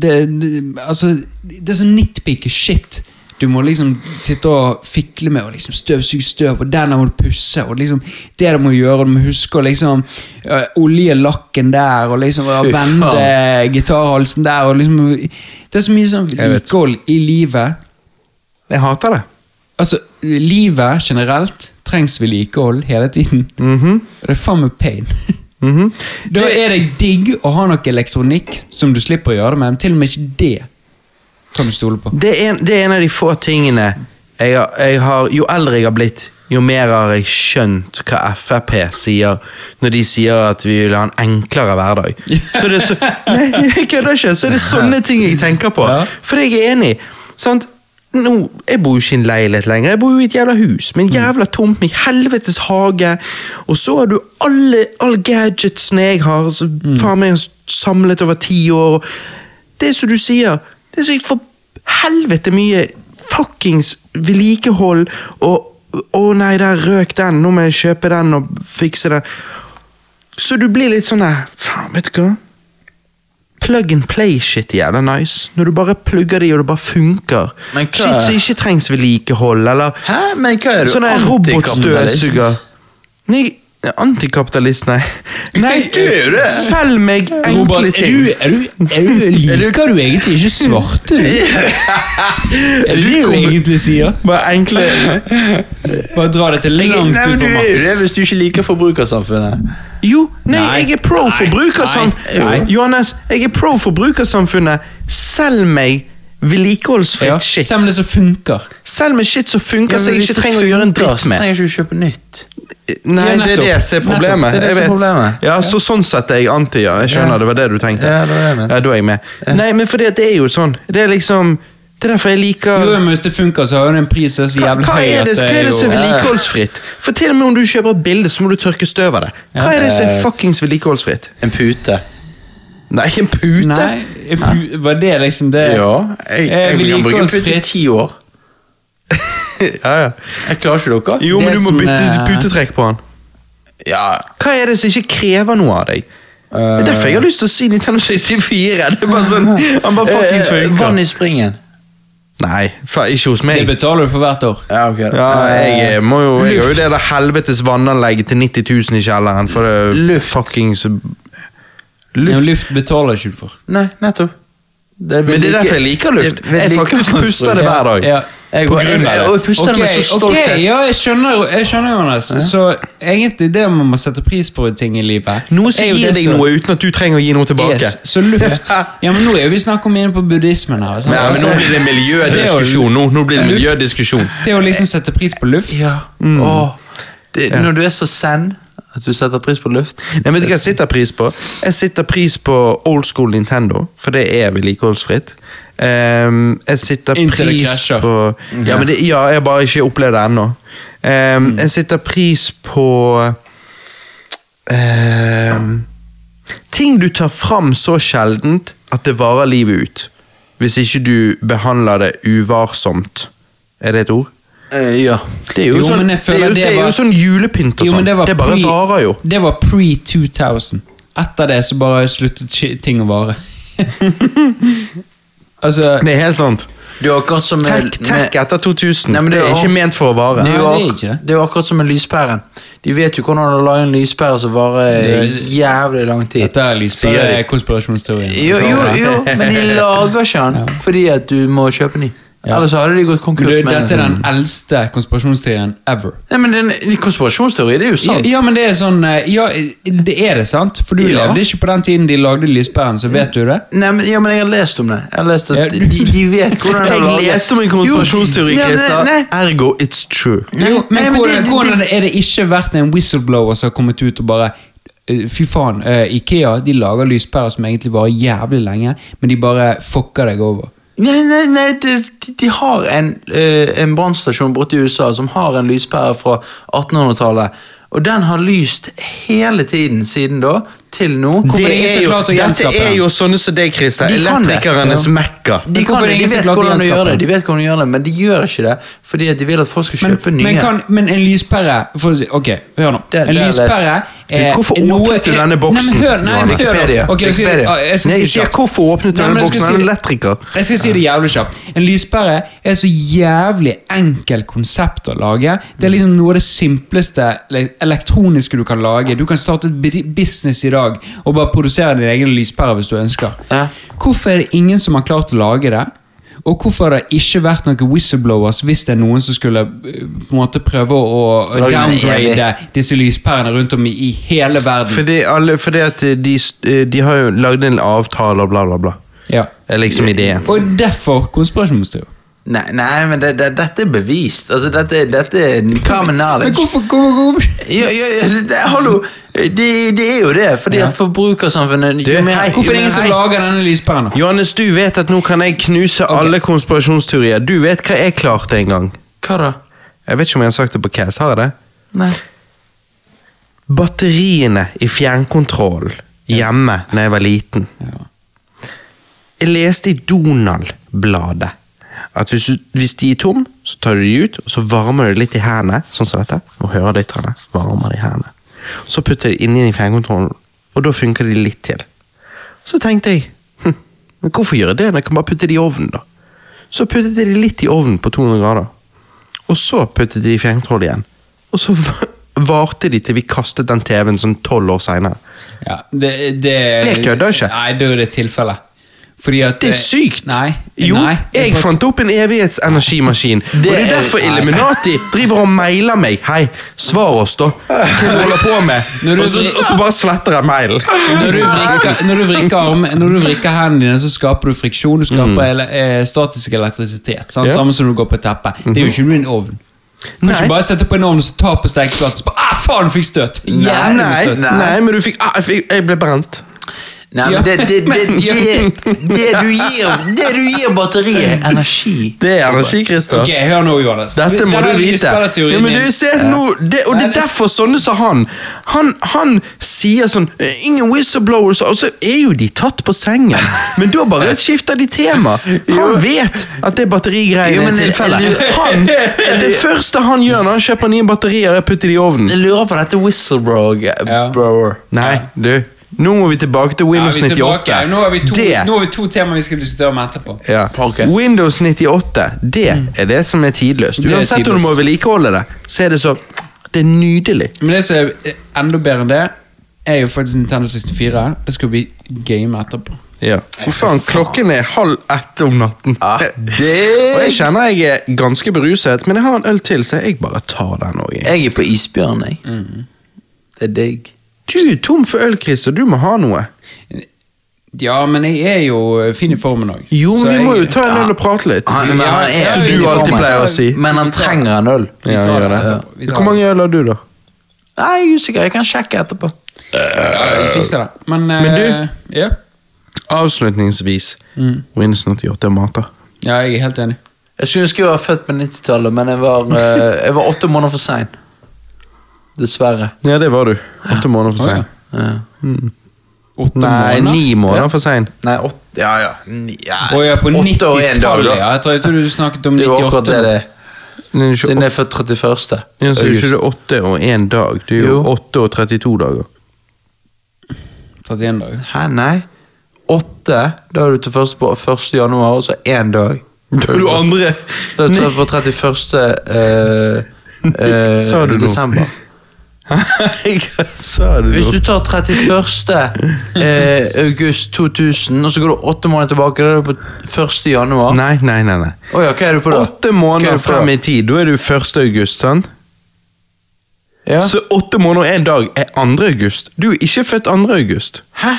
Speaker 3: det, det, Altså, det er så nitpicky shit. Du må liksom sitte og fikle med og liksom støvsuge støv, og der må du pusse. og liksom Det du må gjøre, og du må huske å liksom øh, olje lakken der, og liksom øh,
Speaker 5: Fy faen.
Speaker 3: vende gitarhalsen der. og liksom Det er så mye sånn
Speaker 5: Jeg vet.
Speaker 3: vedlikehold i livet.
Speaker 5: Jeg hater det.
Speaker 3: Altså, livet generelt trengs vedlikehold hele tiden.
Speaker 5: Mm.
Speaker 1: Mhm.
Speaker 3: Og det er faen meg pain. Da er det digg å ha noe elektronikk som du slipper å gjøre det med, men til og med ikke det kan du stole på.
Speaker 1: Det er, en, det er en av de få tingene jeg har, jeg har Jo eldre jeg har blitt, jo mer har jeg skjønt hva Frp sier når de sier at vi vil ha en enklere hverdag. Så det er så, nei, jeg kødder ikke! Så er det sånne ting jeg tenker på.
Speaker 5: Ja.
Speaker 1: For jeg er enig. Sant? Nå, jeg bor jo ikke i en leilighet lenger, jeg bor jo i et jævla hus med en jævla tomt med helvetes hage. Og så har du alle, alle gadgetsene jeg har, som faen meg har samlet over ti år. Det er som du sier, det er så for helvete mye fuckings vedlikehold og Å nei, der røk den, nå må jeg kjøpe den og fikse den. Så du blir litt sånn der Faen, vet du hva? plug and play-shit er jævla nice. Når du bare plugger det i, og det bare funker.
Speaker 5: Men hva-
Speaker 1: Shit som ikke trengs vedlikehold, eller
Speaker 5: Hæ? Men hva er du?
Speaker 1: sånn
Speaker 2: Ah,
Speaker 1: der
Speaker 5: Antikapitalist?
Speaker 1: robotstøvsuger. Nei, antikapitalist, nei. Nei,
Speaker 5: du er jo det.
Speaker 1: Selg meg enkle
Speaker 3: Robert, er
Speaker 1: ting.
Speaker 3: du, er du, er du, liker du egentlig ikke svarte? Du? Er det det du egentlig sier?
Speaker 1: Bare enkle
Speaker 3: Bare dra det til langt
Speaker 5: Nei,
Speaker 3: ut
Speaker 5: men du
Speaker 3: på
Speaker 5: er jo det
Speaker 3: maks.
Speaker 5: hvis du ikke liker forbrukersamfunnet.
Speaker 1: Jo, nei,
Speaker 3: Nei.
Speaker 1: jeg er pro
Speaker 3: Nei. Nei. Nei.
Speaker 1: forbrukersamfunnet. Johannes, jeg er pro forbrukersamfunnet. Selg meg
Speaker 3: Ja,
Speaker 1: vedlikeholdsfritt shit.
Speaker 3: Selv om det som funker.
Speaker 1: Selg meg shit som funker, så jeg ikke trenger å gjøre en dritt med. Eh,
Speaker 5: Trenger ikke du kjøpe nytt.
Speaker 1: Nei,
Speaker 3: Ja,
Speaker 1: det er
Speaker 3: nettopp.
Speaker 1: det som er problemet.
Speaker 5: Nettopp. Det er
Speaker 1: jeg
Speaker 5: det som er
Speaker 1: vet.
Speaker 5: problemet.
Speaker 1: Ja, så Sånn sett er jeg anti, ja. Jeg skjønner
Speaker 5: Ja.
Speaker 1: det var det du tenkte.
Speaker 5: Ja, det var det jeg mente.
Speaker 1: Ja, da er jeg med. Nei, men fordi at det er jo sånn. Det er liksom Det er derfor jeg liker
Speaker 3: Jo, men hvis det funker, så har jo den prisen så
Speaker 1: hva,
Speaker 3: jævlig
Speaker 1: hva
Speaker 3: høy
Speaker 1: er
Speaker 3: at
Speaker 1: det, hva
Speaker 3: det
Speaker 1: er det som
Speaker 3: jo
Speaker 1: er vedlikeholdsfritt? For til og med om du kjøper et bilde, så må du tørke støv av det. Hva er det som er
Speaker 5: jeg vet.
Speaker 1: fuckings vedlikeholdsfritt?
Speaker 5: En pute.
Speaker 1: Nei, en pute?
Speaker 3: Nei, jeg pu- var det liksom det?
Speaker 5: jeg,
Speaker 3: Eh,
Speaker 5: jeg kan bruke en pute i
Speaker 3: vedlikeholdsfritt.
Speaker 5: ti år.
Speaker 1: Ja, ja.
Speaker 5: Jeg klarer ikke dere.
Speaker 1: Jo, men
Speaker 3: Det
Speaker 1: du må
Speaker 3: som
Speaker 1: bytte
Speaker 3: er-
Speaker 1: putetrekk på den.
Speaker 5: Ja.
Speaker 1: Hva er det som ikke krever noe av deg? Det er derfor jeg har lyst til å si Nintendo 64. Det er bare sånn, Han bare fuckings
Speaker 5: Eh, eh, Vann
Speaker 1: funker.
Speaker 5: i springen.
Speaker 1: Nei, faen, ikke hos
Speaker 3: Det
Speaker 1: meg.
Speaker 3: betaler du for hvert år.
Speaker 5: Ja, ok.
Speaker 1: Ja,
Speaker 5: Eh,
Speaker 1: jeg må jo Jeg har jo det der helvetes vannanlegget til 90 000 i kjelleren, for det
Speaker 5: Luft.
Speaker 1: fuckings
Speaker 3: Luft,
Speaker 1: Luft.
Speaker 3: luft betaler ikke du for.
Speaker 5: Nei, nettopp. Det
Speaker 1: Men det er derfor jeg liker luft. Jeg faktisk puster det hver dag.
Speaker 3: Ja.
Speaker 5: Jeg,
Speaker 1: På
Speaker 5: går-
Speaker 1: grunn av
Speaker 5: jeg,
Speaker 1: det.
Speaker 5: jeg puster det med
Speaker 3: Ok,
Speaker 5: så stolthet.
Speaker 3: ok, ja, jeg skjønner, jeg skjønner Jonas. Så egentlig det man må sette pris på i ting i livet
Speaker 1: Noe som
Speaker 3: er jo
Speaker 1: gir
Speaker 3: det
Speaker 1: deg noe uten at du trenger å gi noe tilbake.
Speaker 3: Yes, så luft. Ja, men nå er jo vi snakk om inne på buddhismen her. sant?
Speaker 1: Nei, men Nå
Speaker 3: Altså,
Speaker 1: blir det miljødiskusjon. Nå, nå blir det miljødiskusjon.
Speaker 3: det å liksom sette pris på luft.
Speaker 5: Ja. Mm.
Speaker 1: Mm.
Speaker 5: Åh, det, Når du er så zen at du setter pris på luft
Speaker 1: Nei, men vet du hva Jeg sitter pris på Jeg sitter pris på old school Nintendo, for det er vedlikeholdsfritt. Ehm, jeg sitter
Speaker 3: Inntil det
Speaker 1: pris
Speaker 3: krasjer.
Speaker 1: på ja, men det, ja, jeg har bare ikke opplevd det ennå. Ehm,
Speaker 3: Mm.
Speaker 1: Jeg sitter pris på ehm, Ting du tar fram så sjeldent at det varer livet ut. Hvis ikke du behandler det uvarsomt. Er det et ord?
Speaker 5: Eh, Ja.
Speaker 1: Det er jo,
Speaker 3: Jo,
Speaker 1: sånn,
Speaker 3: men jeg
Speaker 1: det er
Speaker 3: føler
Speaker 1: jo,
Speaker 3: det
Speaker 1: det er
Speaker 3: var-
Speaker 1: jo sånn julepynt og
Speaker 3: Jo, men
Speaker 1: sånn.
Speaker 3: det var
Speaker 1: Det bare
Speaker 3: pre-
Speaker 1: varer jo.
Speaker 3: Det var pre-2000. Etter det så bare sluttet ki- ting å vare. altså
Speaker 1: Det er helt sant.
Speaker 5: Det er jo akkurat som med-
Speaker 1: Tech,
Speaker 5: med-
Speaker 1: tech etter 2000.
Speaker 5: Nei, men
Speaker 1: det,
Speaker 5: det
Speaker 1: er
Speaker 5: er
Speaker 1: ikke
Speaker 5: jo-
Speaker 1: ment for å vare.
Speaker 5: det er, jo
Speaker 3: Nei, det er
Speaker 5: ak-
Speaker 3: ikke det.
Speaker 5: det er jo akkurat som med lyspæren. De vet jo hvordan å lage en lyspære som varer jævlig lang tid.
Speaker 3: Dette er
Speaker 1: Sier
Speaker 3: lyspære
Speaker 1: de.
Speaker 3: konspirasjonsteorien.
Speaker 5: Jo, jo, jo, men de lager ikke den fordi at du må kjøpe ny. Ellers hadde de gått
Speaker 3: Du,
Speaker 5: konkurs. med
Speaker 3: dette er den eldste konspirasjonsteorien ever.
Speaker 5: Nei, men den, Konspirasjonsteori, det er jo
Speaker 3: Ja,
Speaker 5: sant.
Speaker 3: ja, men det er sånn eh, Ja, det er det, sant? For du
Speaker 5: Ja.
Speaker 3: levde ikke på den tiden de lagde lyspæren, så vet du det?
Speaker 5: Nei, men, ja, men jeg har lest om det. Jeg har lest
Speaker 3: Ja,
Speaker 5: at
Speaker 3: du-
Speaker 5: de, de vet hvordan det er
Speaker 1: Jeg
Speaker 5: laget.
Speaker 1: leste om en konspirasjonsteori,
Speaker 5: Jo, ja, men-
Speaker 1: Christer.
Speaker 5: nei.
Speaker 1: Ergo it's true.
Speaker 5: Nei,
Speaker 3: Jo, men,
Speaker 5: nei, men
Speaker 3: hvordan,
Speaker 5: det- det-
Speaker 3: hvordan er det ikke vært en whistleblower som har kommet ut og bare eh, Fy faen, eh, Ikea de lager lyspærer som egentlig varer jævlig lenge, men de bare fucker deg over.
Speaker 5: Nei, nei, nei de, de- de har en, eh, en brannstasjon borte i USA som har en lyspære fra 1800-tallet. Og den har lyst hele tiden siden da, til nå.
Speaker 3: Hvorfor er det ingen
Speaker 1: er
Speaker 3: som
Speaker 1: jo,
Speaker 3: klarer å
Speaker 1: dette
Speaker 3: gjenskape
Speaker 1: er
Speaker 3: den?
Speaker 1: jo sånne som deg, Christer.
Speaker 5: De kan det.
Speaker 1: Elektrikernes
Speaker 5: Ja.
Speaker 1: mekka.
Speaker 5: De,
Speaker 3: hvorfor
Speaker 5: kan
Speaker 3: er det
Speaker 5: det, de
Speaker 3: ingen som
Speaker 5: vet
Speaker 3: klarer å
Speaker 5: hvordan de
Speaker 3: gjenskape
Speaker 5: gjør det,
Speaker 3: den?
Speaker 5: de vet hvordan de gjør det, men de gjør ikke det fordi at de vil at folk skal
Speaker 3: Men,
Speaker 5: kjøpe nye.
Speaker 3: men, kan, men en lyspære for å si, Ok, hør nå.
Speaker 5: Det-
Speaker 3: en
Speaker 5: det har jeg lest.
Speaker 3: lyspære eh,
Speaker 5: hvorfor
Speaker 3: er noe-
Speaker 5: åpnet du denne boksen,
Speaker 3: Nei, men hør, nei, men hør.
Speaker 5: Wikipedia.
Speaker 3: Ok, jeg skal-
Speaker 5: Wikipedia.
Speaker 3: ah, Jeg skal
Speaker 1: Nei, jeg
Speaker 3: si det
Speaker 1: sier
Speaker 3: kjapt.
Speaker 1: hvorfor åpnet du
Speaker 3: Nei, men
Speaker 1: denne
Speaker 3: jeg skal
Speaker 1: boksen?
Speaker 3: si
Speaker 1: Han er
Speaker 3: det-
Speaker 1: elektriker.
Speaker 3: Jeg skal si det jævlig kjapt. En lyspære er et så jævlig enkelt konsept å lage. Det er liksom noe av det simpleste le- elektroniske du kan lage. Du kan starte et bri- business i dag og bare produsere din egen lyspære hvis du ønsker.
Speaker 5: Ja.
Speaker 3: Hvorfor er det ingen som har klart å lage det? Og hvorfor har det ikke vært noen whistleblowers hvis det er noen som skulle eh, på en måte prøve å
Speaker 5: Lage den
Speaker 3: downgrade disse lyspærene rundt om i, i hele verden?
Speaker 1: Fordi, alle, fordi at de, eh, de har jo lagd en avtale og bla, bla, bla.
Speaker 3: Ja.
Speaker 1: Er liksom ideen.
Speaker 3: Og derfor konspirasjonsteori.
Speaker 5: Nei, nei men det, det, dette er bevist. Altså, dette, dette er
Speaker 3: Men
Speaker 5: common knowledge.
Speaker 3: hvorfor, hvorfor, hvorfor?
Speaker 5: Ja, ja, ja, altså, det, hallo, det, det er jo det. Fordi at forbrukersamfunnet
Speaker 1: Du,
Speaker 5: jo mer,
Speaker 1: hei,
Speaker 3: Hvorfor er det ingen som
Speaker 5: Hei.
Speaker 3: lager denne lyspæren? da?
Speaker 1: Johannes, du vet at nå kan jeg knuse alle konspirasjonsteorier. Du vet hva jeg klarte en gang.
Speaker 5: Hva da?
Speaker 1: Jeg vet ikke om jeg har sagt det på Cass, har jeg det?
Speaker 5: Nei.
Speaker 1: Batteriene i fjernkontrollen hjemme da jeg var liten. Jeg leste i Donald-bladet at hvis, du- hvis de er tom, så tar du de ut, og så varmer du litt i hendene, sånn som dette. Nå hører lytterne, varmer de hendene. Så putter de inni i fjernkontrollen, og da funker de litt til. Så tenkte jeg, hm, men hvorfor gjøre det når jeg kan bare putte de i ovnen da? Så puttet jeg de litt i ovnen på 200 grader. Og så puttet de i fjernkontroll igjen. Og så v- varte de til vi kastet den TV-en sånn tolv år seinere.
Speaker 3: Ja, det, det,
Speaker 1: Jeg kødder ikke.
Speaker 3: Nei, det er det tilfellet. Fordi at
Speaker 1: Det
Speaker 3: eh,
Speaker 1: er sykt!
Speaker 3: Nei.
Speaker 1: jo,
Speaker 3: nei, det er
Speaker 1: jeg
Speaker 3: på-
Speaker 1: fant opp en evighetsenergimaskin. og det er
Speaker 5: er-
Speaker 1: derfor
Speaker 3: nei.
Speaker 1: Illuminati driver og mailer meg. Hei, svar oss, da! Hva du holder på med?
Speaker 3: Når du-
Speaker 1: Og så, og så bare sletter jeg mailen.
Speaker 3: Når du vrikker, når du vrikker, arm, når du vrikker hendene dine, så skaper du friksjon. Du skaper ele, eh, statisk elektrisitet. Sant?
Speaker 1: Mm. Ja. Mhm.
Speaker 3: Samme som når du går på et teppe. Det er jo ikke en ovn. Du kan
Speaker 1: Nei.
Speaker 3: ikke bare sette på en ovn og så ta på stekeplaten og så bare ah, faen, fikk støt!
Speaker 1: Nei,
Speaker 3: Jævlig
Speaker 1: nei,
Speaker 3: støt.
Speaker 1: nei, men du fikk ah, jeg fikk- Jeg ble brent.
Speaker 5: Nei,
Speaker 3: Ja.
Speaker 5: men det, det, det,
Speaker 3: Men- ja.
Speaker 5: det, det, du gir, det du gir batteriet, energi
Speaker 1: Det er energi, Christer.
Speaker 3: Ok, hør nå, Johannes.
Speaker 1: Dette må
Speaker 3: Denne
Speaker 1: du vite.
Speaker 3: lyspæreteorien
Speaker 1: Ja, men
Speaker 3: din-
Speaker 1: du ser nå, det, og det
Speaker 3: Nei,
Speaker 1: er
Speaker 3: det-
Speaker 1: derfor sånne som han Han, han sier sånn «Eh, Ingen whistleblowers, og så er jo de tatt på sengen. Men da bare skifter de tema. Han vet at det
Speaker 5: Jo,
Speaker 1: batterigreiene
Speaker 5: men
Speaker 1: er
Speaker 5: jeg-
Speaker 1: tilfellet.
Speaker 5: jeg-
Speaker 1: Han, det første han gjør når han kjøper nye batterier, er å putte de i
Speaker 5: Jeg
Speaker 1: ovnen.
Speaker 5: lurer på dette
Speaker 3: Ja.
Speaker 5: whistlebrower.
Speaker 1: Nei, du. Nå må vi tilbake til
Speaker 3: Ja,
Speaker 1: Windows
Speaker 3: vi er tilbake.
Speaker 1: 98.
Speaker 3: Nå har vi to,
Speaker 1: Det-
Speaker 3: nå har vi to temaer vi skal diskutere om etterpå.
Speaker 1: Ja.
Speaker 5: Parker.
Speaker 1: Windows 98, det er det som er tidløst.
Speaker 3: Mm. Det er
Speaker 1: Uansett om du må
Speaker 3: tidløst.
Speaker 1: vedlikeholde det, så er det så Det er nydelig.
Speaker 3: Men det som er enda bedre enn det, er jo faktisk Nintendo 64. Det skal vi game etterpå.
Speaker 1: Ja. Fy faen, klokken er halv ett om natten.
Speaker 5: Ja,
Speaker 1: Og jeg
Speaker 5: det
Speaker 1: kjenner jeg er ganske beruset, men jeg har en øl til, så jeg bare tar den òg.
Speaker 5: Jeg er på isbjørn, jeg. Det er digg.
Speaker 1: Du er tom for øl, Chris, og du må ha noe.
Speaker 3: Ja, men jeg er jo eh, fin i formen òg.
Speaker 1: Jo, men vi må jo ta en øl og prate litt.
Speaker 5: Han, men han er
Speaker 1: Som
Speaker 5: fin i
Speaker 1: du alltid
Speaker 5: formen.
Speaker 1: pleier å si.
Speaker 5: Men han trenger en øl.
Speaker 1: Ja,
Speaker 3: tar
Speaker 1: gjør
Speaker 3: det
Speaker 1: det.
Speaker 3: etterpå. Vi tar
Speaker 1: Hvor mange øl har du, da?
Speaker 5: Nei, jeg er usikker. Jeg kan sjekke etterpå.
Speaker 3: Vi eh, fikser det. Men,
Speaker 1: Men du?
Speaker 3: eh, Ja.
Speaker 1: Avslutningsvis.
Speaker 3: Mm.
Speaker 1: Windows 98 mater.
Speaker 3: ja, jeg er helt enig.
Speaker 5: Jeg skulle ønske jeg var født på 90-tallet, men jeg var, eh, jeg var åtte måneder for sein. Dessverre.
Speaker 1: Ja, det var du. Åtte måneder for sein.
Speaker 5: Ja.
Speaker 3: Åtte
Speaker 1: Nei,
Speaker 3: måneder?
Speaker 1: ni måneder for sein.
Speaker 5: Nei, åtte Ja, ja. Ni- ja.
Speaker 3: Å ja, på
Speaker 5: Åtte og en dag,
Speaker 3: 90-tallet.
Speaker 5: da.
Speaker 3: Ja, jeg tror- jeg tror du snakket om
Speaker 5: Det er jo akkurat
Speaker 3: 98.
Speaker 5: det det
Speaker 3: nå.
Speaker 5: er.
Speaker 1: Nei, du er
Speaker 5: Siden
Speaker 1: ikke
Speaker 5: jeg er født 31.
Speaker 1: åt- Ja, så er jo ikke
Speaker 5: august.
Speaker 1: det åtte og én dag. Du er jo
Speaker 5: Jo.
Speaker 1: åtte og 32 dager.
Speaker 3: 31 dager.
Speaker 5: Hæ, nei? Åtte? Da er du til først på 1. januar, og så én dag.
Speaker 1: Da er du andre.
Speaker 5: Da er du på 31. eh, eh,
Speaker 1: Sa du noe?
Speaker 5: desember.
Speaker 1: Nei, hva sa du
Speaker 5: Hvis
Speaker 1: nå?
Speaker 5: du tar 31. eh, august 2000, og så går du åtte måneder tilbake, da er du på 1. januar. Å
Speaker 1: Nei, nei, nei. nei.
Speaker 5: ja, hva er du på da?
Speaker 1: Åtte
Speaker 5: Hva
Speaker 1: måneder
Speaker 5: er det for
Speaker 1: frem
Speaker 5: da?
Speaker 1: i tid. Da er du 1. august, sant?
Speaker 5: Ja.
Speaker 1: Så åtte måneder og en dag er 2. august. Du er ikke født 2. august.
Speaker 5: Hæ?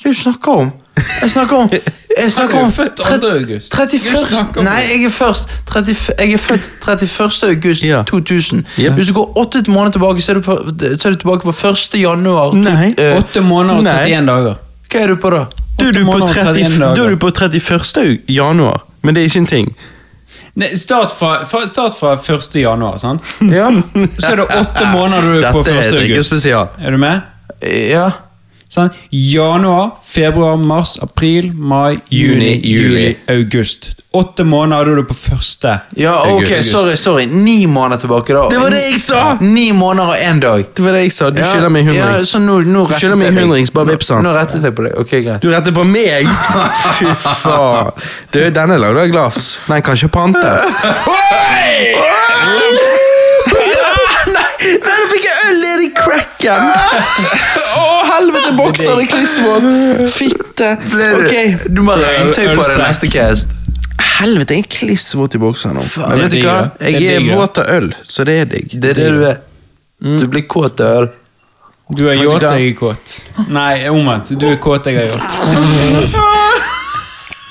Speaker 5: Hva er det du snakker om? Jeg snakker om Jeg snakker
Speaker 3: Han er jo
Speaker 5: om
Speaker 3: født 2.
Speaker 5: tre-
Speaker 3: august. Hva
Speaker 5: 31.
Speaker 3: snakker du om?
Speaker 5: Nei, jeg er først 30, Jeg er født 31. august
Speaker 1: Ja.
Speaker 5: 2000.
Speaker 1: Ja.
Speaker 5: Hvis du går åtte måneder tilbake, så er du, på, så er du tilbake på 1. januar. to-
Speaker 1: Nei.
Speaker 5: eh,
Speaker 3: Åtte måneder og
Speaker 1: Nei.
Speaker 3: 31 dager.
Speaker 5: hva er du på da?
Speaker 1: Da er du
Speaker 3: Åtte
Speaker 1: på,
Speaker 3: måneder og
Speaker 1: 30,
Speaker 3: 31 dager.
Speaker 1: da er du på 31. aug- januar, men det er ikke en ting.
Speaker 3: Nei, start, fra, fra, start fra 1. januar, sant?
Speaker 5: Ja.
Speaker 3: Så er det åtte måneder du er på
Speaker 1: Dette er
Speaker 3: 1.
Speaker 1: et
Speaker 3: august.
Speaker 1: drikkespesial.
Speaker 3: Er du med?
Speaker 5: ja.
Speaker 3: Sånn, januar, februar, mars, april, mai, juni,
Speaker 1: Juni, juli.
Speaker 3: juli, august. Åtte måneder hadde du på første.
Speaker 5: Ja, ok,
Speaker 1: August.
Speaker 5: sorry, sorry. Ni måneder tilbake, da.
Speaker 1: Det var det jeg sa!
Speaker 5: Ni måneder og én dag.
Speaker 1: Det var det jeg sa. Du
Speaker 5: Ja,
Speaker 1: skylder meg
Speaker 5: Ja,
Speaker 1: hundrings.
Speaker 5: så nå, nå
Speaker 1: Du
Speaker 5: rettet
Speaker 1: skylder meg
Speaker 5: jeg deg.
Speaker 1: hundrings, bare
Speaker 5: Nå-
Speaker 1: vips han.
Speaker 5: Nå rettet jeg på deg. Ok, greit.
Speaker 1: Du retter på meg! Fy faen. Du, denne er lagd av glass. Den kan ikke pantes. Oi! Nei, nei, nå fikk jeg øl nedi cracken! Å, helvete, bokser i klissvåt! Fitte. Ok.
Speaker 5: Du må ha
Speaker 3: Øl-
Speaker 5: regntøy på deg
Speaker 3: ølsprekk.
Speaker 5: neste cast.
Speaker 1: Helvete, jeg er klissvåt i bokser nå. Men vet
Speaker 3: Det er
Speaker 1: du hva?
Speaker 3: digg, da.
Speaker 1: Jeg
Speaker 3: Det er
Speaker 1: er
Speaker 3: digg, da.
Speaker 1: våt av øl, så det er digg.
Speaker 5: Det er det du er. Du blir kåt av øl.
Speaker 3: Du er
Speaker 5: du
Speaker 3: yacht,
Speaker 5: hva?
Speaker 3: jeg er kåt. Nei, omvendt. Du er kåt, jeg er
Speaker 1: Ah.
Speaker 3: yacht.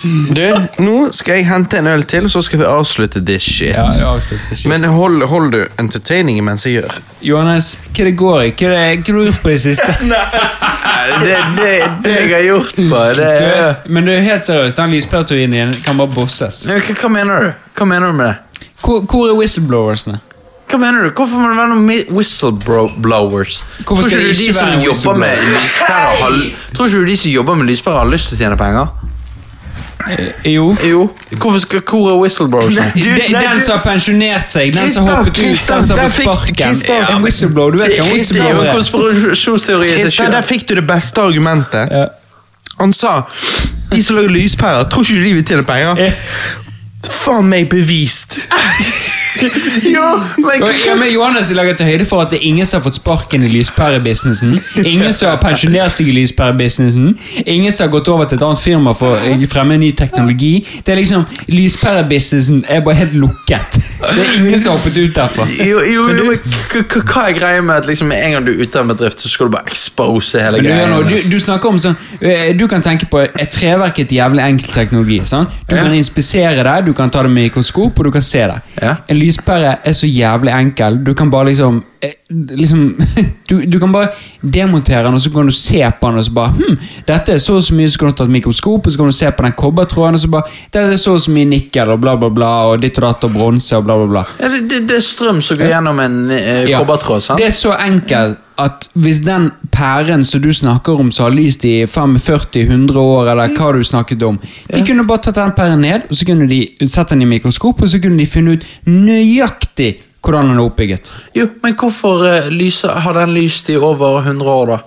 Speaker 1: Du, nå skal jeg hente en øl til, så skal vi avslutte this shit.
Speaker 3: Ja, ja, altså, det er shit.
Speaker 1: Men hold, hold du entertainingen mens jeg gjør.
Speaker 3: Johannes, hva er det går i? Hva er det hva har du gjort på det siste?
Speaker 5: Det, det, det jeg har gjort på det
Speaker 3: Du,
Speaker 5: er
Speaker 3: men du er helt seriøst, den lyspæreteorien din kan bare bosses.
Speaker 5: Men hva, hva mener du? Hva mener du med det?
Speaker 3: Hvor, hvor er whistleblowersene?
Speaker 5: Hva mener du? Hvorfor må det være noen mi- whistleblowers?
Speaker 3: Hvorfor skal det
Speaker 5: Tror ikke du de
Speaker 3: ikke
Speaker 5: som
Speaker 3: være en
Speaker 5: jobber med lyspærer har, Tror ikke du de som jobber med lyspærer har lyst til å tjene penger?
Speaker 3: Eh, Jo.
Speaker 5: Jo. Hvorfor skal Hvor er whistleblowers?
Speaker 1: Nei, du-
Speaker 3: De-
Speaker 1: nei,
Speaker 3: den
Speaker 1: du-
Speaker 3: som har pensjonert seg, den som
Speaker 1: Kristian,
Speaker 3: hoppet ut, den
Speaker 1: Kristian,
Speaker 3: som har
Speaker 1: der
Speaker 3: fått
Speaker 1: fikk-
Speaker 3: sparken.
Speaker 1: Kristian,
Speaker 3: Ja, whistleblower, du vet
Speaker 1: det-
Speaker 3: hva
Speaker 1: Kristian,
Speaker 5: Det er jo
Speaker 3: whistleblower
Speaker 5: en
Speaker 3: er.
Speaker 5: konspirasjonsteori i seg
Speaker 1: Kristian,
Speaker 5: selv.
Speaker 1: der fikk du det beste argumentet.
Speaker 3: Ja.
Speaker 1: Han sa de som lager lyspærer, tror ikke du de vil tjene penger.
Speaker 3: Eh,
Speaker 1: Faen meg bevist!
Speaker 5: Ja, men
Speaker 3: og- Ja, men Johannes lager til høyde for at det er ingen som har fått sparken i lyspærebusinessen. Ingen som har pensjonert seg i lyspærebusinessen. Ingen som har gått over til et annet firma for å fremme ny teknologi. Det er liksom, Lyspærebusinessen er bare helt lukket. Det er ingen som har hoppet ut derfra.
Speaker 5: jo, jo, jo, men k- k- hva er greia med at liksom, med en gang du er ute av en bedrift, så skal du bare expose hele
Speaker 3: Men du,
Speaker 5: greia?
Speaker 3: gjør noe- du, du snakker om sånn eh, Du kan tenke på et treverk er et jævlig enkel teknologi. Sant? Du
Speaker 5: Ja.
Speaker 3: kan inspisere det, du kan ta det med mikroskop, og du kan se det.
Speaker 5: Ja.
Speaker 3: En lyspære er så jævlig enkel. Du kan bare liksom, eh, liksom du, du kan bare demontere den, og så kan du se på den, og så bare hm, Dette er så og så mye, så kan du ta et mikroskop, og så kan du se på den kobbertråden, og så bare Dette er så og så mye nikkel, og bla, bla, bla, og ditt og datt, og bronse, og bla, bla, bla.
Speaker 5: Ja, det, det, det er strøm som går gjennom en eh,
Speaker 3: Ja.
Speaker 5: kobbertråd, sant?
Speaker 3: Det er så enkelt at hvis den pæren som du snakker om, som har lyst i 45-100 år, eller hva du snakket om De kunne bare tatt den pæren ned, og så kunne de sett den i mikroskop, og så kunne de funnet ut nøyaktig hvordan den er oppbygget.
Speaker 5: Jo, men hvorfor eh, lyser, har den lyst i over 100 år, da?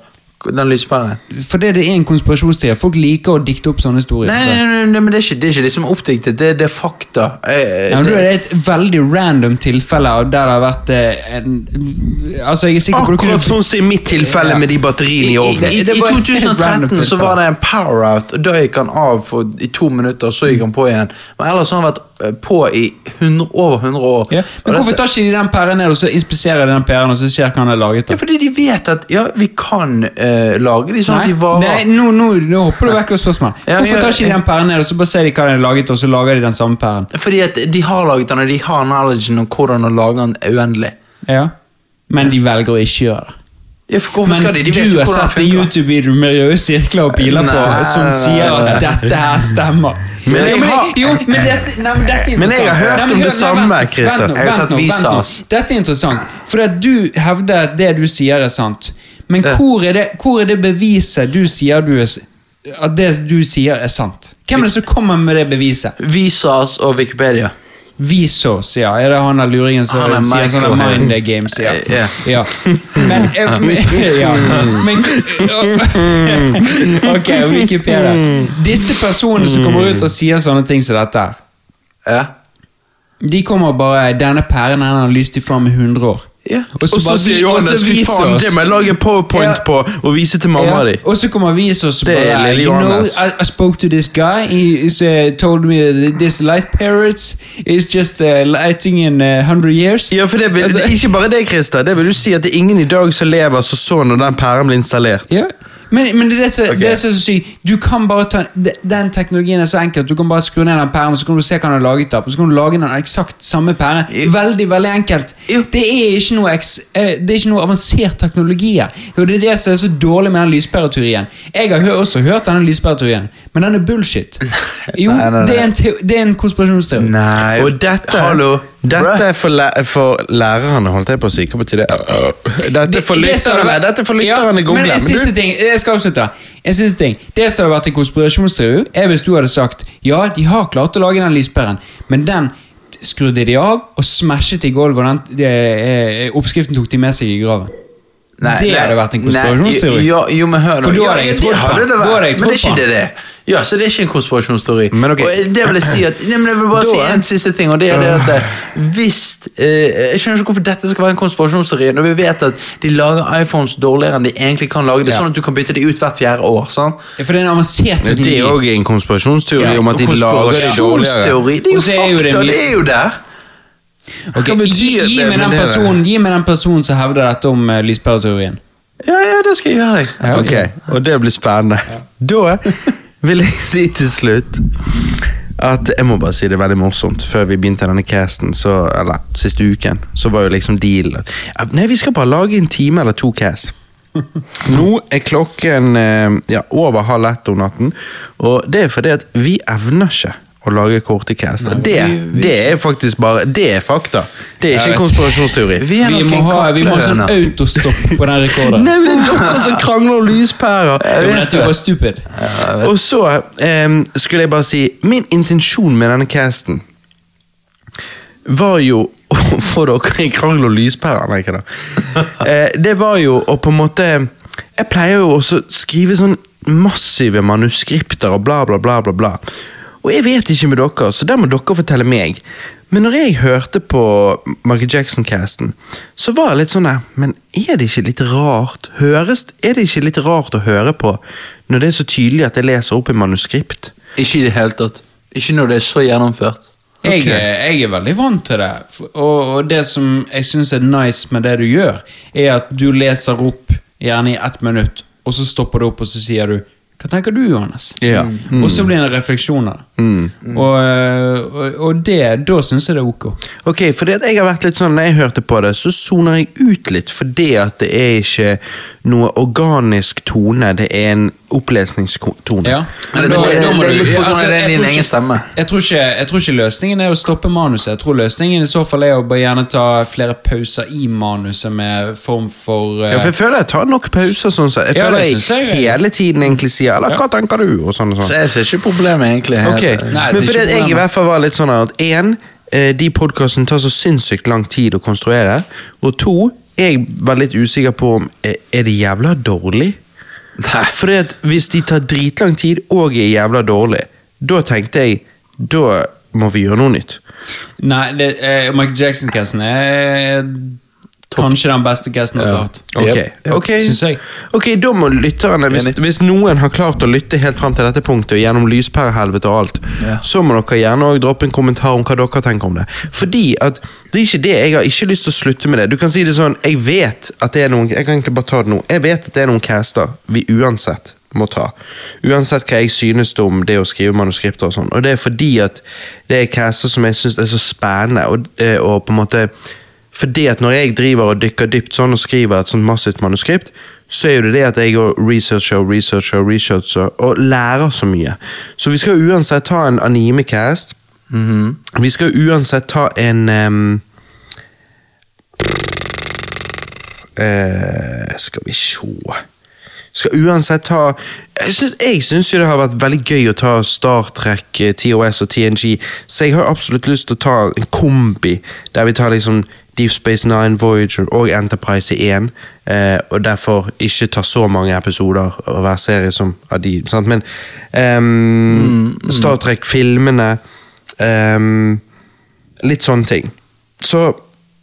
Speaker 5: Den lyspæren?
Speaker 3: For det, det er en konspirasjonsteori. Folk liker å dikte opp sånne historier.
Speaker 5: Nei, nei,
Speaker 3: så.
Speaker 5: nei, nei, men det er ikke, det er ikke liksom oppdiktet, det, det er fakta. Eh,
Speaker 3: Ja, men du,
Speaker 5: det-
Speaker 3: det er et veldig random tilfelle av der det har vært eh, en Altså, jeg er sikker på du kunne-
Speaker 1: Akkurat sånn som i mitt tilfelle med de batteriene
Speaker 5: I,
Speaker 1: i
Speaker 5: i,
Speaker 1: ovnen.
Speaker 5: i,
Speaker 3: Det er bare helt random
Speaker 5: 2013 så
Speaker 3: tilfelle.
Speaker 5: var det en power-out, og da gikk han av for, i to minutter, så gikk han på igjen. Men ellers har han vært eh, på i 100, over 100 år.
Speaker 3: ja.
Speaker 5: Og
Speaker 3: Men hvorfor
Speaker 5: dette-
Speaker 3: tar ikke de den pæren ned, og så inspiserer de den pæren, og så ser hva den er laget av?
Speaker 5: Ja, fordi de vet at ja, vi kan eh, lage de sånn at
Speaker 3: Nei,
Speaker 5: de varer.
Speaker 3: nei nå, nå, nå hopper du vekk fra spørsmålet.
Speaker 5: Ja,
Speaker 3: Hvorfor
Speaker 5: ja,
Speaker 3: tar ikke de
Speaker 5: ja.
Speaker 3: den pæren ned, og så bare ser de hva den er laget, og så lager de den samme pæren?
Speaker 5: Fordi at de har laget den, og de har knowledgen om hvordan å lage den uendelig.
Speaker 3: Ja. Men de velger å ikke gjøre det.
Speaker 5: Ja, for hvorfor
Speaker 3: Men
Speaker 5: skal de? De vet
Speaker 3: du
Speaker 5: jo
Speaker 3: har
Speaker 5: hvordan den
Speaker 3: sett en
Speaker 5: funker.
Speaker 3: YouTube-video med røde sirkler og biler på
Speaker 5: Nei,
Speaker 3: som
Speaker 5: nei,
Speaker 3: sier
Speaker 5: nei,
Speaker 3: at dette her stemmer.
Speaker 1: Men jeg
Speaker 3: jo, men,
Speaker 1: har-
Speaker 3: jo, men dette, nei, men dette er interessant.
Speaker 1: Men jeg har hørt
Speaker 3: Nei, men
Speaker 1: om det
Speaker 3: hør- nei,
Speaker 1: samme,
Speaker 3: vent-
Speaker 1: Christer.
Speaker 3: vent nå,
Speaker 5: Jeg har
Speaker 3: vent
Speaker 5: sett
Speaker 3: nå, vent nå.
Speaker 5: Visas.
Speaker 3: Dette er interessant, for at du hevder at det du sier er sant. Men
Speaker 5: Ja.
Speaker 3: hvor er det, hvor er det beviset du sier du er, s- at det du sier er sant? Hvem er det som kommer med det beviset?
Speaker 5: Visas og Wikipedia.
Speaker 3: Visos, ja. Er det han der luringen som
Speaker 5: Han er
Speaker 3: sier sånne
Speaker 5: Michael.
Speaker 3: Mind the Games? Ja.
Speaker 1: Eh,
Speaker 5: Ja.
Speaker 3: ja. Men, eh, men- ja. men Ok, Wikipedia. Disse personene som kommer ut og sier sånne ting som dette, her,
Speaker 5: Ja.
Speaker 3: de kommer bare 'Denne pæren den har lyst i faen med 100 år'.
Speaker 5: Ja.
Speaker 1: Og så
Speaker 3: bare
Speaker 1: sier
Speaker 3: vi- og så
Speaker 1: Johannes fy
Speaker 3: viser
Speaker 1: faen,
Speaker 3: oss-
Speaker 1: det må jeg lage powerpoint
Speaker 3: Ja.
Speaker 1: på og vise til mamma
Speaker 3: Ja,
Speaker 1: di.
Speaker 3: Og så kommer vi så så
Speaker 1: Det er
Speaker 3: bare
Speaker 1: lille
Speaker 3: You know,
Speaker 1: Johannes.
Speaker 3: I, I spoke to this guy. He is, uh, told me that this light parrots is just uh, lighting in uh, 100 years.
Speaker 1: Ja, for det vil,
Speaker 3: Altså-
Speaker 1: Ikke bare det, Christer. Det vil du si at det er ingen i dag som lever som så sånn når den pæren ble installert.
Speaker 3: Ja. Men, men det er det som det er så sykt. Du kan bare ta de- Den teknologien er så enkel. at Du kan bare skru ned den pæren, og så kan du se hva den er laget av. Og så kan du lage den eksakt samme pæren. Veldig, veldig enkelt. Det er ikke noe, eks, eh, det er ikke noe avansert teknologi her. Og det er det som er så dårlig med den lyspæreteorien. Jeg har hø også hørt denne lyspæreteorien, men den er bullshit. Jo,
Speaker 5: nei, nei, nei.
Speaker 3: Det, er en teo- det er en konspirasjonsteori.
Speaker 5: Nei
Speaker 1: Og dette
Speaker 5: Hallo.
Speaker 2: Dette er for, læ for lærerne, holdt jeg på å si. Hva betyr det? Dette er for
Speaker 3: Det- det som har
Speaker 2: lytterne,
Speaker 3: vært-
Speaker 2: dette er for lytterne
Speaker 3: Ja,
Speaker 2: Google.
Speaker 3: Men en
Speaker 2: men du-
Speaker 3: siste ting, jeg skal avslutte. En siste ting. Det som hadde vært en konspirasjonsteori, er hvis du hadde sagt ja, de har klart å lage den lyspæren, men den skrudde de av og smashet i gulvet, og den, det, eh, oppskriften tok de med seg i graven. det hadde vært en konspirasjonsteori.
Speaker 2: Nei, jo, jo, men hør nå.
Speaker 3: For da
Speaker 2: Ja,
Speaker 3: hadde jeg
Speaker 2: ja, det
Speaker 3: trodd på
Speaker 2: hadde
Speaker 3: den.
Speaker 2: det
Speaker 3: Da
Speaker 2: vært,
Speaker 3: hadde jeg
Speaker 2: Men det er
Speaker 3: trodd på
Speaker 2: ikke det det. er. Ja, så det er ikke en konspirasjonsteori.
Speaker 1: Men ok.
Speaker 2: Og det vil jeg si at, nei, men jeg vil bare
Speaker 1: Da-
Speaker 2: si en siste ting, og det er det at eh, hvis eh, Jeg skjønner ikke hvorfor dette skal være en konspirasjonsteori, når vi vet at de lager iPhones dårligere enn de egentlig kan lage det,
Speaker 1: Ja.
Speaker 2: sånn at du kan bytte de ut hvert fjerde år. sant?
Speaker 3: For det er en avansert
Speaker 1: Det er
Speaker 3: teknologi.
Speaker 1: òg en konspirasjonsteori
Speaker 3: Ja,
Speaker 1: om at de lager det dårligere.
Speaker 2: Konspirasjonsteori, det er
Speaker 3: Og
Speaker 2: jo
Speaker 3: så er jo det
Speaker 2: fakta,
Speaker 3: mye-
Speaker 2: det er jo der.
Speaker 3: Ok,
Speaker 2: Hva betyr
Speaker 3: gi, gi,
Speaker 2: det
Speaker 3: meg
Speaker 2: med
Speaker 3: den
Speaker 2: det?
Speaker 3: personen, gi meg den personen som hevder dette om uh, lyspæreteorien.
Speaker 2: Ja, ja, det skal jeg gjøre. jeg.
Speaker 3: Ja,
Speaker 1: Ok, Og det blir spennende. Da vil jeg si til slutt at Jeg må bare si det er veldig morsomt. Før vi begynte denne casten, så, eller siste uken, så var jo liksom dealen at ja, Nei, vi skal bare lage en time eller to cast. Nå er klokken eh, ja, over halv ett om natten, og det er fordi at vi evner ikke å lage korte cast. Det, det er faktisk bare Det er fakta. Det er
Speaker 3: Jeg
Speaker 1: ikke en
Speaker 3: vet.
Speaker 1: konspirasjonsteori.
Speaker 2: Vi er
Speaker 3: Vi
Speaker 2: nok
Speaker 3: må
Speaker 2: en
Speaker 3: ha, vi må ha sånn
Speaker 2: kaplehøne.
Speaker 3: autostopp på den rekorden.
Speaker 1: Nei, men det er dere som krangler om lyspærer.
Speaker 3: Ja, men Dette er jo bare stupid.
Speaker 1: Og så em, skulle jeg bare si Min intensjon med denne casten var jo å få dere i krangel og lyspærer. Nei, ikke da. Eh, det var jo å på en måte Jeg pleier jo også å skrive sånn massive manuskripter og bla, bla, bla. bla, bla. Og jeg vet ikke med dere, så der må dere fortelle meg. Men når jeg hørte på Michael Jackson-casten, så var jeg litt sånn der Men er det ikke litt rart Høres, Er det ikke litt rart å høre på når det er så tydelig at jeg leser opp i manuskript?
Speaker 2: Ikke i det hele tatt. Ikke når det er så gjennomført.
Speaker 3: Jeg,
Speaker 1: Ok.
Speaker 3: jeg er veldig vant til det. F- Og, og det som jeg syns er nice med det du gjør, er at du leser opp gjerne i ett minutt, og så stopper du opp og så sier du Hva tenker du, Johannes?
Speaker 1: Ja.
Speaker 2: Mm.
Speaker 3: Og så blir det en refleksjon av det. Og, og, og det, da syns jeg det er ok.
Speaker 1: Ok, fordi at jeg har vært litt sånn, Når jeg hørte på det, så soner jeg ut litt, fordi at det er ikke noe organisk tone. Det er en opplesningstone.
Speaker 3: Ja.
Speaker 2: Men
Speaker 3: Men
Speaker 2: det
Speaker 3: da-
Speaker 2: tror jeg-
Speaker 3: da må
Speaker 2: det
Speaker 3: du-
Speaker 2: er litt på grunn av
Speaker 3: altså,
Speaker 2: det er
Speaker 3: jeg
Speaker 2: din
Speaker 3: tror
Speaker 2: egen
Speaker 3: ikke-
Speaker 2: stemme.
Speaker 3: Jeg tror, ikke, jeg tror ikke løsningen er å stoppe manuset. Jeg tror løsningen i så fall er å bare gjerne ta flere pauser i manuset med form for eh,
Speaker 1: Ja, for jeg føler jeg tar nok pauser. sånn så. Jeg
Speaker 3: Ja,
Speaker 1: føler
Speaker 3: det
Speaker 1: jeg,
Speaker 3: synes jeg.
Speaker 1: hele tiden egentlig sier 'eller hva tenker du?' og sånn og sånn.
Speaker 2: Så jeg ser ikke problemet, egentlig.
Speaker 1: Ok,
Speaker 3: Nei, det er
Speaker 1: Men fordi
Speaker 3: ikke
Speaker 1: at jeg i
Speaker 3: problemet.
Speaker 1: hvert fall var litt sånn at én, de podkastene tar så sinnssykt lang tid å konstruere. Og to, jeg var litt usikker på om eh, Er det jævla dårlig?
Speaker 2: Nei.
Speaker 1: Fordi at hvis de tar dritlang tid og er jævla dårlig, da tenkte jeg da må vi gjøre noe nytt.
Speaker 3: Nei, det, eh, Michael Jackson-casten er kanskje Eh, den beste casten jeg har hatt.
Speaker 1: Ok,
Speaker 2: Yep.
Speaker 1: ok.
Speaker 3: Synes jeg.
Speaker 1: ok, da må lytterne hvis,
Speaker 2: Enig.
Speaker 1: hvis noen har klart å lytte helt frem til dette punktet, og gjennom lyspærehelvete og alt,
Speaker 2: Ja.
Speaker 1: så må dere gjerne også droppe en kommentar om hva dere tenker om det. Fordi at det er ikke det, jeg har ikke lyst til å slutte med det. Du kan si det sånn, jeg vet at det er noen Jeg kan egentlig bare ta det nå. Jeg vet at det er noen caster vi uansett må ta. Uansett hva jeg synes om det å skrive manuskripter og sånn. Og det er fordi at det er caster som jeg syns er så spennende, og, eh, og på en måte fordi at når jeg driver og dykker dypt sånn og skriver et sånt massivt manuskript, så er jo det det at jeg går researcher og researcher og researcher og lærer så mye. Så vi skal uansett ta en anime-cast. Vi skal uansett ta en ehm, eh, Skal vi se Skal uansett ta Jeg syns, jeg syns jo det har vært veldig gøy å ta Star Trek, eh, TOS og TNG, så jeg har absolutt lyst til å ta en kombi der vi tar liksom Deep Space Nine, Voyager og Enterprise i én, eh, og derfor ikke ta så mange episoder av hver serie som av de. Sant? Men ehm, Star Trek-filmene ehm, Litt sånne ting. Så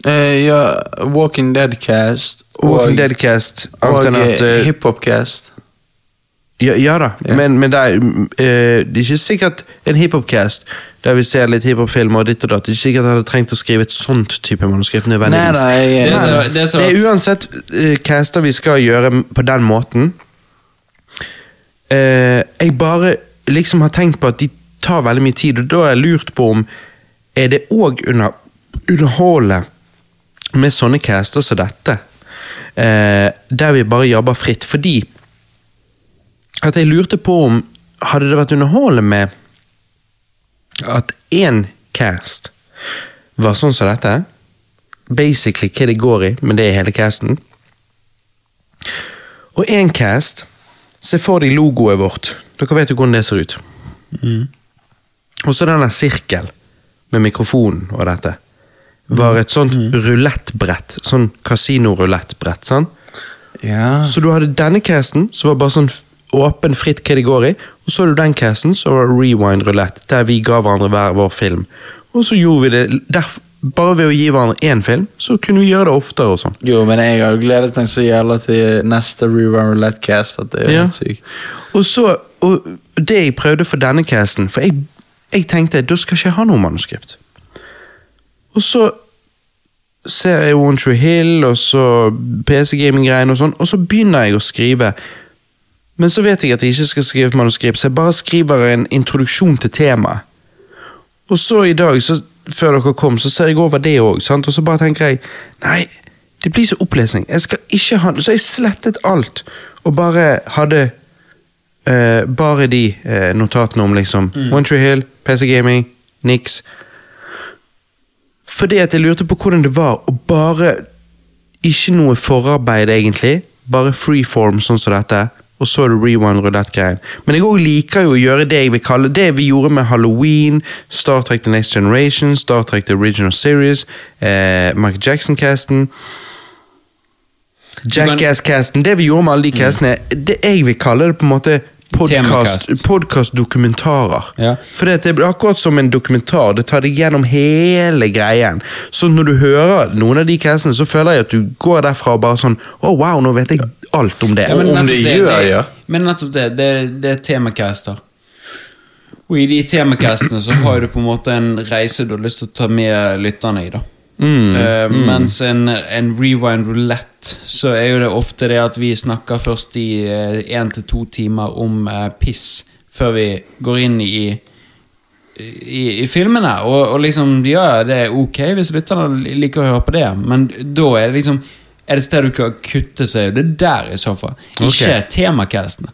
Speaker 2: Eh, ja, Walking Dead-cast
Speaker 1: Walking Dead-cast. Annet enn at eh,
Speaker 2: hiphop-cast.
Speaker 1: Ja, ja da, men, men det, er, mm, eh, det er ikke sikkert en hiphop-cast der vi ser litt hiphop-filmer og ditt og datt. Det er ikke sikkert jeg hadde trengt å skrive et sånt type manuskript
Speaker 2: Nei,
Speaker 1: nødvendigvis.
Speaker 2: nei, jeg-
Speaker 3: Det
Speaker 2: nei.
Speaker 3: som- det som-
Speaker 1: Det er uansett eh, caster vi skal gjøre m- på den måten. Eh, jeg bare liksom har tenkt på at de tar veldig mye tid, og da har jeg lurt på om er det òg under, underholde med sånne caster som dette, eh, der vi bare jobber fritt. Fordi at jeg lurte på om hadde det vært underholdende med at én cast var sånn som dette. Basically hva det går i, men det er hele casten. Og én cast Se for deg logoet vårt. Dere vet jo hvordan det ser ut. Og så denne sirkel med mikrofonen og dette. Var et sånt rulettbrett. Sånn kasinorulettbrett. sant?
Speaker 2: Ja.
Speaker 1: Så du hadde denne casten, som var bare sånn f- åpen, fritt hva det går i. Og så hadde du den casten, som var rewind roulette, der vi ga hverandre hver vår film. Og så gjorde vi det derf Bare ved å gi hverandre én film, så kunne vi gjøre det oftere. og sånn.
Speaker 2: Jo, men jeg har jo gledet meg så jævla til neste Rewind Roulette Cast at det er jo
Speaker 1: Ja.
Speaker 2: helt sykt.
Speaker 1: Og så, og det jeg prøvde for denne casten For jeg, jeg tenkte da skal ikke jeg ha noe manuskript. Og så ser jeg One True Hill og så PC Gaming-greiene og sånn, og så begynner jeg å skrive. Men så vet jeg at jeg ikke skal skrive et manuskript, så jeg bare skriver en introduksjon til temaet. Og så i dag, så, før dere kom, så ser jeg over det òg, og så bare tenker jeg Nei, det blir så opplesning. Jeg skal ikke ha Så jeg slettet alt, og bare hadde eh, bare de eh, notatene om liksom One Tree Hill, PC Gaming, niks. Fordi at jeg lurte på hvordan det var å bare Ikke noe forarbeid, egentlig. Bare freeform, sånn som dette. Og så er det rewind roulette-greien. Men jeg også liker jo å gjøre det jeg vil kalle det vi gjorde med Halloween, Star Trek The Next Generation, Star Trek The Original Series, eh, Michael Jackson-casten Jackass-casten. Det vi gjorde med alle de castene, det jeg vil kalle det på en måte podcast-
Speaker 3: Temakast.
Speaker 1: podcast-dokumentarer.
Speaker 3: Ja.
Speaker 1: For det er akkurat som en dokumentar. Det tar deg gjennom hele greien. Så når du hører noen av de casene, så føler jeg at du går derfra og bare sånn Å, wow, nå vet jeg alt om det.
Speaker 3: Ja, men
Speaker 2: om
Speaker 3: nettopp
Speaker 2: det gjør,
Speaker 3: det,
Speaker 2: ja.
Speaker 3: Men nettopp det, det, det er temacaster. Og i de temacastene så har du på en måte en reise du har lyst til å ta med lytterne i, da.
Speaker 1: Mm,
Speaker 3: Eh, Mens en, en rewind roulette, så er jo det ofte det at vi snakker først i én til to timer om eh, piss, før vi går inn i i, i filmene. Og, og liksom, ja, det er ok hvis lytterne liker å høre på det, men da er det liksom Er det et sted du kan kutte seg? Det er der, i så fall. Ikke temacastene.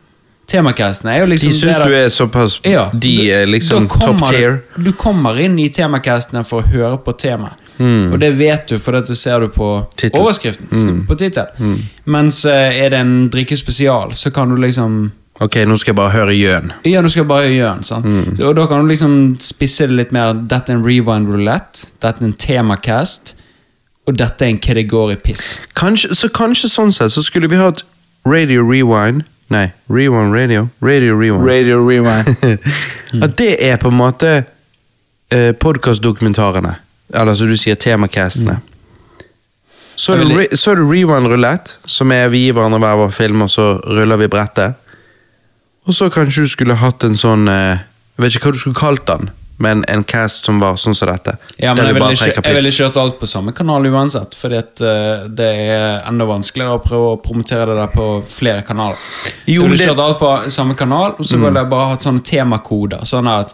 Speaker 3: Temacastene er jo liksom
Speaker 1: de syns
Speaker 3: det
Speaker 1: du
Speaker 3: der-
Speaker 1: er såpass
Speaker 3: ja,
Speaker 1: De
Speaker 3: da-
Speaker 1: er liksom
Speaker 3: da kommer
Speaker 1: top tier.
Speaker 3: Du, du kommer inn i temacastene for å høre på temaet.
Speaker 1: Hmm.
Speaker 3: Og det vet du fordi at du ser du på
Speaker 1: Tittel.
Speaker 3: overskriften.
Speaker 1: Hmm.
Speaker 3: På tittelen. Mens eh, er det en drikkespesial, så kan du liksom
Speaker 1: Ok, nå skal jeg bare høre Jøn.
Speaker 3: ja, du skal bare gjøre den, sant?
Speaker 1: Hmm.
Speaker 3: Og da kan du liksom spisse det litt mer. Dette er en rewind roulette, dette er en temacast, og dette er en kategori piss.
Speaker 1: Kanskje, så kanskje sånn sett så skulle vi hatt Radio Rewind Nei, Rewind Radio. Radio Rewind.
Speaker 2: Radio Rewind.
Speaker 1: At det er på en måte eh, podkastdokumentarene. Eller som du sier, temacastene.
Speaker 3: Mm.
Speaker 1: Så er det, re, så er det Rewind Roulette, som er vi gir hverandre hver vår film, og så ruller vi brettet. Og så kanskje du skulle hatt en sånn eh, Jeg vet ikke hva du skulle kalt den, men en cast som var sånn som dette.
Speaker 3: Ja, men
Speaker 1: der
Speaker 3: jeg
Speaker 1: du
Speaker 3: ville
Speaker 1: bare
Speaker 3: ikke,
Speaker 1: preker
Speaker 3: jeg ville
Speaker 1: piss.
Speaker 3: kjørt alt på samme kanal uansett, fordi at eh, det er enda vanskeligere å prøve å promotere det der på flere kanaler.
Speaker 1: Jo, men
Speaker 3: så jeg ville
Speaker 1: det- Mm.
Speaker 3: kjørt alt på samme kanal, og så ville jeg bare hatt sånne temakoder, sånn at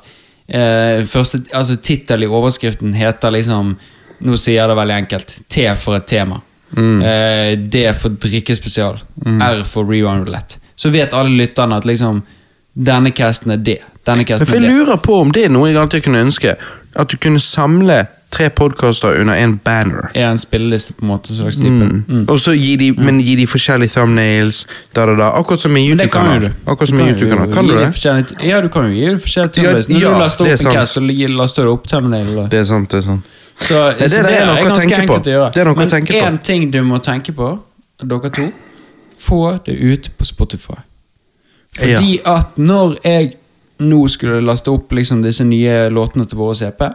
Speaker 3: eh, første, altså tittel i overskriften heter liksom, nå sier jeg det veldig enkelt, T for et tema,
Speaker 1: Mm.
Speaker 3: eh, D for drikkespesial, R for rewind roulette. Så vet alle lytterne at liksom, denne casten er det, denne
Speaker 1: Men
Speaker 3: casten
Speaker 1: for
Speaker 3: er
Speaker 1: jeg
Speaker 3: det.
Speaker 1: lurer på om det er noe jeg alltid kunne ønske. At du kunne samle tre podkaster under en banner.
Speaker 3: Er en spilleliste på en måte, en slags type.
Speaker 1: Og så gi
Speaker 3: Mm.
Speaker 1: de, men gi de forskjellige thumbnails, da, da, da. Akkurat som i
Speaker 3: Det kan jo
Speaker 1: YouTube-kanal.
Speaker 3: du.
Speaker 1: Akkurat som
Speaker 3: Du
Speaker 1: i
Speaker 3: kan jo
Speaker 1: YouTube-kanal. Kan
Speaker 3: gi
Speaker 1: du
Speaker 3: det
Speaker 1: det?
Speaker 3: forskjellig- Ja, du kan jo gi det forskjellig
Speaker 1: Ja,
Speaker 3: thumbnails. Når
Speaker 1: ja,
Speaker 3: du laster
Speaker 1: det er
Speaker 3: opp en
Speaker 1: sant.
Speaker 3: cast, så li- laster du opp thumbnail. og-
Speaker 1: Det er sant, det er sant.
Speaker 3: Så,
Speaker 1: det
Speaker 3: så
Speaker 1: er
Speaker 3: det
Speaker 1: noe
Speaker 3: er
Speaker 1: å
Speaker 3: ganske
Speaker 1: tenke på.
Speaker 3: enkelt å gjøre.
Speaker 1: Det er noe å
Speaker 3: Men
Speaker 1: tenke på.
Speaker 3: én ting du må tenke på, dere to. Få det ut på Spotify. Fordi at når jeg nå skulle laste opp liksom disse nye låtene til våre CP,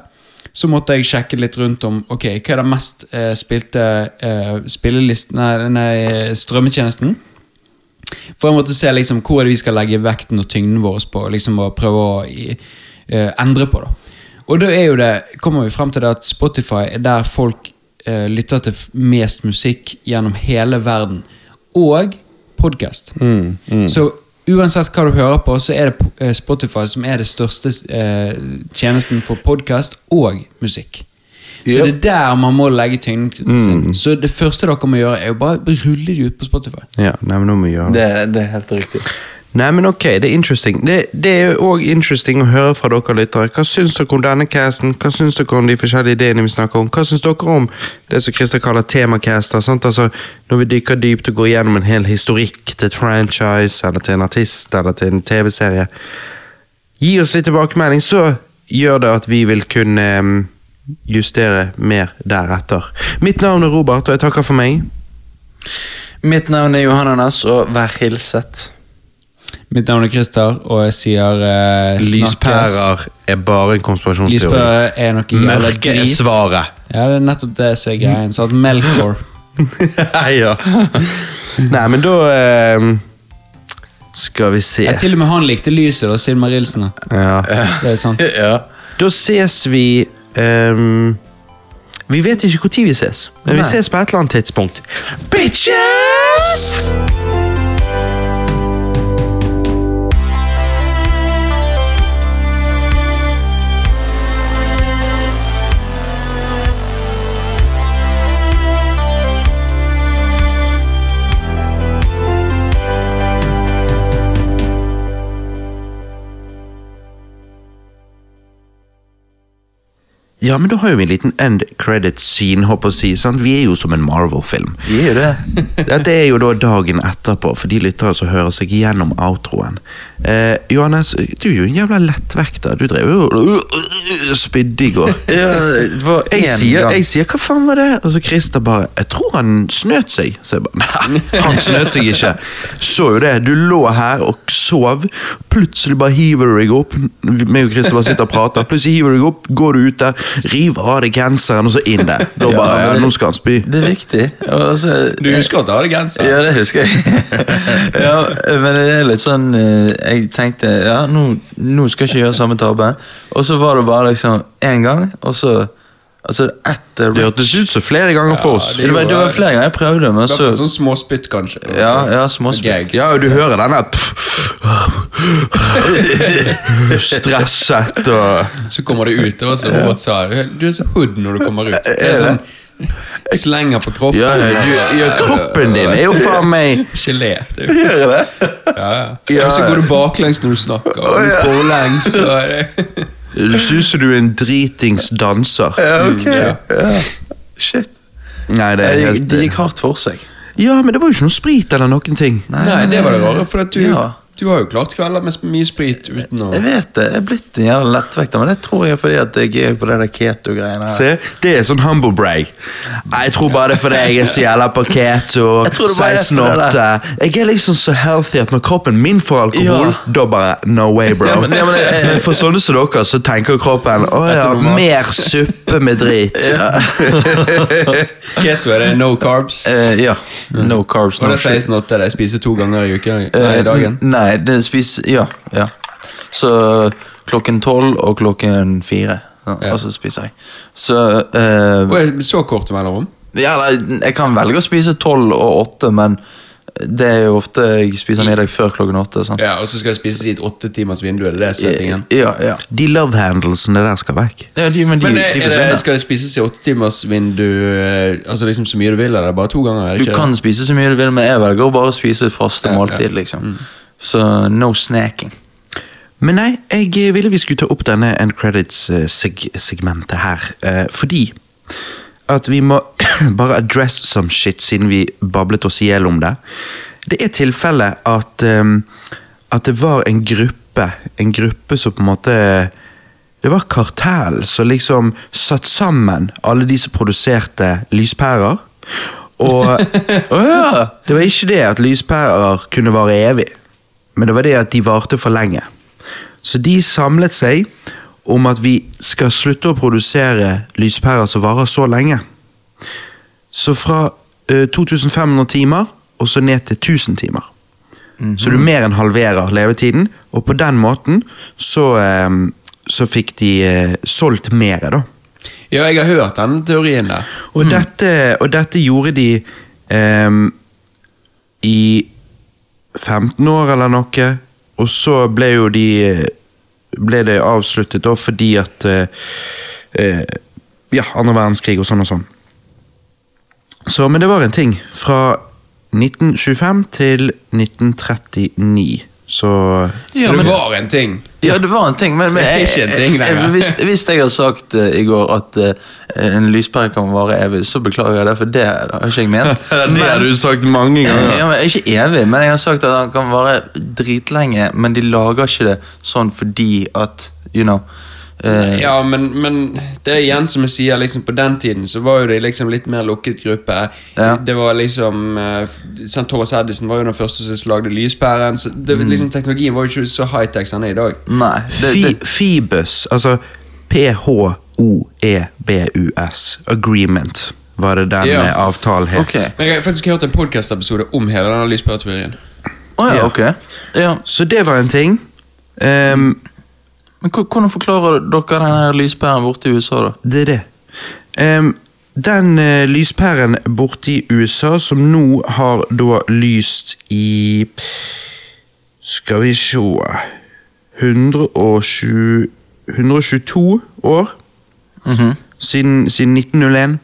Speaker 3: så måtte jeg sjekke litt rundt om Ok, hva er den mest eh, spilte eh, spillelisten Nei, nei strømmetjenesten. For jeg måtte se liksom hvor er det vi skal legge vekten og tyngden vår på, liksom og prøve å i, eh, endre på. da. Og da er jo det, kommer vi frem til det at Spotify er der folk eh, lytter til f- mest musikk gjennom hele verden. Og podkast.
Speaker 5: Mm.
Speaker 3: Så uansett hva du hører på, så er det p- eh, Spotify som er det største eh, tjenesten for podkast og musikk. Så det er der man må legge tyngden sin.
Speaker 5: Mm.
Speaker 3: Så det første dere må gjøre, er jo bare rulle de ut på Spotify.
Speaker 1: Ja, nei, men nå må vi gjøre det.
Speaker 2: Det, det er helt riktig.
Speaker 6: Nei, men ok, det er interesting. Det, det er jo òg interesting å høre fra dere lyttere. Hva syns dere om denne casten? Hva syns dere om de forskjellige ideene vi snakker om? Hva syns dere om det som Christer kaller temacaster? Sant? Altså, når vi dykker dypt og går gjennom en hel historikk til et franchise, eller til en artist, eller til en TV-serie. Gi oss litt tilbakemelding, så gjør det at vi vil kunne em, justere mer deretter. Mitt navn er Robert, og jeg takker for meg.
Speaker 5: Mitt navn er Johan Anders, og vær hilset.
Speaker 3: Mitt navn er Christer, og jeg sier eh, snakkes.
Speaker 6: Lyspærer er bare en konspirasjonsteori.
Speaker 3: Lyspærer er noe jævla
Speaker 6: Mørke er
Speaker 3: drit.
Speaker 6: svaret.
Speaker 3: Ja, det er nettopp det som er greien. Sånn at Melkor
Speaker 6: ja. Nei, men da eh, Skal vi se.
Speaker 3: ja, Til og med han likte lyset, da. Silmarilsen. da.
Speaker 6: Ja.
Speaker 3: Det er sant.
Speaker 5: Ja.
Speaker 6: Da ses vi ehm, Vi vet ikke når vi ses, men vi
Speaker 5: Nei.
Speaker 6: ses på et eller annet tidspunkt. Bitches! Ja, men da har jo vi en liten end credit scene, håper jeg å si. Sant? Vi er jo som en Marvel-film.
Speaker 5: Vi er jo det.
Speaker 6: Dette er jo da dagen etterpå, for de lyttere som hører seg gjennom outroen. Eh, Johannes, du er jo en jævla lettvekter. Du drev jo og spydde i går.
Speaker 5: det var
Speaker 6: Jeg
Speaker 5: en
Speaker 6: sier,
Speaker 5: gang.
Speaker 6: jeg sier 'hva faen var det?' Og så Christer bare 'jeg tror han snøt seg'. Så jeg bare 'nei, han snøt seg ikke'. Så jo det. Du lå her og sov. Plutselig bare hiver du deg opp. Meg og Christer bare sitter og prater. Plutselig hiver du deg opp, går du ut der, river av deg genseren, og så inn der. Da
Speaker 5: Ja,
Speaker 6: bare ja,
Speaker 5: men-
Speaker 6: 'nå skal han spy'.
Speaker 5: Det er viktig. Og Altså,
Speaker 3: husker at du hadde genser?
Speaker 5: Ja, det husker jeg. ja, men det er litt sånn eh, Jeg tenkte ja, nå, nå skal jeg ikke gjøre samme tabbe. Og så var det bare liksom én gang, og så Altså etter
Speaker 6: Det hørtes ut som flere ganger for oss.
Speaker 5: det, var, det var flere ganger jeg prøvde, men så
Speaker 3: Sånn småspytt, kanskje.
Speaker 5: Ja, ja småspytt.
Speaker 3: Gags.
Speaker 6: Ja, og du hører denne Stresset og
Speaker 3: Så kommer det ut. Det var som Robert sa. Du er så hood når du kommer ut. Det er sånn Slenger på kroppen.
Speaker 6: ja, ja, du, ja, Kroppen din er jo faen meg
Speaker 3: Gelé. Typ. Ja, ja. Og så går du baklengs når du snakker, og du forlengs. Og det.
Speaker 6: Du synes du er en dritings danser.
Speaker 5: Ja, ok. Ja. Shit.
Speaker 6: Nei, det er
Speaker 5: Jeg,
Speaker 6: helt eh,
Speaker 5: de gikk hardt for seg.
Speaker 6: Ja, men det var jo ikke noe sprit eller noen ting.
Speaker 3: Nei, det var det rare, for at du,
Speaker 5: Ja.
Speaker 3: du har jo klart kvelder med mye sprit uten å
Speaker 5: Jeg vet det. Jeg er blitt en jævla lettvekter, men det tror jeg er fordi at jeg er på det der keto-greiene her.
Speaker 6: Se, det er sånn humble brag. Nei, Jeg tror bare det er fordi jeg er så jævla på keto.
Speaker 5: Jeg tror det bare er for
Speaker 6: 16,8. Jeg er liksom så healthy at når kroppen min får alkohol,
Speaker 5: Ja.
Speaker 6: da bare No way, bro.
Speaker 5: Ja, men- ja, men jeg- jeg-
Speaker 6: for sånne som dere, så tenker kroppen å ja,
Speaker 3: normalt.
Speaker 6: mer suppe med drit.
Speaker 3: Keto er det no carbs.
Speaker 5: Eh, ja. No carbs,
Speaker 3: Og
Speaker 5: no
Speaker 3: det
Speaker 5: shit.
Speaker 3: sies noe til deg. Spiser to ganger i uken. Nei,
Speaker 5: Eh,
Speaker 3: i dagen.
Speaker 5: n- Nei, det spiser Ja. ja. Så klokken tolv og klokken fire. Ja,
Speaker 3: Ja.
Speaker 5: Og så spiser jeg. Så eh,
Speaker 3: Og jeg- Så kort mellomrom.
Speaker 5: Ja, nei, jeg kan velge å spise tolv og åtte, men det er jo ofte jeg spiser middag før klokken åtte. Sant?
Speaker 3: Ja, og så skal jeg spise i et åtte timers vindu. Er det det settingen?
Speaker 5: Ja, ja.
Speaker 6: De love handlesene der skal vekk.
Speaker 5: ja de, men de,
Speaker 3: Men er,
Speaker 5: de
Speaker 3: er det,
Speaker 5: forsvinner.
Speaker 3: skal det spises i åtte timers vindu eh, Altså liksom så mye du vil? Eller er det bare to ganger? Er det
Speaker 5: Du
Speaker 3: ikke
Speaker 5: kan spise så mye du vil, men jeg velger å bare spise et faste
Speaker 3: Ja, Mm. ja.
Speaker 5: måltid. liksom. Så no snacking.
Speaker 6: Men nei, jeg eh, ville vi skulle ta opp denne end credits-segmentet her, eh, fordi at vi må bare address some shit, siden vi bablet oss i hjel om det. Det er tilfellet at, ehm, at det var en gruppe, en gruppe som på en måte det var kartell som liksom satt sammen alle de som produserte lyspærer. Og det var ikke det at lyspærer kunne vare evig, men det var det at de varte for lenge. Så de samlet seg om at vi skal slutte å produsere lyspærer som varer så lenge. Så fra eh, 2500 timer og så ned til 1000 timer. Så du mer enn halverer levetiden, og på den måten så, eh, så fikk de eh, solgt mer, da.
Speaker 3: det? Ja, jeg har hørt den teorien der.
Speaker 7: Mm.
Speaker 6: Og, dette, og dette gjorde de ehm, i 15 år eller noe, og så ble jo de eh, ble det avsluttet da fordi at eh, eh, Ja, andre verdenskrig og sånn og sånn. Så, men det var en ting. Fra 1925 til 1939 Så
Speaker 5: Ja,
Speaker 3: det
Speaker 5: men-
Speaker 3: var en ting.
Speaker 5: Ja, det var en ting, men, men
Speaker 3: Det er
Speaker 5: jeg,
Speaker 3: ikke en ting
Speaker 5: jeg,
Speaker 3: lenger.
Speaker 5: jeg, hvis, hvis jeg har sagt eh, i går at eh, en lyspære kan vare evig, så beklager jeg det, for det har ikke jeg ment.
Speaker 7: Det har du sagt mange ganger.
Speaker 5: Ja, men ikke evig, men jeg har sagt at han kan vare dritlenge, men de lager ikke det sånn fordi at, you know eh,
Speaker 3: Ja, men, men det er igjen som jeg sier, liksom på den tiden så var jo det liksom litt mer lukket gruppe.
Speaker 5: Ja.
Speaker 3: Det var liksom eh, f- sant, Thomas Edison var jo den første som lagde lyspæren. Så det,
Speaker 5: Mm.
Speaker 3: liksom, teknologien var jo ikke så high-tech som den er i dag.
Speaker 5: Nei. Det, det,
Speaker 6: Fi- Fibus, altså E P-H-O-E-B-U-S, agreement, var det den
Speaker 3: Ja.
Speaker 6: eh, avtalen het.
Speaker 5: Ok.
Speaker 3: Men jeg har faktisk hørt en podcast-episode om hele denne lyspæreteorien.
Speaker 5: Å ja,
Speaker 6: Ja.
Speaker 5: ok. Ja,
Speaker 6: Så det var en ting. Ehm,
Speaker 5: men hvor- hvordan forklarer dere den her lyspæren borte i USA, da?
Speaker 6: det er det. Ehm, den eh, lyspæren borte i USA som nå har da lyst i Skal vi se 120, 122 år siden, siden 1901.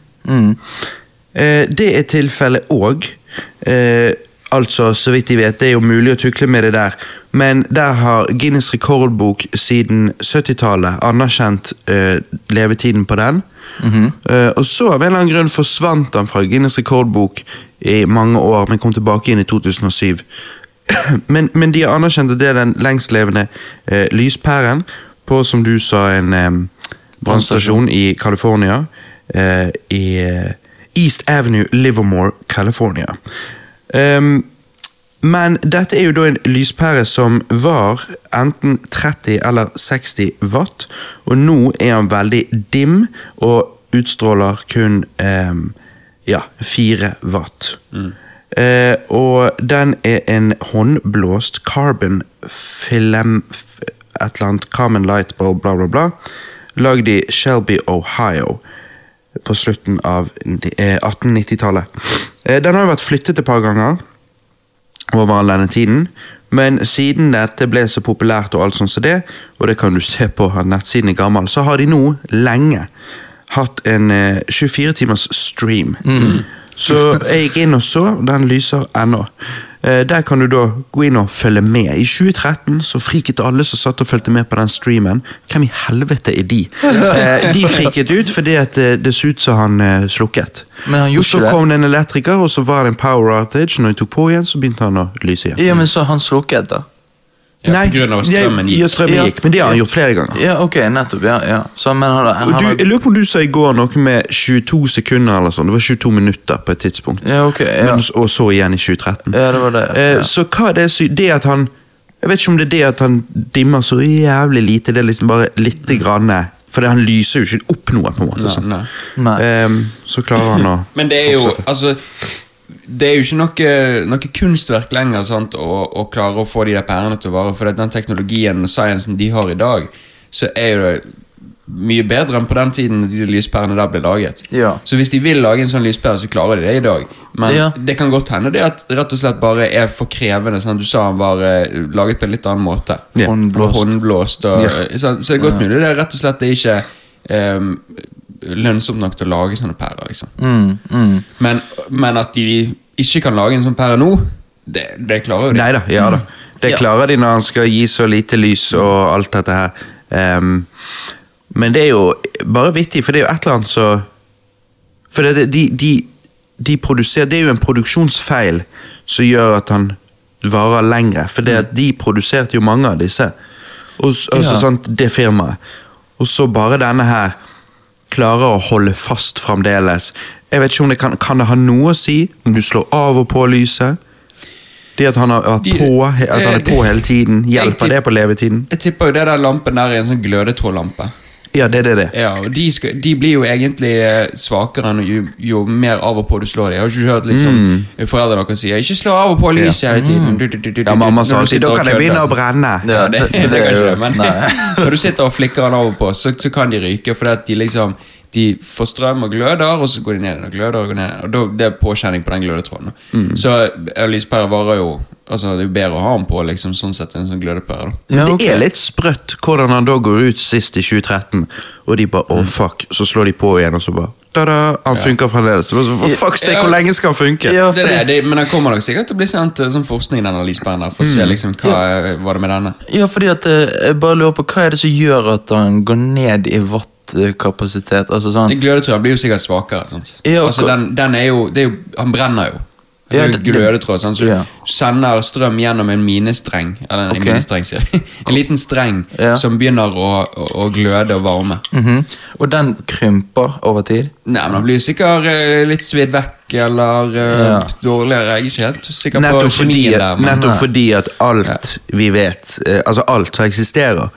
Speaker 6: Eh, det er tilfellet òg. Eh, altså, så vidt jeg vet, det er jo mulig å tukle med det der. Men der har Guinness rekordbok siden 70-tallet anerkjent eh, levetiden på den. eh, og så av en eller annen grunn forsvant den fra Guinness rekordbok i mange år, men kom tilbake inn i 2007. men, men de har anerkjent at det er den lengstlevende eh, lyspæren på, som du sa, en eh, brannstasjon i California. eh, I eh, East Avenue, Livermore, California. Ehm, men dette er jo da en lyspære som var enten 30 eller 60 watt, og nå er han veldig dim og utstråler kun ehm, ja, 4 watt. Eh, og den er en håndblåst carbon film... f- Et eller annet carbon light bulb, bla, bla, bla. Lagd i Shelby, Ohio på slutten av eh, 1890-tallet. Eh, Den har jo vært flyttet et par ganger over all denne tiden, men siden dette ble så populært og alt sånt som det, og det kan du se på at nettsiden er gammel, så har de nå lenge hatt en eh, 24 timers stream.
Speaker 5: Mm.
Speaker 6: Så jeg gikk inn og så, den lyser ennå. Eh, Der kan du da gå inn og følge med. I 2013 så friket alle som satt og fulgte med på den streamen. Hvem i helvete er de? Eh, De friket ut fordi at eh, det så ut som han eh, slukket.
Speaker 5: Men han gjorde
Speaker 6: og så
Speaker 5: ikke det.
Speaker 6: kom det en elektriker, og så var det en power outage. Når de tok på igjen, så begynte han å lyse igjen.
Speaker 5: Ja, men så har han slukket, da?
Speaker 3: Ja, på grunn av at strømmen
Speaker 6: Ja,
Speaker 3: gikk.
Speaker 6: strømmen
Speaker 5: Ja.
Speaker 6: gikk, men det har han gjort flere ganger.
Speaker 5: Ja, ok, nettopp, ja. ja. Så, men han, han,
Speaker 6: Og du,
Speaker 5: har-
Speaker 6: jeg lurer på om du sa i går noe med 22 sekunder eller sånn. Det var 22 minutter på et tidspunkt.
Speaker 5: Ja, ok, ja.
Speaker 6: Men, og så igjen i 2013.
Speaker 5: Ja, det var det.
Speaker 6: Eh,
Speaker 5: Ja.
Speaker 6: Så hva er det sy- Det at han Jeg vet ikke om det er det at han dimmer så jævlig lite, det er liksom bare lite grann eh, For han lyser jo ikke opp noe, på en måte.
Speaker 3: Nei,
Speaker 6: sant?
Speaker 3: nei.
Speaker 5: Nei.
Speaker 6: Ehm, så klarer han å
Speaker 3: Men det er jo
Speaker 6: fortsette.
Speaker 3: altså, Det er jo ikke noe, noe kunstverk lenger sant, å, å klare å få de der pærene til å vare. For den teknologien og sciencen de har i dag, så er jo det mye bedre enn på den tiden de lyspærene der ble laget.
Speaker 5: Ja.
Speaker 3: Så hvis de vil lage en sånn lyspære, så klarer de det i dag. Men
Speaker 5: Ja.
Speaker 3: det kan godt hende det at det rett og slett bare er for krevende. Sant? Du sa han var eh, laget på en litt annen måte.
Speaker 6: Ja.
Speaker 5: Håndblåst.
Speaker 3: Og håndblåst og, eh, sant? Så det er godt mulig. Det er rett og slett det er ikke ehm, lønnsomt nok til å lage sånne pærer. liksom
Speaker 5: Mm, mm.
Speaker 3: men, men at de ikke kan lage en sånn pære nå, det, det klarer jo de. Mm.
Speaker 6: Nei da, ja da. Det klarer de når han skal gi så lite lys og alt dette her. Ehm, men det er jo bare vittig, for det er jo et eller annet så For det, det- de, de, de produserer Det er jo en produksjonsfeil som gjør at han varer lengre. For det at de produserte jo mange av disse. Og, s- altså,
Speaker 5: Ja.
Speaker 6: sant, det firmaet. Og så bare denne her klarer å holde fast fremdeles. Jeg vet ikke om det kan, kan det ha noe å si om du slår av og på lyset? Det at han, har vært
Speaker 3: De-
Speaker 6: på, he- at han er på hele tiden, hjelper
Speaker 3: Jeg tipp-
Speaker 6: det på levetiden?
Speaker 3: Jeg tipper jo det der lampen der er en sånn glødetrådlampe.
Speaker 6: Ja, det er det. det.
Speaker 3: Ja, og de, skal, de blir jo egentlig eh, svakere enn jo, jo mer av og på du slår dem. Jeg har ikke hørt liksom foreldrene deres si 'ikke slå av og på lyset hele tiden'. Du, du, du, du,
Speaker 6: Mm. Ja,
Speaker 3: du,
Speaker 6: mamma
Speaker 3: når
Speaker 6: sa
Speaker 3: du
Speaker 6: alltid
Speaker 3: sitter
Speaker 6: da
Speaker 3: og
Speaker 6: kan det begynne
Speaker 3: kødder».
Speaker 6: å brenne.
Speaker 5: Ja,
Speaker 3: Ja, det, det,
Speaker 5: det
Speaker 3: kan
Speaker 5: er
Speaker 3: ikke
Speaker 5: jo-
Speaker 3: det, men
Speaker 5: nei.
Speaker 3: når du sitter og flikker den av og på, så, så kan de ryke. Fordi at de liksom De får strøm og gløder, og så går de ned igjen og gløder. Og går ned, igjen, og da, Det er påkjenning på den glødetråden. da.
Speaker 5: Mm.
Speaker 3: Så en lyspære varer jo Altså Det er jo bedre å ha den på liksom sånn sett enn en sånn glødepære. da
Speaker 6: Men
Speaker 5: Ja,
Speaker 6: Det er litt
Speaker 3: Mm.
Speaker 6: sprøtt hvordan han da går ut sist i 2013, og de bare 'å, fuck', så slår de på igjen, og så bare da-da. Han funker fremdeles. Men så, For fuck sake, hvor
Speaker 3: Ja.
Speaker 6: lenge skal han funke?
Speaker 5: Ja,
Speaker 3: Det er det,
Speaker 5: fordi-
Speaker 3: det, men den kommer nok sikkert til å bli sendt eh, som forskning, denne lysbæren der, for å se
Speaker 5: Mm.
Speaker 3: liksom hva var det med denne.
Speaker 5: Ja, fordi at eh, jeg bare lurer på hva er det som gjør at han går ned i wattkapasitet? Altså sånn
Speaker 3: Den Glødetråden blir jo sikkert svakere. Sant?
Speaker 5: Ja,
Speaker 3: altså,
Speaker 5: hva-
Speaker 3: den, den er jo, det er jo Han brenner jo. Det
Speaker 5: Ja,
Speaker 3: er jo
Speaker 5: det- det-
Speaker 3: glødetråd. Sant? Så
Speaker 5: Ja.
Speaker 3: Du sender strøm gjennom en minestreng. Eller en,
Speaker 5: Ok.
Speaker 3: minestreng, sier jeg. En liten streng
Speaker 5: Ja.
Speaker 3: som begynner å, å, å gløde og varme.
Speaker 5: mhm. Og den krymper over tid?
Speaker 3: Nei, men Han blir jo sikkert eh, litt svidd vekk eller eh,
Speaker 5: Ja.
Speaker 3: dårligere. Jeg er ikke helt sikker på
Speaker 6: Nettopp fordi,
Speaker 3: kjemien der. Men,
Speaker 6: nettopp fordi at alt vi vet, eh, altså alt som eksisterer,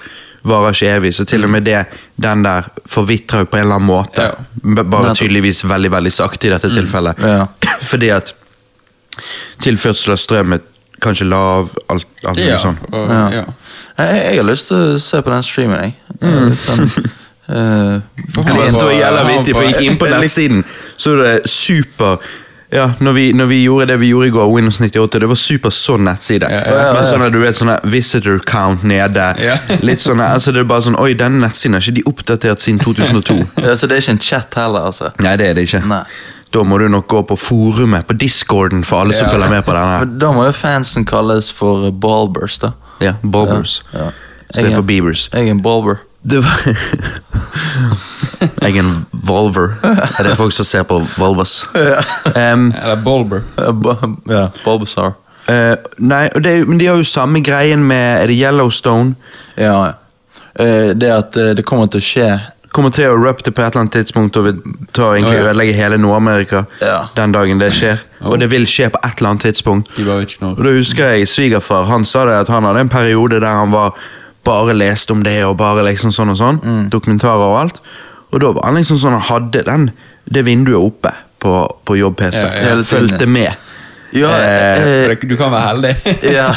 Speaker 6: varer ikke evig. Så til og med det, den der forvitrer jo på en eller annen måte.
Speaker 3: Ja. Mm.
Speaker 6: B- Bare
Speaker 5: Nettopp.
Speaker 6: tydeligvis veldig veldig sakte i dette tilfellet.
Speaker 5: Ja.
Speaker 6: Fordi at tilførsel av strøm er kanskje lav, alt, alt mulig
Speaker 3: ja,
Speaker 6: sånn.
Speaker 3: og,
Speaker 5: Ja.
Speaker 3: ja.
Speaker 5: Jeg, jeg har lyst til å se på den streamen, jeg. Litt sånn eh,
Speaker 3: For han
Speaker 6: Det
Speaker 3: var-
Speaker 6: var jævla
Speaker 3: han
Speaker 6: vittig, for
Speaker 3: var-
Speaker 6: jeg gikk inn på nettsiden, så er det super ja, når vi, når vi gjorde det vi gjorde i går, Windows 98, det var super sånn nettside.
Speaker 3: Ja,
Speaker 6: Med sånne, du vet, sånne visitor count nede.
Speaker 3: Ja.
Speaker 6: Litt sånne, altså det er bare sånn, Oi, denne nettsiden har ikke de oppdatert siden 2002.
Speaker 5: ja, Så det er ikke en chat heller, altså?
Speaker 6: Nei, det er det ikke.
Speaker 5: Nei.
Speaker 6: Da må du nok gå på forumet, på discorden, for alle som
Speaker 3: Ja.
Speaker 6: følger med på denne. her.
Speaker 5: Men Da må jo fansen kalles for ballbers, da.
Speaker 6: Ja, Bobbers.
Speaker 5: Ja.
Speaker 6: Så det er for Beavers.
Speaker 5: Jeg er en balber.
Speaker 6: Det var Jeg er en volver. Er det folk som ser på volvers? Em,
Speaker 3: Eller Bolber.
Speaker 5: Ja, eh, ba- ja, Bulbasaur.
Speaker 6: Eh, nei, og det, er jo- men de har jo samme greien med er det Yellowstone.
Speaker 5: Ja, ja. Eh, det at eh, det kommer til å skje
Speaker 6: Kommer til å erupte på et eller annet tidspunkt og vil ta egentlig
Speaker 3: Å, ja.
Speaker 6: ødelegge hele Nord-Amerika
Speaker 5: Ja.
Speaker 6: den dagen det skjer. Og det vil skje på et eller annet tidspunkt.
Speaker 3: De bare vet ikke når.
Speaker 6: Og da husker jeg svigerfar, han sa det at han hadde en periode der han var bare leste om det og bare liksom sånn og sånn,
Speaker 3: Mm.
Speaker 6: dokumentarer og alt. Og da var han liksom sånn, han hadde den, det vinduet oppe på, på jobb-PC.
Speaker 3: Ja, ja.
Speaker 6: Hele tiden. Fulgte med.
Speaker 5: Ja, eh,
Speaker 3: For det- Du kan være heldig.
Speaker 5: ja.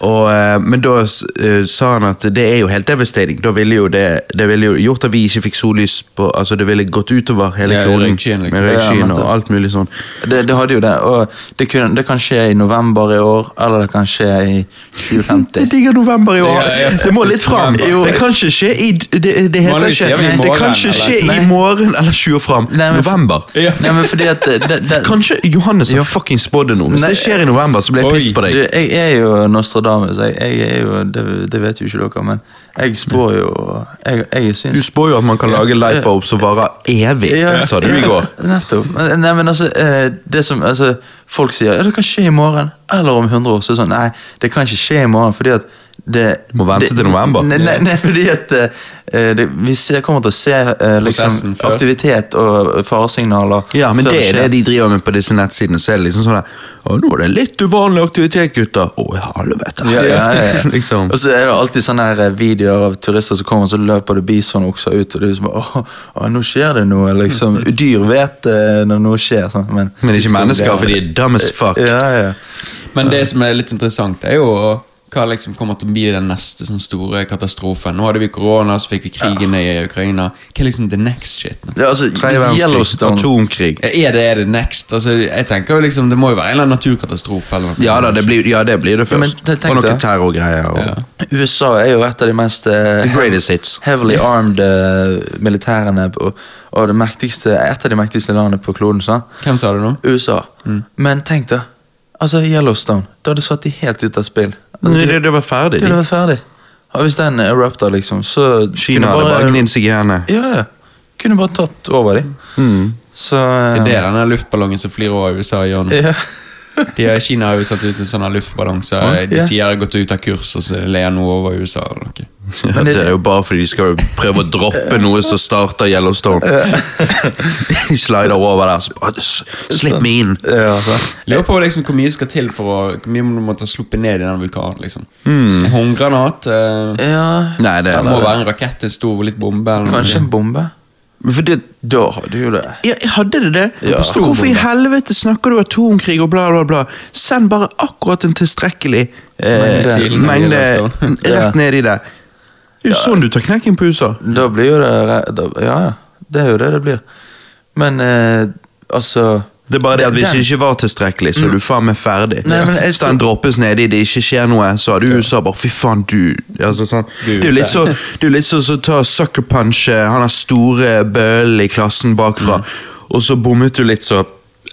Speaker 6: Og, eh, men da s- eh, sa han at det er jo helt devastating. Da ville jo det, det ville jo gjort at vi ikke fikk sollys på altså Det ville gått utover hele
Speaker 3: Ja,
Speaker 6: kloden
Speaker 3: røykskyen, liksom.
Speaker 6: med
Speaker 5: Ja,
Speaker 6: røykskyen
Speaker 5: nettopp.
Speaker 6: og alt mulig sånn.
Speaker 5: Det, det hadde jo det. Og det, kunne, det kan skje i november i år, eller det kan skje i
Speaker 6: Jeg
Speaker 5: 2050.
Speaker 6: digger november i år!
Speaker 3: Ja, ja.
Speaker 6: Det må litt fram.
Speaker 3: Jo.
Speaker 6: Det kan ikke skje i Det, det heter
Speaker 3: Vanligvis
Speaker 6: ikke
Speaker 3: sier vi i
Speaker 6: Det kan
Speaker 3: morgen,
Speaker 6: ikke skje
Speaker 3: eller?
Speaker 6: i morgen eller 20 fram.
Speaker 5: Nei, men-
Speaker 6: November.
Speaker 3: Ja.
Speaker 5: Nei, men fordi at det, det, det,
Speaker 6: Kanskje Johannes har fucking spådd det nå. Hvis
Speaker 5: Nei.
Speaker 6: det skjer i november, så blir jeg
Speaker 3: Oi.
Speaker 6: pissed på
Speaker 5: du,
Speaker 6: deg.
Speaker 5: jeg er jo Nostradamus. Jeg, jeg er jo, det, det vet jo ikke dere, men jeg spår jo Jeg, jeg syns
Speaker 6: Du spår jo at man kan lage lightbulb som varer evig, Eh, sa du i går.
Speaker 5: Ja, nettopp. Men- Nei, men altså, eh, det som, altså, folk sier ja, det kan skje i morgen, eller om 100 år. Så er det sånn, nei, det kan ikke skje i morgen, fordi at det, du
Speaker 6: må vente til november.
Speaker 5: Nei, nei, nei fordi at eh, det, vi ser, kommer til å se eh, liksom,
Speaker 3: Prosessen før.
Speaker 5: aktivitet og faresignaler
Speaker 6: Ja, men
Speaker 5: før
Speaker 6: det er
Speaker 5: skjer.
Speaker 6: det de driver med på disse nettsidene. Så er det liksom sånn der, Å, nå er det litt uvanlig aktivitet, gutter. Å, i helvete.
Speaker 5: Ja, ja, ja, ja.
Speaker 6: liksom.
Speaker 5: Og så er det alltid sånne her eh, videoer av turister som kommer, og så løper det bisonokser ut. Og det er liksom, åh, åh, nå skjer det noe, liksom. Dyr vet eh, når noe skjer. Sånn. Men,
Speaker 6: Men ikke mennesker, for de er dumb as fuck.
Speaker 5: Ja, ja.
Speaker 3: Men det som er litt interessant, er jo hva liksom kommer til å bli den neste sånn store katastrofen. Nå hadde vi korona, så fikk vi krigen i Ukraina. Hva er liksom the next shit? nå?
Speaker 5: Ja, altså,
Speaker 6: Tredje verdenskrig,
Speaker 5: Yellowstone
Speaker 6: atomkrig.
Speaker 3: Er det er det next? Altså, jeg tenker jo liksom, Det må jo være en eller annen naturkatastrofe. eller noe.
Speaker 6: Ja da, det blir, ja, det, blir det
Speaker 5: Ja, men
Speaker 6: først.
Speaker 5: tenk
Speaker 6: og noen
Speaker 5: det.
Speaker 6: terrorgreier. Og...
Speaker 3: Ja.
Speaker 5: USA er jo et av de mest eh,
Speaker 6: The greatest hits.
Speaker 5: heavily armed eh, militærene på- og det mektigste, et av de mektigste landene på kloden. sant?
Speaker 3: Hvem sa det nå?
Speaker 5: USA.
Speaker 6: Mm.
Speaker 5: Men tenk da, altså Yellowstone, da hadde satt de helt ut av spill. Altså,
Speaker 6: Nei,
Speaker 5: de,
Speaker 6: det, det var ferdig.
Speaker 5: de hadde
Speaker 6: De.
Speaker 5: vært ferdig. Og hvis den erupta, liksom, så kunne
Speaker 6: Kina hadde bare gnidd seg i hendene.
Speaker 5: Ja, ja. Kunne bare tatt over dem.
Speaker 6: Mm.
Speaker 5: Så eh,
Speaker 3: Det er denne luftballongen som flyr over USA i hjørnet.
Speaker 5: ja.
Speaker 3: De i Kina har jo satt ut en sånn her luftballong, så de
Speaker 5: ja.
Speaker 3: sier jeg har gått ut av kurs, og så ler noe over USA. eller noe.
Speaker 6: Ja,
Speaker 5: Men
Speaker 6: det
Speaker 5: det-
Speaker 6: er jo bare fordi de skal jo prøve å droppe noe som starter Yellowstone. De slider over der. Så, bare, s-
Speaker 5: Sånn.
Speaker 6: slipp meg inn.
Speaker 5: ja, så.
Speaker 3: Lurer på liksom hvor mye skal til for å Hvor mye må man sluppe ned i den vulkanen. liksom
Speaker 6: Hmm.
Speaker 3: En håndgranat eh,
Speaker 5: ja.
Speaker 6: Nei, det
Speaker 3: Det må være en rakett, en stor litt bombe eller noe.
Speaker 5: Kanskje en bombe?
Speaker 6: For det,
Speaker 5: Da har du jo det.
Speaker 6: Ja, jeg hadde det det.
Speaker 5: Ja.
Speaker 6: Hvorfor i helvete snakker du atomkrig og bla, bla, bla? Send bare akkurat en tilstrekkelig eh,
Speaker 5: Mengde.
Speaker 6: mengde
Speaker 3: Mengde.
Speaker 6: rett ned i det. Det er jo sånn du tar knekken på USA.
Speaker 5: Da blir jo det re- da, Ja, ja. Det er jo det det blir. Men eh, altså
Speaker 6: Det er bare det at hvis
Speaker 5: Den-
Speaker 6: det ikke var tilstrekkelig, så er du faen meg ferdig.
Speaker 5: Nei, men jeg
Speaker 6: Hvis den droppes nedi, det ikke skjer noe, så har du USA bare Fy faen, du altså, sånn. Det er jo litt så Det er jo litt så så ta Sucker Punch, eh, han har store bøll i klassen bakfra, og så bommet du litt, så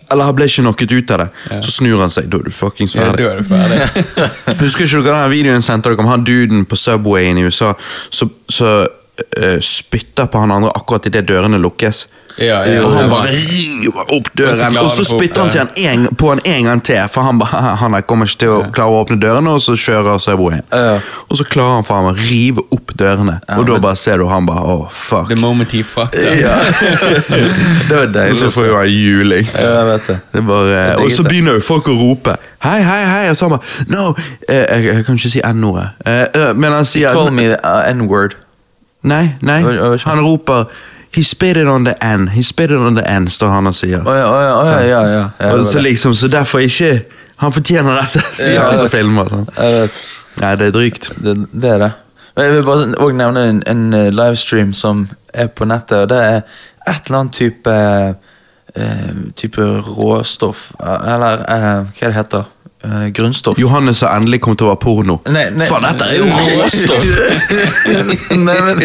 Speaker 6: Eller han ble ikke knocket ut av det. Så snur han seg, da er du fuckings
Speaker 3: Ja,
Speaker 6: ferdig.
Speaker 3: da er du ferdig.
Speaker 6: Husker ikke dere den videoen jeg sendte dere om han duden på Subwayen i USA som spytter på han andre akkurat idet dørene lukkes?
Speaker 3: Ja, ja,
Speaker 6: og han
Speaker 3: det var-
Speaker 6: bare river opp
Speaker 3: Og så
Speaker 6: døren,
Speaker 3: klarer
Speaker 6: og så
Speaker 3: han å få opp
Speaker 6: spytter han til han en, på han en gang til, for han bare han her kommer ikke til å klare å åpne dørene, og så kjører Subwayen.
Speaker 5: Ja.
Speaker 6: Og så klarer han faen meg å rive opp dørene, og da bare ser du han bare åh, fuck.
Speaker 3: The moment he fucked up.
Speaker 6: Ja.
Speaker 5: Det var
Speaker 6: Og
Speaker 5: deilig.
Speaker 6: så får jo han juling.
Speaker 5: Ja, jeg vet det.
Speaker 6: Det er bare,
Speaker 5: digget
Speaker 6: og så
Speaker 5: det.
Speaker 6: begynner jo folk å rope Hei, hei, hei, og så han bare No, eh, jeg, jeg kan ikke si N-ordet eh, eh, Men han sier
Speaker 5: Call me uh, N-word.
Speaker 6: Nei, nei,
Speaker 5: Hva- hva skjer?
Speaker 6: han roper He spit it on the N, he spit it on the N Står han og sier
Speaker 5: Å ja, å ja, å ja, ja, ja. ja.
Speaker 6: og
Speaker 5: det
Speaker 6: så
Speaker 5: var det.
Speaker 6: liksom, så derfor ikke Han fortjener dette, sier
Speaker 5: Ja,
Speaker 6: han
Speaker 5: jeg
Speaker 6: som
Speaker 5: vet.
Speaker 6: filmer den.
Speaker 5: Jeg vet.
Speaker 6: Nei, det er drygt
Speaker 5: Det, det er det. Men jeg vil bare sånn- også nevne en, en eh, livestream som er på nettet, og det er et eller annet type eh, Type råstoff eh, Eller eh, hva det heter Eh, Grunnstoff.
Speaker 6: Johannes har endelig kommet over porno
Speaker 5: Nei, nei.
Speaker 6: Faen, dette er jo råstoff
Speaker 5: Nei, men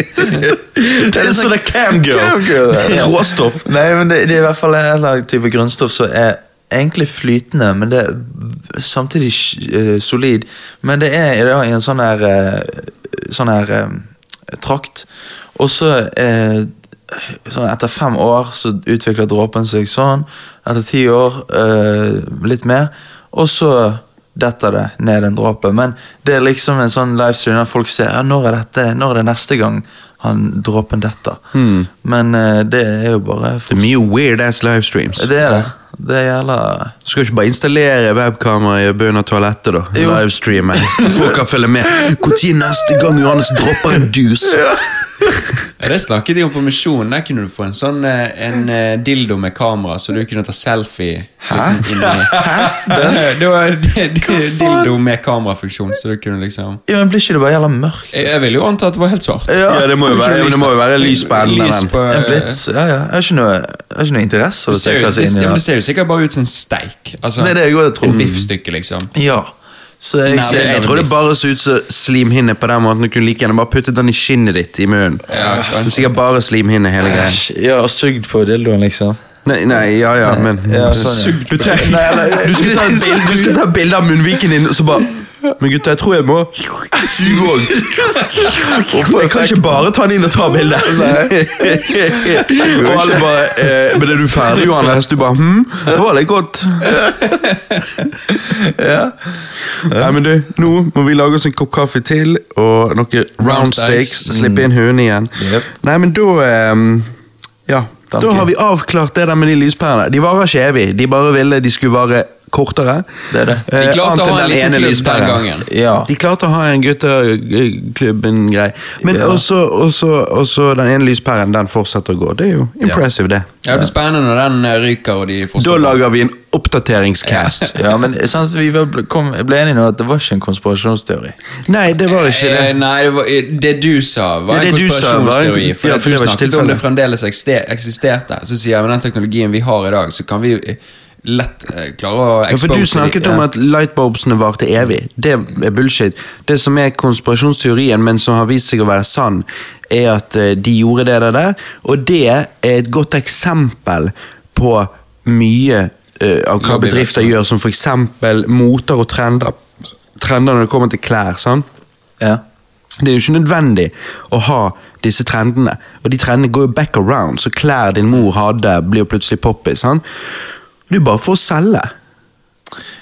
Speaker 6: Det er sånn der
Speaker 5: Camgirl,
Speaker 6: camgirl
Speaker 5: ja.
Speaker 6: Råstoff
Speaker 5: Nei, men det, det er i hvert fall en eller annen type grunnstoff som er egentlig flytende, men det er v- samtidig sj- eh, solid. Men det er i dag i en sånn her eh, sånn her eh, trakt. Og så eh, sånn etter fem år så utvikler dråpen seg sånn. Etter ti år eh, litt mer. Og så detter det ned en dråpe. Men det er liksom en sånn livestream der folk ser ja, når er dette, når er det neste gang han dråpen detter. Men eh, det er jo bare
Speaker 6: Hmm. Det er mye weird ass livestreams
Speaker 5: Det er det. Det er jævla
Speaker 6: Du skal ikke bare installere webkamera i bunnen av toalettet, da.
Speaker 5: Jo.
Speaker 6: Livestreame. Folk kan følge med. Når neste gang Johannes dropper en dus?
Speaker 3: Ja, Det snakket de om på Misjon. Der kunne du få en sånn eh, en eh, dildo med kamera, så du kunne ta selfie. Liksom, inni. Det- Det var det- det- dildo med kamerafunksjon, så du kunne liksom
Speaker 5: Ja, men Blir ikke det bare jævla mørkt?
Speaker 3: Jeg, jeg ville jo anta at det var helt svart.
Speaker 5: Ja.
Speaker 6: Ja, det må jo være, det må jo være lys på enden av
Speaker 3: Lys
Speaker 6: den.
Speaker 3: på,
Speaker 5: En blitz? Ja, ja. Jeg har ikke noe, jeg har ikke noe interesse av
Speaker 3: Det
Speaker 5: å
Speaker 3: ser,
Speaker 5: se
Speaker 3: jo,
Speaker 5: hva som er
Speaker 3: det, ja, men
Speaker 5: inni
Speaker 3: det
Speaker 5: der.
Speaker 3: ser jo sikkert bare ut som en steik. Altså,
Speaker 5: Det er det jeg også tror.
Speaker 3: En biffstykke, liksom.
Speaker 5: Ja. Så jeg,
Speaker 3: Nei,
Speaker 6: Så
Speaker 5: ser,
Speaker 6: Jeg tror det bare så ut som slimhinne på den måten. Du kunne like gjerne bare puttet den i skinnet ditt i munnen.
Speaker 3: Ja,
Speaker 6: Det er sikkert bare slimhinne hele greia.
Speaker 5: Æsj, Ja, og sugd på dildoen, liksom.
Speaker 6: Nei, nei, ja ja, men
Speaker 5: Ja, sånn,
Speaker 3: Sugd
Speaker 6: Du trenger
Speaker 5: Nei, eller-
Speaker 6: Du skal ta et bilde, du skal ta et bilde av munnviken din, og så bare Men gutta, jeg tror jeg må suge òg. Jeg kan ikke bare ta den inn og ta bilde. Og alle bare eh, Men er du ferdig, Johannes? Du bare hm, det var litt godt. Nei, men du, nå må vi lage oss en kopp kaffe til og noen round steaks.
Speaker 3: steaks.
Speaker 6: Slippe inn høne igjen.
Speaker 5: Jep.
Speaker 6: Nei, men da ehm, Ja. Da
Speaker 5: Danke.
Speaker 6: har vi avklart det der med de lyspærene. De varer ikke evig. De bare ville de skulle vare kortere.
Speaker 5: Det er det.
Speaker 6: Eh,
Speaker 3: De klarte
Speaker 6: annet
Speaker 3: å
Speaker 6: enn
Speaker 3: ha en
Speaker 6: den
Speaker 3: liten
Speaker 6: ene
Speaker 3: klubb den
Speaker 6: lyspæren.
Speaker 3: gangen.
Speaker 5: Ja.
Speaker 6: De klarte å ha en gutteklubben-grei. Men
Speaker 5: Ja.
Speaker 6: også, også, også den ene lyspæren, den fortsetter å gå. Det er jo impressive, det.
Speaker 3: Ja, det blir spennende når den eh, ryker og de får
Speaker 6: Da lager vi en oppdateringscast.
Speaker 5: Ja, men eh, sant, vi ble, kom, ble enige nå at det var ikke en konspirasjonsteori.
Speaker 6: Nei, det var ikke det.
Speaker 3: Eh, Nei, det, var, det du sa, var
Speaker 6: Ja,
Speaker 3: en
Speaker 6: det du sa var en-
Speaker 3: konspirasjonsteori. For,
Speaker 6: ja,
Speaker 3: at
Speaker 6: for
Speaker 3: du
Speaker 6: det var ikke
Speaker 3: snakket om det
Speaker 6: tilfellet.
Speaker 3: fremdeles ekste- eksisterte. Så sier jeg med den teknologien vi har i dag, så kan vi eh, lett eh, klare å
Speaker 6: Ja, for du
Speaker 3: expose
Speaker 6: snakket
Speaker 3: de.
Speaker 6: om
Speaker 3: Ja.
Speaker 6: at lightbulbsene varte evig. Det er bullshit. Det som er konspirasjonsteorien, men som har vist seg å være sann, er at eh, de gjorde det der, der, og det er et godt eksempel på mye eh, av hva
Speaker 3: Lobbyvirksomhet.
Speaker 6: bedrifter gjør, som f.eks. moter og trender. Trender når det kommer til klær. sant?
Speaker 5: Ja.
Speaker 6: Det er jo ikke nødvendig å ha disse trendene. Og de trendene går jo back around, så klær din mor hadde, blir jo plutselig poppy. sant? Det er jo bare for å selge.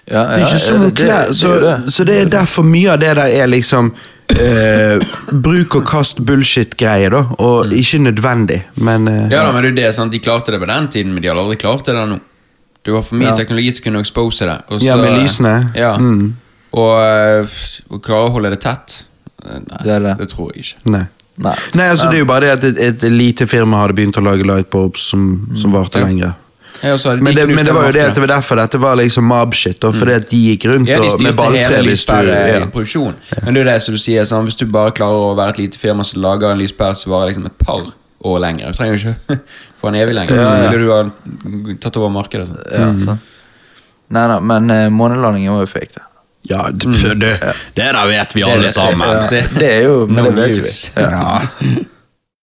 Speaker 5: Ja,
Speaker 6: Det er
Speaker 5: ja,
Speaker 6: ikke som
Speaker 5: det-
Speaker 6: om klær,
Speaker 5: det- det-
Speaker 6: så,
Speaker 5: det er det.
Speaker 6: så det er derfor mye av det der er liksom eh, Bruk og kast bullshit-greier, da. Og
Speaker 5: Mm.
Speaker 6: ikke nødvendig, men eh,
Speaker 3: Ja da, men det er jo det, sant? De klarte det på den tiden, men de har aldri klart det der nå. Du har for mye
Speaker 5: Ja.
Speaker 3: teknologi til å kunne expose det. og
Speaker 6: Ja,
Speaker 3: så- eh,
Speaker 6: med lysene.
Speaker 3: Ja.
Speaker 6: Mm.
Speaker 3: Og, eh, f- å klare å holde det tett. Eh, Nei,
Speaker 5: Det er det.
Speaker 3: tror jeg ikke.
Speaker 6: Nei.
Speaker 5: Nei.
Speaker 6: Nei, altså Det er jo bare det at et, et lite firma hadde begynt å lage lightbulbs som,
Speaker 5: Mm.
Speaker 6: som varte
Speaker 3: Ja.
Speaker 6: lenger.
Speaker 3: Ja, og så hadde de
Speaker 6: Men det,
Speaker 3: knust
Speaker 6: men det
Speaker 3: den
Speaker 6: var jo det
Speaker 3: markedet.
Speaker 6: at det var derfor dette var liksom mob-shit, da,
Speaker 5: Mm.
Speaker 6: fordi at de gikk rundt
Speaker 3: Ja, de
Speaker 6: og, med
Speaker 3: styrte
Speaker 6: balltre.
Speaker 3: hele eh,
Speaker 6: Hvis du, ja.
Speaker 3: lyspæreproduksjonen. Men det er jo det som du sier, sånn, hvis du bare klarer å være et lite firma som lager en lyspære som varer liksom et par og lenger. Du trenger jo ikke få den evig lenger. Så ville du ha tatt over markedet. og sånn. sånt.
Speaker 5: Ja, sant. Nei da, men eh, månelandingen var jo fake, da.
Speaker 6: Ja, det, det, det der vet vi
Speaker 3: vet
Speaker 6: alle
Speaker 3: vi.
Speaker 6: sammen.
Speaker 5: Ja,
Speaker 3: det-
Speaker 5: det er jo Men
Speaker 3: no
Speaker 5: det vet jo vi.
Speaker 3: news.
Speaker 5: Ja.